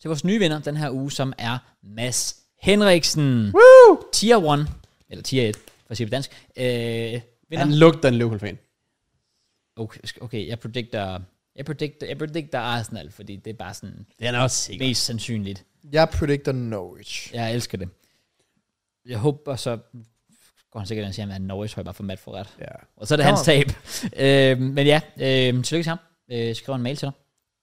S1: til vores nye vinder den her uge, som er Mads Henriksen. Woo! Tier 1, eller Tier 1, for at sige det på dansk. Øh,
S3: Han
S1: vinder.
S3: lugter en Liverpool-fan.
S1: Okay, okay, jeg predicter, jeg predicter, jeg predicter Arsenal, fordi det er bare sådan
S3: Det er han også sikkert.
S1: mest sandsynligt.
S2: Jeg predicter Norwich.
S1: Jeg elsker det. Jeg håber så går han sikkert ind og siger, at han er Norwich, så jeg bare for Matt for ret.
S3: Ja.
S1: Og så er det hans tab. Øh, men ja, øh, tillykke til ham. Øh, skriver en mail til dig.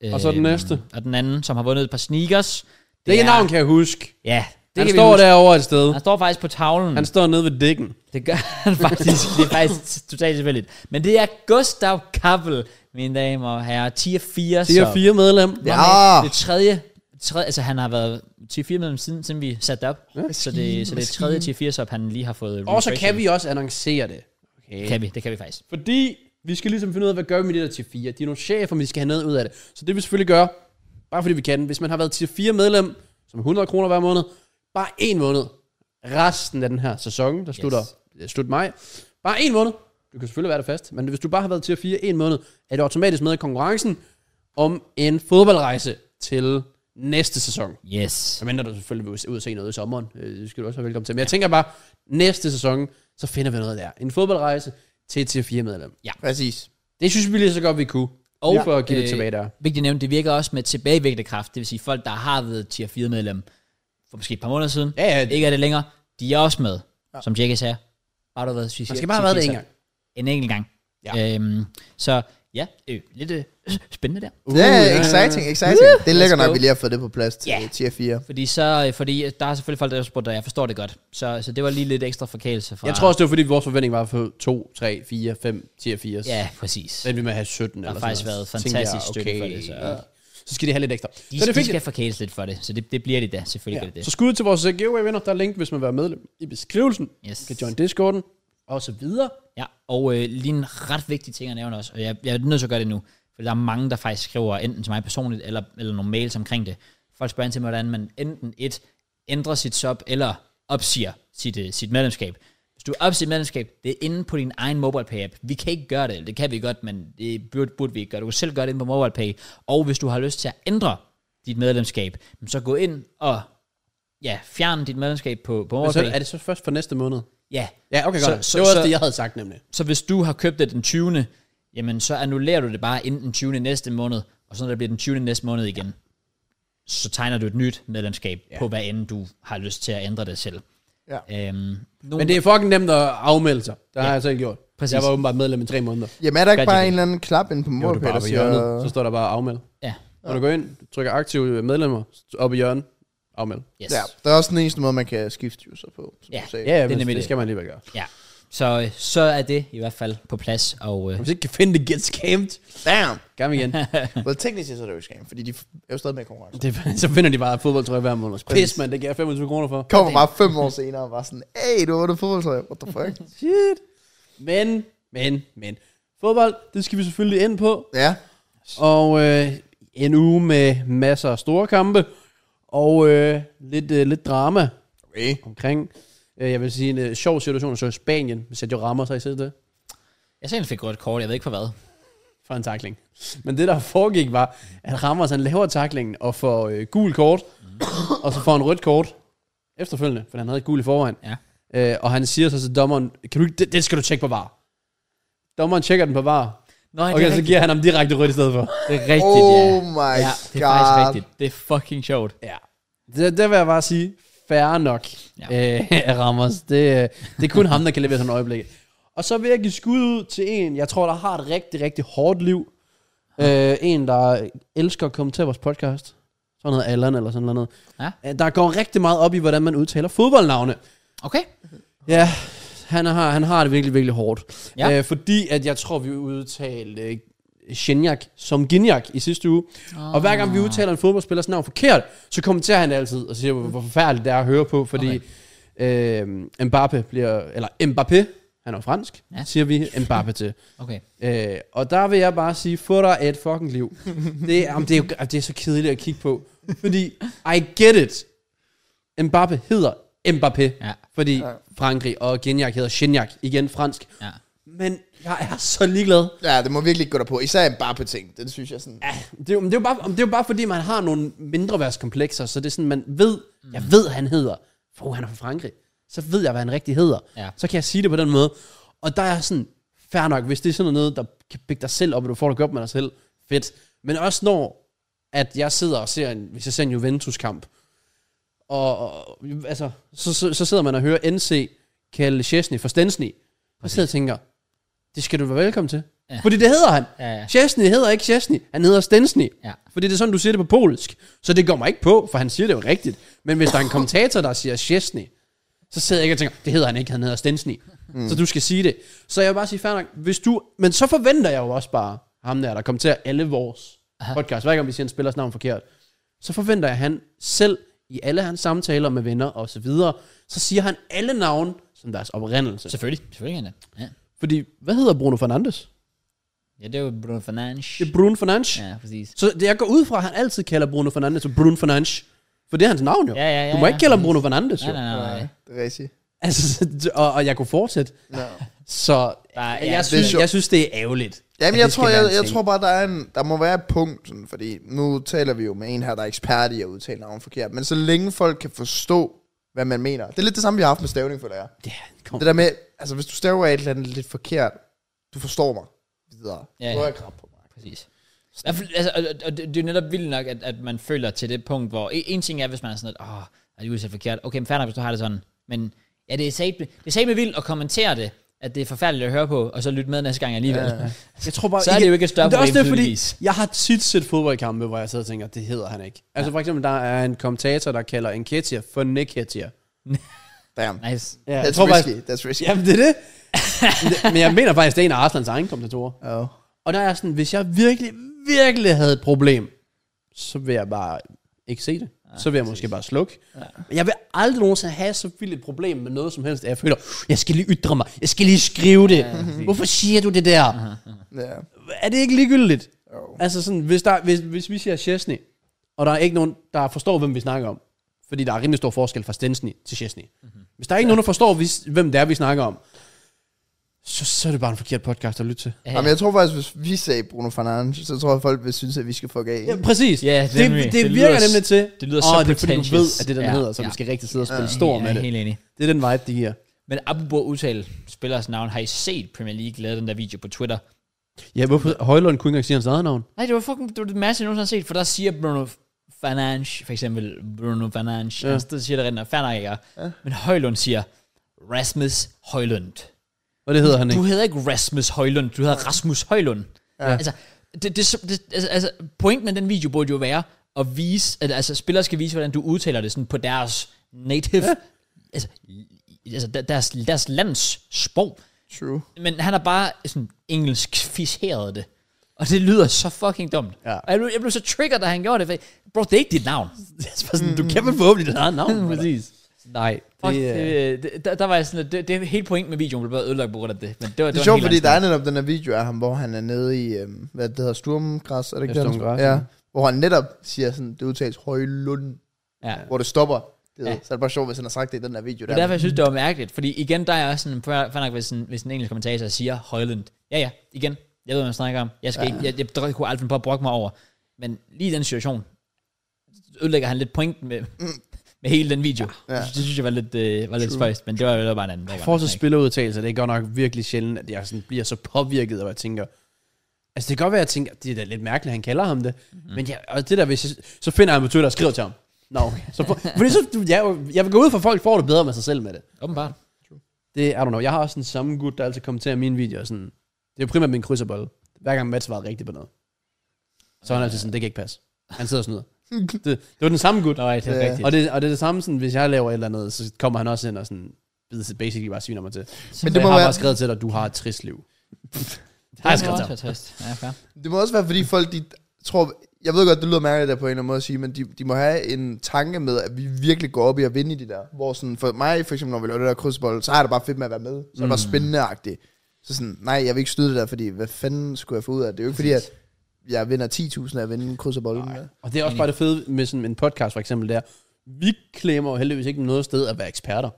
S1: Øh,
S3: Og så den næste.
S1: Og den anden, som har vundet et par sneakers. Det,
S3: Det er navn, kan jeg huske.
S1: Ja, det
S3: han
S1: kan vi
S3: står
S1: huske.
S3: derovre et sted.
S1: Han står faktisk på tavlen.
S3: Han står nede ved dækken.
S1: Det gør han faktisk. det er faktisk totalt tilfældigt. Men det er Gustav Kappel, mine damer og herrer. Tier 4.
S3: Det er
S1: så-
S3: fire Ah. medlem.
S1: Nå,
S2: Ja.
S1: men Det tredje, tredje, altså han har været tier 4 medlem siden, siden vi satte det op. Så det, så det er tredje tier 4 op, han lige har fået
S3: Og så
S1: refreshed.
S3: kan vi også annoncere det. Okay.
S1: Kan vi, det kan vi faktisk.
S3: Fordi vi skal ligesom finde ud af, hvad gør vi med det der tier 4. De er nogle chefer, men vi skal have noget ud af det. Så det vi selvfølgelig gør, bare fordi vi kan. Hvis man har været tier 4 medlem, som er 100 kroner hver måned, bare en måned. Resten af den her sæson, der slutter yes. slut maj. Bare en måned. Du kan selvfølgelig være der fast, men hvis du bare har været tier 4 en måned, er du automatisk med i konkurrencen om en fodboldrejse til næste sæson.
S1: Yes.
S3: Så mindre du selvfølgelig vil ud og se noget i sommeren. Øh, Det skal du også være velkommen til. Men jeg tænker bare, næste sæson, så finder vi noget der. En fodboldrejse til tier 4 medlem.
S2: Præcis.
S3: Det synes vi lige så godt, vi kunne. Og ja.
S2: Ja.
S3: for at give øh,
S1: Øh,
S3: det tilbage der.
S1: Vigtigt nævnt, det virker også med tilbagevægtende kraft. Det vil sige, folk, der har været tier 4 medlem for måske et par måneder siden,
S3: Ja, ja, det,
S1: ikke er det længere, de er også med, ja. som Jackie sagde. Bare du har været tier
S3: man skal bare have været det en gang.
S1: En enkelt gang.
S3: Ja.
S1: Øhm, så ja, øh, lidt øh, spændende der.
S3: Uh,
S2: Ja, yeah, exciting, exciting. Det er lækkert
S1: let's
S2: nok,
S1: go.
S2: vi lige har fået det på plads til
S1: Ja.
S2: yeah. tier 4.
S1: Fordi, så, øh, fordi der er selvfølgelig folk, der har spurgt dig, jeg forstår det godt. Så, så det var lige lidt ekstra forkælelse fra...
S3: Jeg tror også, det var fordi vores forventning var at få 2, 3, 4, 5, 10 og 4.
S1: Ja, præcis.
S3: Den vil man have 17
S1: Der har
S3: eller
S1: faktisk
S3: sådan noget.
S1: været
S3: Så tænkte
S1: fantastisk støtte for det, så-
S3: ja. Så skal de have lidt ekstra.
S1: De,
S3: så det
S1: de
S3: fik
S1: skal forkæles lidt for det, så det, det bliver de da, selvfølgelig ja.
S3: Ja.
S1: gør det
S3: Så
S1: det.
S3: skud til vores øh, giveaway-venner. Der er link, hvis man vil være medlem i beskrivelsen.
S1: Yes.
S3: Kan join Discorden. Og så videre.
S1: Ja, og øh, lige en ret vigtig ting at nævne også, og jeg, jeg er nødt til at gøre det nu. For der er mange, der faktisk skriver enten til mig personligt, eller, eller nogle mails omkring det. Folk spørger ind til mig, hvordan man enten et, ændrer sit sub, eller opsiger sit, øh, sit medlemskab. Hvis du opsiger medlemskab, det er inde på din egen MobilePay app. Vi kan ikke gøre det, eller det kan vi godt, men det burde, burde vi ikke gøre. Du kan selv gøre det inde på MobilePay. Og hvis du har lyst til at ændre dit medlemskab, så gå ind og ja, fjern dit medlemskab på, på
S3: Men
S1: MobilePay.
S3: så er det så først for næste måned?
S1: Ja,
S3: Ja, okay,
S1: Så-
S3: godt.
S1: så-
S3: det var også
S1: så-
S3: det, jeg havde sagt nemlig.
S1: så hvis du har købt det den 20. Jamen, så annullerer du det bare inden den 20. næste måned, og så når det bliver den 20. næste måned igen, så tegner du et nyt medlemskab ja. på, hvad end du har lyst til at ændre det selv.
S2: Ja.
S1: Øhm, nogen,
S3: Men det er fucking nemt at afmelde sig. Det har jeg selv gjort.
S1: Præcis.
S3: Jeg var åbenbart medlem i tre måneder.
S2: Jamen er der ikke
S1: Gør de
S2: bare
S1: det?
S2: en eller anden klap ind på
S3: Jo, det er
S2: MobilePay,
S3: bare
S2: der
S3: på hjørnet.
S2: siger...
S3: Så står der bare afmeld.
S1: Ja,
S3: Når du går ind, du trykker aktive medlemmer op i hjørnet, afmeld.
S1: yes.
S2: Ja, der er også den eneste måde, man kan skifte user på, som
S1: Ja.
S2: du sagde.
S3: Ja, ja,
S1: Det er
S3: det,
S1: nemlig
S3: det
S1: det.
S3: skal man alligevel gøre.
S1: ja. Så, øh, så er det i hvert fald på plads, og øh,
S3: Hvis ikke kan finde det, get scammed.
S2: Damn!
S3: Kom igen.
S2: Well, teknisk set så er det jo skam, fordi de er jo stadig med i konkurrence.
S3: det, så finder de bare fodboldtrøje hver måned.
S2: Præcis.
S3: Pis, mand, det giver jeg 25 kroner for.
S2: Kommer bare fem år senere og bare sådan, hey, du var det fodboldtrøje, what the fuck?
S3: Shit. Men, men, men. Fodbold, det skal vi selvfølgelig ind på.
S2: ja,
S3: Og øh, en uge med masser af store kampe. Og øh, lidt, øh, lidt drama
S2: okay.
S3: omkring, øh, jeg vil sige, en øh, sjov situation. Så i Spanien, hvis jeg jo rammer sig i sidste
S1: jeg selv fik rødt kort, jeg ved ikke for hvad.
S3: for en takling. Men det, der foregik, var, at Ramos han laver taklingen og får øh, gul kort, og så får en rødt kort efterfølgende, for han havde gul i forvejen.
S1: Ja.
S3: Øh, og han siger så til dommeren, kan du, ikke- det, det skal du tjekke på var. Dommeren tjekker den på var.
S1: Nå, okay, det,
S3: Okay,
S1: er
S3: så
S1: rigtigt,
S3: giver han ham direkte rødt i stedet for.
S1: det er rigtigt,
S2: Oh
S1: ja.
S2: my
S1: ja, det er
S2: god.
S1: faktisk rigtigt. Det er fucking sjovt.
S3: Ja. Det, det vil jeg bare sige, fair nok
S1: Ja.
S3: ja. øh, af Ramos. Det, øh, det er kun ham, der kan levere sådan et øjeblik. Og så vil jeg give skud ud til en, jeg tror, der har et rigtig, rigtig hårdt liv. Øh, en, der elsker at komme til vores podcast. Sådan noget Allan eller sådan noget.
S1: Ja.
S3: Øh, Der går rigtig meget op i, hvordan man udtaler fodboldnavne.
S1: Okay,
S3: Ja, han har, han har det virkelig, virkelig hårdt.
S1: Ja.
S3: Ja. Øh, fordi at jeg tror, vi udtalte øh, Gignac som Gignac i sidste uge. Oh. Og hver gang vi
S1: Ah.
S3: udtaler en fodboldspillers navn forkert, så kommenterer han det altid og siger, hvor hvor forfærdeligt det er at høre på, fordi okay. øh, Mbappé bliver, eller Mbappé, han er jo fransk,
S1: Ja.
S3: ja. siger vi Mbappé til.
S1: okay.
S3: Øh, og der vil jeg bare sige, få dig et fucking liv. Det, er- jamen, det, er jo, det er så kedeligt at kigge på. Fordi, I get it. Mbappé hedder Mbappé.
S1: Ja.
S3: Fordi Frankrig og Gignac hedder Gignac. Igen fransk.
S1: Ja.
S3: Men jeg er så ligeglad.
S2: Ja, det må virkelig ikke gå derpå. Især en bare på ting. Den synes jeg sådan... Ja,
S3: Det er, jo, men det, er jo bare, det er jo bare fordi, man har nogle mindreværdskomplekser, så det er sådan, man ved,
S1: Mm.
S3: jeg ved, han hedder, for uh, han er fra Frankrig, så ved jeg, hvad han rigtig hedder.
S1: Ja.
S3: Så kan jeg sige det på den måde. Og der er jeg sådan, fair nok, hvis det er sådan noget, der kan bygge dig selv op, og du får det godt med dig selv, fedt. Men også når, at jeg sidder og ser en, hvis jeg ser en Juventus-kamp, og, og altså, så, så, så, sidder man og hører NC kalde Chesney for Stensny, og sidder og tænker, det skal du være velkommen til. Ja. Fordi det hedder han.
S1: Ja, ja.
S3: Chesney hedder ikke Chesney, han hedder Stensny.
S1: Ja.
S3: Fordi det er sådan, du siger det på polsk. Så det går mig ikke på, for han siger det jo rigtigt. Men hvis der er en kommentator, der siger Chesney, så sidder jeg ikke og tænker, det hedder han ikke, han hedder Stensny. Mm. Så du skal sige det. Så jeg vil bare sige, fair nok, hvis du... Men så forventer jeg jo også bare ham der, der kommenterer alle vores Aha. podcast. Hver gang vi siger en spillers navn forkert, så forventer jeg, at han selv i alle hans samtaler med venner og så videre, så siger han alle navn som deres oprindelse.
S1: Selvfølgelig, selvfølgelig kan det. Ja.
S3: Fordi, hvad hedder Bruno Fernandes?
S1: ja, det er jo Bruno Fernandes.
S3: Det er Bruno Fernandes.
S1: Ja, præcis.
S3: Så det, jeg går ud fra, at han altid kalder Bruno Fernandes for Bruno Fernandes. For det er hans navn jo.
S1: Ja, ja, ja,
S3: du må
S1: ja.
S3: ikke kalde ham Bruno Fernandes jo.
S1: Nej, nej, nej. nej.
S2: det er rigtigt.
S3: Altså, så- og, og jeg kunne fortsætte.
S2: No.
S3: Så
S1: Der er-
S3: jeg,
S1: ja,
S3: jeg,
S2: det er
S3: synes,
S2: sjovt.
S3: jeg synes, det er ærgerligt.
S2: Jamen,
S3: at
S2: jeg
S3: det skal
S2: tror,
S3: være
S2: jeg,
S3: en
S2: jeg
S3: ting.
S2: tror bare, der, er en, der må være et punkt, sådan, fordi nu taler vi jo med en her, der er ekspert i at udtale navn forkert, men så længe folk kan forstå, hvad man mener. Det er lidt det samme, vi har haft med stavning, føler jeg.
S3: Ja, kom.
S2: Det der med, altså hvis du staver et eller andet lidt forkert, du forstår mig videre.
S1: Ja, ja.
S2: Du er ikke ramt på mig.
S1: Præcis. I hvert fald, Altså, og, og- og det, det er jo netop vildt nok, at, at man føler til det punkt, hvor en, en ting er, hvis man er sådan, at åh, er det udsat forkert? Okay, men fair nok, hvis du har det sådan. Men ja, det er satme, det er satme vildt at kommentere det, at det er forfærdeligt at høre på, og så lytte med næste gang alligevel. Ja, ja.
S3: Jeg tror bare,
S1: Så er det jo ikke et større
S3: Men det er også
S1: problem,
S3: det, fordi
S1: tydeligvis.
S3: jeg har tit set fodboldkampe, hvor jeg sidder og tænker, det hedder han ikke. Altså for eksempel, der er en kommentator, der kalder Enketia for Niketia.
S2: Damn.
S1: Nice.
S3: Ja,
S2: That's
S3: jeg tror
S2: risky.
S3: faktisk,
S2: That's risky.
S3: jamen det er det. Men det- Men jeg mener faktisk, det er en af Arslands egen kommentatorer.
S2: Oh.
S3: Og der er jeg sådan, hvis jeg virkelig, virkelig havde et problem, så vil jeg bare ikke se det. Så vil jeg måske bare slukke. Men Jeg vil aldrig nogensinde have så vildt et problem med noget som helst, at jeg føler, jeg skal lige ytre mig, jeg skal lige skrive det. Hvorfor siger du det der?
S2: Ja.
S3: Er det ikke ligegyldigt?
S2: Jo.
S3: Altså sådan, hvis, der, hvis, hvis vi siger Chesney, og der er ikke nogen, der forstår, hvem vi snakker om, fordi der er rimelig stor forskel fra Stensny til Chesney. Mm-hmm. Hvis der er ikke nogen, der forstår, hvis, hvem det er, vi snakker om, så, så er det bare en forkert podcast at lytte til.
S1: Ja,
S2: Jamen, jeg tror faktisk, hvis vi sagde Bruno Fernandes, så tror jeg, folk vil synes, at vi skal fuck af.
S3: Ja, præcis.
S1: Ja,
S3: det,
S1: nemlig.
S3: det, det,
S1: Det
S3: virker
S1: lyder s-
S3: nemlig til.
S1: det lyder så
S3: "Åh, det er fordi, du ved,
S1: pretentious."
S3: at det er den
S1: Ja,
S3: hedder, så
S1: ja.
S3: vi skal rigtig sidde og spille
S1: jeg er
S3: stor med det.
S1: helt enig.
S3: Det er den vibe, de giver.
S1: Men apropos udtale spillers navn, har I set Premier League lavede den der video på Twitter?
S3: Ja, hvorfor Højlund kunne ikke engang sige hans eget navn?
S1: Nej, det var fucking det var det masse, jeg nogensinde har set, for der siger Bruno Fernandes, for eksempel Bruno Fernandes,
S3: Ja.
S1: ja. altså, der siger det rent, fanden ja. Men Højlund siger, Rasmus Højlund.
S3: Og det hedder han ikke.
S1: Du hedder ikke Rasmus Højlund, du hedder Rasmus Højlund. Ja. Altså, det, det, det, altså, altså, pointen med den video burde jo være at vise, at altså, spillere skal vise, hvordan du udtaler det sådan på deres native, ja. altså, altså der- deres, deres lands sprog.
S2: True.
S1: Men han har bare sådan engelsk fiseret det. Og det lyder så fucking dumt.
S3: Ja.
S1: Og jeg blev, jeg blev så triggered, da han gjorde det. for jeg- Bro, det er ikke dit navn.
S3: Det er bare sådan, du kan vel forhåbentlig dit eget navn. Mm. Præcis. Nej.
S1: Fuck,
S3: det,
S1: det,
S3: øh,
S1: det, der, der var jeg sådan, lidt- det, det er hele pointen med videoen, blev bare ødelagt på grund af det. Men det var,
S2: Det er sjovt, fordi der er netop den her video af ham, hvor han er nede i, øhm, hvad det hedder, Sturmgræs, er det ikke
S3: Ja,
S2: det, han-
S3: Sturmgræs, ja.
S2: ja. Hvor han netop siger sådan, det udtales Højlund,
S1: Ja.
S2: hvor det stopper. Det,
S1: Ja.
S2: ja. Så er det bare sjovt, hvis han har sagt det i den der video.
S1: Det er derfor, jeg synes, det var mærkeligt. Fordi igen, der er også sådan, fair fair nok, hvis en, hvis en engelsk kommentator siger Højlund. Ja, ja, igen. Jeg ved, hvad man snakker om. Jeg, skal ja. ikke, jeg, jeg, jeg kunne aldrig finde på at brokke mig over. Men lige i den situation, ødelægger han lidt pointen med, med hele den video. Mm. Ja.
S2: Ja.
S1: Det, synes jeg var lidt, øh, var lidt spøjst, men det var jo bare en anden. det var
S3: for
S1: godt
S3: så
S1: nok.
S3: spillerudtagelser, det er godt nok virkelig sjældent, at jeg sådan bliver så påvirket, og jeg tænker, altså det kan godt være, at jeg tænker, det er da lidt mærkeligt, at han kalder ham det, mm. men jeg, og det der, hvis jeg, så finder jeg ham på Twitter og skriver til ham. Nå, okay. Så for, fordi så, du- jeg, jeg vil gå ud for, at folk får det bedre med sig selv med det.
S1: Åbenbart.
S3: Det, I don't know, jeg har også den samme gut, der altid kommenterer mine videoer, sådan, det er jo primært min krydserbolle, hver gang Mads svarede rigtigt på noget. Så er han altid sådan, det kan ikke passe. Han sidder og snyder. Det, det var den samme gut.
S1: Nå, ja, det er
S2: Ja.
S1: rigtigt.
S3: Og det, og det er det samme, sådan, hvis jeg laver et eller andet, så kommer han også ind og sådan, bes- basically bare sviner mig til. Men det må jeg har
S2: være-
S3: bare skrevet til dig, du har et trist liv. det har jeg skrevet til ham.
S1: Ja, fair.
S2: Det må også være, fordi folk, de tror... Jeg ved godt, det lyder mærkeligt der på en eller anden måde at sige, men de, de må have en tanke med, at vi virkelig går op i at vinde i de der. Hvor sådan, for mig for eksempel, når vi laver det der krydsbold, så er det bare fedt med at være med. Så er det
S1: Mm.
S2: bare spændende-agtigt. Så sådan, nej, jeg vil ikke snyde det der, fordi hvad fanden skulle jeg få ud af det? Det er jo ikke fordi, at jeg vinder 10.000 af at vinde krydserbolden.
S3: Og det er også bare det fede med sådan en podcast for eksempel, der. Vi klemmer jo heldigvis ikke noget sted at være eksperter.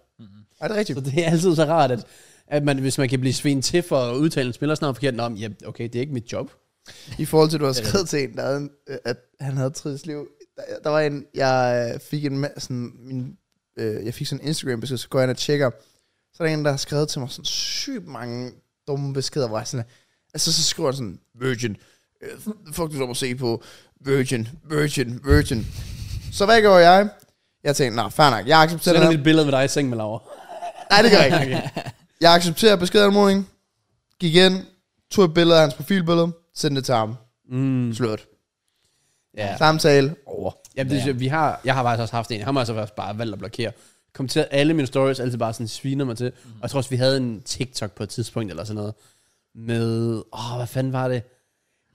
S2: Er det er rigtigt?
S3: Så det er altid så rart, at, at man, hvis man kan blive svin til for at udtale en spiller snart forkert, om, ja, okay, det er ikke mit job.
S2: I forhold til, at du har skrevet til en, der havde en, øh, at han havde et trist liv. Der, der var en, jeg øh, fik en ma- sådan, min, øh, jeg fik sådan en Instagram besked, så går jeg ind og tjekker. Så er der en, der har skrevet til mig sådan sygt mange dumme beskeder, hvor jeg sådan, altså så skriver han sådan, Virgin, øh, fuck du dog at se på, Virgin, Virgin, Virgin. Så hvad gør jeg? Jeg tænkte, nej, fair nok, jeg
S3: Så
S2: accepterer
S3: er det
S2: det.
S3: et billede med dig i seng med Laura.
S2: Nej, det gør jeg ikke. Jeg accepterer beskedanmodningen, gik ind, tog et billede af hans profilbillede, sendte det til ham.
S3: Mm.
S2: Slut.
S3: Ja.
S2: Samtale,
S3: over. Jamen, det, ja. vi har, jeg har faktisk også haft en. Han har altså også bare valgt at blokere. Kommenteret alle mine stories, altid bare sådan sviner mig til. Mm. Og jeg tror også, vi havde en TikTok på et tidspunkt eller sådan noget. Med, åh, hvad fanden var det?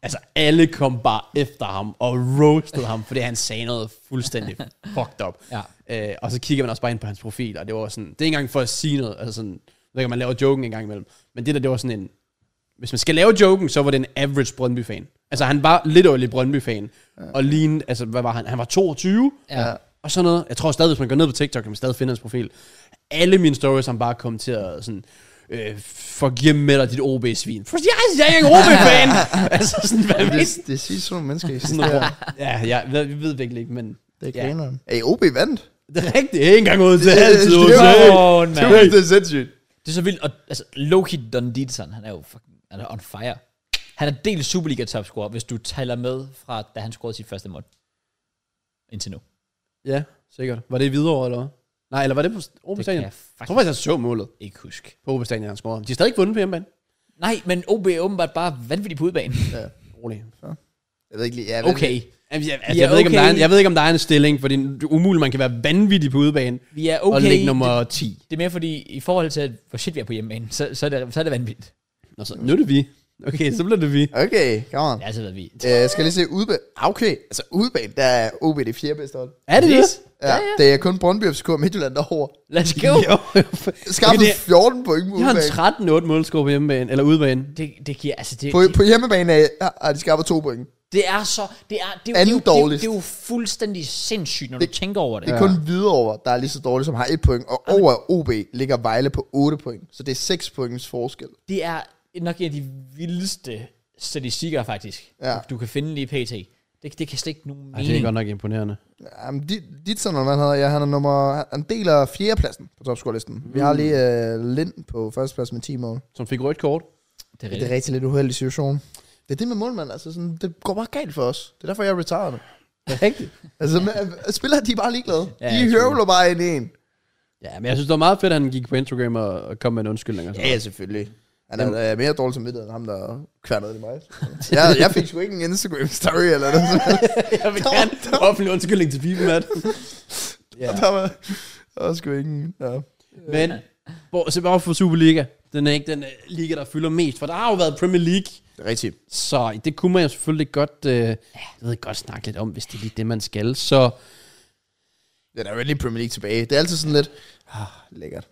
S3: Altså, alle kom bare efter ham og roastede ham, fordi han sagde noget fuldstændig fucked up. Øh, og så kigger man også bare ind på hans profil, og det var sådan, det er ikke engang for at sige noget, altså sådan, der kan man lave joken en gang imellem. Men det der, det var sådan en, hvis man skal lave joken, så var det en average Brøndby-fan. Altså han var lidt øjelig Brøndby-fan, og lignede, altså hvad var han, han var 22,
S1: Ja. ja.
S3: og sådan noget. Jeg tror stadig, hvis man går ned på TikTok, kan man stadig finde hans profil. Alle mine stories, han bare kommenterede sådan, øh, forgiv med dig dit OB-svin. For jeg, jeg er ikke en OB-fan! altså sådan, hvad
S2: Det,
S3: hvis?
S2: det, det siger sådan nogle mennesker, I
S3: Sådan
S2: sådan
S3: noget.
S2: der.
S3: Ja, jeg, jeg ved virkelig ikke, men
S2: Det er
S3: Ja.
S2: grineren. Ja. Hey, OB vandt.
S3: det er rigtigt. Ikke engang ud til
S2: Det-
S3: altid ud
S2: det var-
S3: til.
S1: Åh,
S2: Det
S1: mand.
S2: er, det er sindssygt.
S1: Det er så vildt. Og, altså, Loki Dundidson, han er jo fucking han er on fire. Han er delt Superliga-topscorer, hvis du tæller med fra, da han scorede sit første mål. Indtil nu. Det
S3: Ja, sikkert. Var det i Hvidovre, eller hvad? Nej, eller var det på OB
S1: kan
S3: Stadion?
S1: jeg
S3: Jeg tror
S1: faktisk
S3: faktisk, jeg så målet
S1: ikke huske.
S3: på OB Stadion, han scorede. De er stadig ikke vundet på hjemmebane.
S1: Nej, men OB er åbenbart bare vanvittig på udbanen.
S3: Rolig.
S2: Jeg ved ikke lige, ja,
S1: Okay,
S3: Jamen, jeg, altså,
S1: Ja,
S3: jeg, ved ikke, om
S1: okay.
S3: der er en, jeg ved ikke, om der er en stilling, for det er umuligt, man kan være vanvittig på udebane
S1: vi er
S3: okay, og
S1: okay.
S3: ligge nummer 10.
S1: Det er mere fordi, i forhold til, at, hvor shit vi er på hjemmebane, så, så, er, det, så er det vanvittigt.
S3: Nå, så nu er det vi. Okay, så bliver det vi.
S2: Okay, come on.
S1: Det har altid været vi.
S2: Ja. Øh, skal jeg lige se udbane? Okay, altså udbane, der er OB det fjerde bedste hold.
S3: Er det det?
S2: Ja, ja, ja. Det er kun Brøndby FCK og Midtjylland derovre.
S1: Let's go.
S3: Jo.
S2: Skaffet
S3: Okay,
S2: okay,
S3: det-
S2: 14 point på
S3: Jeg har
S2: udebane.
S3: en 13-8 målscore på hjemmebane, eller udebane.
S1: Det, det giver, altså det,
S2: På,
S1: det,
S2: på hjemmebane er, har- har de skaffet to point.
S1: det er så, det er, det, er,
S2: Anden
S1: jo- det, er, jo- det, er,
S2: dårligst.
S1: det er jo fuldstændig sindssygt, når du tænker over det.
S2: Det er ja. kun Hvidovre, der er lige så dårlig, som har et point. Og over OB ligger Vejle på 8 point. Så det er 6 points forskel.
S1: Det er nok en af de vildeste statistikker, faktisk,
S2: Ja.
S1: du kan finde lige pt. Det, det kan slet ikke nogen
S3: Ej, det er
S1: mening.
S3: godt nok imponerende.
S2: Jamen, dit, dit sådan, han hedder, ja, han er nummer... han- Han deler fjerdepladsen på topscorelisten. Mm. Vi har lige uh, Lind på førstepladsen med 10 mål.
S3: Som fik rødt kort.
S1: Det er
S2: Det er
S1: rigtigt.
S2: rigtig lidt uheldig situation. Det er det med målmand, altså sådan, det går bare galt for os. Det er derfor, jeg er retired. nu.
S3: Rigtigt.
S2: Altså, med, spillere, de er bare ligeglade.
S1: Ja,
S2: Ja, de
S1: jeg tror det.
S2: høvler bare ind i en.
S3: Ja, men jeg synes, det var meget fedt, at han gik på Instagram og, og kom med en undskyldning. Og sådan.
S2: Ja, selvfølgelig. Han er, er mere dårlig som vidtighed end ham, der kværnede det mig. jeg, jeg fik sgu ikke en Instagram-story eller noget.
S3: jeg vil gerne offentlig undskyldning til FIFA, Matt.
S2: Ja. Der var, der var sgu ingen. Ja.
S3: Men, hvor, så bare for Superliga. Den er ikke den øh, liga, der fylder mest, for der har jo været Premier League.
S2: Rigtigt.
S3: Så det kunne man jo selvfølgelig godt, øh, jeg ved, godt snakke lidt om, hvis det er lige det, man skal. Så
S2: Ja, der er jo lige Premier League tilbage. Det er altid sådan lidt, ah, lækkert.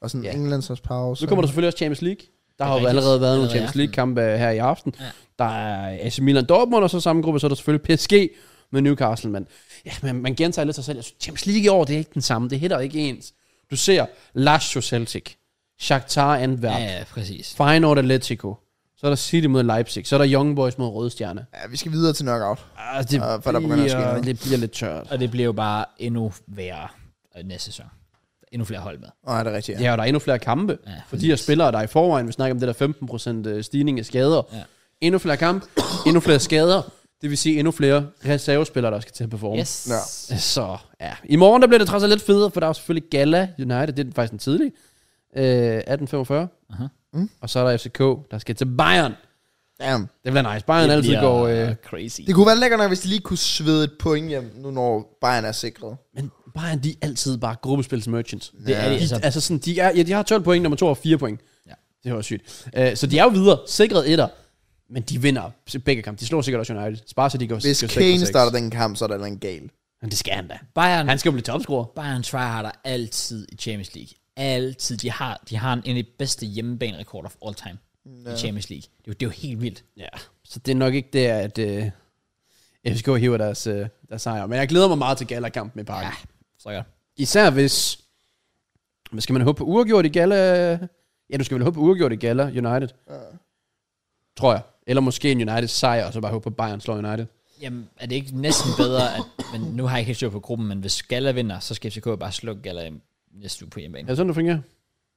S2: Og sådan
S3: Ja.
S2: yeah. Englands pause.
S3: nu kommer der selvfølgelig også Champions League. Der har jo
S1: rigtigt.
S3: allerede været nogle
S1: Allerede i
S3: Champions
S1: aften.
S3: League-kampe her i aften.
S1: Ja.
S3: Der er AC Milan Dortmund, og så samme gruppe, så er der selvfølgelig PSG med Newcastle. Men ja, man, man gentager lidt sig selv. Jeg synes, Champions League i år, det er ikke den samme. Det er heller ikke ens. Du ser Lazio Celtic, Shakhtar Antwerp,
S1: Ja,
S3: ja, ja.
S1: ja, præcis.
S3: Feyenoord Atletico, så er der City mod Leipzig, så er der Young Boys mod Røde Stjerne.
S2: Ja, vi skal videre til knockout.
S3: Ah, det,
S2: Ah, for der begynder at ske
S3: bliver,
S2: noget.
S3: det bliver lidt tørt.
S1: Og det bliver jo bare endnu værre øh, næste sæson. Endnu flere hold med.
S2: Åh, oh, det er rigtigt, ja.
S3: Ja, og der er endnu flere kampe. Ja,
S1: Ja,
S3: for de her spillere, der er i forvejen, vi snakker om det der 15% stigning af skader. Ja.
S1: Ja.
S3: Endnu flere kampe, endnu flere skader. Det vil sige endnu flere reservespillere, der skal til at performe.
S1: Yes.
S2: Ja.
S3: Så ja, i morgen der bliver det trods alt lidt federe, for der er jo selvfølgelig Gala United, det er faktisk en tidlig. Øh, 18.45.
S1: Aha.
S2: Mm.
S3: Og så er der FCK, der skal til Bayern.
S2: Damn.
S3: Det bliver nice. Bayern altid
S1: bliver,
S3: går... Øh,
S1: crazy.
S2: Det kunne være lækkert nok, hvis de lige kunne svede et point hjem, nu når Bayern er sikret.
S3: men Bayern, de er altid bare gruppespils merchants.
S1: Det er det,
S3: De,
S1: altså.
S3: altså, altså sådan, de, er, ja, de har 12 point, nummer 2 og 4 point.
S1: Ja.
S3: Det var sygt. Uh, så de er jo videre, sikret etter, men de vinder begge kampe. De slår sikkert også United. Sparer så de går
S2: Hvis
S3: går seks for
S2: Kane
S3: seks.
S2: starter den kamp, så er der noget galt.
S3: Men det skal han da.
S1: Bayern,
S3: Han skal jo blive topscorer.
S1: Bayern tryharder altid i Champions League. Altid. De har, de har en, en af de bedste hjemmebanerekorder of all time i Champions League. Det er, jo, det er jo helt vildt.
S3: Ja. Så det er nok ikke det, at uh, FSK hiver deres, uh, deres sejr. Men jeg glæder mig meget til Gala-kampen i parken.
S1: Ja,
S3: Ja.
S1: så godt.
S3: Især hvis... Men skal man håbe på uafgjort i Gala? Ja, du skal vel håbe på uafgjort i Gala United. Ja. Tror jeg. Eller måske en United sejr, og så bare håbe på Bayern slår United.
S1: Jamen, er det ikke næsten bedre, at... Men nu har jeg ikke helt styr på gruppen, men hvis Gala vinder, så skal FCK bare slukke Gala i næste uge på hjemmebane.
S3: Er det sådan, det fungerer?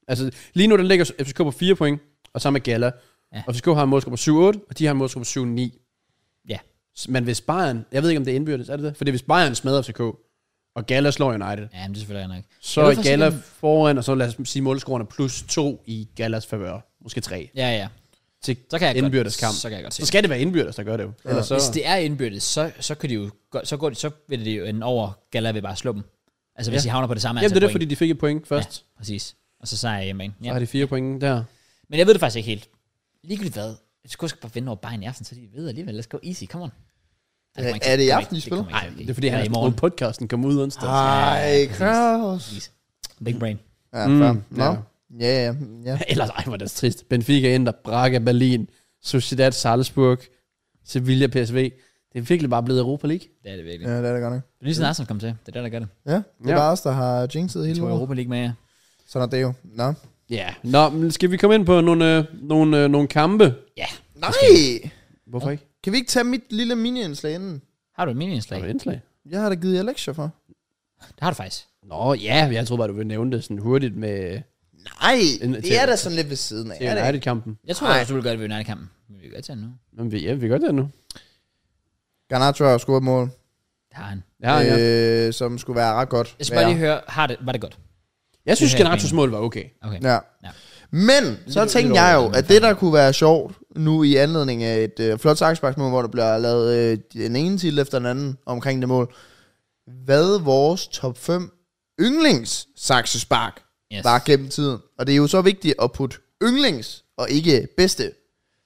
S3: Altså, lige nu, der ligger FCK på 4 point, og sammen med Gala.
S1: Ja.
S3: Ja. Og FCK har en målscore på 7-8, og de har en målscore på 7-9.
S1: Ja.
S3: S- Men hvis Bayern, jeg ved ikke, om det er indbyrdes, er det det? For det er, hvis Bayern smadrer FCK, og Gala slår United,
S1: Ja, men det er selvfølgelig nok.
S3: så
S1: Jeg ved
S3: er
S1: faktisk
S3: Gala
S1: ikke,
S3: foran, og så lad os sige målscorerne plus 2 i Galas favør. Måske 3.
S1: Ja, ja.
S3: Til
S1: Så kan jeg
S3: indbyrdes
S1: godt,
S3: kamp.
S1: Så kan jeg godt se.
S3: Så skal det være indbyrdes, der gør det jo. Ja. Ellers så,
S1: Hvis det er indbyrdes, så, så kan de jo godt, så, går de, så vil det jo en over, Gala vil bare slå dem. Altså hvis
S3: Ja.
S1: de havner på det samme
S3: jamen, det er det,
S1: antal
S3: fordi de fik et point først. Ja.
S1: Ja, præcis. Og så sejrer jeg hjemme
S3: Så har
S1: ja.
S3: de fire point der.
S1: Men jeg ved det faktisk ikke helt. Ligegyldigt hvad, jeg skulle bare vinde over Bayern i aften, så de ved alligevel, let's go easy, come on.
S2: Er-
S1: kommer ikke
S2: er det i
S1: kommer ikke-
S2: aften, de spiller?
S1: kommer ikke til
S3: Nej,
S1: at
S3: det
S1: ske.
S3: er fordi, han
S1: Eller
S3: har
S1: i
S3: spurgt
S1: morgen.
S3: podcasten, kom ud onsdag.
S2: Ej,
S1: præcis.
S2: Kraus.
S1: Præcis. Big brain.
S2: Ja,
S3: Mm,
S2: fair. Nå.
S3: ja.
S2: Ja, ja, ja.
S3: Ellers, ej, hvor er det trist. Benfica, Inter, Braga, Berlin, Sociedad, Salzburg, Sevilla, PSV. Det er virkelig bare blevet Europa League.
S1: Det er det virkelig.
S2: Ja, det er det godt nok.
S1: Det er lige sådan, Arsenal kom til. Det er der, der gør det.
S2: Ja, det er
S3: Ja.
S2: bare os, der har jinxet
S1: Jeg
S2: hele
S1: tror
S2: ugen.
S1: Europa League med jer.
S2: Sådan er det jo. Nå.
S3: Ja. Nå, men skal vi komme ind på nogle, øh, nogle, øh, nogle kampe?
S1: Ja.
S2: Nej!
S3: Hvorfor ikke?
S2: Kan vi ikke tage mit lille mini-indslag inden?
S1: Har du et mini-indslag?
S3: Har du et indslag?
S2: Jeg har da givet jer lektier for.
S1: Det har du faktisk.
S3: Nå, ja, jeg troede bare, du ville nævne det sådan hurtigt med
S2: Nej,
S3: En-
S2: det
S3: til-
S2: er da sådan lidt ved siden af.
S3: til
S2: er det ikke?
S3: United-kampen.
S1: Jeg tror
S2: Nej.
S1: også, du vil gøre det ved United-kampen. Men vi kan godt tage den nu.
S3: Men vi, ja, vi gør det nu.
S2: Garnacho har scoret et mål,
S1: Det har han.
S3: Ja, ja.
S2: øh, som skulle være ret godt.
S1: Jeg skal bare
S2: Ja.
S1: lige høre, har det, var det godt?
S3: Jeg synes,
S1: det her er
S3: Generatos mål var okay.
S1: Okay.
S2: Ja.
S1: Ja.
S2: Men så
S3: Lidt- lidt
S2: tænkte jeg jo,
S3: overraskende,
S2: at det der kunne være sjovt nu i anledning af et øh, flot saksbaksmål, hvor der bliver lavet øh, den ene titel efter den anden omkring det mål. Hvad vores top 5 yndlings saksespark
S1: Yes.
S2: yes. var gennem tiden. Og det er jo så vigtigt at putte yndlings og ikke bedste.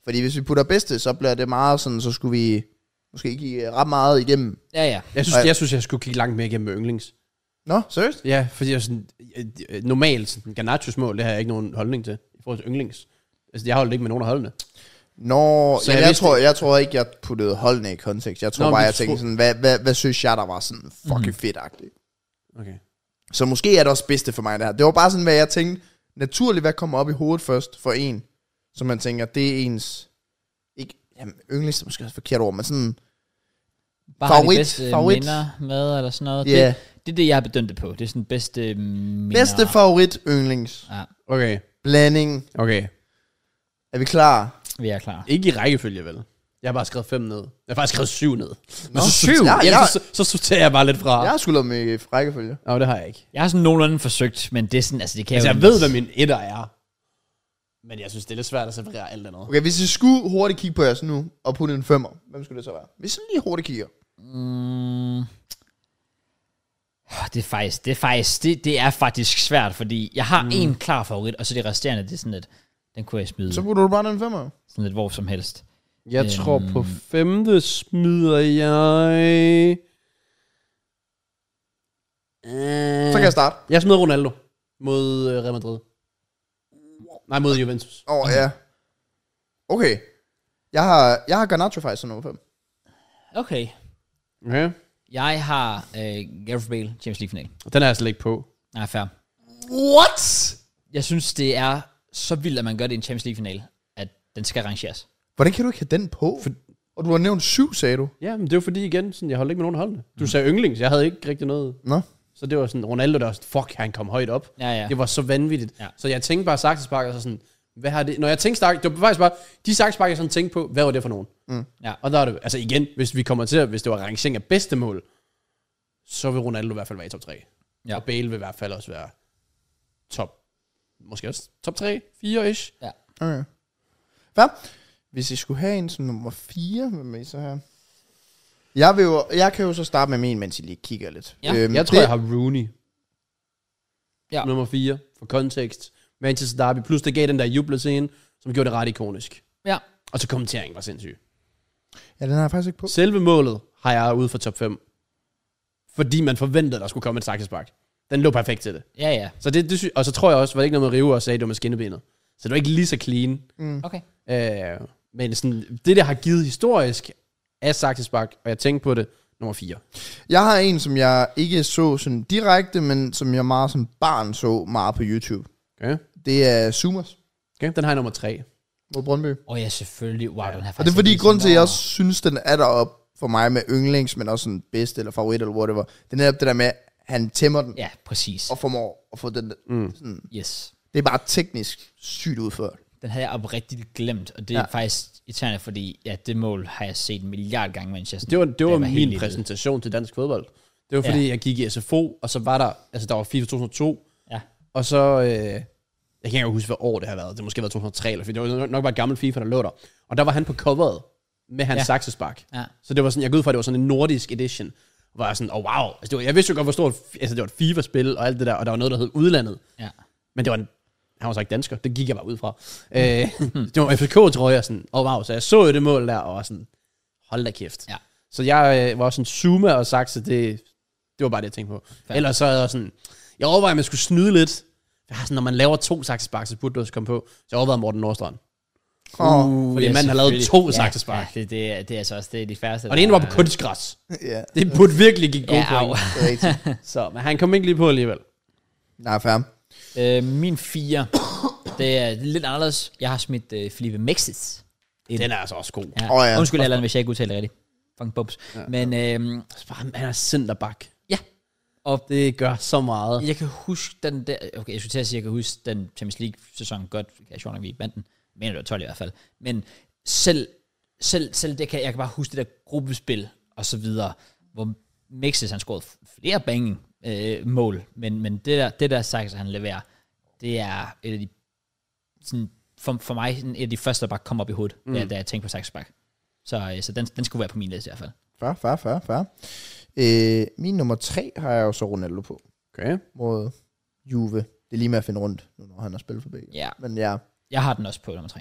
S2: Fordi hvis vi putter bedste, så bliver det meget sådan, så skulle vi måske ikke give ret meget igennem.
S1: Ja, ja.
S3: Jeg synes,
S2: Ej.
S3: jeg, synes, jeg skulle kigge langt mere igennem yndlings.
S2: Nå, seriøst?
S3: Ja, fordi jeg sådan, øh, øh, normalt, sådan, Garnachos mål, det har jeg ikke nogen holdning til. I forhold til yndlings. Altså, jeg holdt ikke med nogen af holdene.
S2: Nå,
S3: Så
S2: så jeg,
S3: jeg
S2: jeg,
S3: vidste
S2: tror, jeg tror ikke, jeg puttede holdene i kontekst. Jeg tror
S3: Nå,
S2: Nå,
S3: men Mhm.
S2: bare,
S3: du
S2: jeg tænkte
S3: tror-
S2: sådan, hvad, hvad, hvad synes jeg, der var sådan fucking mm. fedt
S3: Okay.
S2: Så måske er det også bedste for mig, det her. Det var bare sådan, hvad jeg tænkte. Naturligt, hvad kommer op i hovedet først for en? Så man tænker, det er ens... Ikke, jamen, yndlings er måske også et forkert ord, men sådan...
S1: Bare
S2: Favorit,
S1: har de bedste
S2: favorit.
S1: minder med, eller sådan noget.
S2: Ja.
S1: Det, det er det, jeg har bedømt det på. Det er sådan bedste øh, minder.
S2: Bedste favorit, yndlings.
S1: Ja,
S3: Okay,
S2: Blanding.
S3: okay.
S2: Er vi klar?
S1: vi er klar.
S3: Ikke i rækkefølge, vel? Jeg har bare skrevet fem ned. Jeg har faktisk skrevet syv ned. Men så
S2: syv?
S3: Ja,
S2: Ja,
S3: ja.
S2: jeg-
S3: Så, så, så sorterer jeg bare lidt fra.
S2: Jeg
S3: Ja.
S2: har sgu lavet med i rækkefølge.
S3: Nå, det har jeg ikke.
S1: Jeg har sådan nogenlunde forsøgt, men det er sådan, altså det kan
S3: Altså,
S1: jo
S3: jeg ved, hvad min etter er. Men jeg synes, det er lidt svært at separere alt andet.
S2: Okay, hvis vi skulle hurtigt kigge på jeres nu, og putte en femmer, hvem skulle det så være? Hvis vi lige hurtigt kigger.
S1: Mm. Åh, Det er faktisk, det er faktisk, det, det er faktisk svært, fordi jeg
S2: Mm.
S1: har en klar favorit, og så det resterende, det er sådan lidt, den kunne jeg smide
S2: Så
S1: så...
S3: Mm.
S2: putter du bare en femmer.
S1: sådan lidt hvor som helst.
S3: Jeg
S1: Øhm.
S3: tror, på femte smider jeg...
S2: Så kan jeg starte.
S3: Jeg smider Ronaldo mod øh, Real Madrid. Nej, mod Juventus.
S2: Åh, oh, ja. Okay. Jeg har, jeg har Garnacho faktisk som nummer 5.
S1: Okay.
S3: Okay.
S1: Jeg har øh, Gareth Bale, Champions League final.
S3: Den er jeg slet ikke på.
S1: Nej, fair.
S2: What?
S1: Jeg synes, det er så vildt, at man gør det i en Champions League final, at den skal rangeres.
S2: Hvordan kan du ikke have den på? For... Og du har nævnt syv, sagde du.
S3: Ja, men det er jo fordi igen, sådan, jeg holdt ikke med nogen af holdene. Du sagde yndlings, jeg havde ikke rigtig noget.
S2: Nå?
S3: Så det var sådan, Ronaldo der var sådan, fuck, han kom højt op.
S1: Ja, ja.
S3: Det var så vanvittigt.
S1: Ja.
S3: Så jeg tænkte bare saksespark, og så sådan, hvad har det... Når jeg tænkte stak, det var faktisk bare, de saksespark, jeg sådan tænkte på, hvad var det for nogen? Mm.
S1: Ja.
S3: Og der er det, altså igen, hvis vi kommer til, at- hvis det var rangering af bedste mål, så vil Ronaldo i hvert fald være i top 3.
S1: Ja.
S3: Og Bale vil i hvert fald også være top, måske også top 3, 4-ish.
S1: Ja.
S2: Okay. Hvad? Hvis I skulle have en som nummer 4, hvem er I så her? Jeg, vil jo, jeg kan jo så starte med min, mens I lige kigger lidt.
S1: Ja.
S2: Øhm,
S3: Jeg tror,
S2: det,
S3: jeg har Rooney.
S1: Ja.
S3: Nummer 4, for kontekst. Manchester Derby, plus det gav den der jublescene, som gjorde det ret ikonisk.
S1: Ja.
S3: Og så kommenteringen var sindssyg.
S2: Ja, den har jeg faktisk ikke på.
S3: Selve målet har jeg ude for top 5. Fordi man forventede, at der skulle komme et saksespark. Den lå perfekt til det.
S1: Ja, ja.
S3: Så det, det sy- og så tror jeg også, var det ikke noget med Rive og sagde, det var med skinnebenet. Så det var ikke lige så clean.
S2: Mm.
S1: Okay.
S3: Øh, men sådan, det, der har givet historisk af saksespark, og jeg tænkte på det, nummer 4.
S2: Jeg har en, som jeg ikke så sådan direkte, men som jeg meget som barn så meget på YouTube.
S3: Okay.
S2: Det er Sumas
S3: okay. Den har jeg nummer 3.
S2: mod Brøndby.
S1: Og ja, selvfølgelig. Wow, den her
S2: Og det er fordi, grunden til, at jeg også synes, den er derop for mig med yndlings, men også sådan bedste eller favorit eller whatever, det er netop det der med, at han tæmmer den
S1: Ja, præcis.
S2: og formår at få den. Mm. Sådan,
S1: Yes.
S2: det er bare teknisk sygt udført.
S1: Den havde jeg oprigtigt glemt, og det er
S2: Ja.
S1: ja. faktisk irriterende, fordi ja, det mål har jeg set en milliard gange, mens jeg sådan-
S3: Det var, det
S1: da
S3: var
S1: jeg helt
S3: min
S1: lille.
S3: præsentation til dansk fodbold. Det var fordi, ja. jeg gik i SFO, og så var der, altså der var FIFA 2002,
S1: Ja.
S3: og så, øh, jeg kan ikke engang huske, hvad år det har været. Det har måske været 2003, eller det var nok bare et gammelt FIFA, der lå der. Og der var han på coveret med hans
S1: Ja.
S3: ja. saksespark.
S1: Ja.
S3: Så det var sådan, jeg går ud fra, at det var sådan en nordisk edition. Hvor jeg sådan, oh wow. Altså, det var, jeg vidste jo godt, hvor stort, altså det var et FIFA-spil og alt det der, og der var noget, der hed udlandet.
S1: Ja.
S3: Men det var en, han var så ikke dansker, det gik jeg bare ud fra. Øh, det var FCK, tror jeg, sådan, oh wow, så jeg så jo det mål der, og var sådan, hold da kæft.
S1: Ja.
S3: Så jeg øh, var sådan, Zuma og Saxe, det, det var bare det, jeg tænkte på.
S1: Fair.
S3: Ellers så er jeg sådan, jeg overvejer, om jeg skulle snyde lidt. Jeg har sådan, når man laver to saksespark, så burde du også komme på. Så jeg overvejede Morten Nordstrand.
S2: Åh,
S3: Uh, fordi
S1: Ja,
S3: manden har lavet
S1: selvfølgelig.
S3: to
S1: Ja,
S3: saksespark.
S1: Ja, det, det, er- det er altså også det er de færreste.
S3: Og det ene var på
S1: der-
S3: kunstgræs.
S2: ja,
S3: Det burde virkelig give gode
S1: Ja,
S3: ja,
S1: au.
S3: point.
S2: det er rigtigt.
S3: Så, men han kom ikke lige på alligevel.
S2: Nej, fair.
S1: Øh, min fire, det er lidt anderledes. Jeg har smidt øh, Felipe Mexis.
S3: Den er altså også god. Ja.
S2: Åh, ja.
S1: Undskyld, Allan, hvis jeg ikke udtaler det rigtigt. Fucking bubs. Ja, Men øh,
S3: Han er centerback.
S1: ja,
S3: Og det gør så meget.
S1: jeg kan huske den der... Okay, jeg skulle til at sige, at jeg kan huske den Champions League-sæson godt. Jeg er sjovt nok, vi vandt den. Jeg mener, det var 12 i hvert fald. Men selv, selv, selv det kan, jeg kan bare huske det der gruppespil og så videre, hvor Mexes han scorede flere banging øh, mål, men, men det der, det der sagt, han leverer, det er et af de, sådan, for, for mig sådan et af de første, der bare kom op i hovedet, mm. da, da jeg tænkte på Saxbak. Så, øh, så den, den skulle være på min liste i hvert fald.
S2: Fair, fair, fair, fair. Øh, min nummer 3 har jeg jo så Ronaldo på
S3: Okay.
S2: mod Juve. Det er lige med at finde rundt, nu når han har spillet for begge.
S1: Ja.
S2: Men ja,
S1: Jeg har den også på nummer tre.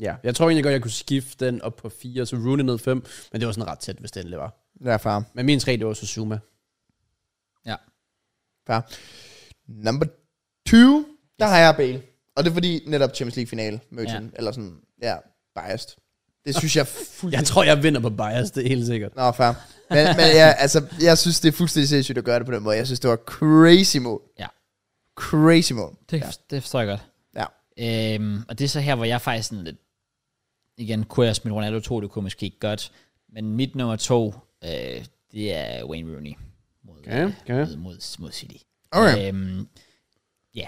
S3: Ja, jeg tror egentlig godt, jeg kunne skifte den op på 4, så Rooney ned 5, men det var sådan ret tæt, hvis det endelig var.
S2: Ja, far.
S3: Men min 3, det var Suzuma.
S1: Ja.
S2: Fair. Number 20, der har jeg Bale. Og det er fordi netop Champions League finale mødte
S1: Ja.
S2: ja. eller sådan, ja, biased. Det synes jeg er fuldstændig...
S3: Jeg tror, jeg vinder på bias, det er helt sikkert.
S2: Nå, fair. Men, men ja, altså, jeg synes, det er fuldstændig sindssygt at gøre det på den måde. Jeg synes, det var crazy mål.
S1: Ja.
S2: Crazy mål.
S1: Det, ja. det forstår jeg godt.
S2: Ja.
S1: Øhm, og det er så her, hvor jeg faktisk sådan lidt... Igen, kunne jeg smide Ronaldo 2, det kunne jeg måske ikke godt. Men mit nummer 2, øh, det er Wayne Rooney mod,
S3: Okay, okay.
S1: mod, mod, mod City.
S2: Okay.
S1: Øhm, ja,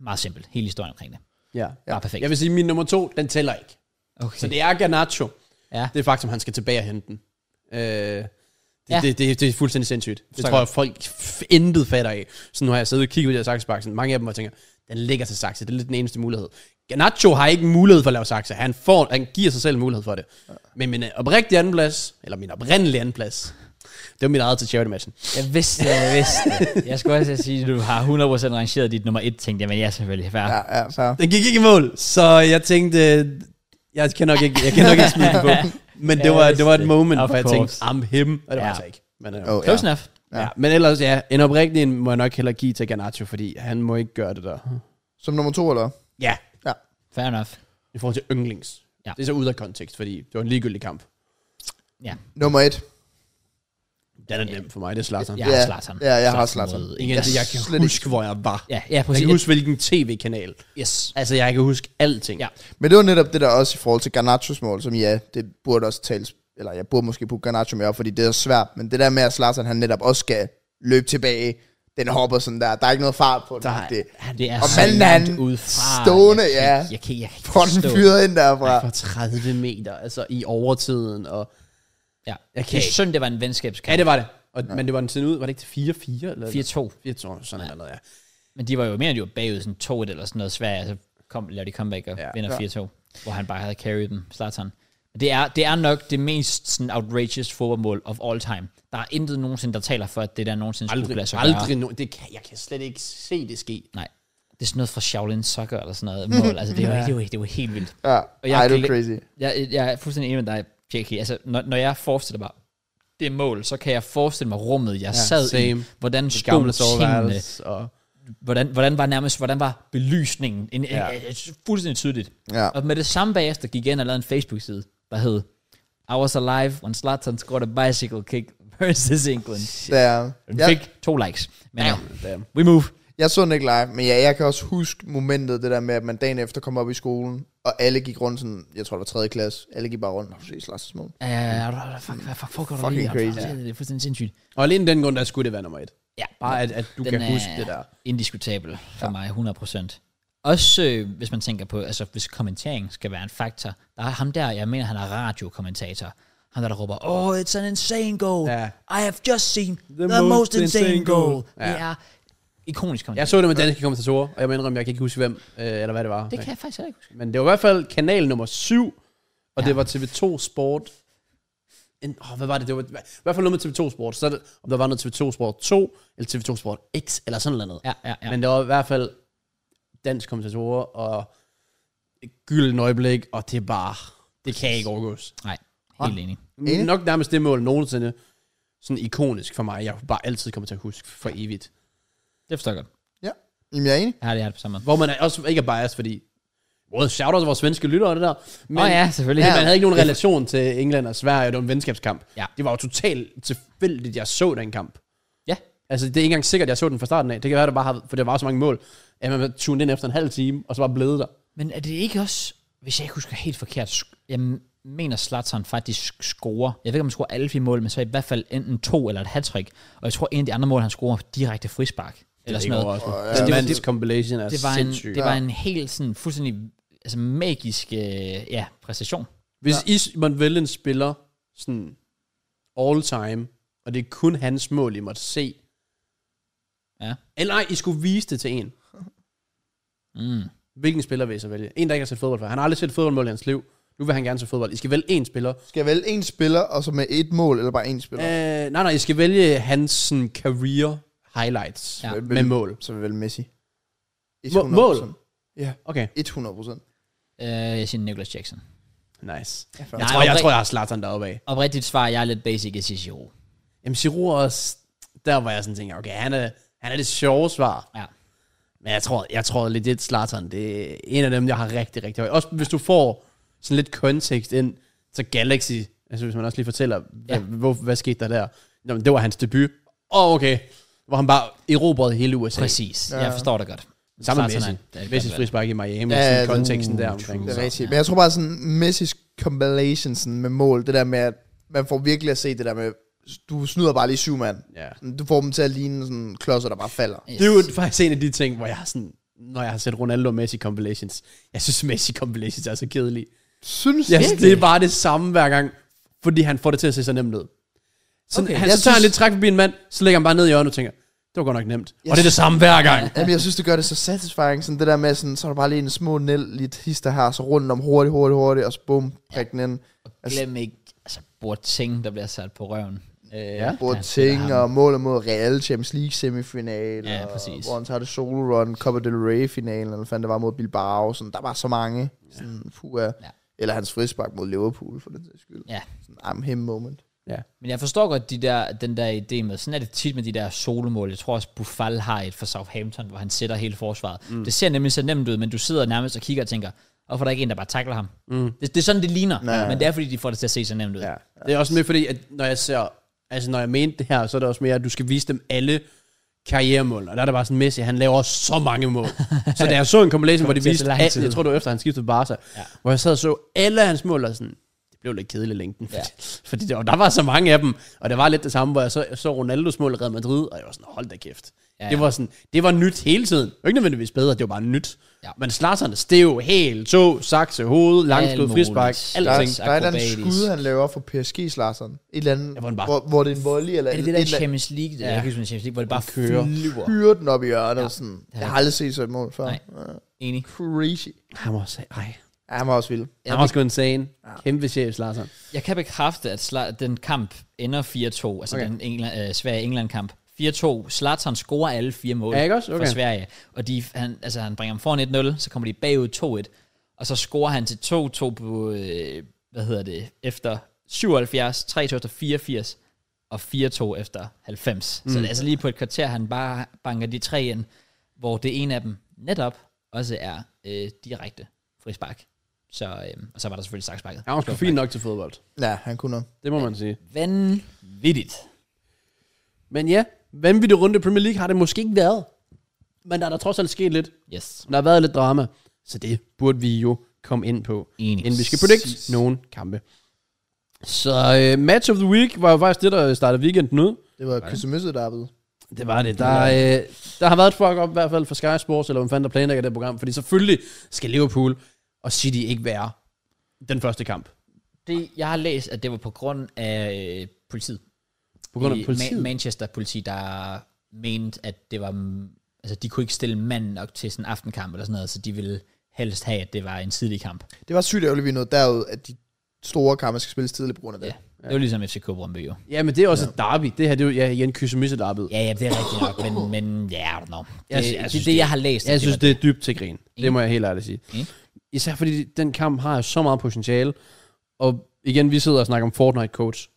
S1: meget simpelt. Hele historien omkring det.
S3: Ja.
S1: Ja. Bare perfekt.
S3: Jeg vil sige, min nummer 2, den tæller ikke.
S1: okay.
S3: Så det er Garnacho.
S1: ja.
S3: Det er faktisk, om han skal tilbage og hente den. Øh, det,
S1: Ja.
S3: ja. det, det, det, er fuldstændig sindssygt. Det
S1: Forstår
S3: tror
S1: jeg
S3: jeg, folk f- intet fatter af. Så nu har jeg siddet og kigget ud af saksesparken. Mange af dem og tænker, den ligger til sakse. Det er lidt den eneste mulighed. Garnacho har ikke mulighed for at lave sakse. Han, får, han giver sig selv mulighed for det. Men min øh, oprigtige andenplads, eller min oprindelige andenplads, det var mit eget til charity-matchen.
S1: Jeg vidste det, jeg vidste det. Jeg skulle også til at sige, at du har 100% rangeret dit nummer 1, tænkte jeg, men ja, selvfølgelig. Fair. Ja.
S2: Ja, ja, fair.
S3: Den gik ikke i mål, så jeg tænkte, øh, jeg kan nok ikke, jeg kan nok ikke smide den på. Men det
S1: Ja,
S3: var,
S1: jeg
S3: det var et
S1: vidste
S3: moment,
S1: det. Of
S3: hvor jeg tænkte,
S1: course.
S3: I'm him, og
S1: Ja.
S3: det var ja. altså ikke. Men, øh,
S2: Oh,
S1: Close
S2: ja.
S1: enough.
S3: Ja. men ellers, ja, en oprigtig en må jeg nok hellere give til Garnacho, fordi han må ikke gøre det der.
S2: Som nummer to, eller?
S3: Ja.
S1: Fair enough.
S3: I forhold til yndlings.
S1: Ja.
S3: Ja. Det er så ud af kontekst, fordi det var en ligegyldig kamp.
S1: Ja,
S2: Nummer et.
S3: Den er nem for mig, det er Zlatan.
S1: jeg
S3: Ja.
S1: har
S2: Ja.
S1: Zlatan.
S2: Ja, jeg har Zlatan.
S1: mod-
S3: Igen,
S2: Jeg
S3: det, jeg kan
S2: slet ikke-
S3: huske, hvor jeg var.
S1: Ja, ja,
S3: Jeg
S1: præcis.
S3: kan huske, hvilken tv-kanal.
S1: Yes.
S3: Altså, jeg kan huske alting.
S1: Ja.
S2: Men det var netop det der også i forhold til Garnachos mål, som ja, det burde også tales, eller jeg burde måske putte Garnacho med op, fordi det er svært, men det der med, at Zlatan han netop også skal løbe tilbage, den hopper sådan der, der er ikke noget fart på den.
S3: Der,
S2: det,
S1: Han, det er
S2: Og
S1: så
S2: manden,
S1: langt
S2: han
S1: udefra.
S2: stående,
S1: jeg, kan
S2: ja.
S1: ikke- Jeg kan, jeg, kan ikke
S2: får den
S1: forstå.
S2: fyret ind derfra.
S3: For 30 meter, altså i overtiden. Og...
S1: Ja.
S3: Jeg
S1: Det
S3: kan
S1: er
S3: ikke.
S1: synd, det var en
S3: Ja,
S1: venskabskamp.
S3: det var det. Og, men det var den tiden ud, var det ikke til 4-4? Eller?
S1: 4-2.
S3: 4-2, sådan ja. eller noget, ja.
S1: Men de var jo mere end de var bagud, sådan 2 eller sådan noget svært, så kom, lavede de comeback og ja,
S3: Ja.
S1: vinder 4-2, hvor han bare havde carried dem, Zlatan. Men Det er, det er nok det mest sådan, outrageous fodboldmål of all time. Der er intet nogensinde, der taler for, at det der nogensinde skulle kunne lade
S3: Aldrig,
S1: sig gøre.
S3: aldrig no- det kan, jeg kan slet ikke se det ske.
S1: Nej. Det er sådan noget fra Shaolin Soccer eller sådan noget mål. Altså, det var, det var, det var helt vildt.
S2: Ja,
S1: jeg
S2: Ej, det
S1: glem-
S2: er crazy.
S1: Jeg, jeg er fuldstændig enig med dig, JK. Altså, når, når jeg forestiller mig det mål, så kan jeg forestille mig rummet, jeg ja, sad i.
S3: same.
S1: Hvordan
S3: Det
S1: stod
S3: gamle
S1: tingene?
S3: soveværelse. Og...
S1: Hvordan, hvordan var nærmest, hvordan var belysningen? En, ja.
S3: Ja.
S1: en, en, en, fuldstændig tydeligt.
S2: Ja.
S1: Og med det samme bagefter gik jeg ind og lavede en Facebook-side, der hed I was alive when Zlatan scored a bicycle kick versus England.
S2: Det er,
S1: Den
S2: jeg,
S1: fik to likes. Men øh, ja,
S3: Damn.
S1: we move.
S2: jeg så den ikke live, men ja, jeg kan også huske momentet, det der med, at man dagen efter kom op i skolen, og alle gik rundt sådan, jeg tror det var 3. klasse, alle gik bare rundt, og se Zlatans mål.
S1: Uh, fuck, hvad fuck foregår der
S2: Fucking
S1: lige?
S2: crazy.
S1: Ja, Det er fuldstændig sindssygt.
S3: Og alene den grund, der skulle det være nummer et.
S1: Ja,
S3: Bare at, at du
S1: den
S3: kan
S1: er
S3: huske det der.
S1: indiskutabel for ja. mig, 100%. Også øh, hvis man tænker på, altså hvis kommentering skal være en faktor. Der er ham der, jeg mener han er radiokommentator. Han der, der råber, oh, it's an insane goal.
S3: Ja.
S1: I have just seen the, the
S3: most
S1: most insane,
S3: insane
S1: goal.
S3: goal.
S1: Ja. Det er ikonisk
S3: Jeg
S1: kommentator.
S3: så det med danske kommentatorer, og jeg må indrømme, jeg kan ikke huske hvem, øh, eller hvad det var.
S1: det kan jeg faktisk heller ikke huske.
S3: Men det var i hvert fald kanal nummer 7, og ja.
S1: Ja.
S3: det var TV2 Sport. En, oh, hvad var det? Det var hva- i hvert fald noget med TV2 Sport. Så er det, om der var noget TV2 Sport 2, eller TV2 Sport X, eller sådan noget.
S1: Ja, ja, ja.
S3: Men det var i hvert fald dansk kommentatorer, og et gylden øjeblik, og det er bare... Det kan ikke overgås.
S1: Nej, helt enig.
S2: Enig.
S3: Enig? Nok nærmest det mål nogensinde sådan ikonisk for mig. Jeg kunne bare altid kommer til at huske for evigt.
S1: Det forstår jeg godt.
S2: Ja, Jamen, jeg er enig.
S1: Jeg har det her på samme måde.
S3: Hvor man er også ikke er biased, fordi... Wow, shout out til vores svenske lyttere og det der. Men,
S1: Åh oh, ja, selvfølgelig.
S3: men man havde ikke nogen relation til England og Sverige, det var en venskabskamp.
S1: Ja.
S3: Det var jo totalt tilfældigt, jeg så den kamp.
S1: Ja.
S3: Altså, det er ikke engang sikkert, jeg så den fra starten af. Det kan være, der bare har, for der var så mange mål, at man var tunet ind efter en halv time, og så var blevet der.
S1: Men er det ikke også, hvis jeg ikke husker helt forkert, sk- jeg m- mener Zlatan faktisk scorer, jeg ved ikke om han scorer alle fire mål, men så i hvert fald enten to eller et hattrick. og jeg tror en af de andre mål, han scorer direkte frispark. Eller sådan noget.
S3: noget.
S1: Altså,
S3: Den
S1: det var-
S3: mands compilation er
S1: Det var,
S3: sindssyg.
S1: en, det var en helt sådan fuldstændig altså magisk øh, ja, præstation.
S3: Hvis ja. I måtte vælge en spiller sådan all time, og det er kun hans mål, I måtte se.
S1: Ja.
S3: Eller ej, I skulle vise det til en.
S1: Mm.
S3: Hvilken spiller vil I så vælge? En, der ikke har set fodbold før. Han har aldrig set fodboldmål i hans liv. Nu vil han gerne se fodbold. I skal vælge en spiller.
S2: Skal jeg vælge en spiller, og så med et mål, eller bare en spiller?
S3: Øh, nej, nej, I skal vælge hans sådan, career highlights
S1: Ja.
S3: ja. med mål.
S2: Så vil jeg vælge Messi.
S3: Må- mål?
S2: 100%. Ja,
S3: Okay.
S2: 100 procent.
S1: Øh, jeg siger Nicholas Jackson.
S3: Nice. Jeg
S2: for-
S3: tror, jeg,
S1: opri-
S3: tror, jeg har Zlatan deroppe af.
S1: Oprigtigt svar, jeg er lidt basic, jeg siger Giroud.
S3: Jamen, Giroud er også... Der var jeg sådan tænker, okay, han er, han er det sjove svar.
S1: Ja.
S3: Men jeg tror, jeg tror lidt, det Zlatan, det er en af dem, jeg har rigtig, rigtig højt. Også hvis du får sådan lidt kontekst ind til Galaxy, altså hvis man også lige fortæller, ja.
S1: Ja.
S3: hvad, hvor, hvad skete der der? Nå, men det var hans debut. Åh, oh, okay. Hvor han bare erobrede hele USA.
S1: Præcis.
S2: Ja.
S1: Ja. Jeg forstår det godt.
S3: Sammen med
S1: Zlatan
S3: Messi.
S1: er- er et
S3: Messis
S1: godt valg.
S3: frispark i Miami,
S2: Ja,
S3: ja, sådan
S2: ja,
S3: konteksten
S1: uh,
S3: der omkring.
S2: Det er rigtigt.
S1: Ja.
S2: Men jeg tror bare sådan, Messi's compilation sådan, med mål, det der med, at man får virkelig at se det der med, du snyder bare lige syv mand.
S3: Ja.
S2: Du får dem til at ligne sådan klodser, der bare falder.
S1: Yes.
S3: Det er jo faktisk en af de ting, hvor jeg har sådan, når jeg har set Ronaldo og Messi compilations, jeg synes Messi compilations er så kedelige.
S2: Synes
S3: Jeg synes,
S2: virkelig?
S3: det er bare det samme hver gang, fordi han får det til at se så nemt ud. Sådan,
S1: Okay,
S3: okay, han,
S2: jeg
S3: så tager synes... han
S2: synes-
S3: lidt træk forbi en mand, så lægger han bare ned i hjørnet og tænker, det var godt nok nemt.
S2: Jeg
S3: og det er det samme hver gang.
S2: Jamen, jeg synes, det gør det så satisfying, sådan det der med, sådan, så er der bare lige en små næl, lidt hister her, så rundt om hurtigt, hurtigt, hurtigt, og så bum, prik den ind.
S1: Glem ikke, altså, Boateng, der bliver sat på røven. Øh, ja.
S2: Både ting og målet mod Real Champions League semifinal,
S1: Ja,
S2: og
S1: præcis.
S2: hvor han tager det solo run, Copa del Rey finalen, eller hvad fanden det var mod Bilbao, sådan, der var så mange. Sådan, puha. Ja. Eller hans frispark mod Liverpool, for den sags skyld.
S1: Ja.
S2: Sådan, I'm him moment.
S3: Ja.
S1: Men jeg forstår godt de der, den der idé med, sådan er det tit med de der solomål. Jeg tror også, Buffal har et for Southampton, hvor han sætter hele forsvaret. Mm. Det ser nemlig så nemt ud, men du sidder nærmest og kigger og tænker, hvorfor er der ikke en, der bare takler ham? Mm. Det, det, er sådan, det ligner,
S2: Nej.
S1: men det er, fordi de får det til at se så nemt ud.
S3: Ja. Det er også mere fordi, at når jeg ser, altså når jeg mente det her, så er det også mere, at du skal vise dem alle karrieremål. Og der er det bare sådan, Messi, han laver så mange mål. så da jeg så en compilation, hvor de
S1: til at
S3: viste,
S1: tage lang
S3: al,
S1: tid.
S3: jeg tror det var efter, han skiftede til Barca, ja. hvor jeg sad og så alle hans mål, og sådan, det blev lidt kedeligt i længden. Ja.
S1: Ja.
S3: Fordi der, og der var så mange af dem, og det var lidt det samme, hvor jeg så, så Ronaldos mål i Real Madrid, og jeg var sådan, hold da kæft.
S1: Ja,
S3: Ja,
S1: ja.
S3: ja. Det var sådan, det var nyt hele tiden. Det var Ikke nødvendigvis bedre, det var bare nyt. Ja.
S1: Ja.
S3: Men Zlatan, det er jo helt tog, sakse, hoved, langskud,
S1: muligt.
S3: frispark,
S2: Der,
S1: Alting.
S3: alting.
S2: der er et eller andet
S1: Akrobatisk.
S2: skud, han laver for PSG, Larsen. Et eller andet,
S3: hvor han bare-
S2: hvor, hvor, det er en volley, eller
S1: Er det
S2: et-
S1: det der
S2: et eller andet,
S1: Champions League? Ja.
S3: Ja.
S1: Jeg kan ikke huske, Champions League, hvor det bare
S3: kører.
S1: kører. flyver.
S2: hyrer den op i hjørnet. Ja. Sådan. Jeg har aldrig set sådan et mål før.
S1: Nej.
S2: Ja.
S1: Enig.
S2: Crazy.
S3: Han var også, ej.
S2: Ja, han var også vild.
S3: Han var sgu insane. Kæmpe chef, Larsen.
S1: Jeg kan bekræfte, at Sla- den kamp ender 4-2, altså
S3: Okay.
S1: okay. den England, øh, Sverige-England-kamp. 4-2, Zlatan scorer alle fire mål
S3: Ja, ikke også? Okay.
S1: for Sverige, og de, han, altså, han bringer dem foran 1-0, så kommer de bagud 2-1, og så scorer han til 2-2 på, øh, hvad hedder det, efter 77, 3-2 efter 84, og 4-2 efter 90. Mm. Så det er altså lige på et kvarter, han bare banker de tre ind, hvor det ene af dem netop også er øh, direkte frispark. Så, øh, og så var der selvfølgelig saksparket.
S3: Han var sgu fint nok til fodbold.
S2: Ja, han kunne noget.
S3: Det må man sige.
S1: Vanvittigt.
S3: Men ja, vanvittig runde i Premier League har det måske ikke været. Men der er der trods alt sket lidt.
S1: Yes.
S3: Der har været lidt drama. Så det burde vi jo komme ind på,
S1: Enig.
S3: inden vi skal predict nogen kampe. Så øh, match of the week var jo faktisk det, der startede weekenden ud.
S2: Det var Kysse der ved.
S3: Det var det. Der, øh, der har været et fuck op i hvert fald for Sky Sports, eller hvem fanden der planlægger det program. Fordi selvfølgelig skal Liverpool og City ikke være den første kamp.
S1: Det, jeg har læst, at det var på grund af øh, politiet.
S3: På grund af
S1: I
S3: politiet.
S1: Ma- Manchester politi, der mente, at det var... mm, Altså, de kunne ikke stille mand nok til sådan en aftenkamp eller sådan noget, så de ville helst have, at det var en tidlig kamp. Ja.
S2: Det var sygt ærgerligt, vi nåede derud, at de store kampe skal spilles tidligt på grund af det.
S1: ja. Det var ligesom FCK Brøndby jo.
S3: Ja, men det er også et derby. Det her, det er jo ja, igen kysse derby. Ja,
S1: Ja, ja, det er rigtigt nok, men, men ja, I don't know. Det,
S3: Jeg sy- jeg
S1: det,
S3: synes,
S1: det, det, jeg har læst. at
S3: jeg synes,
S1: var-
S3: det er dybt til grin. Det må jeg helt ærligt sige.
S1: Enig.
S3: Især fordi den kamp har jo så meget potentiale. Og igen, vi sidder og snakker om Fortnite Coach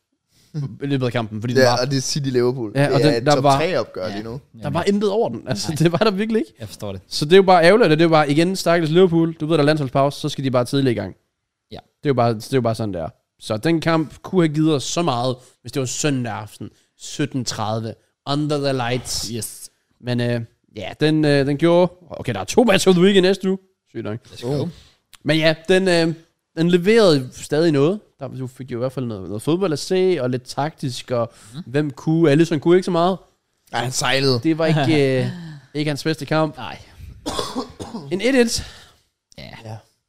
S3: i løbet af kampen, fordi den
S2: Ja,
S3: var,
S2: og det er City Liverpool.
S3: Ja, og
S2: det
S3: den-
S2: er et
S3: der
S2: top
S3: var-
S2: 3 opgør lige nu.
S3: der var intet over den. Altså, det var der virkelig ikke.
S1: Jeg forstår det.
S3: Så det er jo bare ærgerligt, og det er jo bare, igen, stakkels Liverpool, du ved, der er landsholdspause, så skal de bare tidligere i gang.
S1: Ja.
S3: Det er jo bare, det er jo bare sådan, der. Så den kamp kunne have givet os så meget, hvis det var søndag aften, 17.30, under the lights.
S1: Yes.
S3: Men øh, ja, den, øh, den gjorde... Okay, der er to matcher of the week i næste uge. Sygt nok. Uh.
S1: Let's go.
S3: Men ja, den, øh, den leverede stadig noget. Der du fik jo i hvert fald noget, noget fodbold at se, og lidt taktisk, og
S1: Mhm.
S3: mm. hvem kunne... Alisson kunne ikke så meget.
S2: Ej, han sejlede.
S3: Det var ikke, øh, ikke hans bedste kamp.
S1: Nej.
S3: En 1-1.
S1: Ja.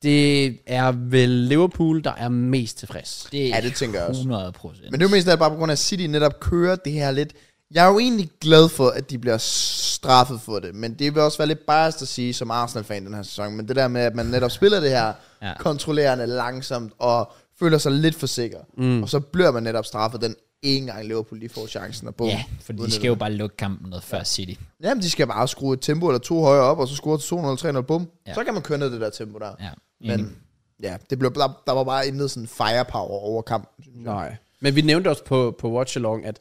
S3: Det er vel Liverpool, der er mest tilfreds.
S1: Det
S2: Ja, det tænker jeg også.
S1: 100 procent.
S2: Men det er jo mest af alt bare på grund af, at City netop kører det her lidt... Jeg er jo egentlig glad for, at de bliver straffet for det, men det vil også være lidt biased at sige som Arsenal-fan den her sæson, men det der med, at man netop spiller det her ja.
S1: Ja.
S2: kontrollerende langsomt og føler sig lidt for sikker, mm. og så bliver man netop straffet den ene gang Liverpool lige får chancen og bum.
S1: Ja, for de skal jo bare lukke kampen noget før City.
S2: Jamen, de skal bare skrue et tempo eller to højere op, og så score til 200 300 bum. Ja.
S1: Ja.
S2: Så kan man køre ned det der tempo der.
S1: Ja.
S2: Men Ja, det blev, der, der var bare intet sådan firepower over kampen. synes jeg.
S3: Nej. Men vi nævnte også på, på Watch Along, at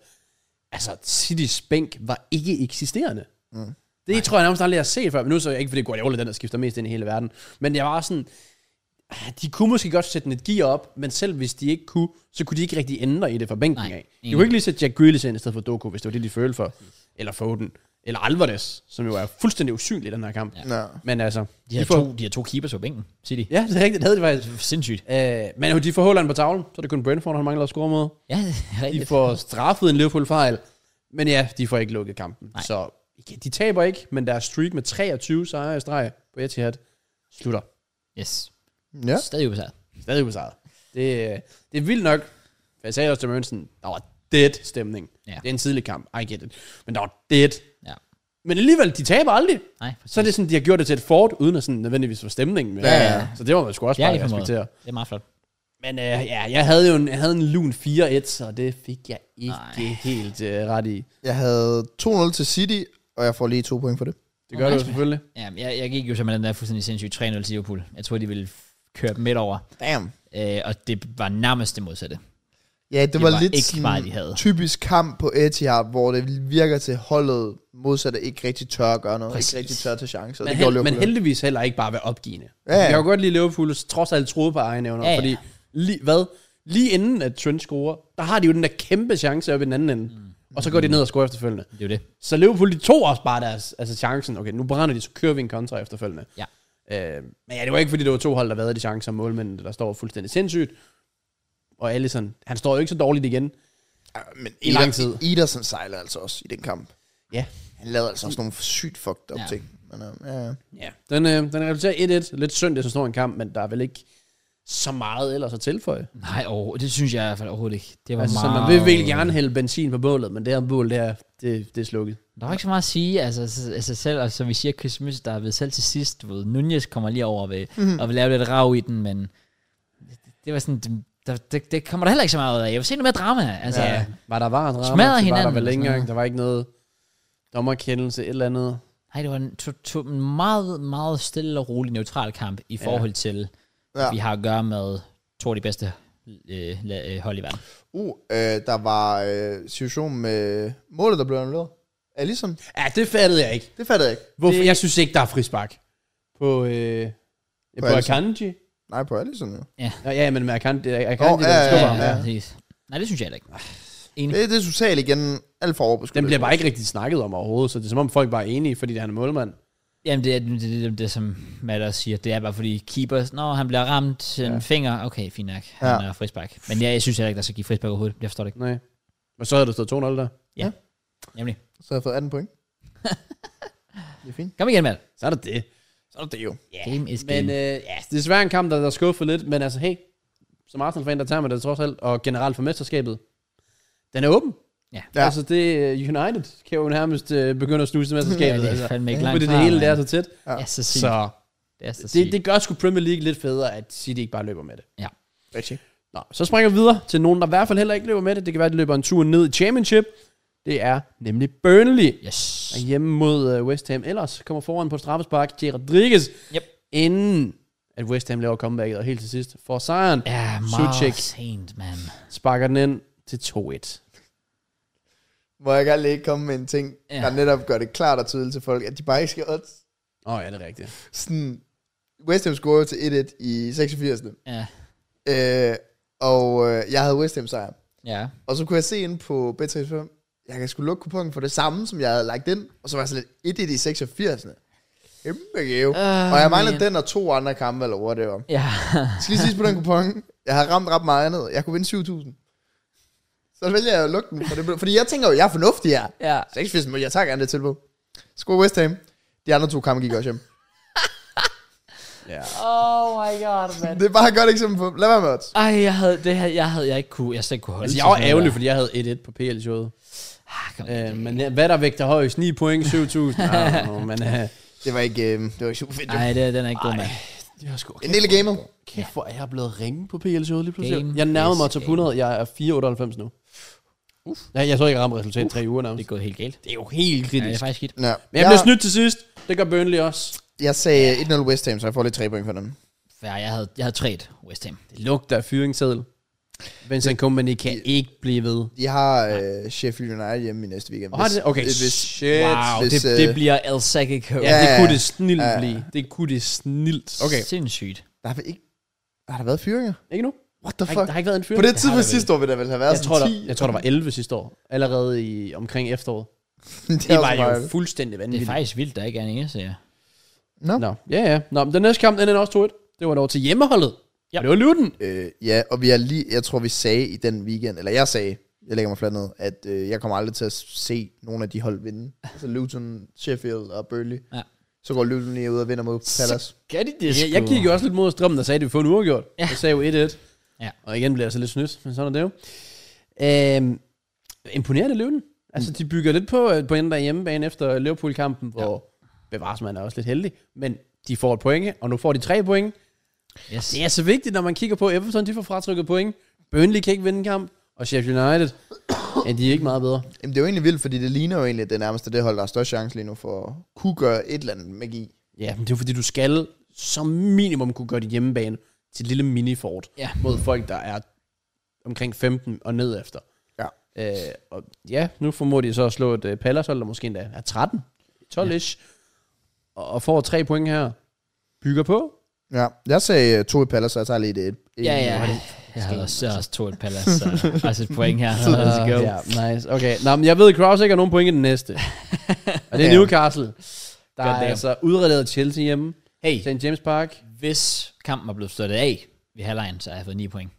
S3: altså, City's bænk var ikke eksisterende. Mm. Det tror jeg nærmest aldrig, jeg har set før. Men nu så jeg ikke, fordi Guardiola er den, der skifter mest ind i hele verden. Men jeg var sådan, ah, de kunne måske godt sætte et gear op, men selv hvis de ikke kunne, så kunne de ikke rigtig ændre i det fra bænken
S1: Nej,
S3: af. De
S1: enig.
S3: kunne ikke lige sætte Jack Grealish ind i stedet for Doku, hvis det var det, de følte for. Eller Foden. Eller Alvarez, som jo er fuldstændig usynlig i den her kamp. Ja.
S2: Nå.
S3: Men altså,
S1: De har, to, de har to keepers på bænken, siger de.
S3: Ja, det er rigtigt. Det havde de faktisk.
S1: Sindssygt.
S3: Øh, men de får Holland på tavlen, så er det kun Brentford, han mangler at score mod.
S1: Ja, det er
S3: De
S1: rigtigt.
S3: får straffet en Liverpool-fejl, men ja, de får ikke lukket kampen. Nej. Så ja, de taber ikke, men deres streak med 23 sejre i streg på Etihad slutter.
S1: Yes.
S2: Ja.
S1: Stadig ubesejret.
S3: Stadig besejret. Det, øh, det er vildt nok. For jeg sagde også til Mørensen, der var dead stemning.
S1: Ja.
S3: Det er en tidlig kamp, I get it. Men der var dead.
S1: Ja.
S3: Men alligevel, de taber aldrig.
S1: Nej,
S3: Så er det sådan, de har gjort det til et fort, uden at sådan nødvendigvis få stemningen med.
S2: Ja, ja.
S3: Så det må man sgu også
S1: Ja,
S3: bare
S1: i formåede.
S3: respektere.
S1: Det er meget flot.
S3: Men øh, ja, jeg havde jo en, jeg havde en lun 4-1, så det fik jeg ikke
S1: Nej.
S3: helt øh, ret i.
S2: Jeg havde 2-0 til City, og jeg får lige to point for det.
S3: Det gør
S1: Nå,
S3: du jo
S1: nice.
S3: selvfølgelig.
S1: Ja, jeg, jeg gik jo simpelthen den der fuldstændig sindssygt 3-0 til Liverpool. Jeg tror, de ville f- køre dem midt over.
S2: Damn.
S1: Øh, og det var nærmest det modsatte.
S2: Ja, det,
S1: Det
S2: var,
S1: var
S2: lidt
S1: ikke
S2: sådan
S1: meget, de havde.
S2: typisk kamp på Etihad, hvor det virker til holdet modsat er ikke rigtig tør at gøre noget,
S1: Præcis.
S2: ikke rigtig tør at tage chancer.
S3: Men,
S2: det gjorde
S3: held, men
S2: Liverpool.
S3: heldigvis heller ikke bare være opgivende.
S2: Ja, ja.
S3: Jeg kan jo godt lide Liverpool, trods alt troede på egen evner,
S1: Ja, ja.
S3: fordi lige, hvad? lige inden at Trent scorer, der har de jo den der kæmpe chance oppe i den anden ende, mm. og så går de ned og scorer efterfølgende.
S1: Det er jo det.
S3: Så Liverpool, de tog også bare deres altså chancen. Okay, nu brænder de, så kører vi en kontra efterfølgende.
S1: Ja.
S3: Øh, men ja, det var ikke, fordi det var to hold, der havde de chancer, og målmændene, der står fuldstændig sindssygt. Og Allison, han står jo ikke så dårligt igen.
S2: Ja, men
S3: i lang tid.
S2: Ederson sejlede altså også i den kamp.
S3: Ja.
S2: Han lavede altså også nogle sygt fucked up
S1: Ja.
S2: ja. ting. Men, øh, ja.
S3: Ja. Den, øh, den resulterer 1-1. Lidt synd, det er så stor en kamp, men der er vel ikke så meget ellers at tilføje.
S1: Nej, over, det synes jeg i hvert fald overhovedet ikke. Det var
S3: Altså, så
S1: meget...
S3: man vil virkelig gerne hælde benzin på bålet, men det her bål, det er, det, det er slukket.
S1: Der var ikke så meget at sige, altså, s- altså selv, og som vi siger, Chris Mys, der er ved selv til sidst, du ved, Nunez kommer lige over ved, mm. og vil lave lidt rav i den, men det- det var sådan, det, der, det, det kommer der heller ikke så meget ud af. Jeg vil se noget mere drama, altså. Ja.
S3: Var der var drama?
S1: Smadrer
S3: så Var
S1: hinanden
S3: der vel
S1: og
S3: ikke
S1: sådan
S3: engang. Der var ikke noget dommerkendelse, et eller andet.
S1: Nej, det var en, to, to, en meget, meget stille og rolig neutral kamp i forhold til, ja.
S2: Ja.
S1: vi har at gøre med to af de bedste øh, la- øh, hold i verden.
S2: Uh, øh, der var øh, situationen med målet, der blev annulleret. Alisson.
S3: Ja, det fattede jeg ikke.
S2: Det fattede jeg ikke.
S3: Hvorfor? Det, jeg synes ikke, der er frispark. På, øh, ja, på, på
S2: Alisson.
S3: Akanji.
S2: Nej, på Alisson jo.
S3: Nå, ja, men med Akanji, det er
S2: Åh,
S3: Akanji,
S2: ja,
S3: der
S2: ja,
S3: skubber
S2: ja,
S3: ham.
S2: ja.
S1: præcis. Nej, det synes jeg heller ikke. Enig.
S2: Det, det er totalt igen alt for overbeskudt.
S3: Den bliver bare ikke rigtig snakket om overhovedet, så det er som om folk bare er enige, fordi han er målmand.
S1: Jamen, det er det, det, det, det som Matt også siger. Det er bare fordi keeper, når han bliver ramt en ja. finger, okay, fint nok, han
S2: Ja.
S1: er frisbak. Men jeg, jeg synes heller ikke, der skal give frisbak overhovedet. Jeg forstår det ikke.
S3: Nej. Og så havde du stået 2-0 der.
S1: Nemlig.
S2: Så har jeg fået 18 point. det er fint.
S1: Kom igen, Matt.
S3: Så er der det.
S2: Så er det jo.
S1: Yeah. Game is game.
S3: Men øh, ja, det er desværre en kamp, der, der skuffede lidt, men altså hey, som Arsenal-fan, der tager man det trods alt, og generelt for mesterskabet, den er åben.
S1: Ja.
S2: Ja.
S3: Altså det øh, United kan jo nærmest øh, begynde at snuse til
S1: ja,
S3: mesterskabet.
S1: det er
S3: altså,
S1: fandme ikke langt
S3: fordi
S1: fra,
S3: det hele
S1: mand.
S3: der er så tæt.
S1: Ja, så sygt.
S3: Så
S1: Det er så sygt.
S3: det, det gør sgu Premier League lidt federe, at City ikke bare løber med det.
S2: Rigtig.
S3: Nå, så springer vi videre til nogen, der i hvert fald heller ikke løber med det. Det kan være, at de løber en tur ned i Championship. Det er nemlig Burnley.
S1: Yes.
S3: Og hjemme mod øh, West Ham ellers kommer foran på straffespark til Rodriguez,
S1: Yep.
S3: inden at West Ham laver comebacket, og helt til sidst får sejren.
S1: Ja, meget
S3: Suchek.
S1: sent, mand.
S3: Sparker den ind til 2-1.
S2: Må jeg gerne lige komme med en ting,
S1: Ja.
S2: ja. der netop gør det klart og tydeligt til folk, at de bare ikke skal odds.
S3: Åh, oh, ja, det er rigtigt.
S2: Sådan, West Ham scorede til 1-1 i 86.
S1: Ja.
S2: Øh, og øh, jeg havde West Ham sejr.
S1: Ja.
S2: Og så kunne jeg se ind på Bet365, jeg kan sgu lukke kuponen for det samme, som jeg havde lagt ind. Og så var jeg sådan lidt 1-1 i 86. Kæmpe gave.
S1: Ah,
S2: og jeg manglede
S1: man.
S2: den og to andre kampe, eller hvor det var.
S1: Ja.
S2: Skal lige sige på den kupon. Jeg har ramt ret meget andet. Jeg kunne vinde 7.000. Så vælger jeg at lukke den. For det, blev- fordi jeg tænker jo, jeg er fornuftig her.
S1: ja.
S2: 86 mål, jeg tager gerne det tilbud. Skår West Ham. De andre to kampe gik også hjem.
S3: Ja.
S1: Oh my god, mand.
S2: Det er bare et godt eksempel på. Lad være med odds.
S1: Ej, jeg havde, det her, jeg havde jeg ikke kunne, jeg slet ikke kunne holde
S3: Altså,
S1: til
S3: jeg var
S1: sådan noget
S3: ærgerlig,
S1: der.
S3: fordi jeg havde 1-1 på PL-showet.
S1: Ah, kom igen.
S3: Øh, men ja, hvad der vægter højst? 9 point, 7.000. Ah, no, men øh,
S2: Det var ikke, øh, det var ikke super fedt. jo.
S1: Ej, det, den er ikke god, mand.
S3: det var sgu okay.
S2: En del af gamet.
S3: Kæft, hvor er jeg blevet ringe på PL-showet lige pludselig.
S1: Game
S3: jeg nærmer
S1: is
S3: mig til
S1: game.
S3: 100. Jeg er 498 nu. Uff. Ja, jeg så ikke ramt resultatet i tre uger
S1: Det
S3: nærmest.
S1: er gået helt galt.
S3: Det er jo helt
S1: Ja, det
S3: kritisk.
S1: er faktisk skidt.
S2: Ja.
S3: Men jeg bliver snydt til sidst. Det gør Burnley også.
S2: jeg sagde 1-0 West Ham, så jeg får lige 3 point for den.
S1: Fair, jeg havde, jeg havde træt West Ham.
S3: Det lugter af fyringsseddel. Vincent Kompany kan ikke blive ved.
S2: De har øh, Sheffield United hjemme i næste weekend.
S3: Og har det? Okay,
S2: hvis, hvis,
S3: shit.
S1: Wow,
S2: hvis,
S1: det,
S2: øh,
S1: det bliver El Sagic
S3: Ja,
S1: ja.
S3: det
S2: Ja,
S3: kunne
S2: ja.
S3: det snilt
S2: Ja, ja.
S3: blive. Det kunne det snilt.
S2: Okay.
S1: Sindssygt.
S2: der har vel ikke... Har der været fyringer?
S3: Ikke nu?
S2: What the
S3: Der, har
S2: fuck?
S3: ikke- der har ikke været en fyring.
S2: På det Altså,
S1: har
S2: tidspunkt
S1: der vel.
S2: sidste år vil der vel have været
S3: jeg, tror,
S2: sådan
S3: der,
S2: 10.
S3: jeg tror, der var 11 sidste år. Allerede i, omkring efteråret.
S2: det,
S3: Det
S2: er
S3: var
S2: også
S3: jo
S2: meget-
S3: fuldstændig
S1: Det er
S3: vanvittigt.
S1: faktisk vildt, der ikke er en eneste, ja.
S2: Nå.
S3: Nå, ja, ja. Nå, men den næste kamp, den er også 2-1. Det var dog til hjemmeholdet. Ja. Det var Luton.
S2: Øh, ja, og vi har lige, jeg tror, vi sagde i den weekend, eller jeg sagde, jeg lægger mig fladt ned, at øh, jeg kommer aldrig til at se nogen af de hold vinde. Altså Luton, Sheffield og Burnley.
S1: Ja.
S2: Så går Luton lige ud og vinder mod Palace.
S1: Gør de det
S3: Jeg, jeg gik jo også lidt mod strømmen, der sagde, at vi får en uafgjort. Ja. Jeg sagde jo 1-1.
S1: Ja.
S3: Og igen blev jeg så lidt snydt, men sådan er det jo. Øhm, imponerende Luton. Altså, de bygger lidt på, øh, på en der hjemmebane efter Liverpool-kampen, hvor bevares man er også lidt heldig. Men de får et point, og nu får de tre point.
S1: Yes.
S3: Det er så vigtigt, når man kigger på Everton, de får fratrykket point. Burnley kan ikke vinde en kamp, og Sheffield United, ja, de er ikke meget bedre.
S2: Jamen, det er jo egentlig vildt, fordi det ligner jo egentlig, at det nærmeste det hold, der er størst chance lige nu for at kunne gøre et eller andet magi.
S3: Ja, men det er jo fordi, du skal som minimum kunne gøre dit hjemmebane til et lille minifort
S1: Ja.
S3: mod folk, der er omkring 15 og ned efter.
S2: Ja.
S3: Øh, og ja, nu formår de så at slå et uh, Pallas hold, der måske endda er 13, 12-ish, og, og får tre point her. Bygger på.
S2: Ja, jeg sagde øh, to i Palace, og jeg tager lige det et.
S1: Ja, ja. Jeg havde også, jeg også to et palace, så også et point her. Let's go.
S3: Ja, nice. Okay, Nå, men jeg ved, at Kraus ikke har nogen point i den næste. og det er
S2: Ja.
S3: Newcastle. Der er
S1: Goddamn.
S3: altså udredet Chelsea hjemme.
S1: Hey,
S3: St. James Park.
S1: hvis kampen var blevet stået af ved halvlejen, så har jeg fået 9 point.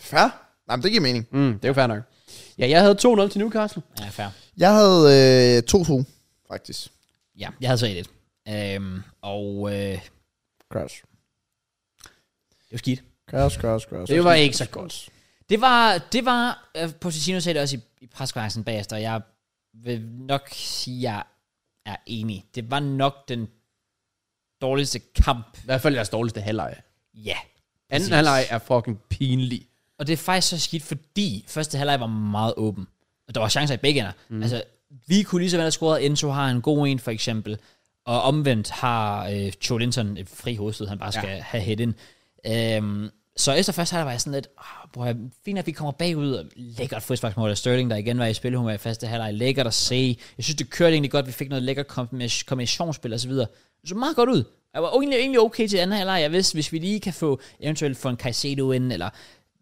S2: Fair? Nej, men det giver mening.
S3: Mm, det er jo fair nok. Ja, jeg havde 2-0 til Newcastle.
S1: Ja, fair.
S2: Jeg havde øh, 2-2, faktisk.
S1: Ja, jeg havde så et. Øhm, og øh,
S2: Crash.
S1: det var skidt.
S2: Crash, crash, crash.
S3: Det var ikke så godt.
S1: Det var, det var øh, Pochettino sagde det også i, i preskonferencen bagefter, og jeg vil nok sige, at jeg er enig. Det var nok den dårligste kamp,
S3: I hvert fald deres dårligste halvleg.
S1: ja.
S3: Anden
S1: Præcis.
S3: halvleg er fucking pinlig.
S1: Og det er faktisk så skidt, fordi første halvleg var meget åben. Og der var chancer i begge ender. Mm. Altså, vi kunne lige så vel have scoret, Enzo har en god en for eksempel, og omvendt har øh, Joe Linton et fri hovedstød, han bare skal ja. have head ind. Øhm, så efter første halvleg var jeg sådan lidt, oh, bror, fint at vi kommer bagud, og lækkert frisparksmål af Sterling, der igen var i spilhumør i første halvleg, lækkert at se. Jeg synes, det kørte egentlig godt, vi fik noget lækkert kombina- kombinationsspil og så videre. Det så meget godt ud. Jeg var egentlig, egentlig okay til anden halvleg, jeg vidste, hvis vi lige kan få eventuelt få en Caicedo ind, eller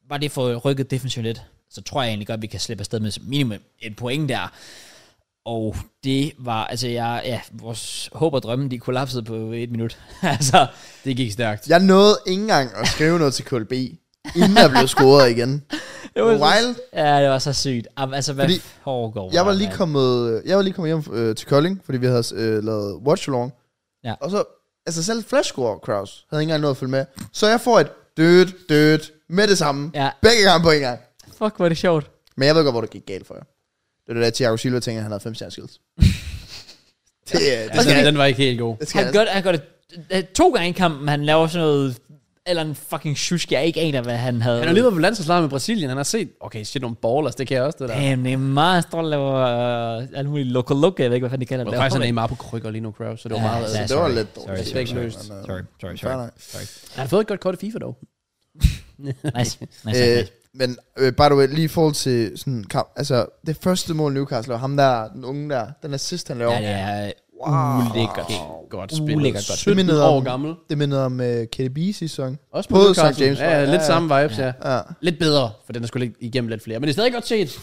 S1: bare det for rykket defensivt lidt, så tror jeg egentlig godt, at vi kan slippe afsted med minimum et point der. Og det var, altså jeg, ja, vores håb og drømme, de kollapsede på et minut. altså,
S3: Det gik stærkt.
S2: Jeg nåede ikke engang at skrive noget til KLB, inden jeg blev scoret igen.
S1: det
S2: var
S1: var,
S2: så- Wild.
S1: Ja, det var så sygt. Am- Altså, hvad
S2: Fordi
S1: Fordi foregår?
S2: Jeg var
S1: der,
S2: lige
S1: mand?
S2: kommet, jeg var lige kommet hjem øh, til Kolding, fordi vi havde øh, lavet watch along.
S1: Ja.
S2: Og så, altså selv flashscore Kraus havde ikke engang nået at følge med. Så jeg får et dødt, dødt med det samme.
S1: Ja.
S2: Begge gange på en gang.
S1: Fuck, var det sjovt.
S2: Men jeg ved godt, hvor det gik galt for jer. Det er det der, Thiago Silva tænker, at han havde fem stjerneskills. det, øh, det,
S3: Altså,
S2: skal,
S3: den var ikke helt god.
S2: det
S1: Han
S2: skal han.
S1: gør, det- han gør det øh, to gange i kampen, han laver sådan noget, eller en fucking shusk, jeg ikke aner, hvad han havde.
S3: Han har lige været på landsholdslejr med Brasilien. Han har set, okay, shit, nogle ballers, det kan jeg også, det der.
S1: Damn, Neymar står og laver øh, alle mulige loco loco, jeg ved ikke, hvad fanden de kalder
S3: Det
S1: det.
S3: var faktisk en Neymar på krykker lige nu, Kraus, så det var
S1: Ja,
S3: meget...
S1: ja.
S2: Det var
S1: Sorry.
S2: lidt
S1: Sorry,
S2: dårligt.
S1: sorry,
S3: sorry.
S2: Men,
S1: Sorry,
S2: øh,
S1: sorry,
S2: fair
S1: sorry.
S2: nok.
S1: sorry.
S3: Han har fået et godt kort i FIFA, dog.
S1: Nice, nice, nice.
S2: Øh,
S1: nice.
S2: men øh, by the way, lige i forhold til sådan kamp, altså det første mål Newcastle, og ham der, den unge der, den assist han laver,
S1: Ja, det er
S2: Wow.
S1: ulækkert.
S3: Godt
S1: Uh,
S3: spillet.
S1: lækkert godt.
S3: 17
S2: Mindede
S3: år
S2: om-
S3: gammel.
S2: det minder om uh, KDB sidste sæson.
S3: Også
S2: Både
S3: Newcastle.
S2: St. James
S3: Ja, ja,
S2: Park.
S3: lidt
S2: Ja, ja.
S3: samme vibes, ja.
S2: Ja.
S3: Lidt bedre, for den er skulle igennem lidt flere. Men det er stadig godt set.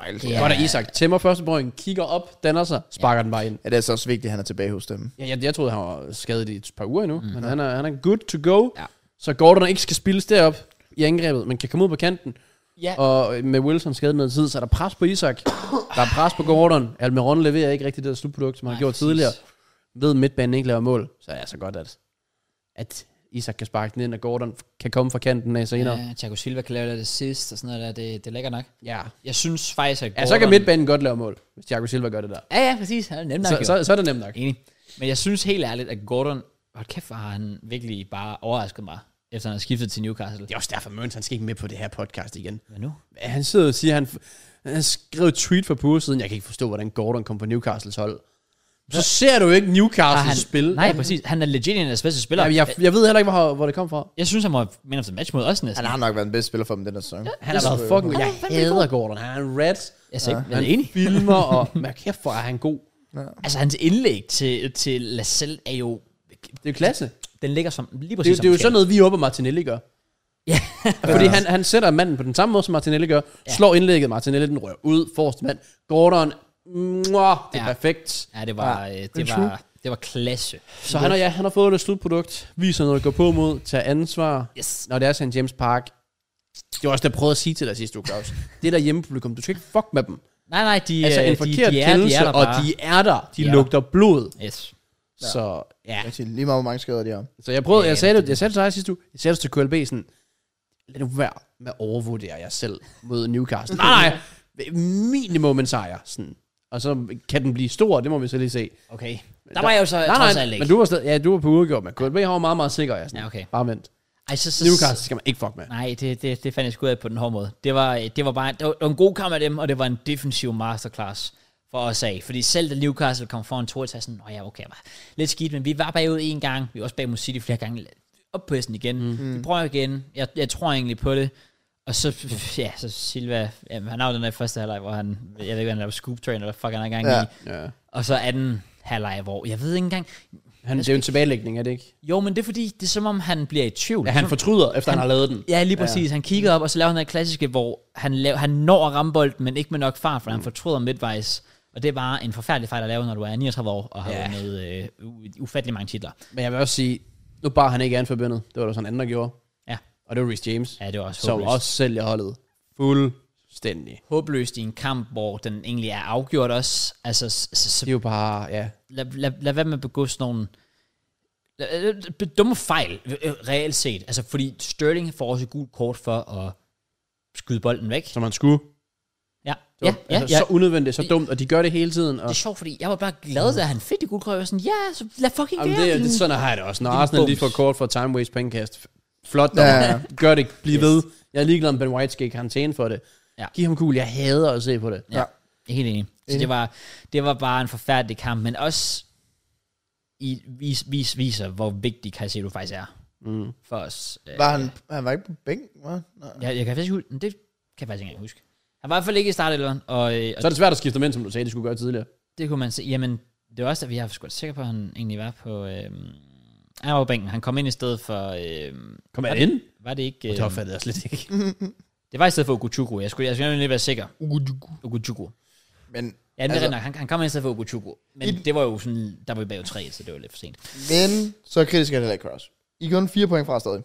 S2: Wild.
S1: Ja.
S2: Ja.
S3: Godt af Isak. Tæmmer første point, kigger op, danner sig, sparker den bare ind.
S2: ja, det er så også vigtigt, at han er tilbage hos dem.
S3: Ja, jeg, jeg troede, han var skadet i et par uger endnu, mm. men han er, han er good to go.
S1: Ja.
S3: Ja. Så Gordon ikke skal spilles derop i angrebet, men kan komme ud på kanten.
S1: Ja.
S3: Og med Wilson skadet med tid, så er der pres på Isak. der er pres på Gordon. Almiron leverer ikke rigtig det der slutprodukt, som han
S1: Nej,
S3: har gjort
S1: præcis.
S3: tidligere. Ved midtbanen ikke laver mål, så er det altså godt, at, at Isak kan sparke den ind, og Gordon kan komme fra kanten af senere. Ja.
S1: Ja, Thiago Silva kan lave det sidst og sådan noget der, det, det er lækkert nok.
S3: ja.
S1: Jeg synes faktisk, at
S3: Ja, så kan midtbanen godt lave mål, hvis Thiago Silva gør det der.
S1: Ja, ja, præcis. Han er nemt nok.
S3: Så,
S1: jo.
S3: så, så er det nemt nok.
S1: Enig. Men jeg synes helt ærligt, at Gordon... Hold kæft, hvor har han virkelig bare overrasket mig, efter han har skiftet til Newcastle.
S3: Det er også derfor, Møns, han skal ikke med på det her podcast igen.
S1: Hvad nu?
S3: han sidder og siger, han, han skrev et tweet for på uger siden, jeg kan ikke forstå, hvordan Gordon kom på Newcastles hold. Så ser du jo ikke Newcastle
S1: han,
S3: spille.
S1: Nej, præcis. Han er legit en af de bedste spillere.
S3: Jamen, jeg, jeg ved heller ikke, hvor, hvor det kom fra.
S1: Jeg synes, han må have man of the match mod os næsten.
S2: Han har nok været den bedste spiller for dem den her sæson.
S1: Han
S3: Han
S1: har
S3: har
S1: været
S3: været fucking god. Jeg hader Gordon. Han er en red.
S1: Jeg er, ikke, jeg
S3: Han
S1: er enig.
S3: filmer, og men kæft, hvor er han god.
S1: Altså, hans indlæg til, til Lassell er jo...
S3: Det er jo klasse.
S1: Den ligger som, lige
S3: Det, er
S1: præcis
S3: jo- det er jo
S1: som
S3: sådan noget, vi oppe Martinelli gør.
S1: Ja.
S3: Fordi han, han sætter manden på den samme måde, som Martinelli gør. Ja. Slår indlægget, Martinelli den rører ud, forrest mand. Gordon, mwah, det er
S1: Ja.
S3: ja. perfekt.
S1: Ja, det var, øh, det var, det var klasse.
S3: Så han, og ja, han har fået det slutprodukt. Viser noget at gå på mod, tager ansvar.
S1: Yes.
S3: Når det er St. James Park. Det var også det, jeg prøvede at sige til dig sidste uge, Claus. Det der hjemmepublikum, du skal ikke fuck med dem.
S1: Nej, nej, de,
S3: Altså
S1: øh,
S3: en
S1: de,
S3: forkert
S1: de, er, de
S3: kendelse,
S1: er der
S3: og
S1: bare.
S3: de er der. De
S1: De er
S3: lugter blod.
S1: Yes.
S3: Så ja.
S2: Jeg siger lige meget, hvor mange skader de har.
S3: Så jeg prøvede, jeg
S1: Ja,
S3: sagde det, jeg sagde det til dig sidste uge, jeg sagde det til KLB sådan, lad nu være med at overvurdere jer selv mod Newcastle. nej, nej, minimum en sejr. Sådan. Og så kan den blive stor, det må vi så lige se.
S1: Okay. Der var jeg jo så
S3: nej,
S1: trods
S3: nej,
S1: alt
S3: nej,
S1: ikke.
S3: men du var, stadig, ja, du var på udgjort, men KLB har jo meget, meget sikker. Jeg sådan,
S1: Ja, okay.
S3: Bare vent.
S1: Ej, så, så,
S3: Newcastle skal man ikke fuck med.
S1: Nej, det, det, det fandt jeg sgu ud af på den hårde måde. Det var, det var bare det var, det var en god kamp af dem, og det var en defensiv masterclass for os af. Fordi selv da Newcastle kom foran 2 så sådan, nå ja, okay, var lidt skidt, men vi var bagud en gang, vi var også bag mod City flere gange, op på hesten igen, mm. vi prøver igen, jeg, jeg tror egentlig på det. Og så, ja, så Silva, jamen, han har jo den der første halvleg, hvor han, jeg ved ikke, hvad han laver scoop train, eller hvad fuck han er i gang
S2: Ja.
S1: ja. i.
S3: Ja.
S1: Og så anden halvleg, hvor, jeg ved ikke engang,
S3: Han, det er jo en tilbagelægning, er det ikke?
S1: jo, men det er fordi, det er som om, han bliver i tvivl.
S3: Ja, han fortryder, efter han, han har lavet den.
S1: Ja, lige præcis. Ja. Han kigger op, og så laver han den her klassiske, hvor han, laver, han når at ramme bolden, men ikke med nok fart, for
S3: Mm.
S1: han fortryder midtvejs. Og det er bare en forfærdelig fejl at lave, når du er 39 år og har
S3: Ja.
S1: ja. med øh, u- ufattelig mange titler.
S3: Men jeg vil også sige, nu bar han ikke an forbindet. Det var der sådan anden, der gjorde.
S1: Ja,
S3: Og det var Rhys James,
S1: ja det var også
S3: som
S1: håbløst.
S3: også sælger holdet fuldstændig.
S1: håbløst i en kamp, hvor den egentlig er afgjort også. Altså, s- s-
S3: Det
S1: så
S3: er jo bare, ja,
S1: lad, lad, lad være med at begå sådan nogle lad- lad- lad- dumme fejl, øh, reelt set. Altså, fordi Sterling får også et gult kort for at skyde bolden væk.
S3: som han skulle.
S1: Ja,
S3: Det var, ja, altså, ja. så unødvendigt, så dumt, og de gør det hele tiden. Og,
S1: Det er sjovt, fordi jeg var bare glad, da han fik det gule kort. Jeg var sådan, ja, så lad fucking
S3: jamen,
S1: være.
S3: det, det, sådan har jeg det også. Når Arsenal lige
S1: bums.
S3: får kort for time waste pengekast, flot
S2: Ja,
S3: ja,
S2: ja.
S3: gør det, bliv yes. ved. Jeg er ligeglad, om Ben White skal i karantæne for det.
S1: Ja.
S3: Ja. Giv ham kul, jeg hader at se på det.
S1: Ja, jeg er helt enig. Så det var, det var bare en forfærdelig kamp, men også i, vis, vis, viser, hvor vigtig Caicedo faktisk er mm. for os. Øh,
S2: Var han, han var ikke på bænken, hva'? Nej.
S1: Jeg, jeg kan faktisk ikke hu- men det kan jeg faktisk ikke engang huske. Han var i hvert fald ikke i startelveren, og, øh, og
S3: Så er det svært at skifte dem ind, som du sagde, de skulle gøre tidligere.
S1: det kunne man se. Jamen, det var også, at vi har sgu da sikker på, at han egentlig var på... Øh, han var på bænken. Han kom ind i stedet for... Øh,
S3: Kom
S1: var
S3: han
S1: det-
S3: ind?
S1: Var det ikke... øhm,
S3: Det opfattede jeg slet ikke.
S1: det var i stedet for Okuchuku. Jeg skulle, jeg skulle nemlig være sikker. Okuchuku.
S2: Men,
S1: Ja, det altså,
S2: Altså-
S1: nok. Han, han kom ind i stedet for Okuchuku. Men
S2: I-
S1: det var jo sådan, der var vi bag 3, så det var lidt for sent.
S2: men så er kritisk er det heller ikke Cross. I er kun fire point fra stadig.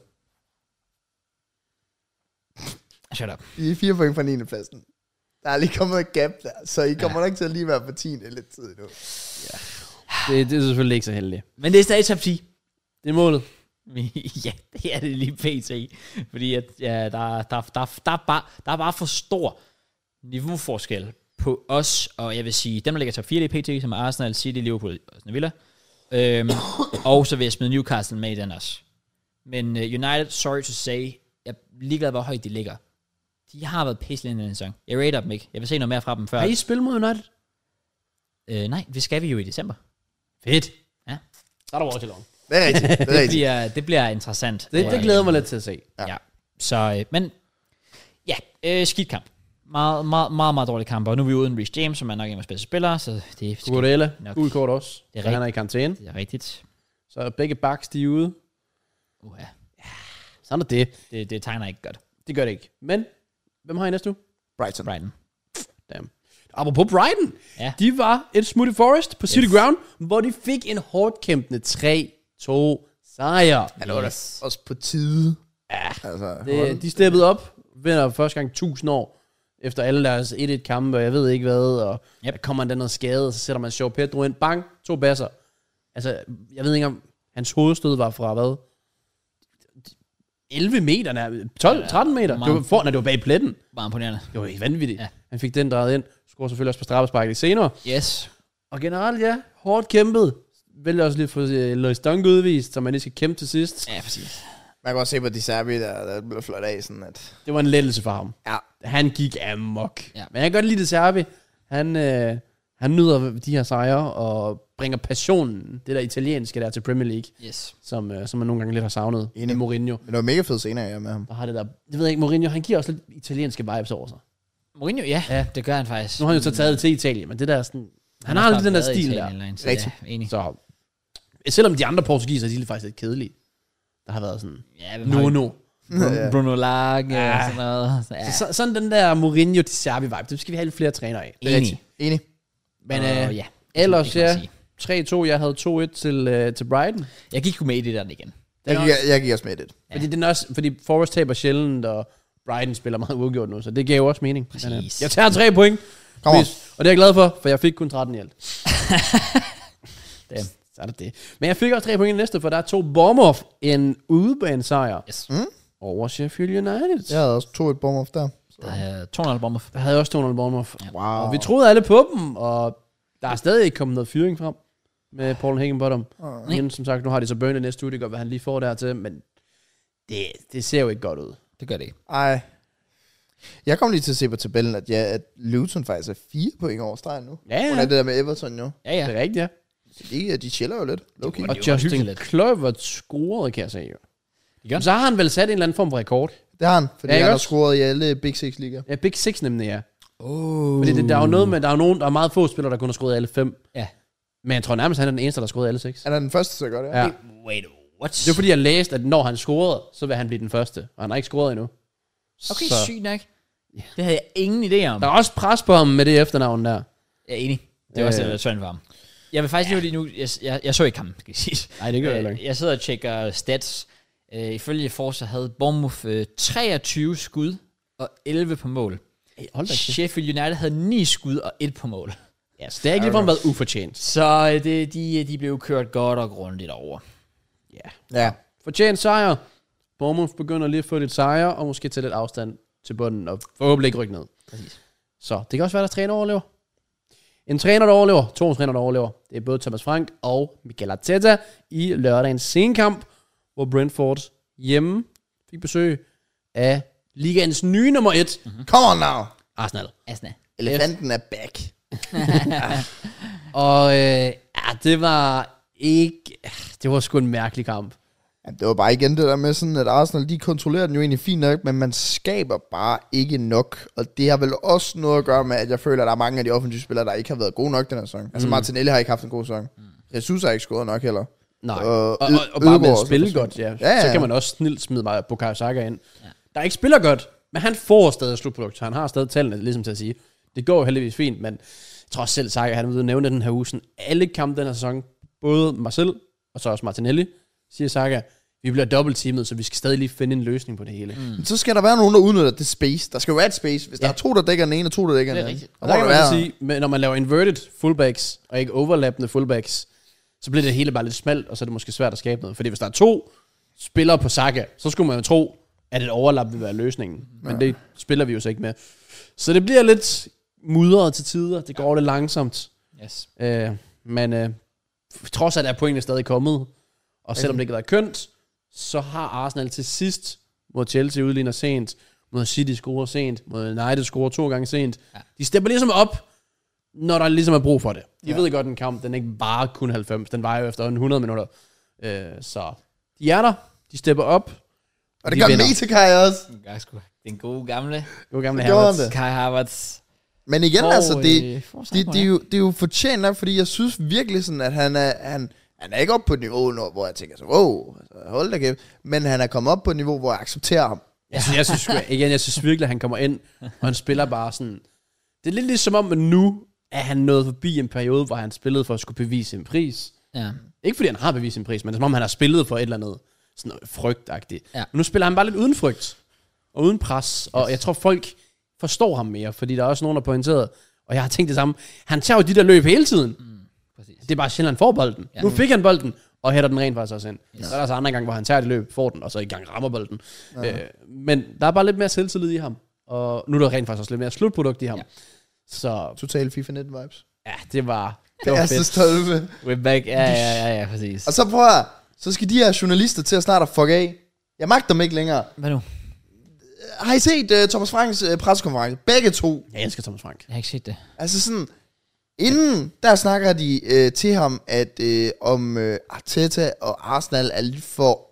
S1: Shut up.
S2: I er fire point fra 9. pladsen. Der er lige kommet et gap der, så I kommer nok til at lige være på 10 lidt tid nu.
S3: Det, det er selvfølgelig ikke så heldigt.
S1: Men det er stadig top 10.
S3: Det er målet.
S1: ja, det er det lige pt. Fordi at, ja, der, der, der, der, er bare, der er bare for stor niveauforskel på os, og jeg vil sige, dem der ligger top 4 i pt, som er Arsenal, City, Liverpool og Aston Villa. Øhm, og så vil jeg smide Newcastle med i den også. Men uh, United, sorry to say, jeg er ligeglad, hvor højt de ligger. De har været pisse i den her sæson. Jeg rater dem ikke. Jeg vil se noget mere fra dem før.
S3: Har I spillet mod United?
S1: Øh, nej, det skal vi jo i december.
S3: Fedt.
S1: Ja.
S3: Så er der over til long.
S2: Det er rigtigt, det er
S1: Det
S2: rigtigt.
S1: bliver, det bliver interessant. Øh,
S3: Det, det glæder jeg mig lidt til at se.
S1: Ja. ja. Så, øh, men ja, øh, skidt kamp. Meget, meget, meget, meget dårlig kamp, og nu er vi uden Rich James, som er nok en af vores bedste spillere, så det er, skidt.
S3: Gordella,
S1: Nok.
S3: gul kort også.
S1: Det er
S3: Så Han er i karantæne.
S1: det er rigtigt.
S3: Så begge backs, de er ude.
S1: Uha,
S3: Sådan er det.
S1: det, det tegner ikke godt.
S3: Det gør det ikke. Men, hvem har I næste uge?
S2: Brighton.
S1: Brighton.
S3: Damn. Apropos Brighton.
S1: Ja.
S3: De var et smut i Forest på City yes. Ground, hvor de fik en hårdt kæmpende 3-2 sejr.
S2: Han var da også på tide. Ja. Altså,
S3: Det, de steppede op, vinder første gang 1000 år, efter alle deres 1-1 kampe, og jeg ved ikke hvad, og
S1: Yep.
S3: yep. der kommer den noget skade, og så sætter man Joe Pedro ind, bang, to basser. Altså, jeg ved ikke om, hans hovedstød var fra hvad? 11 meter, nær- 12, 13 meter. Det var,
S1: meget.
S3: for, nej, det var bag pletten.
S1: Meget imponerende.
S3: Det var helt vanvittigt.
S1: Ja.
S3: Ja. Han fik den drejet ind. Scorer selvfølgelig også på straffesparket senere.
S1: Yes.
S3: Og generelt, ja, hårdt kæmpet. Vælger også lige at få øh, Lois Dunk udvist, som man lige skal kæmpe til sidst.
S1: Ja, præcis.
S2: man kan også se på Di Serbi, der, der blev flot af sådan, at...
S3: Det var en lettelse for ham.
S2: Ja.
S3: Han gik amok.
S1: Ja.
S3: Men jeg kan godt lide det Serbi. Han, øh, Han nyder de her sejre og bringer passionen, det der italienske der, til Premier League,
S1: Yes.
S3: som, øh, som man nogle gange lidt har savnet i
S2: Enig.
S3: Mourinho.
S2: Men det var mega fed scener, jeg med ham.
S3: Der har det der, det ved jeg ikke, Mourinho, han giver også lidt italienske vibes over sig.
S1: Mourinho, ja, ja, det gør han faktisk.
S3: Nu har han jo så taget det til Italien, men det der er sådan, han, har lidt den der stil der.
S1: Rigtig.
S2: Rigtig.
S1: Ja, enig.
S3: Så selvom de andre portugiser, de er faktisk lidt kedelige. Der har været sådan,
S1: Ja, hvem har
S3: no,
S1: vi? Ah.
S3: no.
S1: Bruno,
S2: Ja.
S1: Bruno Lange ja. og
S3: øh,
S1: sådan
S3: Ja.
S1: noget. Så, ja,
S3: Så, så, sådan den der Mourinho de Serbi vibe, det skal vi have lidt flere trænere af.
S2: er
S1: enig.
S2: rigtigt. Enig.
S3: Men
S1: Og
S3: øh,
S1: ja,
S3: ellers
S1: det kan man
S3: ja, 3-2, jeg havde 2-1 til, øh, til Brighton.
S1: jeg gik jo med i det der igen.
S2: Jeg,
S3: Den er
S2: gik, jeg, jeg gik også med i det.
S1: Ja.
S3: Fordi, den er også, fordi Forrest taber sjældent, og Brighton spiller meget uafgjort nu, så det gav jo også mening.
S1: Præcis.
S3: øh, jeg tager tre point,
S2: Kom on.
S3: hvis- og det er jeg glad for, for jeg fik kun 13 i alt. Damn, så er det det. Men jeg fik også tre point i den næste, for der er to bomber, en udebanesejr
S1: Yes.
S3: over Sheffield United.
S2: Jeg havde også to et bomb off der.
S1: Der er 200 bomber.
S3: Der havde jeg også 200 Bournemouth. Ja.
S2: Wow.
S3: Og vi troede alle på dem, og der er stadig ikke kommet noget fyring frem med Paul Higginbottom.
S2: Uh,
S3: Men som sagt, nu har de så Burnley næste uge, det gør, hvad han lige får dertil, men det, det ser jo ikke godt ud.
S1: Det gør det ikke.
S2: ej. Jeg kom lige til at se på tabellen, at, ja, at Luton faktisk er fire point over stregen nu. Hun
S3: Ja, ja.
S2: er det der med Everton jo.
S1: Ja, ja.
S3: Det er rigtigt, ja.
S2: Så de, de chiller jo lidt. Okay.
S1: Det
S3: Og
S1: var
S3: Justin
S1: hyggeligt.
S3: Kluivert scorede, kan jeg sige.
S1: Det gør
S3: Jo. Så har han vel sat en eller anden form for rekord.
S2: Det har han, fordi ja,
S3: Ja, ikke
S2: han har
S3: også?
S2: scoret i alle Big Six ligaer.
S3: Ja, Big Six nemlig, ja.
S1: Oh.
S3: Fordi det, der er jo noget med, der er jo nogen, der er meget få spillere, der kun har skruet alle fem.
S1: Ja.
S3: Men jeg tror nærmest, han er den eneste, der har skruet alle seks.
S2: Han er den første, der gør det.
S3: Ja.
S1: Wait, what?
S3: Det er fordi, jeg læste, at når han scorede, så vil han blive den første. Og han har ikke scoret endnu.
S1: Okay,
S3: så.
S1: sygt nok. Det havde jeg ingen idé om.
S3: Der er også pres på ham med det efternavn der.
S1: Jeg er enig. Det var også
S3: Øh.
S1: lidt synd for ham. Jeg vil faktisk ja. lige nu, jeg, jeg, jeg så ikke kampen, skal jeg sige. Øh,
S3: Nej, det gør jeg ikke.
S1: Jeg sidder og tjekker stats. Øh, ifølge Forza havde Bournemouth øh, 23 skud og 11 på mål.
S3: Hey, hold da kæft.
S1: Sheffield United havde 9 skud og 1 på mål.
S3: Ja, så Altså, det har ikke ligefrem været ufortjent.
S1: Så øh, det, de, de blev kørt godt og grundigt over.
S3: Ja.
S2: ja.
S3: Fortjent sejr. Bournemouth begynder lige at få lidt sejre, og måske tage lidt afstand til bunden, og forhåbentlig ikke rykke ned.
S1: Præcis.
S3: Så det kan også være, der træner overlever. En træner, der overlever. To træner, der overlever. Det er både Thomas Frank og Michael Arteta i lørdagens senkamp, hvor Brentford hjemme fik besøg af ligaens nye nummer et, mm-hmm.
S2: Come on now.
S3: Arsenal.
S1: Asna.
S2: Elefanten er back.
S3: Og øh, ja, det var ikke... Det var sgu en mærkelig kamp.
S2: Jamen, det var bare igen det der med sådan, at Arsenal, de kontrollerer den jo egentlig fint nok, men man skaber bare ikke nok. Og det har vel også noget at gøre med, at jeg føler, at der er mange af de offensive spillere, der ikke har været gode nok den her sæson.
S3: Mm.
S2: Altså Martinelli har ikke haft en god sæson. Jeg synes, har ikke scoret nok heller.
S3: Nej.
S2: Og
S3: Og, og,
S2: Ø-
S3: og bare med
S2: Ødegaard
S3: at
S2: også
S3: spille
S2: forsvandt.
S3: godt, ja.
S2: Ja, ja.
S3: Så kan man også snilt smide mig på Saka ind. Ja. Der ikke spiller godt, men han får stadig slutprodukt. Han har stadig tallene, ligesom til at sige. Det går jo heldigvis fint, men jeg tror også selv, Saka, han er ude og nævne den her uge. Sådan, alle kampe den her sæson, både mig selv og så også Martinelli, siger Saka, vi bliver dobbeltteamet, så vi skal stadig lige finde en løsning på det hele. Mm.
S2: Men så skal der være nogen, der udnytter det space. Der skal jo være et space. Hvis ja. der er to, der dækker den ene, og to, der dækker
S1: Det er
S2: den anden.
S1: rigtigt.
S2: Der
S3: Og
S2: må
S3: der kan
S2: der
S3: man så
S2: være.
S3: sige, men når man laver inverted fullbacks, og ikke overlappende fullbacks, så bliver det hele bare lidt smalt, og så er det måske svært at skabe noget. Fordi hvis der er to spillere på Saka, så skulle man jo tro, at et overlap vil være løsningen. Men det spiller vi jo så ikke med. Så det bliver lidt mudret til tider. Det går lidt langsomt.
S1: Yes.
S3: Øh, men øh, trods alt er pointene stadig kommet. Og selvom det ikke har været kønt, så har Arsenal til sidst, mod Chelsea udligner sent, mod City scorer sent, mod United scorer to gange sent. Ja. De stepper ligesom op, når der ligesom er brug for det. De ja. ved godt, den kamp, den er ikke bare kun 90, den var jo efter 100 minutter. Øh, så de er der, de stepper op.
S2: Og det
S3: Vi
S2: gør
S3: vinder.
S2: Metakai også.
S1: Jeg skulle, den gode gamle
S3: Jo, gamle
S2: Gjorde
S3: Havertz.
S2: han det?
S1: Kai Havertz.
S2: Men igen,
S1: Og,
S2: altså, det,
S1: øh,
S2: det,
S1: forsvarsspiller.
S2: det, er jo, det er jo fortjent nok, fordi jeg synes virkelig sådan, at han er, han, han er ikke oppe på et niveau, nu, hvor jeg tænker så, wow, altså, hold da kæft. Men han er kommet op på et niveau, hvor jeg accepterer ham.
S3: Jeg synes, Altså, jeg synes, sgu- igen, jeg synes virkelig, at han kommer ind, og han spiller bare sådan... Det er lidt ligesom om, at nu er han nået forbi en periode, hvor han spillede for at skulle bevise en pris.
S1: Ja.
S3: Ikke fordi han har bevist en pris, men det er som om, han har spillet for et eller andet sådan noget frygtagtigt.
S1: Ja.
S3: Men nu spiller han bare lidt uden frygt, og uden pres, og jeg tror, folk forstår ham mere, fordi der er også nogen, der er pointeret, og jeg har tænkt det samme. Han tager jo de der løb hele tiden.
S1: Præcis.
S3: Det er bare sjældent, han får bolden. Ja. Nu fik han bolden, og hætter den rent faktisk også ind. Yes. Så er der altså andre gange, hvor han tager det løb, får den, og så i gang rammer bolden. Ja. Øh, men der er bare lidt mere selvtillid i ham. Og nu er der rent faktisk også lidt mere slutprodukt i ham.
S1: Ja.
S3: Ja. Så
S2: Total FIFA 19 vibes.
S3: ja, det var, det
S2: Det
S3: var
S2: er så
S3: fedt.
S2: stolt ved.
S1: We're back. Ja, ja, ja, ja, præcis.
S2: Og så prøv at, så skal de her journalister til at snart at fuck af. Jeg magter dem ikke længere.
S1: Hvad nu?
S2: Har øh, I set uh, Thomas Franks uh, pressekonference? Begge to.
S3: Jeg elsker Thomas Frank.
S1: Jeg har ikke set det.
S2: Altså sådan, Inden der snakker de øh, til ham, at øh, om øh, Arteta og Arsenal er lidt for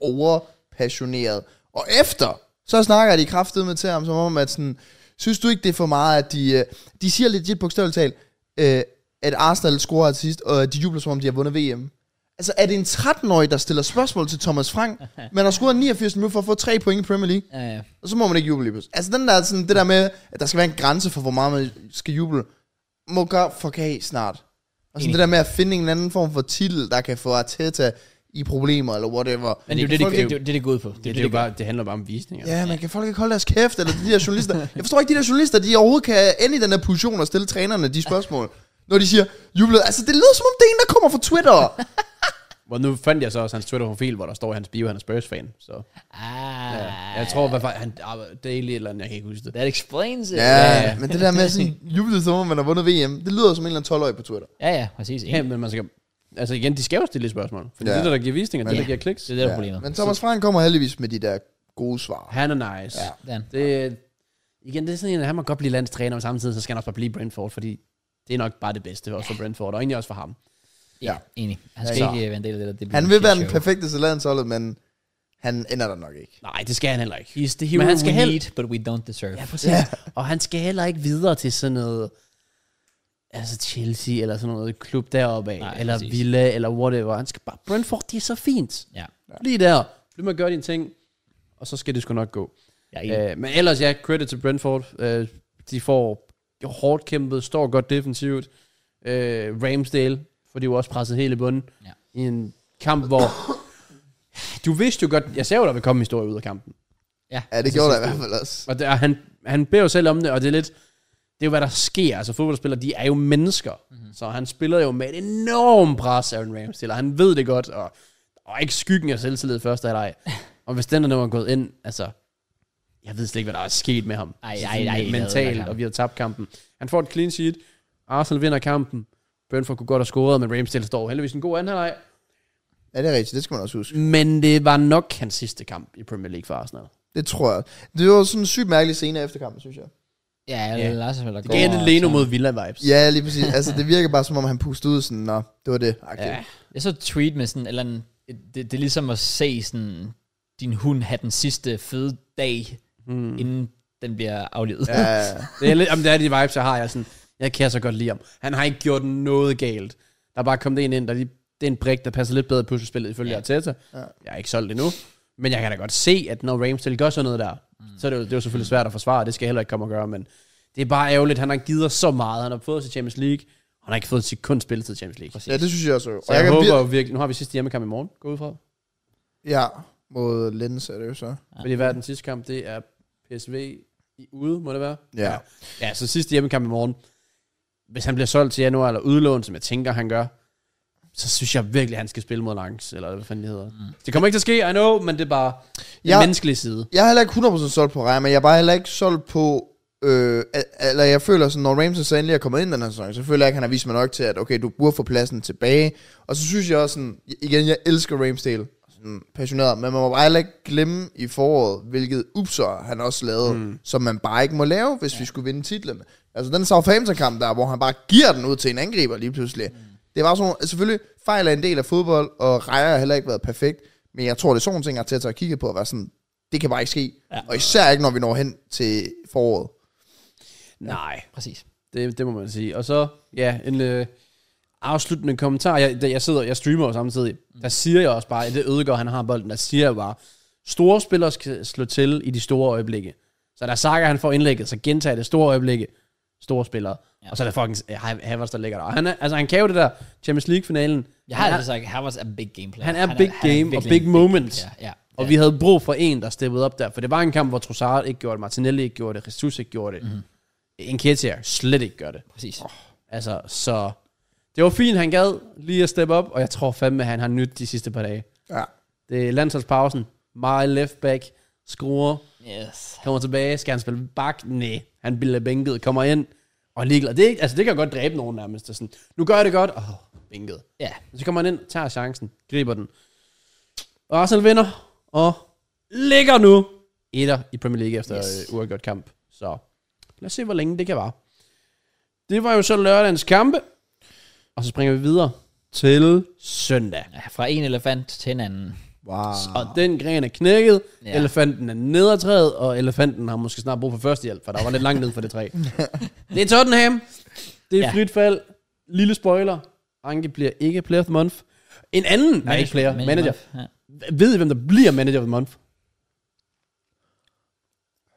S2: overpassioneret. Og efter, så snakker de kraftedeme til ham, som om, at sådan, synes du ikke, det er for meget, at de, øh, de siger legit bogstaveligt talt, øh, at Arsenal scorer til sidst, og at de jubler, som om de har vundet VM. Altså, er det en 13-årig, der stiller spørgsmål til Thomas Frank, men har scoret 89 minutter for at få 3 point i Premier League?
S1: Ja, ja.
S2: Og så må man ikke juble lige pludselig. Altså den der, sådan, det der med, at der skal være en grænse for, hvor meget man skal juble, må gøre fuck af snart. Og sådan
S1: Enig.
S2: det der med at finde en anden form for titel, der kan få Arteta i problemer, eller whatever.
S1: Men det er jo det,
S2: Folk
S1: det, det,
S2: ikke-
S1: det, det, det går ud på. Det,
S3: Det,
S1: er
S3: det,
S1: det,
S3: jo
S1: det, det,
S3: bare, det handler bare om altså. visninger.
S2: Ja, man kan folk ikke holde deres kæft, eller de der journalister. Jeg forstår ikke, de der journalister, de overhovedet kan ende i den der position og stille trænerne de spørgsmål. Når de siger, jublet, altså det lyder som om det er en, der kommer fra Twitter.
S3: Hvor nu fandt jeg så også hans Twitter-profil, hvor der står i hans bio, han er Spurs-fan. Så
S1: ah,
S3: ja. jeg tror, hvad fanden, han arbejder daily eller andet, jeg kan ikke huske det.
S1: that explains it.
S2: ja, men det der med sådan, jublet som om man har vundet VM, det lyder som en eller anden 12-årig på Twitter.
S1: Ja, ja, præcis.
S3: Ja,
S1: Enig.
S3: men man skal... Altså igen, de skal jo stille et spørgsmål. For ja.
S2: Ja.
S3: det er det, der giver visninger, det er
S1: Ja.
S3: det, der giver kliks.
S1: Det er det, der er problemet.
S2: Men Thomas Frank kommer heldigvis med de der gode svar.
S3: Han er nice. Ja.
S1: Ja.
S3: Det, igen, det er sådan en, at han må godt blive landstræner, men samtidig så skal han også bare blive Brentford, fordi det er nok bare det bedste, også for Brentford, og egentlig også for ham.
S1: Ja, enig. Han skal
S2: Så-
S1: ikke øh, være en del af det der. Det bliver
S2: Han vil
S1: en
S2: være
S1: shit
S2: den
S1: show.
S2: perfekte til landsholdet, men han ender der nok ikke.
S3: Nej, det skal han heller ikke.
S1: He's the hero
S3: Men han skal
S1: we
S3: hel-
S1: need, but we don't deserve.
S3: Ja, præcis. Ja. Og han skal heller ikke videre til sådan noget, altså Chelsea eller sådan noget klub deroppe af,
S1: Nej,
S3: eller
S1: præcis.
S3: Villa eller whatever. Han skal bare, Brentford, det er så fint.
S1: Ja,
S3: Lige der, bliv med at gøre dine ting, og så skal det sgu nok gå.
S1: jeg er enig.
S3: Øh, men ellers, ja, credit til Brentford. Øh, de får hårdt kæmpet, står godt defensivt. Øh, Ramsdale, for de var også presset hele bunden.
S1: Ja.
S3: I en kamp, hvor... Du vidste jo godt, jeg sagde jo, der ville komme en historie ud af kampen.
S2: Ja, det gjorde der i hvert fald også.
S3: Og Altså, det, og han, han beder jo selv om det, og det er lidt... Det er jo, hvad der sker. Altså, fodboldspillere, de er jo mennesker.
S1: Mhm.
S3: Mm-hmm. Så han spiller jo med et enormt pres, Aaron Ramsdale, og han ved det godt, og, og ikke skyggen af selvtillid først af dig. og hvis den er nu er gået ind, altså... Jeg ved slet ikke, hvad der er sket med ham.
S1: Ej,
S3: Altså,
S1: ej,
S3: sådan
S1: ej, det er
S3: Mentalt,
S1: ødelagt.
S3: og vi har tabt kampen. Han får et clean sheet. Arsenal vinder kampen. Brentford kunne godt have scoret, men Ramsdale står jo heldigvis en god anden halvleg.
S2: Ja, det er rigtigt. Det skal man også huske.
S3: Men det var nok hans sidste kamp i Premier League for Arsenal.
S2: Det tror jeg. Det var sådan en sygt mærkelig scene efter kampen, synes jeg.
S1: Ja,
S3: ja.
S1: Lars er vel der
S3: Det
S1: går
S3: gav en
S1: og
S3: Leno
S1: tager-
S3: mod Villa-vibes.
S2: Ja, lige præcis. Altså, det virker bare, som om han pustede ud sådan, nå, det var det. Ja.
S3: Ja.
S1: Jeg så et tweet med sådan, eller en, det, det er ligesom at se sådan, din hund have den sidste fede dag,
S3: Hmm.
S1: mm. inden den bliver aflevet. Ja.
S2: ja.
S3: Det er, lidt, jamen, det er de vibes, jeg har. Jeg, er sådan, jeg kan så godt lide ham. Han har ikke gjort noget galt. Der er bare kommet en ind, der lige, det er en brik, der passer lidt bedre i puslespillet ifølge
S1: Ja.
S3: ja. Arteta. Ja. Jeg er ikke solgt endnu. Men jeg kan da godt se, at når Ramsdale gør sådan noget der, mm. så er det, jo, det er jo selvfølgelig svært at forsvare. Det skal jeg heller ikke komme og gøre, men det er bare ærgerligt. Han har givet os så meget. Han har fået os i Champions League. og Han har ikke fået sit kun spilletid i Champions League.
S1: Præcis.
S2: ja, det synes jeg også. Og
S3: Så jeg, jeg
S2: kan
S3: håber
S2: vir-
S3: virkelig, nu har vi sidste hjemmekamp i morgen, gå ud fra.
S2: Ja, mod Lens er det jo så.
S3: Fordi hvad er den sidste kamp? Det er PSV i ude, må det være?
S2: Ja.
S3: Ja, så sidste hjemmekamp i morgen. Hvis han bliver solgt til januar eller udlån, som jeg tænker, han gør, så synes jeg virkelig, at han skal spille mod Langs, eller hvad fanden det hedder. Mm. Det kommer ikke til at ske, I know, men det er bare den
S2: Ja.
S3: menneskelige side.
S2: Jeg er heller ikke 100% solgt på Raja, men jeg er bare heller ikke solgt på... Øh, al- eller jeg føler sådan, når Ramsey så endelig er kommet ind i den her sæson, så føler jeg ikke, han har vist mig nok til, at okay, du burde få pladsen tilbage. Og så synes jeg også sådan, igen, jeg elsker Ramsdale, sådan passioneret, men man må bare heller ikke glemme i foråret, hvilket upser han også lavede, mm. som man bare ikke må lave, hvis ja. vi skulle vinde titlen. Altså den Southampton-kamp der, hvor han bare giver den ud til en angriber lige pludselig. Mm. Det var sådan, selvfølgelig fejl er en del af fodbold, og Raja har heller ikke været perfekt, men jeg tror, det er sådan nogle ting, jeg har kigge på, og være sådan, det kan bare ikke ske. Ja. Og især ikke, når vi når hen til foråret.
S3: Nej,
S1: Præcis.
S3: det, det må man sige. Og så, ja, en øh, afsluttende kommentar. Jeg, da jeg sidder, jeg streamer jo samtidig.
S1: Mm.
S3: Der siger jeg også bare, at det ødegår, han har bolden. Der siger jeg bare, store spillere skal slå til i de store øjeblikke. Så der Saka, han får indlægget, så gentager jeg det store øjeblikke. Store spillere. Ja. Og så er der fucking øh, Ha- Havertz, der ligger der. Og han, er, altså, han kan jo det der Champions League-finalen.
S1: Jeg har
S3: han, er,
S1: altid sagt, Havertz er big game player.
S3: han er big
S1: er
S3: game og
S1: virkelig en
S3: big moments.
S1: player. Ja,
S3: Og
S1: ja.
S3: vi havde brug for en, der steppede op der. For det var en kamp, hvor Trossard ikke gjorde det, Martinelli ikke gjorde det, Jesus ikke gjorde det.
S1: Mhm.
S3: Mm-hmm. Enketia slet ikke gør det.
S1: Præcis.
S3: Altså, så det var fint, han gad lige at steppe op, og jeg tror fandme, at han har nyt de sidste par dage.
S2: Ja.
S3: Det er landsholdspausen. Meget left back, skruer,
S1: Yes.
S3: kommer tilbage, skal han spille bak? Nej, han bliver bænket, kommer ind, og ligger. Det, er ikke- altså, det kan godt dræbe nogen nærmest. Det er Sådan, nu gør jeg det godt, åh, oh, bænket.
S1: Ja,
S3: Så kommer han ind, tager chancen, griber den. Og Arsenal vinder, og ligger nu etter i Premier League efter
S1: Yes.
S3: yes. uafgjort kamp. Så lad os se, hvor længe det kan vare. Det var jo så lørdagens kampe. Og så springer vi videre til søndag.
S1: Ja, fra en elefant til en anden.
S2: Wow.
S3: Og den gren er knækket,
S1: Ja.
S3: ja. elefanten er ned ad træet, og elefanten har måske snart brug for førstehjælp, for der var lidt langt ned for det træ. det er Tottenham. Det er
S1: Ja.
S3: ja. frit fald. Lille spoiler. Anke bliver ikke player of the month. En anden, nej ikke player, manager. manager.
S1: Ja.
S3: Ved I, hvem der bliver manager of the month?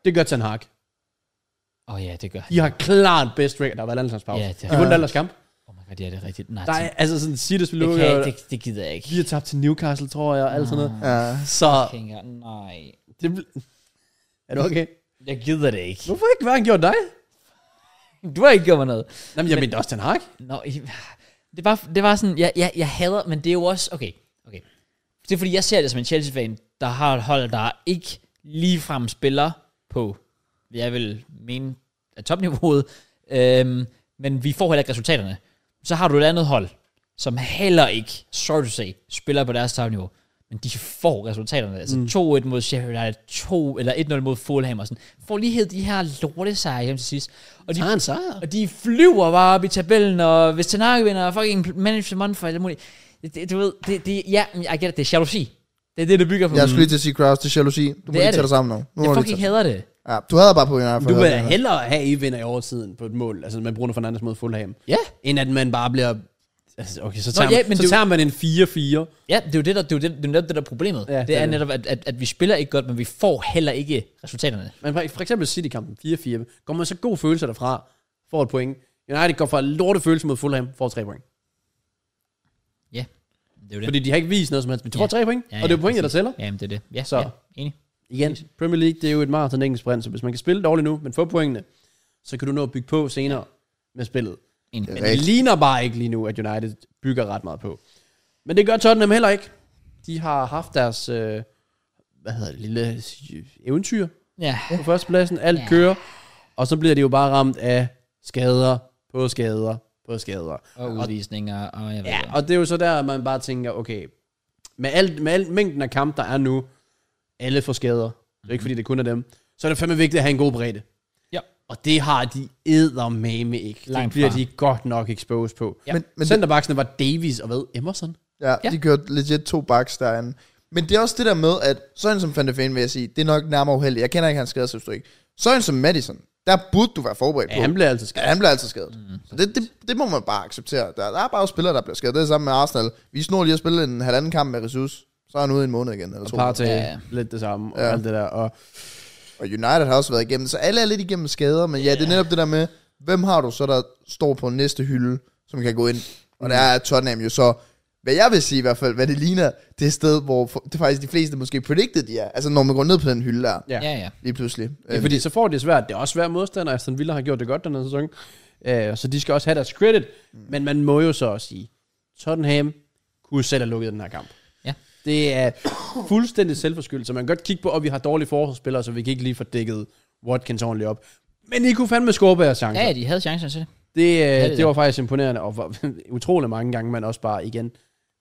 S3: Det gør Ten Hag.
S1: Åh oh, ja, det gør han.
S3: De har klart bedst record, der har været landsholdspause.
S1: Ja,
S3: Ja,
S1: det
S3: de
S1: har-
S3: vundt alle kamp.
S1: Oh my god, ja, det er rigtigt. Nej,
S3: Der
S1: det,
S3: er altså sådan City
S1: det, kan jeg,
S3: spiller
S1: ikke, Ah. det, det gider jeg ikke.
S3: Vi har tabt til Newcastle, tror jeg, og alt sådan noget.
S2: Ja.
S3: Så
S1: Tænker, nej,
S3: det bl- Er du okay?
S1: jeg gider det ikke.
S3: Hvorfor ikke? Hvad har han gjort dig?
S1: Du har ikke gjort mig noget.
S3: Jamen, jeg mente også Ten Hag.
S1: Nå, I- det var, det var sådan, jeg, jeg, jeg hader, men det er jo også, okay, okay. Det er fordi, jeg ser det som en Chelsea-fan, der har et hold, der ikke ligefrem spiller på, jeg vil mene, er topniveauet, øhm, men vi får heller ikke resultaterne. Så har du et andet hold, som heller ikke, sorry to say, spiller på deres topniveau, men de får resultaterne. Altså mm. 2-1 mod Sheffield United, 2 eller 1-0 mod Fulham og sådan. Får lige hed de her lortesejre hjem til sidst. Og de
S3: Har Ah, han sejr?
S1: og de flyver bare op i tabellen, og hvis Tanaka vinder, og fucking manager the month for alt muligt. Det, det, du ved, det, det, ja, men jeg gætter, det er jalousi. Det er det, det bygger på.
S2: Jeg skulle lige til at sige, Kraus, det er jalousi. Du må
S1: Det er
S2: lige
S1: det.
S2: tage dig sammen nu. nu må
S1: jeg
S2: du
S1: fucking
S2: lige tage-
S1: hader det.
S2: ja, du havde bare på en iPhone.
S3: Du vil hellere have, at I vinder i oversiden på et mål, altså med Bruno Fernandes mod Fulham,
S1: Ja,
S3: end at man bare bliver... Altså, okay, så tager,
S1: ja,
S3: man,
S1: men
S3: så
S1: det-
S3: tager man en 4-4.
S1: ja det er jo det, der, det er jo det, det, er jo netop det der er problemet.
S3: Ja,
S1: det,
S3: det
S1: er
S3: er det.
S1: netop, at, at, at, vi spiller ikke godt, men vi får heller ikke resultaterne.
S3: Men for- for eksempel City-kampen, 4-4, går man så god følelse derfra, får et point. United går fra lorte følelse mod Fulham, får tre point.
S1: Ja, det er jo det.
S3: Fordi de har ikke vist noget som helst. Men de får
S1: Ja.
S3: tre point,
S1: Ja,
S3: og det er
S1: ja,
S3: jo pointet, der tæller.
S1: Jamen, det er det. Ja, så.
S3: Så.
S1: ja enig.
S3: Igen, Premier League, det er jo et maraton engelsk sprint, så hvis man kan spille dårligt nu, men få pointene, så kan du nå at bygge på senere med spillet.
S1: enig. Ja.
S2: Ja.
S3: Men
S2: Rigtigt.
S3: det ligner bare ikke lige nu, at United bygger ret meget på. Men det gør Tottenham heller ikke. De har haft deres, øh, hvad hedder det, lille eventyr
S1: ja.
S3: på førstepladsen. Alt
S1: Ja.
S3: kører. Og så bliver de jo bare ramt af skader på skader på skader.
S1: Og udvisninger, og jeg ved
S3: Ja,
S1: ja.
S3: og det er jo så der, at man bare tænker, okay, med alt, med alt mængden af kamp, der er nu, alle får skader. Det er ikke fordi, det kun er dem. Så er det fandme vigtigt at have en god bredde.
S1: Mhm. Ja.
S3: Og det har de eddermame ikke.
S1: Langt
S3: det bliver
S1: fra.
S3: de godt nok exposed på.
S1: Ja.
S2: Men, men
S3: Men Centerbacksene var Davies og hvad? Emerson?
S2: Ja,
S1: Ja.
S2: ja, de kørte legit to baks derinde. Men det er også det der med, at sådan som Van de Ven vil jeg sige, det er nok nærmere uheldigt. Jeg kender ikke hans skadeshistorik. Sådan som Madison, der burde du være forberedt
S3: Ja,
S2: på.
S3: han blev altså skadet.
S2: Ja, han bliver altid skadet. Mm. Så det, det, det, må man bare acceptere. Der, der er bare spillere, der bliver skadet. Det er sammen med Arsenal. Vi snor lige at spille en halvanden kamp med Jesus. Så er han ude i en måned igen. Eller
S3: Og
S2: to.
S3: Partey,
S1: Ja.
S3: ja. lidt det samme, og
S2: Ja.
S3: alt det der. Og
S2: Og United har også været igennem. Så alle er lidt igennem skader. Men ja, det er netop det der med, hvem har du så, der står på næste hylde, som kan gå ind. Og der er Tottenham jo så, hvad jeg vil sige i hvert fald, hvad det ligner, det er sted, hvor for, det er faktisk de fleste måske predicted, de er. Altså når man går ned på den hylde der,
S3: Ja.
S1: Ja, ja.
S2: lige pludselig.
S3: ja, fordi så får de det svært. Det er også svært modstander. Aston Villa har gjort det godt den her sæson. Øh, så de skal også have deres credit. Men man må jo så også sige, Tottenham kunne selv have lukket den her kamp.
S1: Ja.
S3: Det er fuldstændig selvforskyldt, så man kan godt kigge på, at vi har dårlige forsvarsspillere, så vi kan ikke lige få dækket Watkins ordentligt op. Men I kunne fandme score på jeres chancer.
S1: Ja, ja, de havde chancen til det.
S3: Det,
S1: det
S3: øh,
S1: da.
S3: det var faktisk imponerende, og var utrolig mange gange, man også bare igen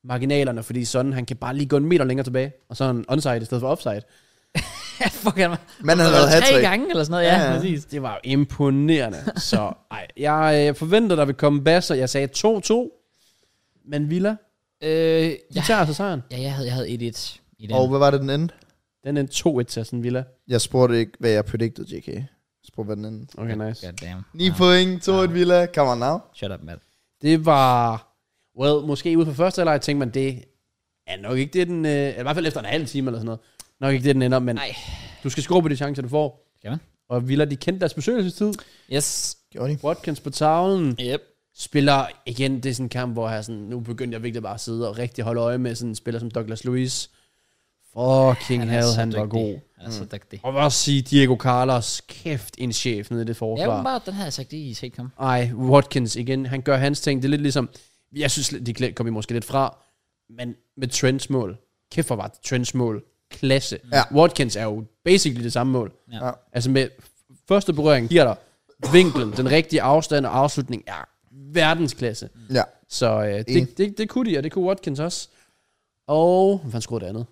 S3: marginalerne, fordi sådan, han kan bare lige gå en meter længere tilbage, og så er han onside i stedet for offside.
S1: Ja, fuck, han var
S2: Men han har lavet
S1: tre
S2: hat
S1: gange eller sådan noget. Ja,
S2: Ja,
S1: ja.
S2: ja.
S1: præcis.
S3: Det var jo imponerende. så ej, jeg øh, forventer, der vil komme basser. Jeg sagde 2-2, men Villa,
S1: Øh,
S3: de
S1: ja.
S3: ja. tager altså sejren.
S1: ja, jeg havde, jeg havde 1-1 i den.
S2: Øhm, Og hvad var det den anden?
S3: Den er en 2-1 til sådan Villa.
S2: Jeg spurgte ikke, hvad jeg predicted, JK. Jeg spurgte, hvad den anden.
S3: Okay, nice.
S1: God damn.
S2: 9 point, 2 et Villa, come on now.
S1: Ah, Shut up, Matt.
S3: Det var, well, måske ude på første halvleg tænkte man, det er nok ikke det, den, øh, eller i hvert fald efter en halv time eller sådan noget, nok ikke det, den ender, men
S1: Nej.
S3: du skal skrue på de chancer, du får.
S1: Skal man?
S3: Og Villa, de kendte deres besøgelsestid.
S1: Yes.
S2: Gjorde de?
S3: Watkins på tavlen.
S1: Yep.
S3: Spiller igen, det er sådan en kamp, hvor jeg sådan, nu begyndte jeg virkelig bare at sidde og rigtig holde øje med sådan en spiller som Douglas Lewis. Fucking han hell,
S1: så
S3: han var
S1: dygtig.
S3: god. Mm.
S1: Han er så dygtig.
S3: Og vil også sige Diego Carlos, kæft en chef nede i det
S1: Ja,
S3: forsvar.
S1: bare den havde jeg sagt lige i set komme.
S3: Ej, Watkins igen, han gør hans ting. Det er lidt ligesom, jeg synes, de klæ- kom vi måske lidt fra, men med Trents mål. Kæft for var Trents mål. Klasse.
S2: Ja.
S3: Watkins er jo basically det samme mål.
S1: Ja.
S2: Ja.
S3: Altså med f- første berøring giver dig vinklen, den rigtige afstand og afslutning er verdensklasse.
S2: Ja.
S3: Så øh,
S2: Enig.
S3: det, det, det, kunne de, og det kunne Watkins også. Og, hvad skruede det andet?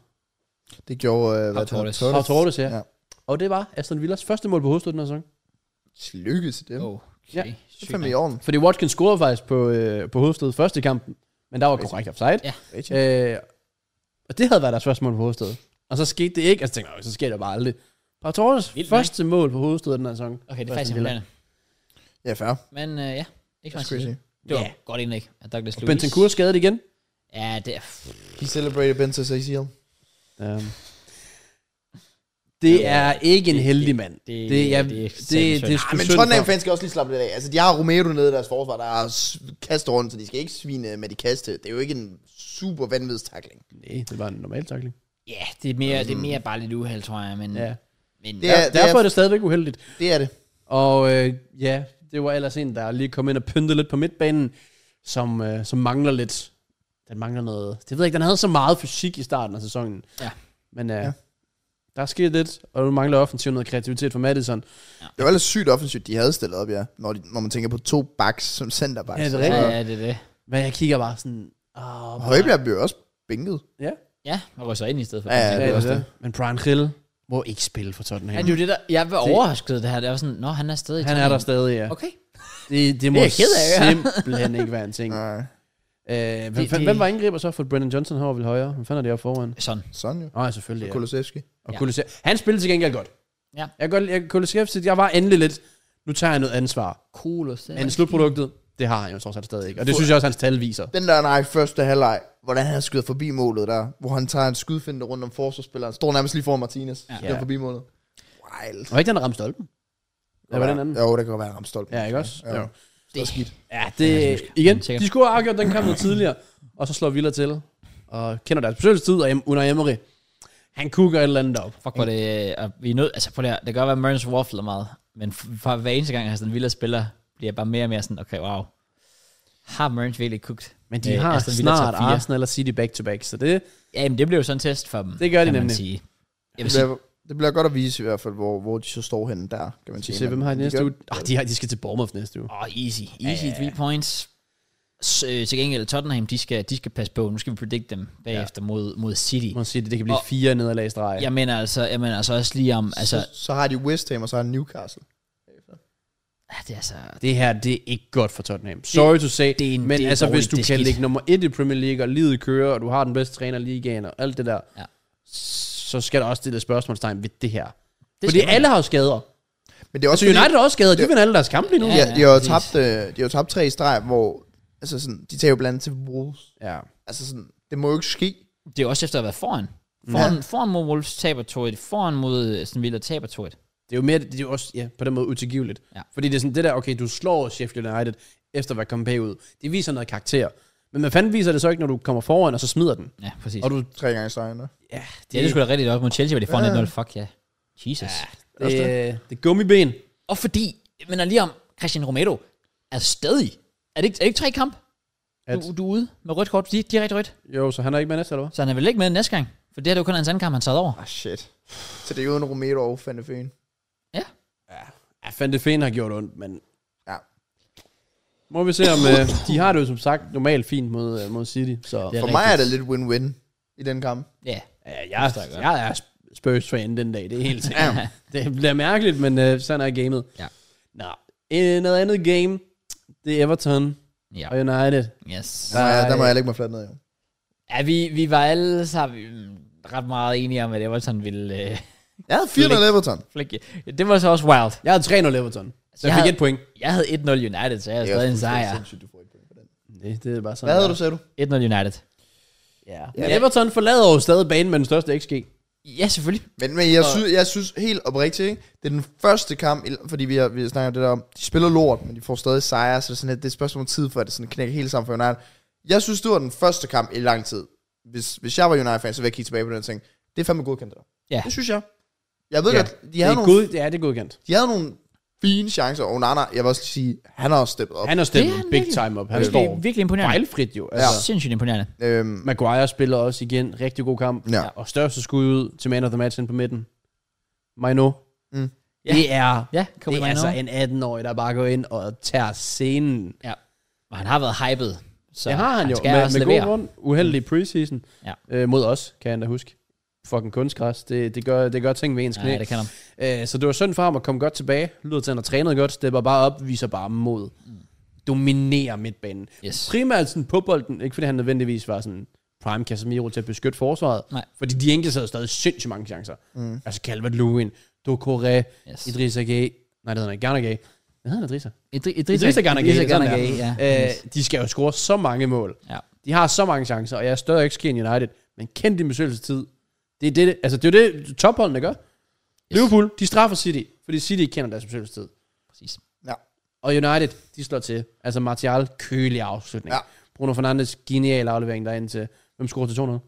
S2: Det gjorde... Øh, hvad
S1: Torres.
S2: hedder det?
S3: Og Torres, ja.
S2: Ja.
S3: Og det var Aston Villas første mål på hovedstøtten af sæsonen.
S2: Tillykke til dem.
S1: Oh,
S3: Ja,
S1: Okay,
S2: Det er
S1: sygt
S2: fandme i
S1: nok.
S2: orden.
S3: Fordi Watkins scorede faktisk på, øh, på hovedstedet første i kampen, men der var korrekt offside.
S1: Ja.
S3: Øh, og det havde været deres første mål på hovedstedet. Og så skete det ikke, og så tænkte jeg, "Nå, så sker det bare aldrig. Pau Torres
S1: Vildt,
S3: første mål på hovedstedet den her sæson.
S1: Okay, det er
S3: Første
S1: faktisk
S3: Villa.
S1: imponerende.
S2: Ja, fair.
S1: Men øh, ja, ikke
S2: That's
S1: så
S2: crazy.
S1: meget Det var
S3: Ja.
S1: godt indlæg af Douglas Lewis.
S3: Bentancur skadet igen.
S1: Ja, det er...
S2: He celebrated Benzes ACL.
S3: Um, det er ikke en heldig mand.
S1: det-
S3: Det er,
S1: det er
S3: det,
S1: satme
S3: det, det er
S1: synd.
S2: Ej,
S3: sgu
S2: Ah, men
S3: synd
S2: Tottenham
S3: for-
S2: fans skal også lige slappe lidt af. Altså, de har Romero nede i deres forsvar, der er s- kaster rundt, så de skal ikke svine øh, med de kaste. Det er jo ikke en super vanvittig takling.
S3: Nej, det var en normal takling.
S1: Ja, det er mere, det er mere bare lidt uheld, tror jeg. Men,
S3: Mm. Ja.
S1: men
S2: Det
S1: det
S2: er-
S1: er,
S3: Ja, derfor er det stadigvæk uheldigt.
S2: Det er det.
S3: Og øh, ja, det var ellers en, der lige kom ind og pyntede lidt på midtbanen, som, øh, som mangler lidt. Den mangler noget. Det ved jeg ikke, den havde så meget fysik i starten af sæsonen.
S1: Ja.
S3: Men øh,
S2: Ja.
S3: ja. der er sket lidt, og nu mangler offensivt noget kreativitet fra Madison.
S2: Det var ellers sygt offensivt, de havde stillet op, ja. Når, de, når man tænker på to backs som centerbacks.
S3: Ja, det er
S1: ja,
S3: rigtigt.
S1: ja, det er det.
S3: Men jeg kigger bare sådan... Oh,
S2: Og Højbjerg blev også bænket.
S3: Ja,
S1: Ja, man rører sig ind i stedet for.
S2: Ja, ja,
S3: ja,
S2: det
S3: det
S2: er også
S3: det.
S2: det.
S3: Men Brian Hill må ikke spille for Tottenham.
S1: Ja, det er jo det der, jeg var overrasket det her. Det var sådan, nå, han er stadig. i
S3: Han er
S1: Tottenham."
S3: der stadig, ja.
S1: Okay.
S3: Det, det må
S1: er jeg ked af, ja.
S3: simpelthen ikke være en ting. Øh,
S2: Nej,
S3: hvem,
S1: Det-
S3: hvem,
S1: det-
S3: hvem var angriber så? For Brendan Johnson herovre vil højre. Hvem fanden er det her foran?
S1: Sådan.
S2: sådan jo.
S3: Nej, oh, selvfølgelig. Ja.
S2: Kulusevski.
S3: Og
S1: Ja.
S3: Kulisev. Han spillede til gengæld godt.
S1: Ja.
S3: Jeg kan godt jeg, Kulisev, jeg var endelig lidt, nu tager jeg noget ansvar.
S1: Cool. og så-
S3: Men slutproduktet, det har han jo trods alt stadig ikke. Og det synes jeg også, hans tal viser.
S2: Den der, nej, første halvleg, hvordan han skyder forbi målet der, hvor han tager en skudfinde rundt om forsvarsspilleren, står nærmest lige foran Martinez, ja. der
S3: Ja.
S2: forbi målet. Wild.
S3: Og ikke den, der ramte stolpen. Ja, var den anden?
S2: Jo, det kan godt være ramt stolpen.
S3: Ja, ikke også?
S2: Ja.
S3: Jo.
S1: Det er skidt.
S3: Ja,
S1: Ja,
S3: det,
S1: det er
S3: igen,
S1: sikkert.
S3: de skulle have afgjort den kamp noget tidligere, og så slår Villa til, og kender deres besøgelsestid, og Em- Unai Emery, han kukker et eller andet op.
S1: Fuck, hvor det... Og vi er nødt... Altså, prøv lige at- Det kan godt være, at Mørens waffler meget. Men f- for hver eneste gang, Aston Villa spiller, bliver jeg bare mere og mere sådan, okay, wow. Har Mørens virkelig kugt?
S3: Men de
S1: øh,
S3: har
S1: Aston Villa
S3: snart
S1: top fire?
S3: Arsenal og City back-to-back, så det,
S1: Ja, men det blev jo sådan en test for dem.
S3: Det gør
S1: kan
S3: de
S1: man
S3: nemlig.
S1: Sige. Jeg vil
S2: Det
S1: sige,
S2: bliver, det bliver godt at vise i hvert fald, hvor, hvor de så står henne der, kan man
S3: de
S2: sige.
S3: ser, hvem har de
S2: Men
S3: næste
S2: gør-
S3: uge. Ah, de, har, de skal til Bournemouth næste uge.
S1: åh, oh, easy. Easy, yeah. three points. S- øh, til gengæld, Tottenham, de skal, de skal passe på. Nu skal vi predict dem bagefter mod, mod City.
S3: Man siger, det, det kan blive
S1: Og-
S3: fire nederlag i streg.
S1: Jeg mener altså, jeg mener altså også lige om, altså,
S2: så, så har de West Ham, og så har de Newcastle.
S1: ah, det er altså,
S3: Det her, det er ikke godt for Tottenham. Sorry to say,
S1: det er en-
S3: men
S1: det er
S3: altså,
S1: dårligt,
S3: hvis du
S1: det er
S3: kan
S1: skidt.
S3: ligge nummer et i Premier League, og livet kører, og du har den bedste træner i ligaen, og alt det der,
S1: Ja.
S3: så skal der også stille spørgsmålstegn ved det her. Det Fordi
S1: skal man.
S3: alle har jo skader.
S2: Men det er også
S3: Altså, United er også skadet. De vinder alle deres kampe lige nu.
S1: Ja,
S2: Ja, de har
S1: ja,
S2: jo
S1: præcis.
S2: tabt, øh, de har jo tabt tre i streg, hvor altså sådan, de tager jo blandt andet til Wolves.
S3: ja.
S2: Altså sådan, det må jo ikke ske.
S1: det er jo også efter at have været foran. Foran, ja. foran mod Wolves taber 2-1, foran mod øh, Aston Villa taber 2-1.
S3: Det er jo mere, det er jo også ja, på den måde utilgiveligt.
S1: Ja.
S3: Fordi det er sådan det der, okay, du slår Sheffield United efter at være kommet bagud. Det viser noget karakter. Men man fanden viser det så ikke, når du kommer foran, og så smider den.
S1: Ja, præcis.
S3: Og du,
S2: Tre gange i streg, der.
S3: ja,
S1: Ja, det er sgu da rigtigt også mod Chelsea, hvor de foran 1-0. Fuck ja. Jesus. Ja.
S3: det, det, det er gummiben.
S1: Og fordi, men lige om Christian Romero er stadig, er det ikke, er det ikke tre kamp?
S3: At,
S1: Du, du er ude med rødt kort, di- direkte rødt.
S3: jo, så han er ikke med næste, eller hvad?
S1: Så han er vel ikke med næste gang? For det her det er jo kun hans anden kamp, han sad over.
S2: Ah, shit. Så det er jo en Romero og Van de Ven.
S3: Ja, Fante Fien har gjort ondt, men...
S2: Ja.
S3: Må vi se om... Øh, de har det jo som sagt normalt fint mod, øh, mod City, så...
S1: Det
S2: For mig er det lidt win-win i den kamp.
S1: Ja.
S3: Ja, jeg,
S1: forstår jeg godt.
S3: jeg er Spurs-fan den dag, det er helt sikkert. det bliver mærkeligt, men øh, sådan er gamet.
S1: Ja.
S3: Nå, øh, noget andet game, det er Everton
S1: Ja.
S3: og United.
S1: Yes.
S2: Der, må jeg, der må
S3: Ej.
S2: jeg lægge mig fladt ned, jo.
S1: Ja, vi, vi var alle sammen mm, ret meget enige om, at Everton ville øh,
S2: Jeg havde 4-0 Everton.
S1: flække. Det var så også wild.
S3: Jeg havde 3-0 Everton, så
S1: Jeg
S3: jeg fik
S1: havde-
S3: et point.
S1: Jeg havde 1-0 United, så jeg havde stadig en sejr.
S3: Det, det er bare sådan.
S2: Hvad havde du, sagde du?
S1: 1-0 United.
S3: Ja. Men Everton forlader jo stadig banen med den største XG.
S1: Ja, selvfølgelig.
S2: Men, men jeg, synes, jeg synes helt oprigtigt, ikke? det er den første kamp, i- fordi vi, har, vi snakker om det der om, de spiller lort, men de får stadig sejre, så det er, sådan, lidt- det er et spørgsmål om tid, før det sådan knækker helt sammen for United. Jeg synes, det var den første kamp i lang tid. Hvis, hvis jeg var United-fan, så ville jeg kigge tilbage på den og tænke, det er fandme godkendt der.
S1: Ja.
S2: Det synes jeg. Jeg ved
S3: Ja,
S2: ja. godt, de
S3: Det
S2: havde,
S3: er,
S2: nogle,
S3: god, ja, det er godkendt.
S2: de havde nogle fine chancer, og Nana, jeg vil også lige sige, han har også steppet op.
S3: Han har stemt
S1: han
S3: big
S1: virkelig.
S3: time op. Han
S1: Det
S3: står
S1: er virkelig imponerende.
S3: fejlfrit jo.
S1: Ja.
S3: Altså.
S1: Sindssygt imponerende.
S2: Øhm,
S3: Maguire spiller også igen rigtig god kamp.
S2: Ja.
S3: Og største skud ud til man of the match ind på midten. Maino.
S2: Mm.
S1: Ja.
S3: Det er,
S1: Ja, kom
S3: det er altså en 18-årig, der bare går ind og tager scenen.
S1: Ja. Og han har været hyped. Så
S3: det har han jo,
S1: skal
S3: med,
S1: også
S3: med
S1: levere.
S3: Mm. god grund. Uheldig preseason
S1: Ja.
S3: øh, mod os, kan jeg da huske. fucking kunstgræs. Det, det, gør, det gør ting ved ens knæ.
S1: Nej, det kan han.
S3: Øh, så det var synd for ham at komme godt tilbage. Lyder til, at han har trænet godt, stepper bare op, viser bare mod. Dominerer midtbanen.
S1: Yes.
S3: Primært sådan på bolden, ikke fordi han nødvendigvis var sådan prime Casemiro til at beskytte forsvaret.
S1: Nej.
S3: Fordi de enkelte havde stadig sindssygt mange chancer. Mm. Altså Calvert-Lewin, Dokore,
S1: Yes.
S3: yes. Idrissa Gay. Nej, det hedder han ikke. Garnagay. Hvad hedder han Idrissa?
S1: Idri- Idrissa,
S3: Idrissa Garnagay.
S1: Idrissa
S3: sådan
S1: Garnagay,
S3: der.
S1: ja.
S3: Øh, de skal jo score så mange mål.
S1: ja.
S3: De har så mange chancer, og jeg er større ikke Skien United, men kend din besøgelsestid. Det er det, altså det er jo det, topholdene gør. Yes. Liverpool, de straffer City, fordi City kender deres besøgelsestid.
S1: Præcis.
S2: Ja.
S3: Og United, de slår til. Altså Martial, kølig afslutning.
S2: Ja.
S3: Ja. Bruno Fernandes, genial aflevering derind til. Hvem scorer til 200?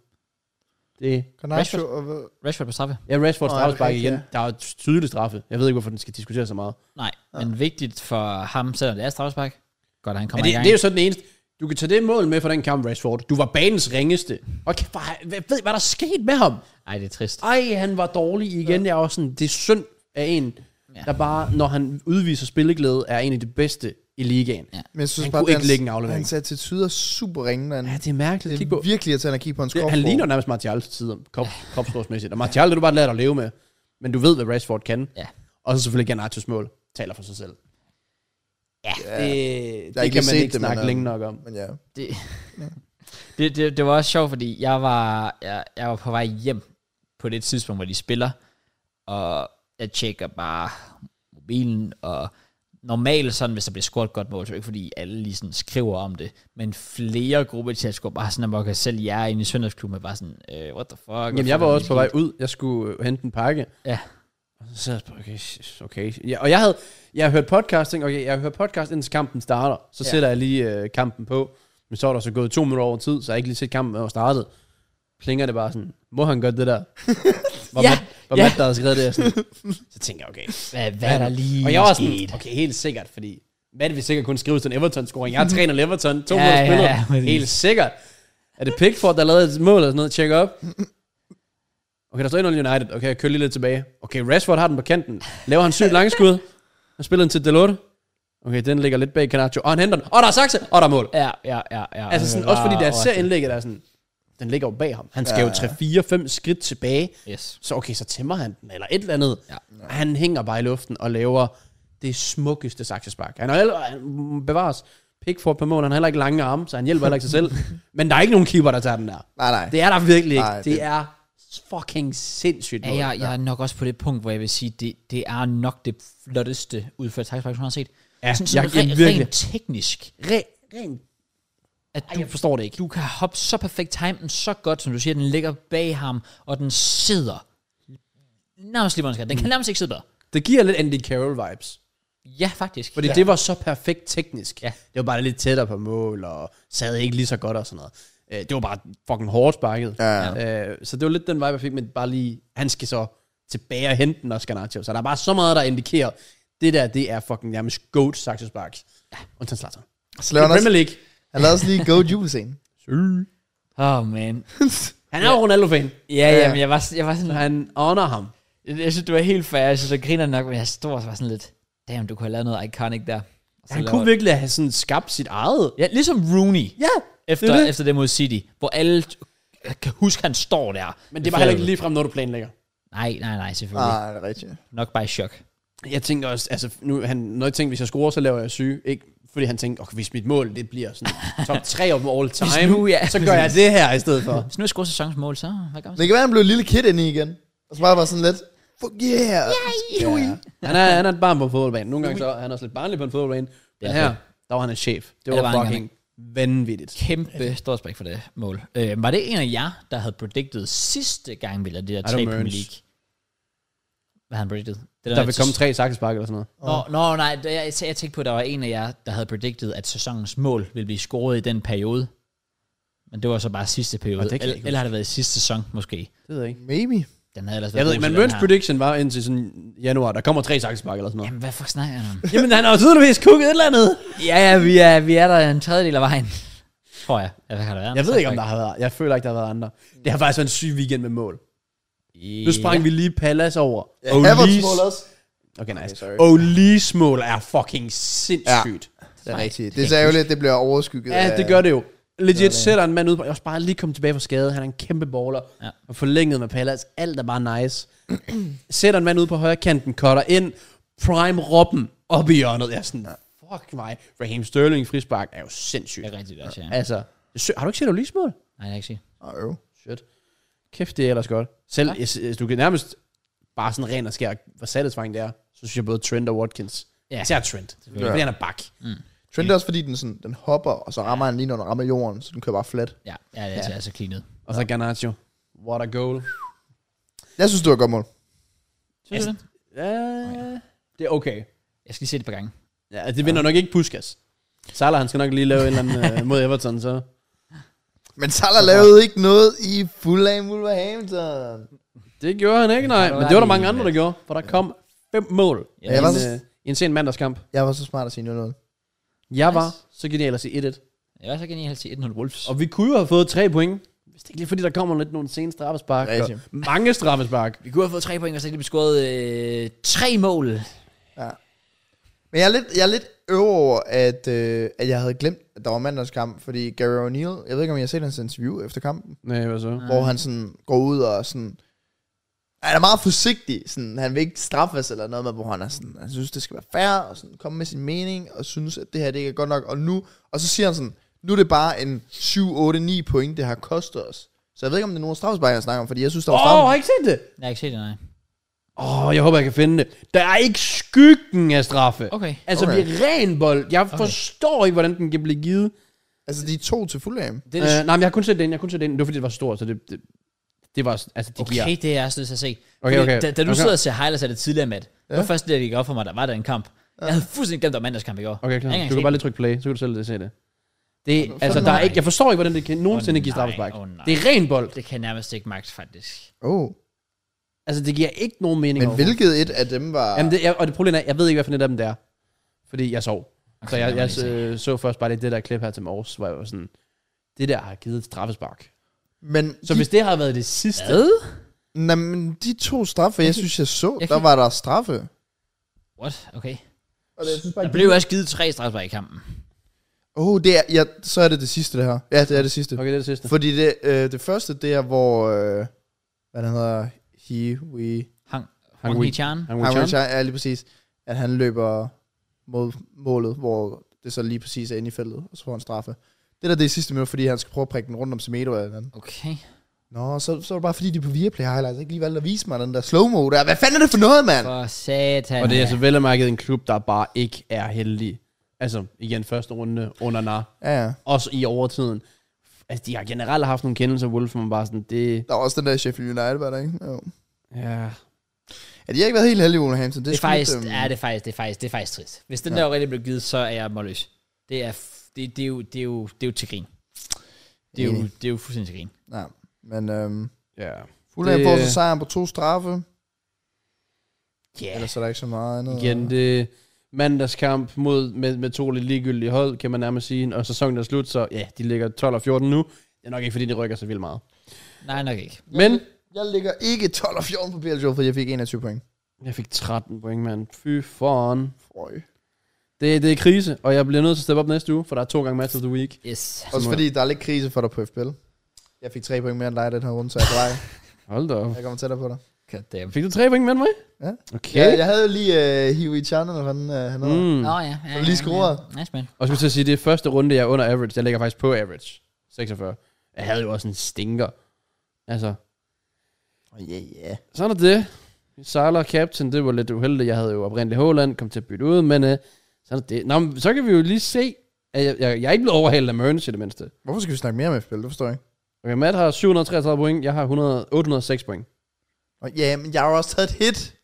S3: Det
S2: Garnacho og... hvad?
S1: Rashford på straffe?
S3: Ja, Rashford
S2: Nå,
S3: straffespark
S2: rigtigt,
S3: igen.
S2: ja.
S3: Der er jo et tydeligt straffe. Jeg ved ikke, hvorfor den skal diskuteres så meget.
S1: Nej, men vigtigt for ham, selvom det er straffespark. Godt, at han
S3: Ja,
S1: kommer
S3: det,
S1: i gang.
S3: det er jo sådan det eneste. Du kan tage det mål med fra den kamp, Rashford. Du var banens ringeste. Og kæft, hvor- jeg ved, hvad der skete med ham.
S1: Ej, det er trist.
S3: ej, han var dårlig igen. Jeg er også sådan, det er synd af en,
S1: Ja.
S3: ja. der bare, når han udviser spilleglæde, er en af de bedste i ligaen.
S1: Ja.
S3: Ja,
S2: Men jeg synes
S3: Han
S2: bare,
S3: kunne
S2: at
S3: ikke lægge en aflevering.
S2: Hans attitude er super ringende. Han,
S3: det er mærkeligt.
S2: det
S3: Kig
S2: er
S3: på.
S2: virkelig irriterende at kigge på hans
S3: Det,
S2: krop.
S3: han ligner nærmest Martial til tider, kop, kropsforsmæssigt. Og Martial, det er du bare lader dig leve med. Men du ved, hvad Rashford kan.
S1: Ja.
S3: Og så selvfølgelig Garnatos mål taler for sig selv. Ja, det,
S2: ikke
S3: det kan
S2: lige
S3: man
S2: set det,
S3: ikke
S2: men,
S3: snakke
S2: øhm,
S3: længe nok om.
S2: Men ja.
S1: Det, det, det, det var også sjovt, fordi jeg var, jeg, jeg var på vej hjem på det tidspunkt, hvor de spiller, og jeg tjekker bare mobilen, og normalt sådan, hvis der bliver scoret et godt mål, så er det ikke fordi alle lige sådan skriver om det, men flere grupper til at score bare sådan, at selv jer inde i søndagsklubben er bare sådan, øh, what the fuck?
S3: Jamen, jeg var også på vej ud. Jeg skulle øh, hente en pakke.
S1: Ja.
S3: Og så sad jeg på, okay, shit, okay. Ja, og jeg havde, jeg havde hørt podcasting, okay, jeg har hørt podcast, indtil kampen starter. Så
S1: Ja.
S3: ja. sætter jeg lige øh, kampen på. Men så er der så gået to minutter over tid, så jeg har ikke lige set kampen, når startet. Plinger det bare sådan, må han godt det der? Hvor
S1: Ja,
S3: Matt, hvor
S1: ja.
S3: Matt, der havde skrevet det, og sådan, så tænker jeg, okay.
S1: Hvad, hvad er der lige
S3: Og jeg var sådan,
S1: sket?
S3: okay, helt sikkert, fordi Matt vil sikkert kun skrive til en Everton-scoring. Jeg træner Everton, to
S1: Ja,
S3: ja,
S1: ja,
S3: måneder spillet.
S1: ja, præcis.
S3: helt sikkert. Er det Pickford, der lavede et mål eller sådan noget? Tjek op. Okay, der står 1-0 United. Okay, jeg kører lige lidt tilbage. Okay, Rashford har den på kanten. Laver han sygt langskud. Han spiller den til Delorte. Okay, den ligger lidt bag Canacho. Og han henter den. Og der er Saxe. Og der er mål.
S1: Ja, ja, ja, ja.
S3: Altså
S1: Det
S3: sådan,
S1: var
S3: også fordi, da jeg ser
S1: overraskende.
S3: indlægget, der er sådan, den ligger jo bag ham. Han skal jo 3-4-5 skridt tilbage.
S1: Yes.
S3: Så okay, så tæmmer han den, eller et eller andet.
S1: Ja.
S3: Ja. Han hænger bare i luften og laver det smukkeste saksespark. Han, har heller- han bevares Pickford på mål, han har heller ikke lange arme, så han hjælper heller ikke sig selv. Men der er ikke nogen keeper, der tager den der.
S2: Nej, nej.
S3: Det er der virkelig ikke.
S2: Nej,
S3: det,
S2: det-
S3: det er fucking sindssygt.
S1: Ja,
S3: mål.
S1: jeg, jeg er nok også på det punkt, hvor jeg vil sige, det, det er nok det flotteste udført taktfaktor, jeg har set.
S3: Ja,
S1: sådan,
S3: jeg-
S1: sådan
S3: jeg-
S1: re-
S3: virkelig.
S1: rent teknisk.
S3: Re- ren,
S1: At
S3: ej,
S1: du,
S3: jeg forstår det ikke.
S1: du kan hoppe så perfekt timen så godt, som du siger, den ligger bag ham, og den sidder. Nærmest lige, hvor den skal. Den kan nærmest ikke sidde bedre.
S3: Det giver lidt Andy Carroll-vibes.
S1: Ja, faktisk.
S3: Fordi
S1: ja.
S3: ja. det var så perfekt teknisk.
S1: Ja.
S3: Ja. Det var bare lidt tættere på mål, og sad ikke lige så godt og sådan noget. Øh, Det var bare fucking hårdt sparket. Ja. Øh, Så det var lidt den vibe, jeg fik, men bare lige, han skal så tilbage og hente den også, Garnaccio. Så der er bare så meget, der indikerer, det der, det er fucking nærmest goat saksesparks. Ja. Undtagen Slatter.
S2: Så
S3: Det
S2: laver
S3: er
S2: han også,
S3: Premier League.
S2: han laver også lige go jubelscene.
S1: Åh, oh, man.
S3: Han er jo Ronaldo-fan.
S1: Ja, ja, men jeg var, jeg var sådan...
S3: Han honor ham.
S1: Jeg synes, du var helt fair. Jeg synes, jeg griner nok, men jeg stod og var sådan lidt... Damn, du kunne have lavet noget iconic der. Og så
S3: Han
S1: laver-
S3: kunne virkelig have sådan skabt sit eget.
S1: Ja, ligesom Rooney.
S3: Ja,
S1: efter det, det. efter det mod City, hvor alle t- kan huske, han står der.
S3: Men det er bare heller ikke ligefrem, når du planlægger.
S1: Nej, nej, nej, selvfølgelig. Ah.
S2: Nej, det er rigtigt.
S1: Nok bare i chok.
S3: Jeg tænker også, altså, nu, han, når jeg tænker, hvis jeg scorer, så laver jeg syge. Ikke fordi han tænker, okay, hvis mit mål, det bliver sådan top 3 of all time,
S1: nu, ja,
S3: så gør jeg det her i stedet for.
S1: Hvis nu jeg scorer sæsonens mål, så hvad gør man så?
S2: Det kan være, han blev lille kid inde i igen. Og så bare var sådan lidt, fuck yeah.
S3: Ja. Han, er, han er et barn på en fodboldbane. Nogle gange så er han også lidt barnlig på en fodboldbane. Men
S1: er
S3: her,
S1: fedt.
S3: der var han en chef. Det
S1: Ja, det
S3: var,
S1: var han
S3: fucking vanvittigt.
S1: Kæmpe stor respekt for det mål. Øh, var det en af jer, der havde predicted sidste gang, vi lavede det der
S3: Ej, det var
S1: tape Premier
S3: Mørns.
S1: League? Hvad havde han predicted? Det
S3: Der vil
S1: med-
S3: komme tre sakkespark eller sådan noget.
S1: Nå, nå nej, det- jeg, jeg tænkte på, at der var en af jer, der havde predicted, at sæsonens mål ville blive scoret i den periode. Men det var så bare sidste periode.
S3: det kan jeg
S1: Eller,
S3: ikke
S1: eller har det været i sidste sæson, måske.
S3: Det ved jeg ikke.
S2: Maybe.
S1: Den havde ellers været
S3: Jeg ved
S1: god
S3: ikke, men
S1: til den
S3: Mørns
S1: her.
S3: prediction var indtil sådan januar, der kommer tre sakkespark eller sådan noget.
S1: Jamen, hvad fuck snakker han om?
S3: Jamen, han har jo tydeligvis kukket et eller andet.
S1: Ja, ja, vi er, vi er der en tredjedel af vejen. Tror jeg. Ja, hvad kan der være?
S3: Jeg ved ikke, om der har været. Jeg føler ikke, der har været andre. Det har faktisk været en syg weekend med mål. Nu sprang vi lige Pallas over.
S2: Ja,
S3: Olis-
S2: Havertz mål også.
S3: Okay, nice.
S2: sorry.
S3: Okay, Olis mål er fucking sindssygt.
S2: Det er rigtigt. Det er særligt, at det bliver overskygget.
S3: Ja,
S2: af-
S3: det gør det jo. legit sætter en mand ud på, jeg var bare lige kommet tilbage fra skade, han er en kæmpe baller,
S1: Ja.
S3: ja. og forlænget med Pallas, alt er bare nice. sætter en mand ud på højre kanten, cutter ind, prime Robben op i hjørnet, jeg er sådan, fuck mig, Raheem Sterling frispark er jo sindssygt.
S1: Det er rigtigt også, ja.
S3: Altså, sy- har du ikke set Olismål?
S1: Nej, jeg kan ikke sige.
S2: Åh, øv.
S3: Shit. Kæft, det er ellers godt. Selv, ja. hvis du kan nærmest bare sådan ren og skær, hvor satisfying det er, så synes jeg både Trent og Watkins.
S1: Ja.
S3: Ja. Især Trent. Fordi
S2: Ja.
S3: han er bak. Mm.
S2: Trend er også fordi, den, sådan, den hopper, og så rammer han lige, når den rammer jorden, så den kører bare flat.
S1: Ja, ja det er altså, altså cleanet.
S3: Og så Garnaccio. What a goal.
S2: Jeg synes, det var et godt mål.
S3: Altså,
S1: Synes du det?
S3: Ja, det er okay.
S1: Jeg skal lige se det et par gange.
S3: Ja, det vinder nok ikke Puskas. Salah, han skal nok lige lave en eller anden øh, mod Everton, så...
S2: Men Salah lavede ikke noget i Fulham Wolverhampton.
S3: Det gjorde han ikke, nej. Men det var der mange andre, der gjorde, for der kom fem mål
S1: Ja,
S3: i,
S2: jeg var
S3: en,
S2: så-
S3: øh, i en sen mandagskamp.
S2: Jeg var så smart at sige noget.
S3: Jeg var
S1: Nice.
S3: så genial at sige 1-1.
S1: Jeg var så genialt til 1-0 Wolves.
S3: Og vi kunne jo have fået tre point. Hvis det ikke lige fordi, der kommer lidt nogle sene straffespark. og
S2: Rigtigt.
S3: Mange straffespark.
S1: Vi kunne have fået tre point, og så havde vi scoret øh, tre mål.
S2: Men jeg er lidt, jeg er lidt øv over, at, øh, at jeg havde glemt, at der var mandagskamp, fordi Gary O'Neill, jeg ved ikke, om jeg har set hans interview efter kampen,
S3: Nej, hvad så?
S2: Mm. hvor han sådan går ud og sådan... Han er meget forsigtig, sådan, han vil ikke straffes eller noget med, hvor han er sådan, han synes, det skal være fair, og sådan, komme med sin mening, og synes, at det her, det ikke er godt nok, og nu, og så siger han sådan, nu er det bare en 7, 8, 9 point, det har kostet os. Så jeg ved ikke, om det er nogen straffespark, jeg snakker om, fordi jeg synes, der var
S3: Åh, oh, har
S2: straffespark.
S3: jeg ikke set det?
S1: Jeg har ikke set det, nej.
S3: Åh, oh, jeg håber, jeg kan finde det. Der er ikke skyggen af straffe.
S1: Okay.
S3: Altså,
S2: Okay.
S3: okay. vi er ren bold. Jeg okay. forstår ikke, hvordan den kan blive givet.
S2: Altså, de er to til Fulham.
S1: Det
S3: Øh,
S1: er det,
S3: nej, men jeg har kun set den. Jeg har kun set den. Det var, fordi det var stort, så det... det det var, altså, de giver.
S1: okay, det er jeg også nødt til at se.
S3: Okay,
S1: Fordi
S3: okay.
S1: Da, da du
S3: Okay.
S1: sidder og ser highlights af det tidligere, Matt, det var først det, der gik op for mig, der var der en kamp. Jeg havde fuldstændig glemt, der var mandagskamp i går.
S3: Okay,
S1: Jeg har ikke
S3: klar. Du
S1: engang
S3: kan bare
S1: set
S3: lige trykke play, så kan du selv se det. Det, altså,
S2: nej.
S3: der er ikke, jeg forstår ikke, hvordan det kan nogensinde
S1: Åh,
S3: give
S1: nej.
S3: straffespark.
S1: Åh, nej.
S3: det er ren bold.
S1: den. Det kan jeg nærmest ikke magt, faktisk.
S2: Åh, oh,
S3: Altså, det giver ikke nogen mening
S2: men
S3: overhovedet.
S2: hvilket et af dem var...
S3: Jamen det, jeg, og det problem er, jeg ved ikke, hvad for net af dem det er. Fordi jeg sov.
S1: Okay,
S3: Okay, så
S1: lad
S3: jeg,
S1: mig
S3: jeg
S1: lige se.
S3: så, så først bare lige det der klip her til morges, hvor jeg var sådan, det der har givet et straffespark.
S2: men
S3: Så hvis det har været det sidste...
S1: Hvad?
S2: Nej, men de to straffe, jeg synes, jeg så,
S1: Jeg
S2: jeg
S1: kan-
S2: der var der straffe.
S1: What? Okay.
S2: Og det, jeg synes
S1: Der blev også givet tre strafspark i kampen.
S2: Oh, det er, ja, så er det det sidste, det her. Ja, det er det sidste. Okay.
S3: Okay, det er det sidste.
S2: Fordi det, øh, det første, det er, hvor... Øh, hvad den hedder? He, we...
S1: Hang,
S3: Hang
S1: Hang
S3: Wei.
S1: Hang
S3: Han
S2: Han
S3: return.
S2: er lige præcis, at han løber mod målet, hvor det så lige præcis er inde i feltet, og så får han straffe. Det der det er sidste minut, fordi han skal prøve at prikke den rundt om Semedo eller andet.
S1: Okay.
S2: Nå, så, så er det bare fordi, de er på Viaplay Highlights ikke lige valgte at vise mig den der slow-mo der. Hvad fanden er det for noget, mand?
S1: For satan.
S3: Og det er altså vel og mærket en klub, der bare ikke er heldig. Altså, igen, første runde under nar.
S2: Ja, ja.
S3: Også i overtiden. Altså, de har generelt haft nogle kendelser, Wolf, men bare sådan, det...
S2: Der var også den der Sheffield United, var der ikke? Jo.
S3: Ja.
S2: Ja, de har ikke været helt heldige, Wolverhampton. Det,
S1: det er faktisk,
S2: skyldte dem-
S1: ja, det er faktisk, det er faktisk, det er faktisk trist. Hvis den ja. der rigtig blev givet, så er jeg målløs. Det er, f- det, det, er jo, det, er jo, det er jo til grin. Det er jo,
S2: Enig.
S1: det er jo fuldstændig til grin.
S2: Nej, men øhm,
S3: Ja.
S2: Fulham
S3: Det- øh,
S2: får så sejren på to straffe.
S1: Ja.
S2: Ellers er der ikke så meget andet.
S3: Igen, det er mandagskamp mod, med, med to lidt ligegyldige hold, kan man nærmest sige. Og sæsonen er slut, så ja, de ligger 12 og 14 nu. Det er nok ikke, fordi de rykker så vildt meget.
S1: Nej, nok ikke.
S3: Men
S2: Jeg ligger ikke 12 og 14 på BLJ, fordi jeg fik 21 point.
S3: jeg fik 13 point, mand. Fy foran.
S2: Føj.
S3: Det, det er krise, og jeg bliver nødt til at steppe op næste uge, for der er to gange match of the week.
S1: Yes.
S2: Også
S3: må-
S2: fordi der er lidt krise for dig på FPL. Jeg fik 3 point mere end dig i den her runde, så jeg drejer.
S3: Hold da op.
S2: jeg kommer tættere på dig.
S1: God damn.
S3: Fik du tre point med mig?
S2: Ja.
S3: Okay.
S2: Ja, jeg havde jo lige uh, Hiwi Chan, eller hvad han, uh, han hedder.
S3: Mm.
S1: Nå ja. ja,
S2: du lige
S1: ja,
S2: scoret?
S1: Ja. Nice, man.
S3: Og så skal jeg til at sige, det er første runde, jeg er under average. Jeg ligger faktisk på average. 46. Jeg havde jo også en stinker. Altså,
S2: Ja, ja.
S3: Sådan er det. Salah Captain, det var lidt uheldigt. Jeg havde jo oprindeligt Håland, kom til at bytte ud, men øh, sådan er det. Nå, men så kan vi jo lige se, at jeg, jeg, jeg er ikke blevet overhalet af Mørens i det mindste.
S2: Hvorfor skal vi snakke mere om FPL? Det forstår jeg ikke.
S3: Okay, Matt har 733 point, jeg har 100, 806 point.
S2: Nå, Ja, men jeg har jo også taget et hit.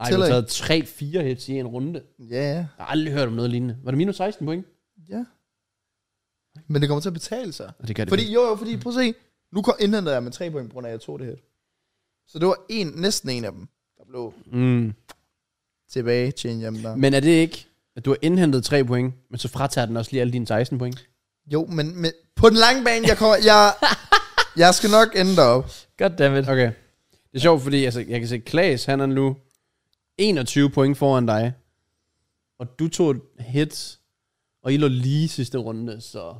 S3: Nej, du
S2: Tillæg.
S3: har taget 3-4 hits i en runde.
S2: Ja, ja.
S3: Jeg har aldrig hørt om noget lignende. Var det minus 16 point?
S2: ja. Men det kommer til at betale sig.
S3: Og det gør det
S2: Fordi,
S3: ikke.
S2: jo, jo, fordi, prøv at se. Nu kom- indhentede jeg med tre point, på grund af, at jeg tog det her. Så det var en, næsten en af dem, der blev
S3: Mm.
S2: tilbage til en hjem der. Men,
S3: Men er det ikke, at du har indhentet 3 point, men så fratager den også lige alle dine 16 point?
S2: jo, men, men på den lange bane, jeg kommer, jeg, jeg skal nok ende derop.
S1: God damn it.
S3: Okay. Det er sjovt, fordi altså, jeg kan se, Klaas, han er nu 21 point foran dig. Og du tog et hit, og I lå lige sidste runde, så...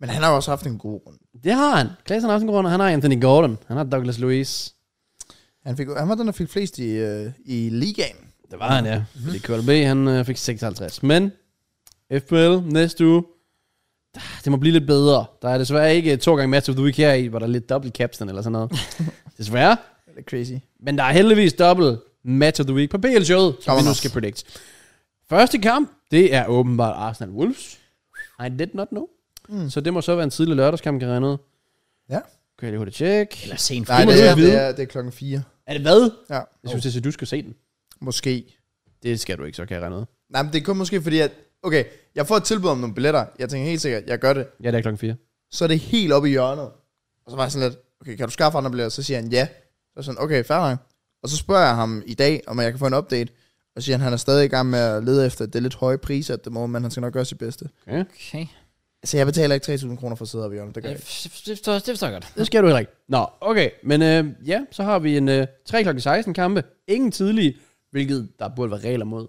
S2: Men han har jo også haft en god runde.
S3: Det har han. Klaas har haft en god runde. Han har Anthony Gordon. Han har Douglas Lewis.
S2: Han, fik, han var den, der fik flest i, øh, i ligaen.
S3: Det var han, ja. Fordi KLB, han øh, fik 56. Men FPL næste uge, der- det må blive lidt bedre. Der er desværre ikke øh, to gange match of the week her i, hvor der er lidt double capstan eller sådan noget. desværre.
S2: Det er crazy.
S3: Men der er heldigvis dobbelt match of the week på BL-showet, som
S2: Kommer
S3: vi nu
S2: nok.
S3: skal predict. Første kamp, det er åbenbart Arsenal Wolves. I did not know. Mm.
S2: Mm.
S3: Så det må så være en tidlig lørdagskamp, kan jeg regne ud.
S2: Ja.
S3: Kan jeg lige hurtigt tjekke?
S1: Eller sent
S2: Nej,
S1: Nej,
S3: må
S2: det
S3: du
S2: er,
S3: vide.
S2: det, er, det er klokken 4.
S3: Er det hvad?
S2: Ja,
S3: Jeg synes, det er, du skal se den.
S2: måske.
S3: Det skal du ikke, så kan jeg regne ud.
S2: Nej, men det er kun måske fordi, at... Okay, jeg får et tilbud om nogle billetter. Jeg tænker helt sikkert, jeg gør det.
S3: Ja, det er klokken 4.
S2: Så er det helt oppe i hjørnet. Og så var jeg sådan lidt, okay, kan du skaffe andre billetter? Så siger han ja. Så er jeg sådan, okay, fair nok. Og så spørger jeg ham i dag, om jeg kan få en update. Og siger han, han er stadig i gang med at lede efter, det er lidt høje priser at det må, men han skal nok gøre sit bedste.
S3: Okay.
S1: Okay.
S2: Så jeg betaler ikke 3.000 kroner for at sidde oppe i hjørnet, det gør jeg
S1: Det
S2: ikke.
S1: forstår, det forstår jeg godt.
S3: Det skal du heller ikke. Nå, okay. Men øh, ja, så har vi en øh, 3 kl. 16 kampe. Ingen tidlige, hvilket der burde være regler mod.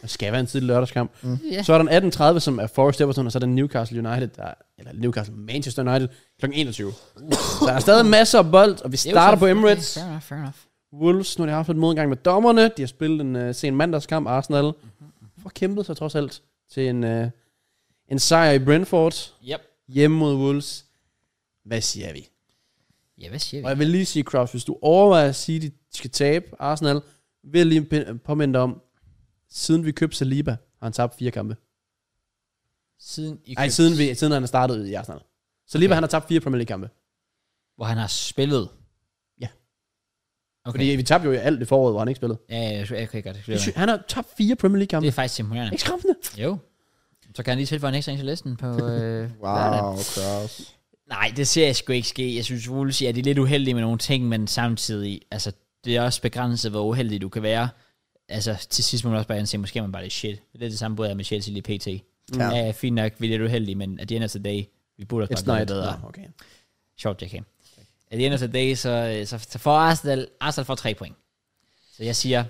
S3: Der skal være en tidlig lørdagskamp. Mm.
S1: Ja.
S3: Så er der en 18.30, som er Forest Everton, og så er der Newcastle United, der, eller Newcastle Manchester United, kl. 21. så der er stadig masser af bold, og vi
S1: Det er jo
S3: starter
S1: så-
S3: på Emirates.
S1: Okay, fair enough, fair enough.
S3: Wolves, nu har de haft lidt modgang med dommerne. De har spillet en uh, sen mandagskamp, Arsenal. Mm-hmm. For kæmpet sig trods alt til en, uh, en sejr i Brentford.
S1: Yep.
S3: Hjemme mod Wolves. Hvad siger vi?
S1: Ja, hvad siger vi?
S3: Og jeg vil lige sige, Kraus, hvis du overvejer at sige, at de skal tabe Arsenal, vil jeg lige pin- påminde dig om, siden vi købte Saliba, har han tabt fire kampe.
S1: Siden I
S3: Nej,
S1: købte-
S3: siden, vi, siden han er startet i Arsenal. Saliba,
S1: Okay.
S3: han har tabt fire Premier League-kampe.
S1: Hvor han har spillet.
S3: Ja.
S1: Okay.
S3: Fordi vi tabte jo alt det foråret, hvor han ikke spillede.
S1: Ja, ja, ja, okay, godt. Det,
S3: Det er
S1: det,
S3: sy- Han har tabt fire Premier
S1: det
S3: League-kampe.
S1: er faktisk imponerende.
S3: Ikke skræmmende.
S1: Jo. Så kan jeg lige tilføje en ekstra en til listen på... Øh, lørdag.
S2: Wow, Kraus.
S1: Nej, det ser jeg sgu ikke ske. Jeg synes, Wolves, ja, de er lidt uheldige med nogle ting, men samtidig, altså, det er også begrænset, hvor uheldig du kan være. Altså, til sidst må man også bare indse, måske er man bare lidt shit. Det er det samme både med Chelsea lige pt.
S2: Ja.
S1: Ja, ja fint nok, vi er lidt uheldige, men at the end of the day, vi burde også
S3: It's
S1: bare
S3: not.
S1: være bedre.
S3: Nå, okay.
S1: Sjovt, JK. At the end of the day, så, så, så får Arsenal, Arsenal får tre point. Så jeg siger,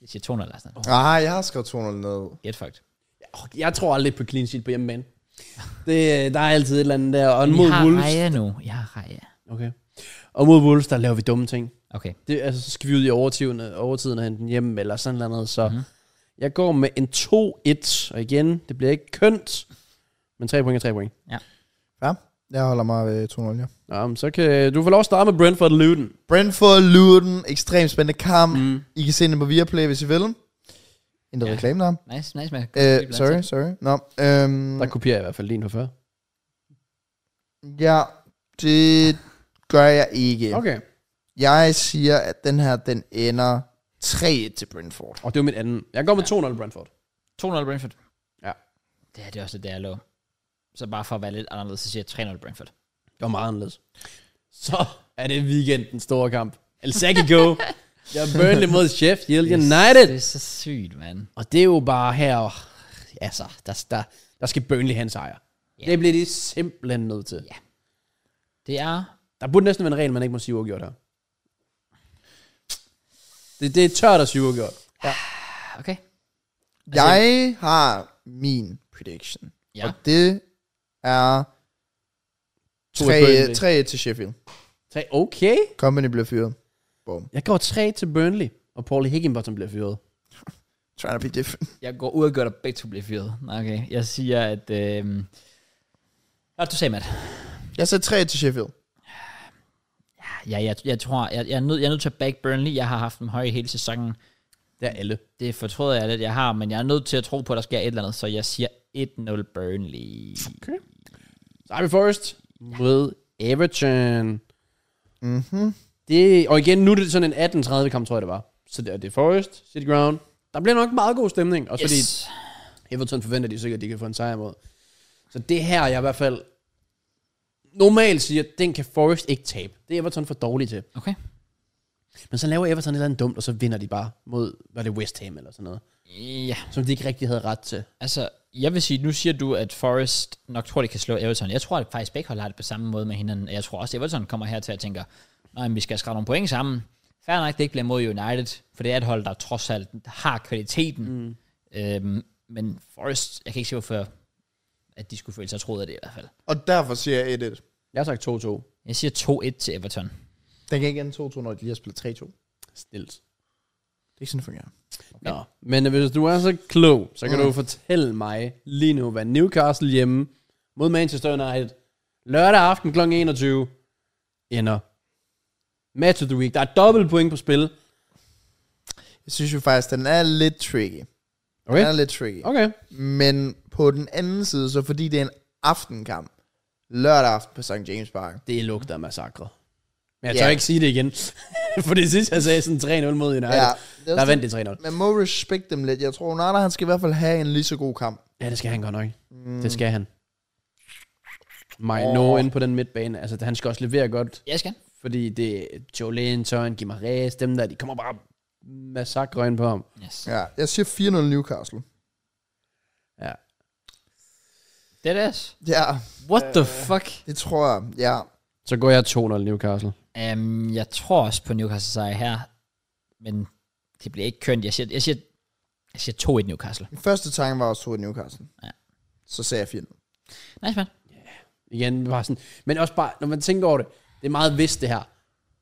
S1: jeg siger 200 eller sådan noget.
S2: Ah, jeg har skrevet 200 ned.
S1: Get fucked.
S3: Åh, Jeg tror aldrig på clean sheet på hjemmebane. Det, øh, der er altid et eller andet der. Og mod
S1: Jeg har
S3: Wolves...
S1: Raja nu. Jeg har Raja.
S3: Okay. Og mod Wolves, der laver vi dumme ting.
S1: Okay.
S3: Det, altså, så skal vi ud i overtiden, overtiden og hente den hjem, eller sådan noget andet.
S1: Mhm.
S3: Så mm. jeg går med en 2-1. Og igen, det bliver ikke kønt. Men 3 point er 3 point.
S2: Ja, jeg holder mig ved 200, ja.
S3: Nå, men så kan du får lov at starte med Brentford og Luton.
S2: Brentford, Luton, ekstremt spændende kamp. Mm. I kan se den på Viaplay, hvis I vil. Intet
S1: Ja.
S2: ja. reklame der.
S1: Nice, nice, man.
S2: Øh, sorry, sorry. Nå, øhm,
S3: Der kopierer jeg i hvert fald din for før.
S2: ja, det gør jeg ikke. Okay.
S3: Okay.
S2: Jeg siger, at den her, den ender 3 til Brentford.
S3: Og det var mit andet. Jeg går med 2-0 Brentford.
S1: 2-0 Brentford.
S3: Ja.
S1: Det her det er også lidt der, jeg lå. Så bare for at være lidt anderledes, så siger jeg 3-0 Brentford.
S3: Det var meget anderledes. Så er det weekendens store kamp. El Sagigo. Jeg er Burnley mod Sheffield United.
S1: Det er så sygt, mand.
S3: Og det er jo bare her, og, altså, der, der, der skal Burnley have en sejr.
S1: Ja.
S3: Yeah. Det bliver de simpelthen nødt til.
S1: Ja. Det er...
S3: Der burde næsten være en regel, man ikke må sige uafgjort her. Det, det er tørt at sige uafgjort.
S1: Okay.
S2: Altså, jeg har min prediction.
S1: Ja.
S2: Og det er
S3: 2 til Burnley.
S2: 3, 3 til Sheffield.
S3: Tre- Okay.
S2: Company bliver fyret. Boom.
S3: Jeg går 3 til Burnley, og Paul Higginbottom bliver fyret.
S2: Trying to be different.
S1: Jeg går ud og gør, at begge to bliver fyret. Nå, Okay. Jeg siger, at... Øh... Nå, du sagde, Matt.
S2: Jeg sagde 3 til Sheffield.
S1: Ja, jeg, jeg tror, jeg, jeg, er nødt, jeg er nødt til at back Burnley. Jeg har haft dem høje hele sæsonen.
S3: Det er alle.
S1: Det fortrøder jeg lidt, jeg har, men jeg er nødt til at tro på, at der sker et eller andet, så jeg siger 1-0 Burnley.
S3: Okay. Så er vi Forrest mod Everton.
S2: Mhm.
S3: Det, og igen, nu er det sådan en 18.30 kamp, tror jeg det var. Så det er, det er Forest, City Ground. Der bliver nok meget god stemning. Også yes. fordi
S1: Yes.
S3: Everton forventer de sikkert, at de kan få en sejr mod. Så det her, jeg i hvert fald normalt siger, den kan Forest ikke tabe. Det er Everton for dårlig til.
S1: Okay.
S3: Men så laver Everton et eller andet dumt, og så vinder de bare mod, var det West Ham eller sådan noget,
S1: Ja.
S3: som de ikke rigtig havde ret til.
S1: Altså, jeg vil sige, nu siger du, at Forrest nok tror, de kan slå Everton. Jeg tror, at faktisk begge hold har det på samme måde med hinanden. Jeg tror også, at Everton kommer her til at tænke, nej, men vi skal skrave nogle point sammen. Fair nok, det ikke bliver mod United, for det er et hold, der trods alt har kvaliteten. Mm. Øhm, men Forrest, jeg kan ikke se, hvorfor at de skulle føle sig troet af det i hvert fald.
S2: Og derfor siger jeg 1-1.
S3: Jeg har sagt 2-2.
S1: Jeg siger 2-1 til Everton.
S2: Den kan ikke ende 2-2, når de lige har spillet 3-2. Det
S3: Stilt.
S2: er ikke sådan, det fungerer.
S3: Nå, men hvis du er så klog, så kan
S2: Mm.
S3: mm. du fortælle mig lige nu, hvad Newcastle hjemme mod Manchester United lørdag aften kl. 21 ender. Match of the week. Der er dobbelt point på spil.
S2: Jeg synes jo faktisk, den er lidt tricky. Den
S3: Okay.
S2: er lidt tricky.
S3: Okay.
S2: Men på den anden side, så fordi det er en aftenkamp, lørdag aften på St. James Park.
S3: Det lugter af massakre. Men jeg
S2: Ja.
S3: tør ikke sige det igen. For det sidste, jeg sagde sådan 3-0 mod United.
S2: Ja,
S3: Ja,
S2: det er
S3: der
S2: også
S3: vandt det 3-0.
S2: Man må respekte dem lidt. Jeg tror, Onana, han skal i hvert fald have en lige så god kamp.
S3: Ja, det skal han godt nok. Mm. Det skal han. Mig oh. no inde på den midtbane. Altså, han skal også levere godt.
S1: Jeg skal.
S3: Fordi det er Joe Linton, Gimares, dem der, de kommer bare massakre ind på ham.
S1: Yes.
S2: Ja, jeg siger 4-0 Newcastle.
S3: Ja.
S1: Det er det.
S2: Ja,
S1: What the fuck?
S2: det tror jeg. Ja,
S3: Så går jeg 2-0 Newcastle.
S1: Um, jeg tror også på Newcastle sejr her, men det bliver ikke kønt. Jeg siger, jeg siger, jeg siger 2-1 Newcastle.
S2: min første tanke var også 2 Newcastle.
S1: Ja.
S2: Så sagde jeg 4
S1: Nice, man.
S3: Igen, bare sådan. Men også bare, når man tænker over det, det er meget vist det her.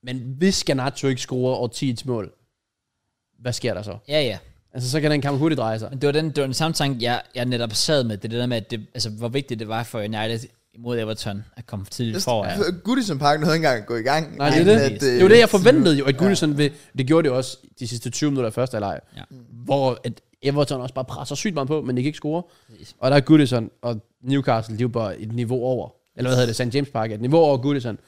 S3: Men hvis Garnacho ikke scorer over 10 mål, hvad sker der så?
S1: Ja, ja.
S3: Altså, så kan den kamp hurtigt dreje sig.
S1: Men det var den, det var den samme tanke, jeg, jeg netop sad med. Det er det der med, at det, altså, hvor vigtigt det var for United mod Everton at komme tidligt foran.
S2: Goodison Park nåede ikke engang at gå i gang.
S3: Nej, det er
S2: Men
S3: det.
S2: at,
S1: det-
S2: øh,
S3: Det var det, jeg forventede jo, at Goodison ja. vil, det gjorde det også de sidste 20 minutter af første halvleg,
S1: Ja.
S3: hvor at Everton også bare presser sygt meget på, men de kan ikke score.
S1: Præcis.
S3: Og der er Goodison og Newcastle, de er jo bare et niveau over. Eller hvad hedder det, St. James Park er et niveau over Goodison,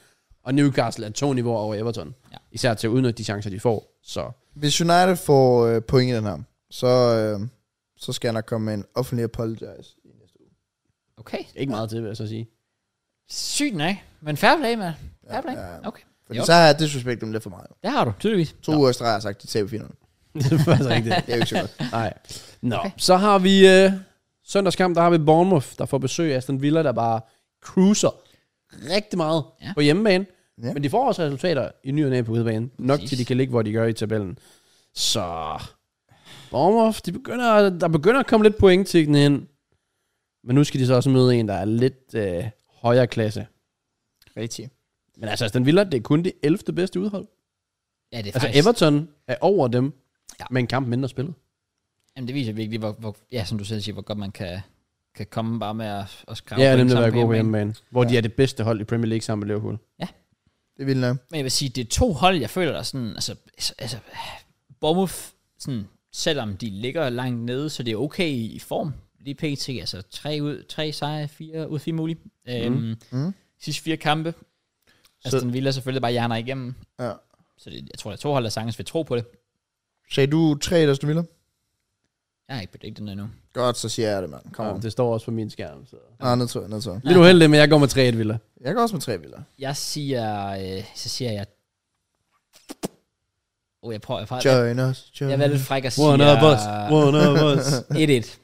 S3: og Newcastle er to niveauer over Everton.
S1: Ja.
S3: Ja. Især til at udnytte de chancer, de får. Så
S2: Hvis United får øh, point i den her, så, øh, så skal der komme en offentlig apologize.
S1: Okay.
S3: ikke meget til, vil jeg så sige.
S1: Sygt nok. Men fair play, mand. Fair play.
S2: ja.
S1: Okay.
S2: Fordi
S1: Jo.
S2: så har jeg disrespect dem lidt for meget.
S1: Det har du, tydeligvis.
S2: To uger i streg har jeg sagt, de taber finalen.
S3: det er faktisk rigtigt.
S2: Det er jo ikke så godt.
S3: Nej. Nå,
S1: Okay.
S3: okay. så har vi øh, søndagskamp, der har vi Bournemouth, der får besøg af Aston Villa, der bare cruiser rigtig meget
S1: Ja.
S3: ja. på hjemmebane.
S2: Ja.
S3: Ja. Men de får også resultater i ny og næ på udebane. Nok
S1: Præcis.
S3: til, de kan ligge, hvor de gør i tabellen. Så Bournemouth, de begynder, der begynder at komme lidt point til den ind. Men nu skal de så også møde en, der er lidt øh, højere klasse.
S2: Rigtig.
S3: Men altså, Aston Villa, det er kun det 11. bedste udhold.
S1: Ja, det er
S3: Altså,
S1: faktisk...
S3: Everton er over dem,
S1: Ja.
S3: ja. med en kamp mindre spillet.
S1: Jamen, det viser virkelig, hvor, hvor, ja, som du selv siger, hvor godt man kan, kan komme bare med at, at skrave
S3: Ja,
S1: point
S3: nemlig at
S1: sammen
S3: være gode på
S1: hjemmebane.
S3: hjemmebane. Hvor
S2: Ja.
S3: de er det bedste hold i Premier League sammen med Liverpool.
S2: Det er vildt nok.
S1: Men jeg vil sige, det er to hold, jeg føler der sådan, altså, altså Bournemouth, sådan, selvom de ligger langt nede, så det er okay i, i form. Lige pt. Altså tre, ud, tre sejre, fire ud af fire mulige. Mm. Øhm,
S2: Mm.
S1: Sidste fire kampe. Aston Villa selvfølgelig bare jerner igennem.
S2: Ja.
S1: Så det, jeg tror, der er to hold, der sagtens vil tro på det.
S2: Sagde du 3 Aston Villa?
S1: Jeg har ikke bedømt den endnu.
S2: Godt, så siger jeg det, mand. Kom
S3: Ja,
S2: on.
S3: det står også på min skærm. Så.
S2: Nej, ned tror jeg, ned tror jeg.
S3: Lidt uheldig, men jeg går med 3-1, Villa.
S2: Jeg går også med 3 Villa.
S1: Jeg siger, øh, så siger jeg... Åh, oh, jeg prøver, jeg prøver. Jeg,
S2: Join us, join
S1: jeg er lidt fræk øh, og siger...
S3: One of us. One of us.
S1: 1-1.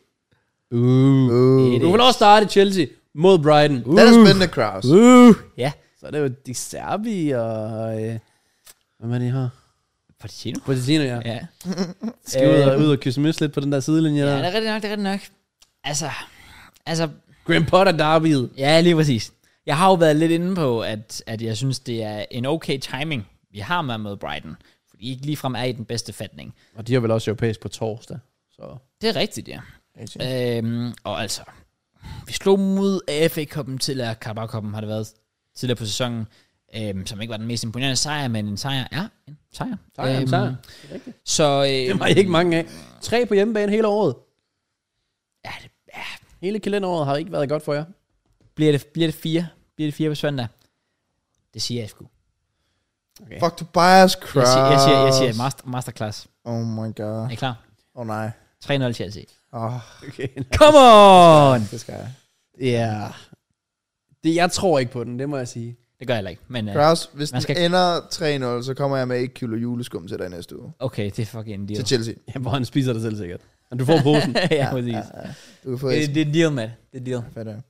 S3: Uh.
S2: Uh.
S3: Du vil også starte Chelsea mod Brighton. Uh.
S2: Den er spændende, Kraus.
S3: Uh.
S1: Ja,
S3: Så er det jo Di Serbi og... Øh, hvad man lige har?
S1: Pochettino.
S3: Pochettino, ja. Øh.
S1: Ja.
S3: Skal ud og, ud og kysse mys lidt på den der sidelinje
S1: Ja,
S3: der.
S1: det er rigtigt nok, det er rigtigt nok. Altså, altså,
S3: Graham Potter derbyet.
S1: ja, lige præcis. Jeg har jo været lidt inde på, at, at jeg synes, det er en okay timing, vi har med med Brighton. Fordi I ikke ligefrem er i den bedste fatning.
S3: Og de har vel også europæisk på torsdag. Så.
S1: Det er rigtigt, ja. Øhm, og altså, vi slog mod AFA Cup'en til, at Carabao Cup'en har det været tidligere på sæsonen, øhm, som ikke var den mest imponerende sejr, men en sejr er en sejr.
S3: Tak, øhm. tak.
S1: Så, øhm,
S3: Det var ikke mange af. Tre på hjemmebane hele året.
S1: ja, det
S3: Hele kalenderåret har ikke været godt for jer.
S1: bliver, det, bliver det fire. Bliver det fire på søndag? Det siger jeg sgu.
S2: Fuck, du bias,
S1: Jeg
S2: Kraus.
S1: siger, jeg siger, jeg siger master, masterclass.
S2: Oh my god.
S1: Er I klar?
S2: Åh oh, nej.
S1: 3-0 Chelsea.
S2: Åh,
S3: Okay.
S1: Come on!
S2: det skal jeg.
S3: Ja. Yeah. Det, jeg tror ikke på den, det må jeg sige.
S1: Det gør jeg heller ikke, men uh,
S2: Kraus, hvis
S1: Man
S2: den
S1: skal-
S2: ender 3-0, så kommer jeg med 1 kilo juleskum til dig næste uge.
S1: okay, det er fucking en deal.
S2: Til Chelsea.
S3: Ja, hvor han spiser dig selv sikkert. Men du får posen.
S1: ja, præcis. Mm.
S2: Du kan få
S1: Det,
S2: et.
S1: det er en deal, Matt. Det er en deal.
S2: Hvad er det?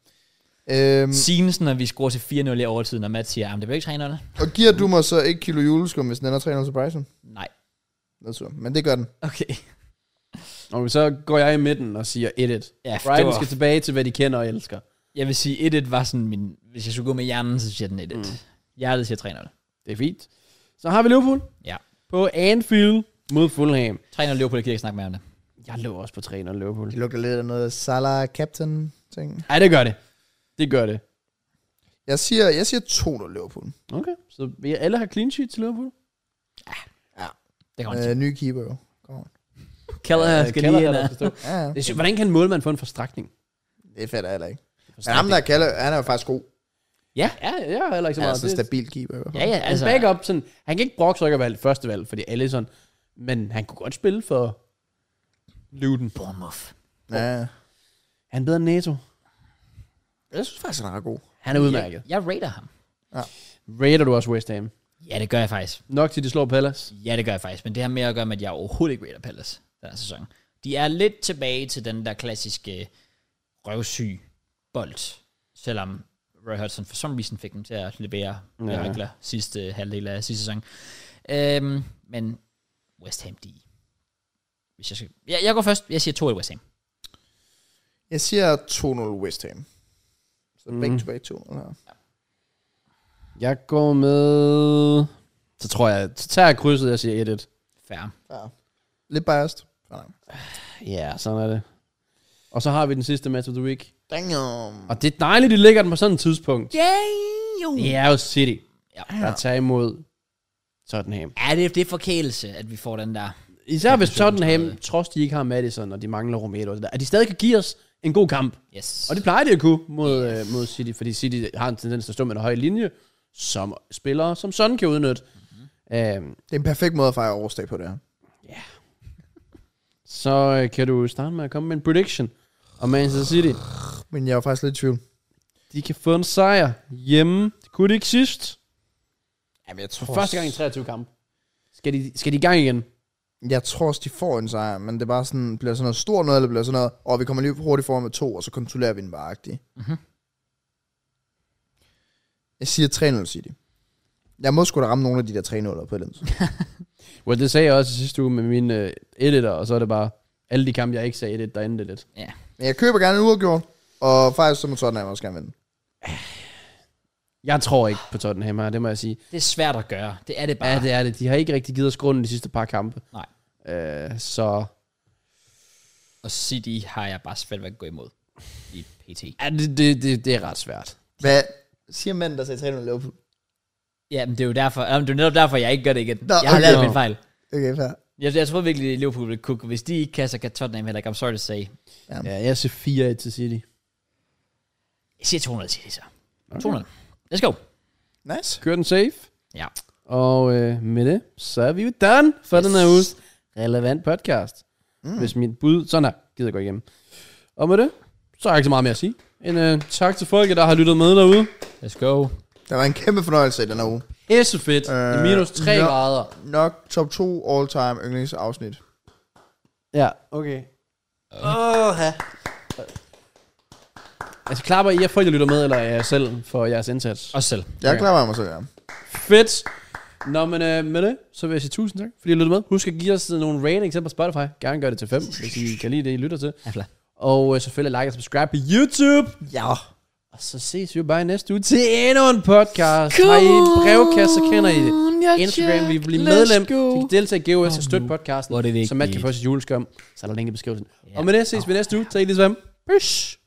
S2: Øhm,
S1: Signesen, når vi scorer til 4-0 i overtiden, og Matt siger, at det bliver ikke 3-0.
S2: og giver du mig så 1 kilo juleskum, hvis den ender 3-0 til Bryson?
S1: Nej.
S2: Lad os se. Men det gør den.
S1: Okay.
S3: og så går jeg i midten og siger 1-1.
S1: Ja,
S3: Brighton
S1: det var-
S3: skal tilbage til, hvad de kender og elsker.
S1: Jeg vil sige, 1-1 var sådan min... Hvis jeg skulle gå med hjernen, så siger den 1-1. Mm. Hjertet siger 3-0.
S3: Det er fint. Så har vi Liverpool
S1: Ja.
S3: på Anfield mod Fulham.
S1: 3-0 Liverpool, jeg kan ikke snakke mere om det.
S3: Jeg lå også på 3-0 Liverpool.
S2: Det lugter lidt af noget Salah Captain ting.
S3: Nej, det gør det. Det gør det.
S2: Jeg siger, jeg siger 2-0 Liverpool.
S3: Okay, så vi alle har clean sheet til Liverpool?
S1: Det kommer til.
S2: Øh, ny keeper jo. Kom on.
S1: øh,
S3: Øh,
S1: Keller skal lige ind.
S3: der
S1: og-
S3: skal stå.
S2: Ja, ja.
S3: Det er sygt, Hvordan kan en målmand få en forstrækning?
S2: det er fedt heller ikke. Men ham
S3: forstrækning?
S2: der kalder, han er jo faktisk god.
S3: Ja, ja, jeg har heller ikke så
S2: Han er
S3: meget.
S2: sådan en
S3: det,
S2: stabil keeper. i hvert fald.
S1: Ja, ja,
S3: altså,
S1: altså...
S3: en backup, sådan, han kan ikke brokke sig ikke at være første valg, fordi Allison, men han kunne godt spille for Luton.
S1: Bournemouth.
S2: ja.
S3: Han er bedre end Neto.
S2: Jeg synes faktisk, han er ret god.
S3: Han er udmærket.
S1: Jeg, jeg rater ham.
S3: Rater du også West Ham?
S1: Ja, det gør jeg faktisk.
S3: Nok til de slår Palace?
S1: Ja, det gør jeg faktisk, men det har mere at gøre med, at jeg overhovedet ikke rater Palace den her sæson. De er lidt tilbage til den der klassiske øh, røvsyg bold, selvom Roy Hodgson for some reason fik dem til at levere
S3: Ja.
S1: mirakler sidste halvdel af sidste sæson. Øhm, men West Ham, de... Hvis jeg, skal... jeg, jeg går først. Jeg siger 2-1 West Ham.
S2: Jeg siger 2-0 West Ham. Så
S3: Mm.
S2: back to back 2-0 her.
S3: Jeg går med... Så tror jeg, så tager jeg krydset, jeg siger 1-1.
S1: Færre.
S2: Ja. Lidt biased. Nej.
S3: Ja, sådan er det. Og så har vi den sidste match of the week.
S2: Damn.
S3: Og det er dejligt, de lægger den på sådan et tidspunkt.
S1: Yeah,
S3: Det er jo City,
S1: Ja.
S3: der tager imod Tottenham.
S1: Er det, det er forkælelse, at vi får den der...
S3: Især hvis
S1: Tottenham
S3: Tottenham,
S1: tredje.
S3: trods de ikke har Madison, og de mangler Romero og det der, at de stadig kan give os en god kamp.
S1: Yes.
S3: Og det plejer de at kunne mod, øh, mod City, fordi City har en tendens til at stå med en høj linje, som spillere, som sådan kan udnytte. Mm-hmm. Øhm,
S2: Det er en perfekt måde at fejre årsdag på det her.
S3: så øh, kan du starte med at komme med en prediction om Manchester City.
S2: Men jeg er jo faktisk lidt i tvivl.
S3: De kan få en sejr hjemme. Det kunne de ikke sidst.
S2: Jamen, jeg
S3: For første gang i 23 kampe. Skal de, skal de i gang igen?
S2: Jeg tror også, de får en sejr, men det er bare sådan, bliver sådan noget stort noget, eller bliver sådan noget, og vi kommer lige hurtigt foran med to, og så kontrollerer vi den bare mm-hmm. Jeg siger 3-0 City. Jeg må sgu da ramme nogle af de der 3-0'er på et eller andet. tidspunkt.
S3: Well, det sagde jeg også i sidste uge med mine øh, editor, og så er det bare alle de kampe, jeg ikke sagde edit, der endte lidt.
S1: Ja.
S2: Men jeg køber gerne en uafgjort, og faktisk så må Tottenham også gerne vinde.
S3: Jeg tror ikke på Tottenham her, det må jeg sige.
S1: det er svært at gøre. Det er det bare.
S3: Ja, det er det. De har ikke rigtig givet os grunden de sidste par kampe.
S1: Nej.
S3: Øh, så
S1: Og City har jeg bare svært ved at gå imod i PT.
S3: ja, det, det, det, det er ret svært.
S2: Hvad siger manden, der sagde 3-0 Liverpool?
S1: Ja, men det er jo derfor, ja, men det er netop derfor, jeg ikke gør det igen.
S2: Nå,
S1: Nå, jeg har
S2: okay.
S1: lavet min fejl.
S2: Okay, fair.
S1: Jeg, jeg tror virkelig, at Liverpool vil kukke. Hvis de ikke kan, så kan Tottenham heller ikke. I'm sorry to say.
S3: Ja, jeg ser 4-1 til City.
S1: Jeg siger 200 til det så. 200. Let's go.
S2: Nice.
S3: Kør den safe.
S1: Ja.
S3: Og øh, med det, så er vi jo done for yes.
S1: Yes.
S3: den her uges relevant podcast. Mm. Hvis mit bud, sådan her, gider gå igennem. Og med det, så er jeg ikke så meget mere at sige. En øh, tak til folket, der har lyttet med derude.
S1: Let's go.
S2: Det var en kæmpe fornøjelse i den her uge.
S3: Pisse fedt.
S2: Øh,
S3: Øh, minus 3
S2: nå.
S3: grader.
S2: Nok top 2 all-time yndlingsafsnit.
S3: Ja, okay. Åh, ja. Altså, klapper I jer folk, der lytter med, eller er jeg selv for jeres indsats?
S1: Os selv.
S2: Jeg klarer mig selv, ja.
S3: Fedt! Nå, men øh, med det, så vil jeg sige tusind tak, fordi I lyttede med. Husk at give os øh, nogle ratings her på Spotify. Gerne gør det til 5, hvis I kan lide det, I lytter til.
S1: Affla.
S3: Og øh, selvfølgelig like og subscribe på YouTube.
S2: Ja.
S3: Og så ses vi jo bare i næste uge til endnu en podcast. Har I en brevkasse, så kender I det. Instagram, vi bliver medlem. Så I kan deltage i GOS og støtte podcasten,
S1: hvor er det
S3: så Matt kan
S1: vigtigt.
S3: få sit juleskum. Så er der link i beskrivelsen.
S1: Ja.
S3: Og med det ses vi næste uge. Tak lige så meget. Peace.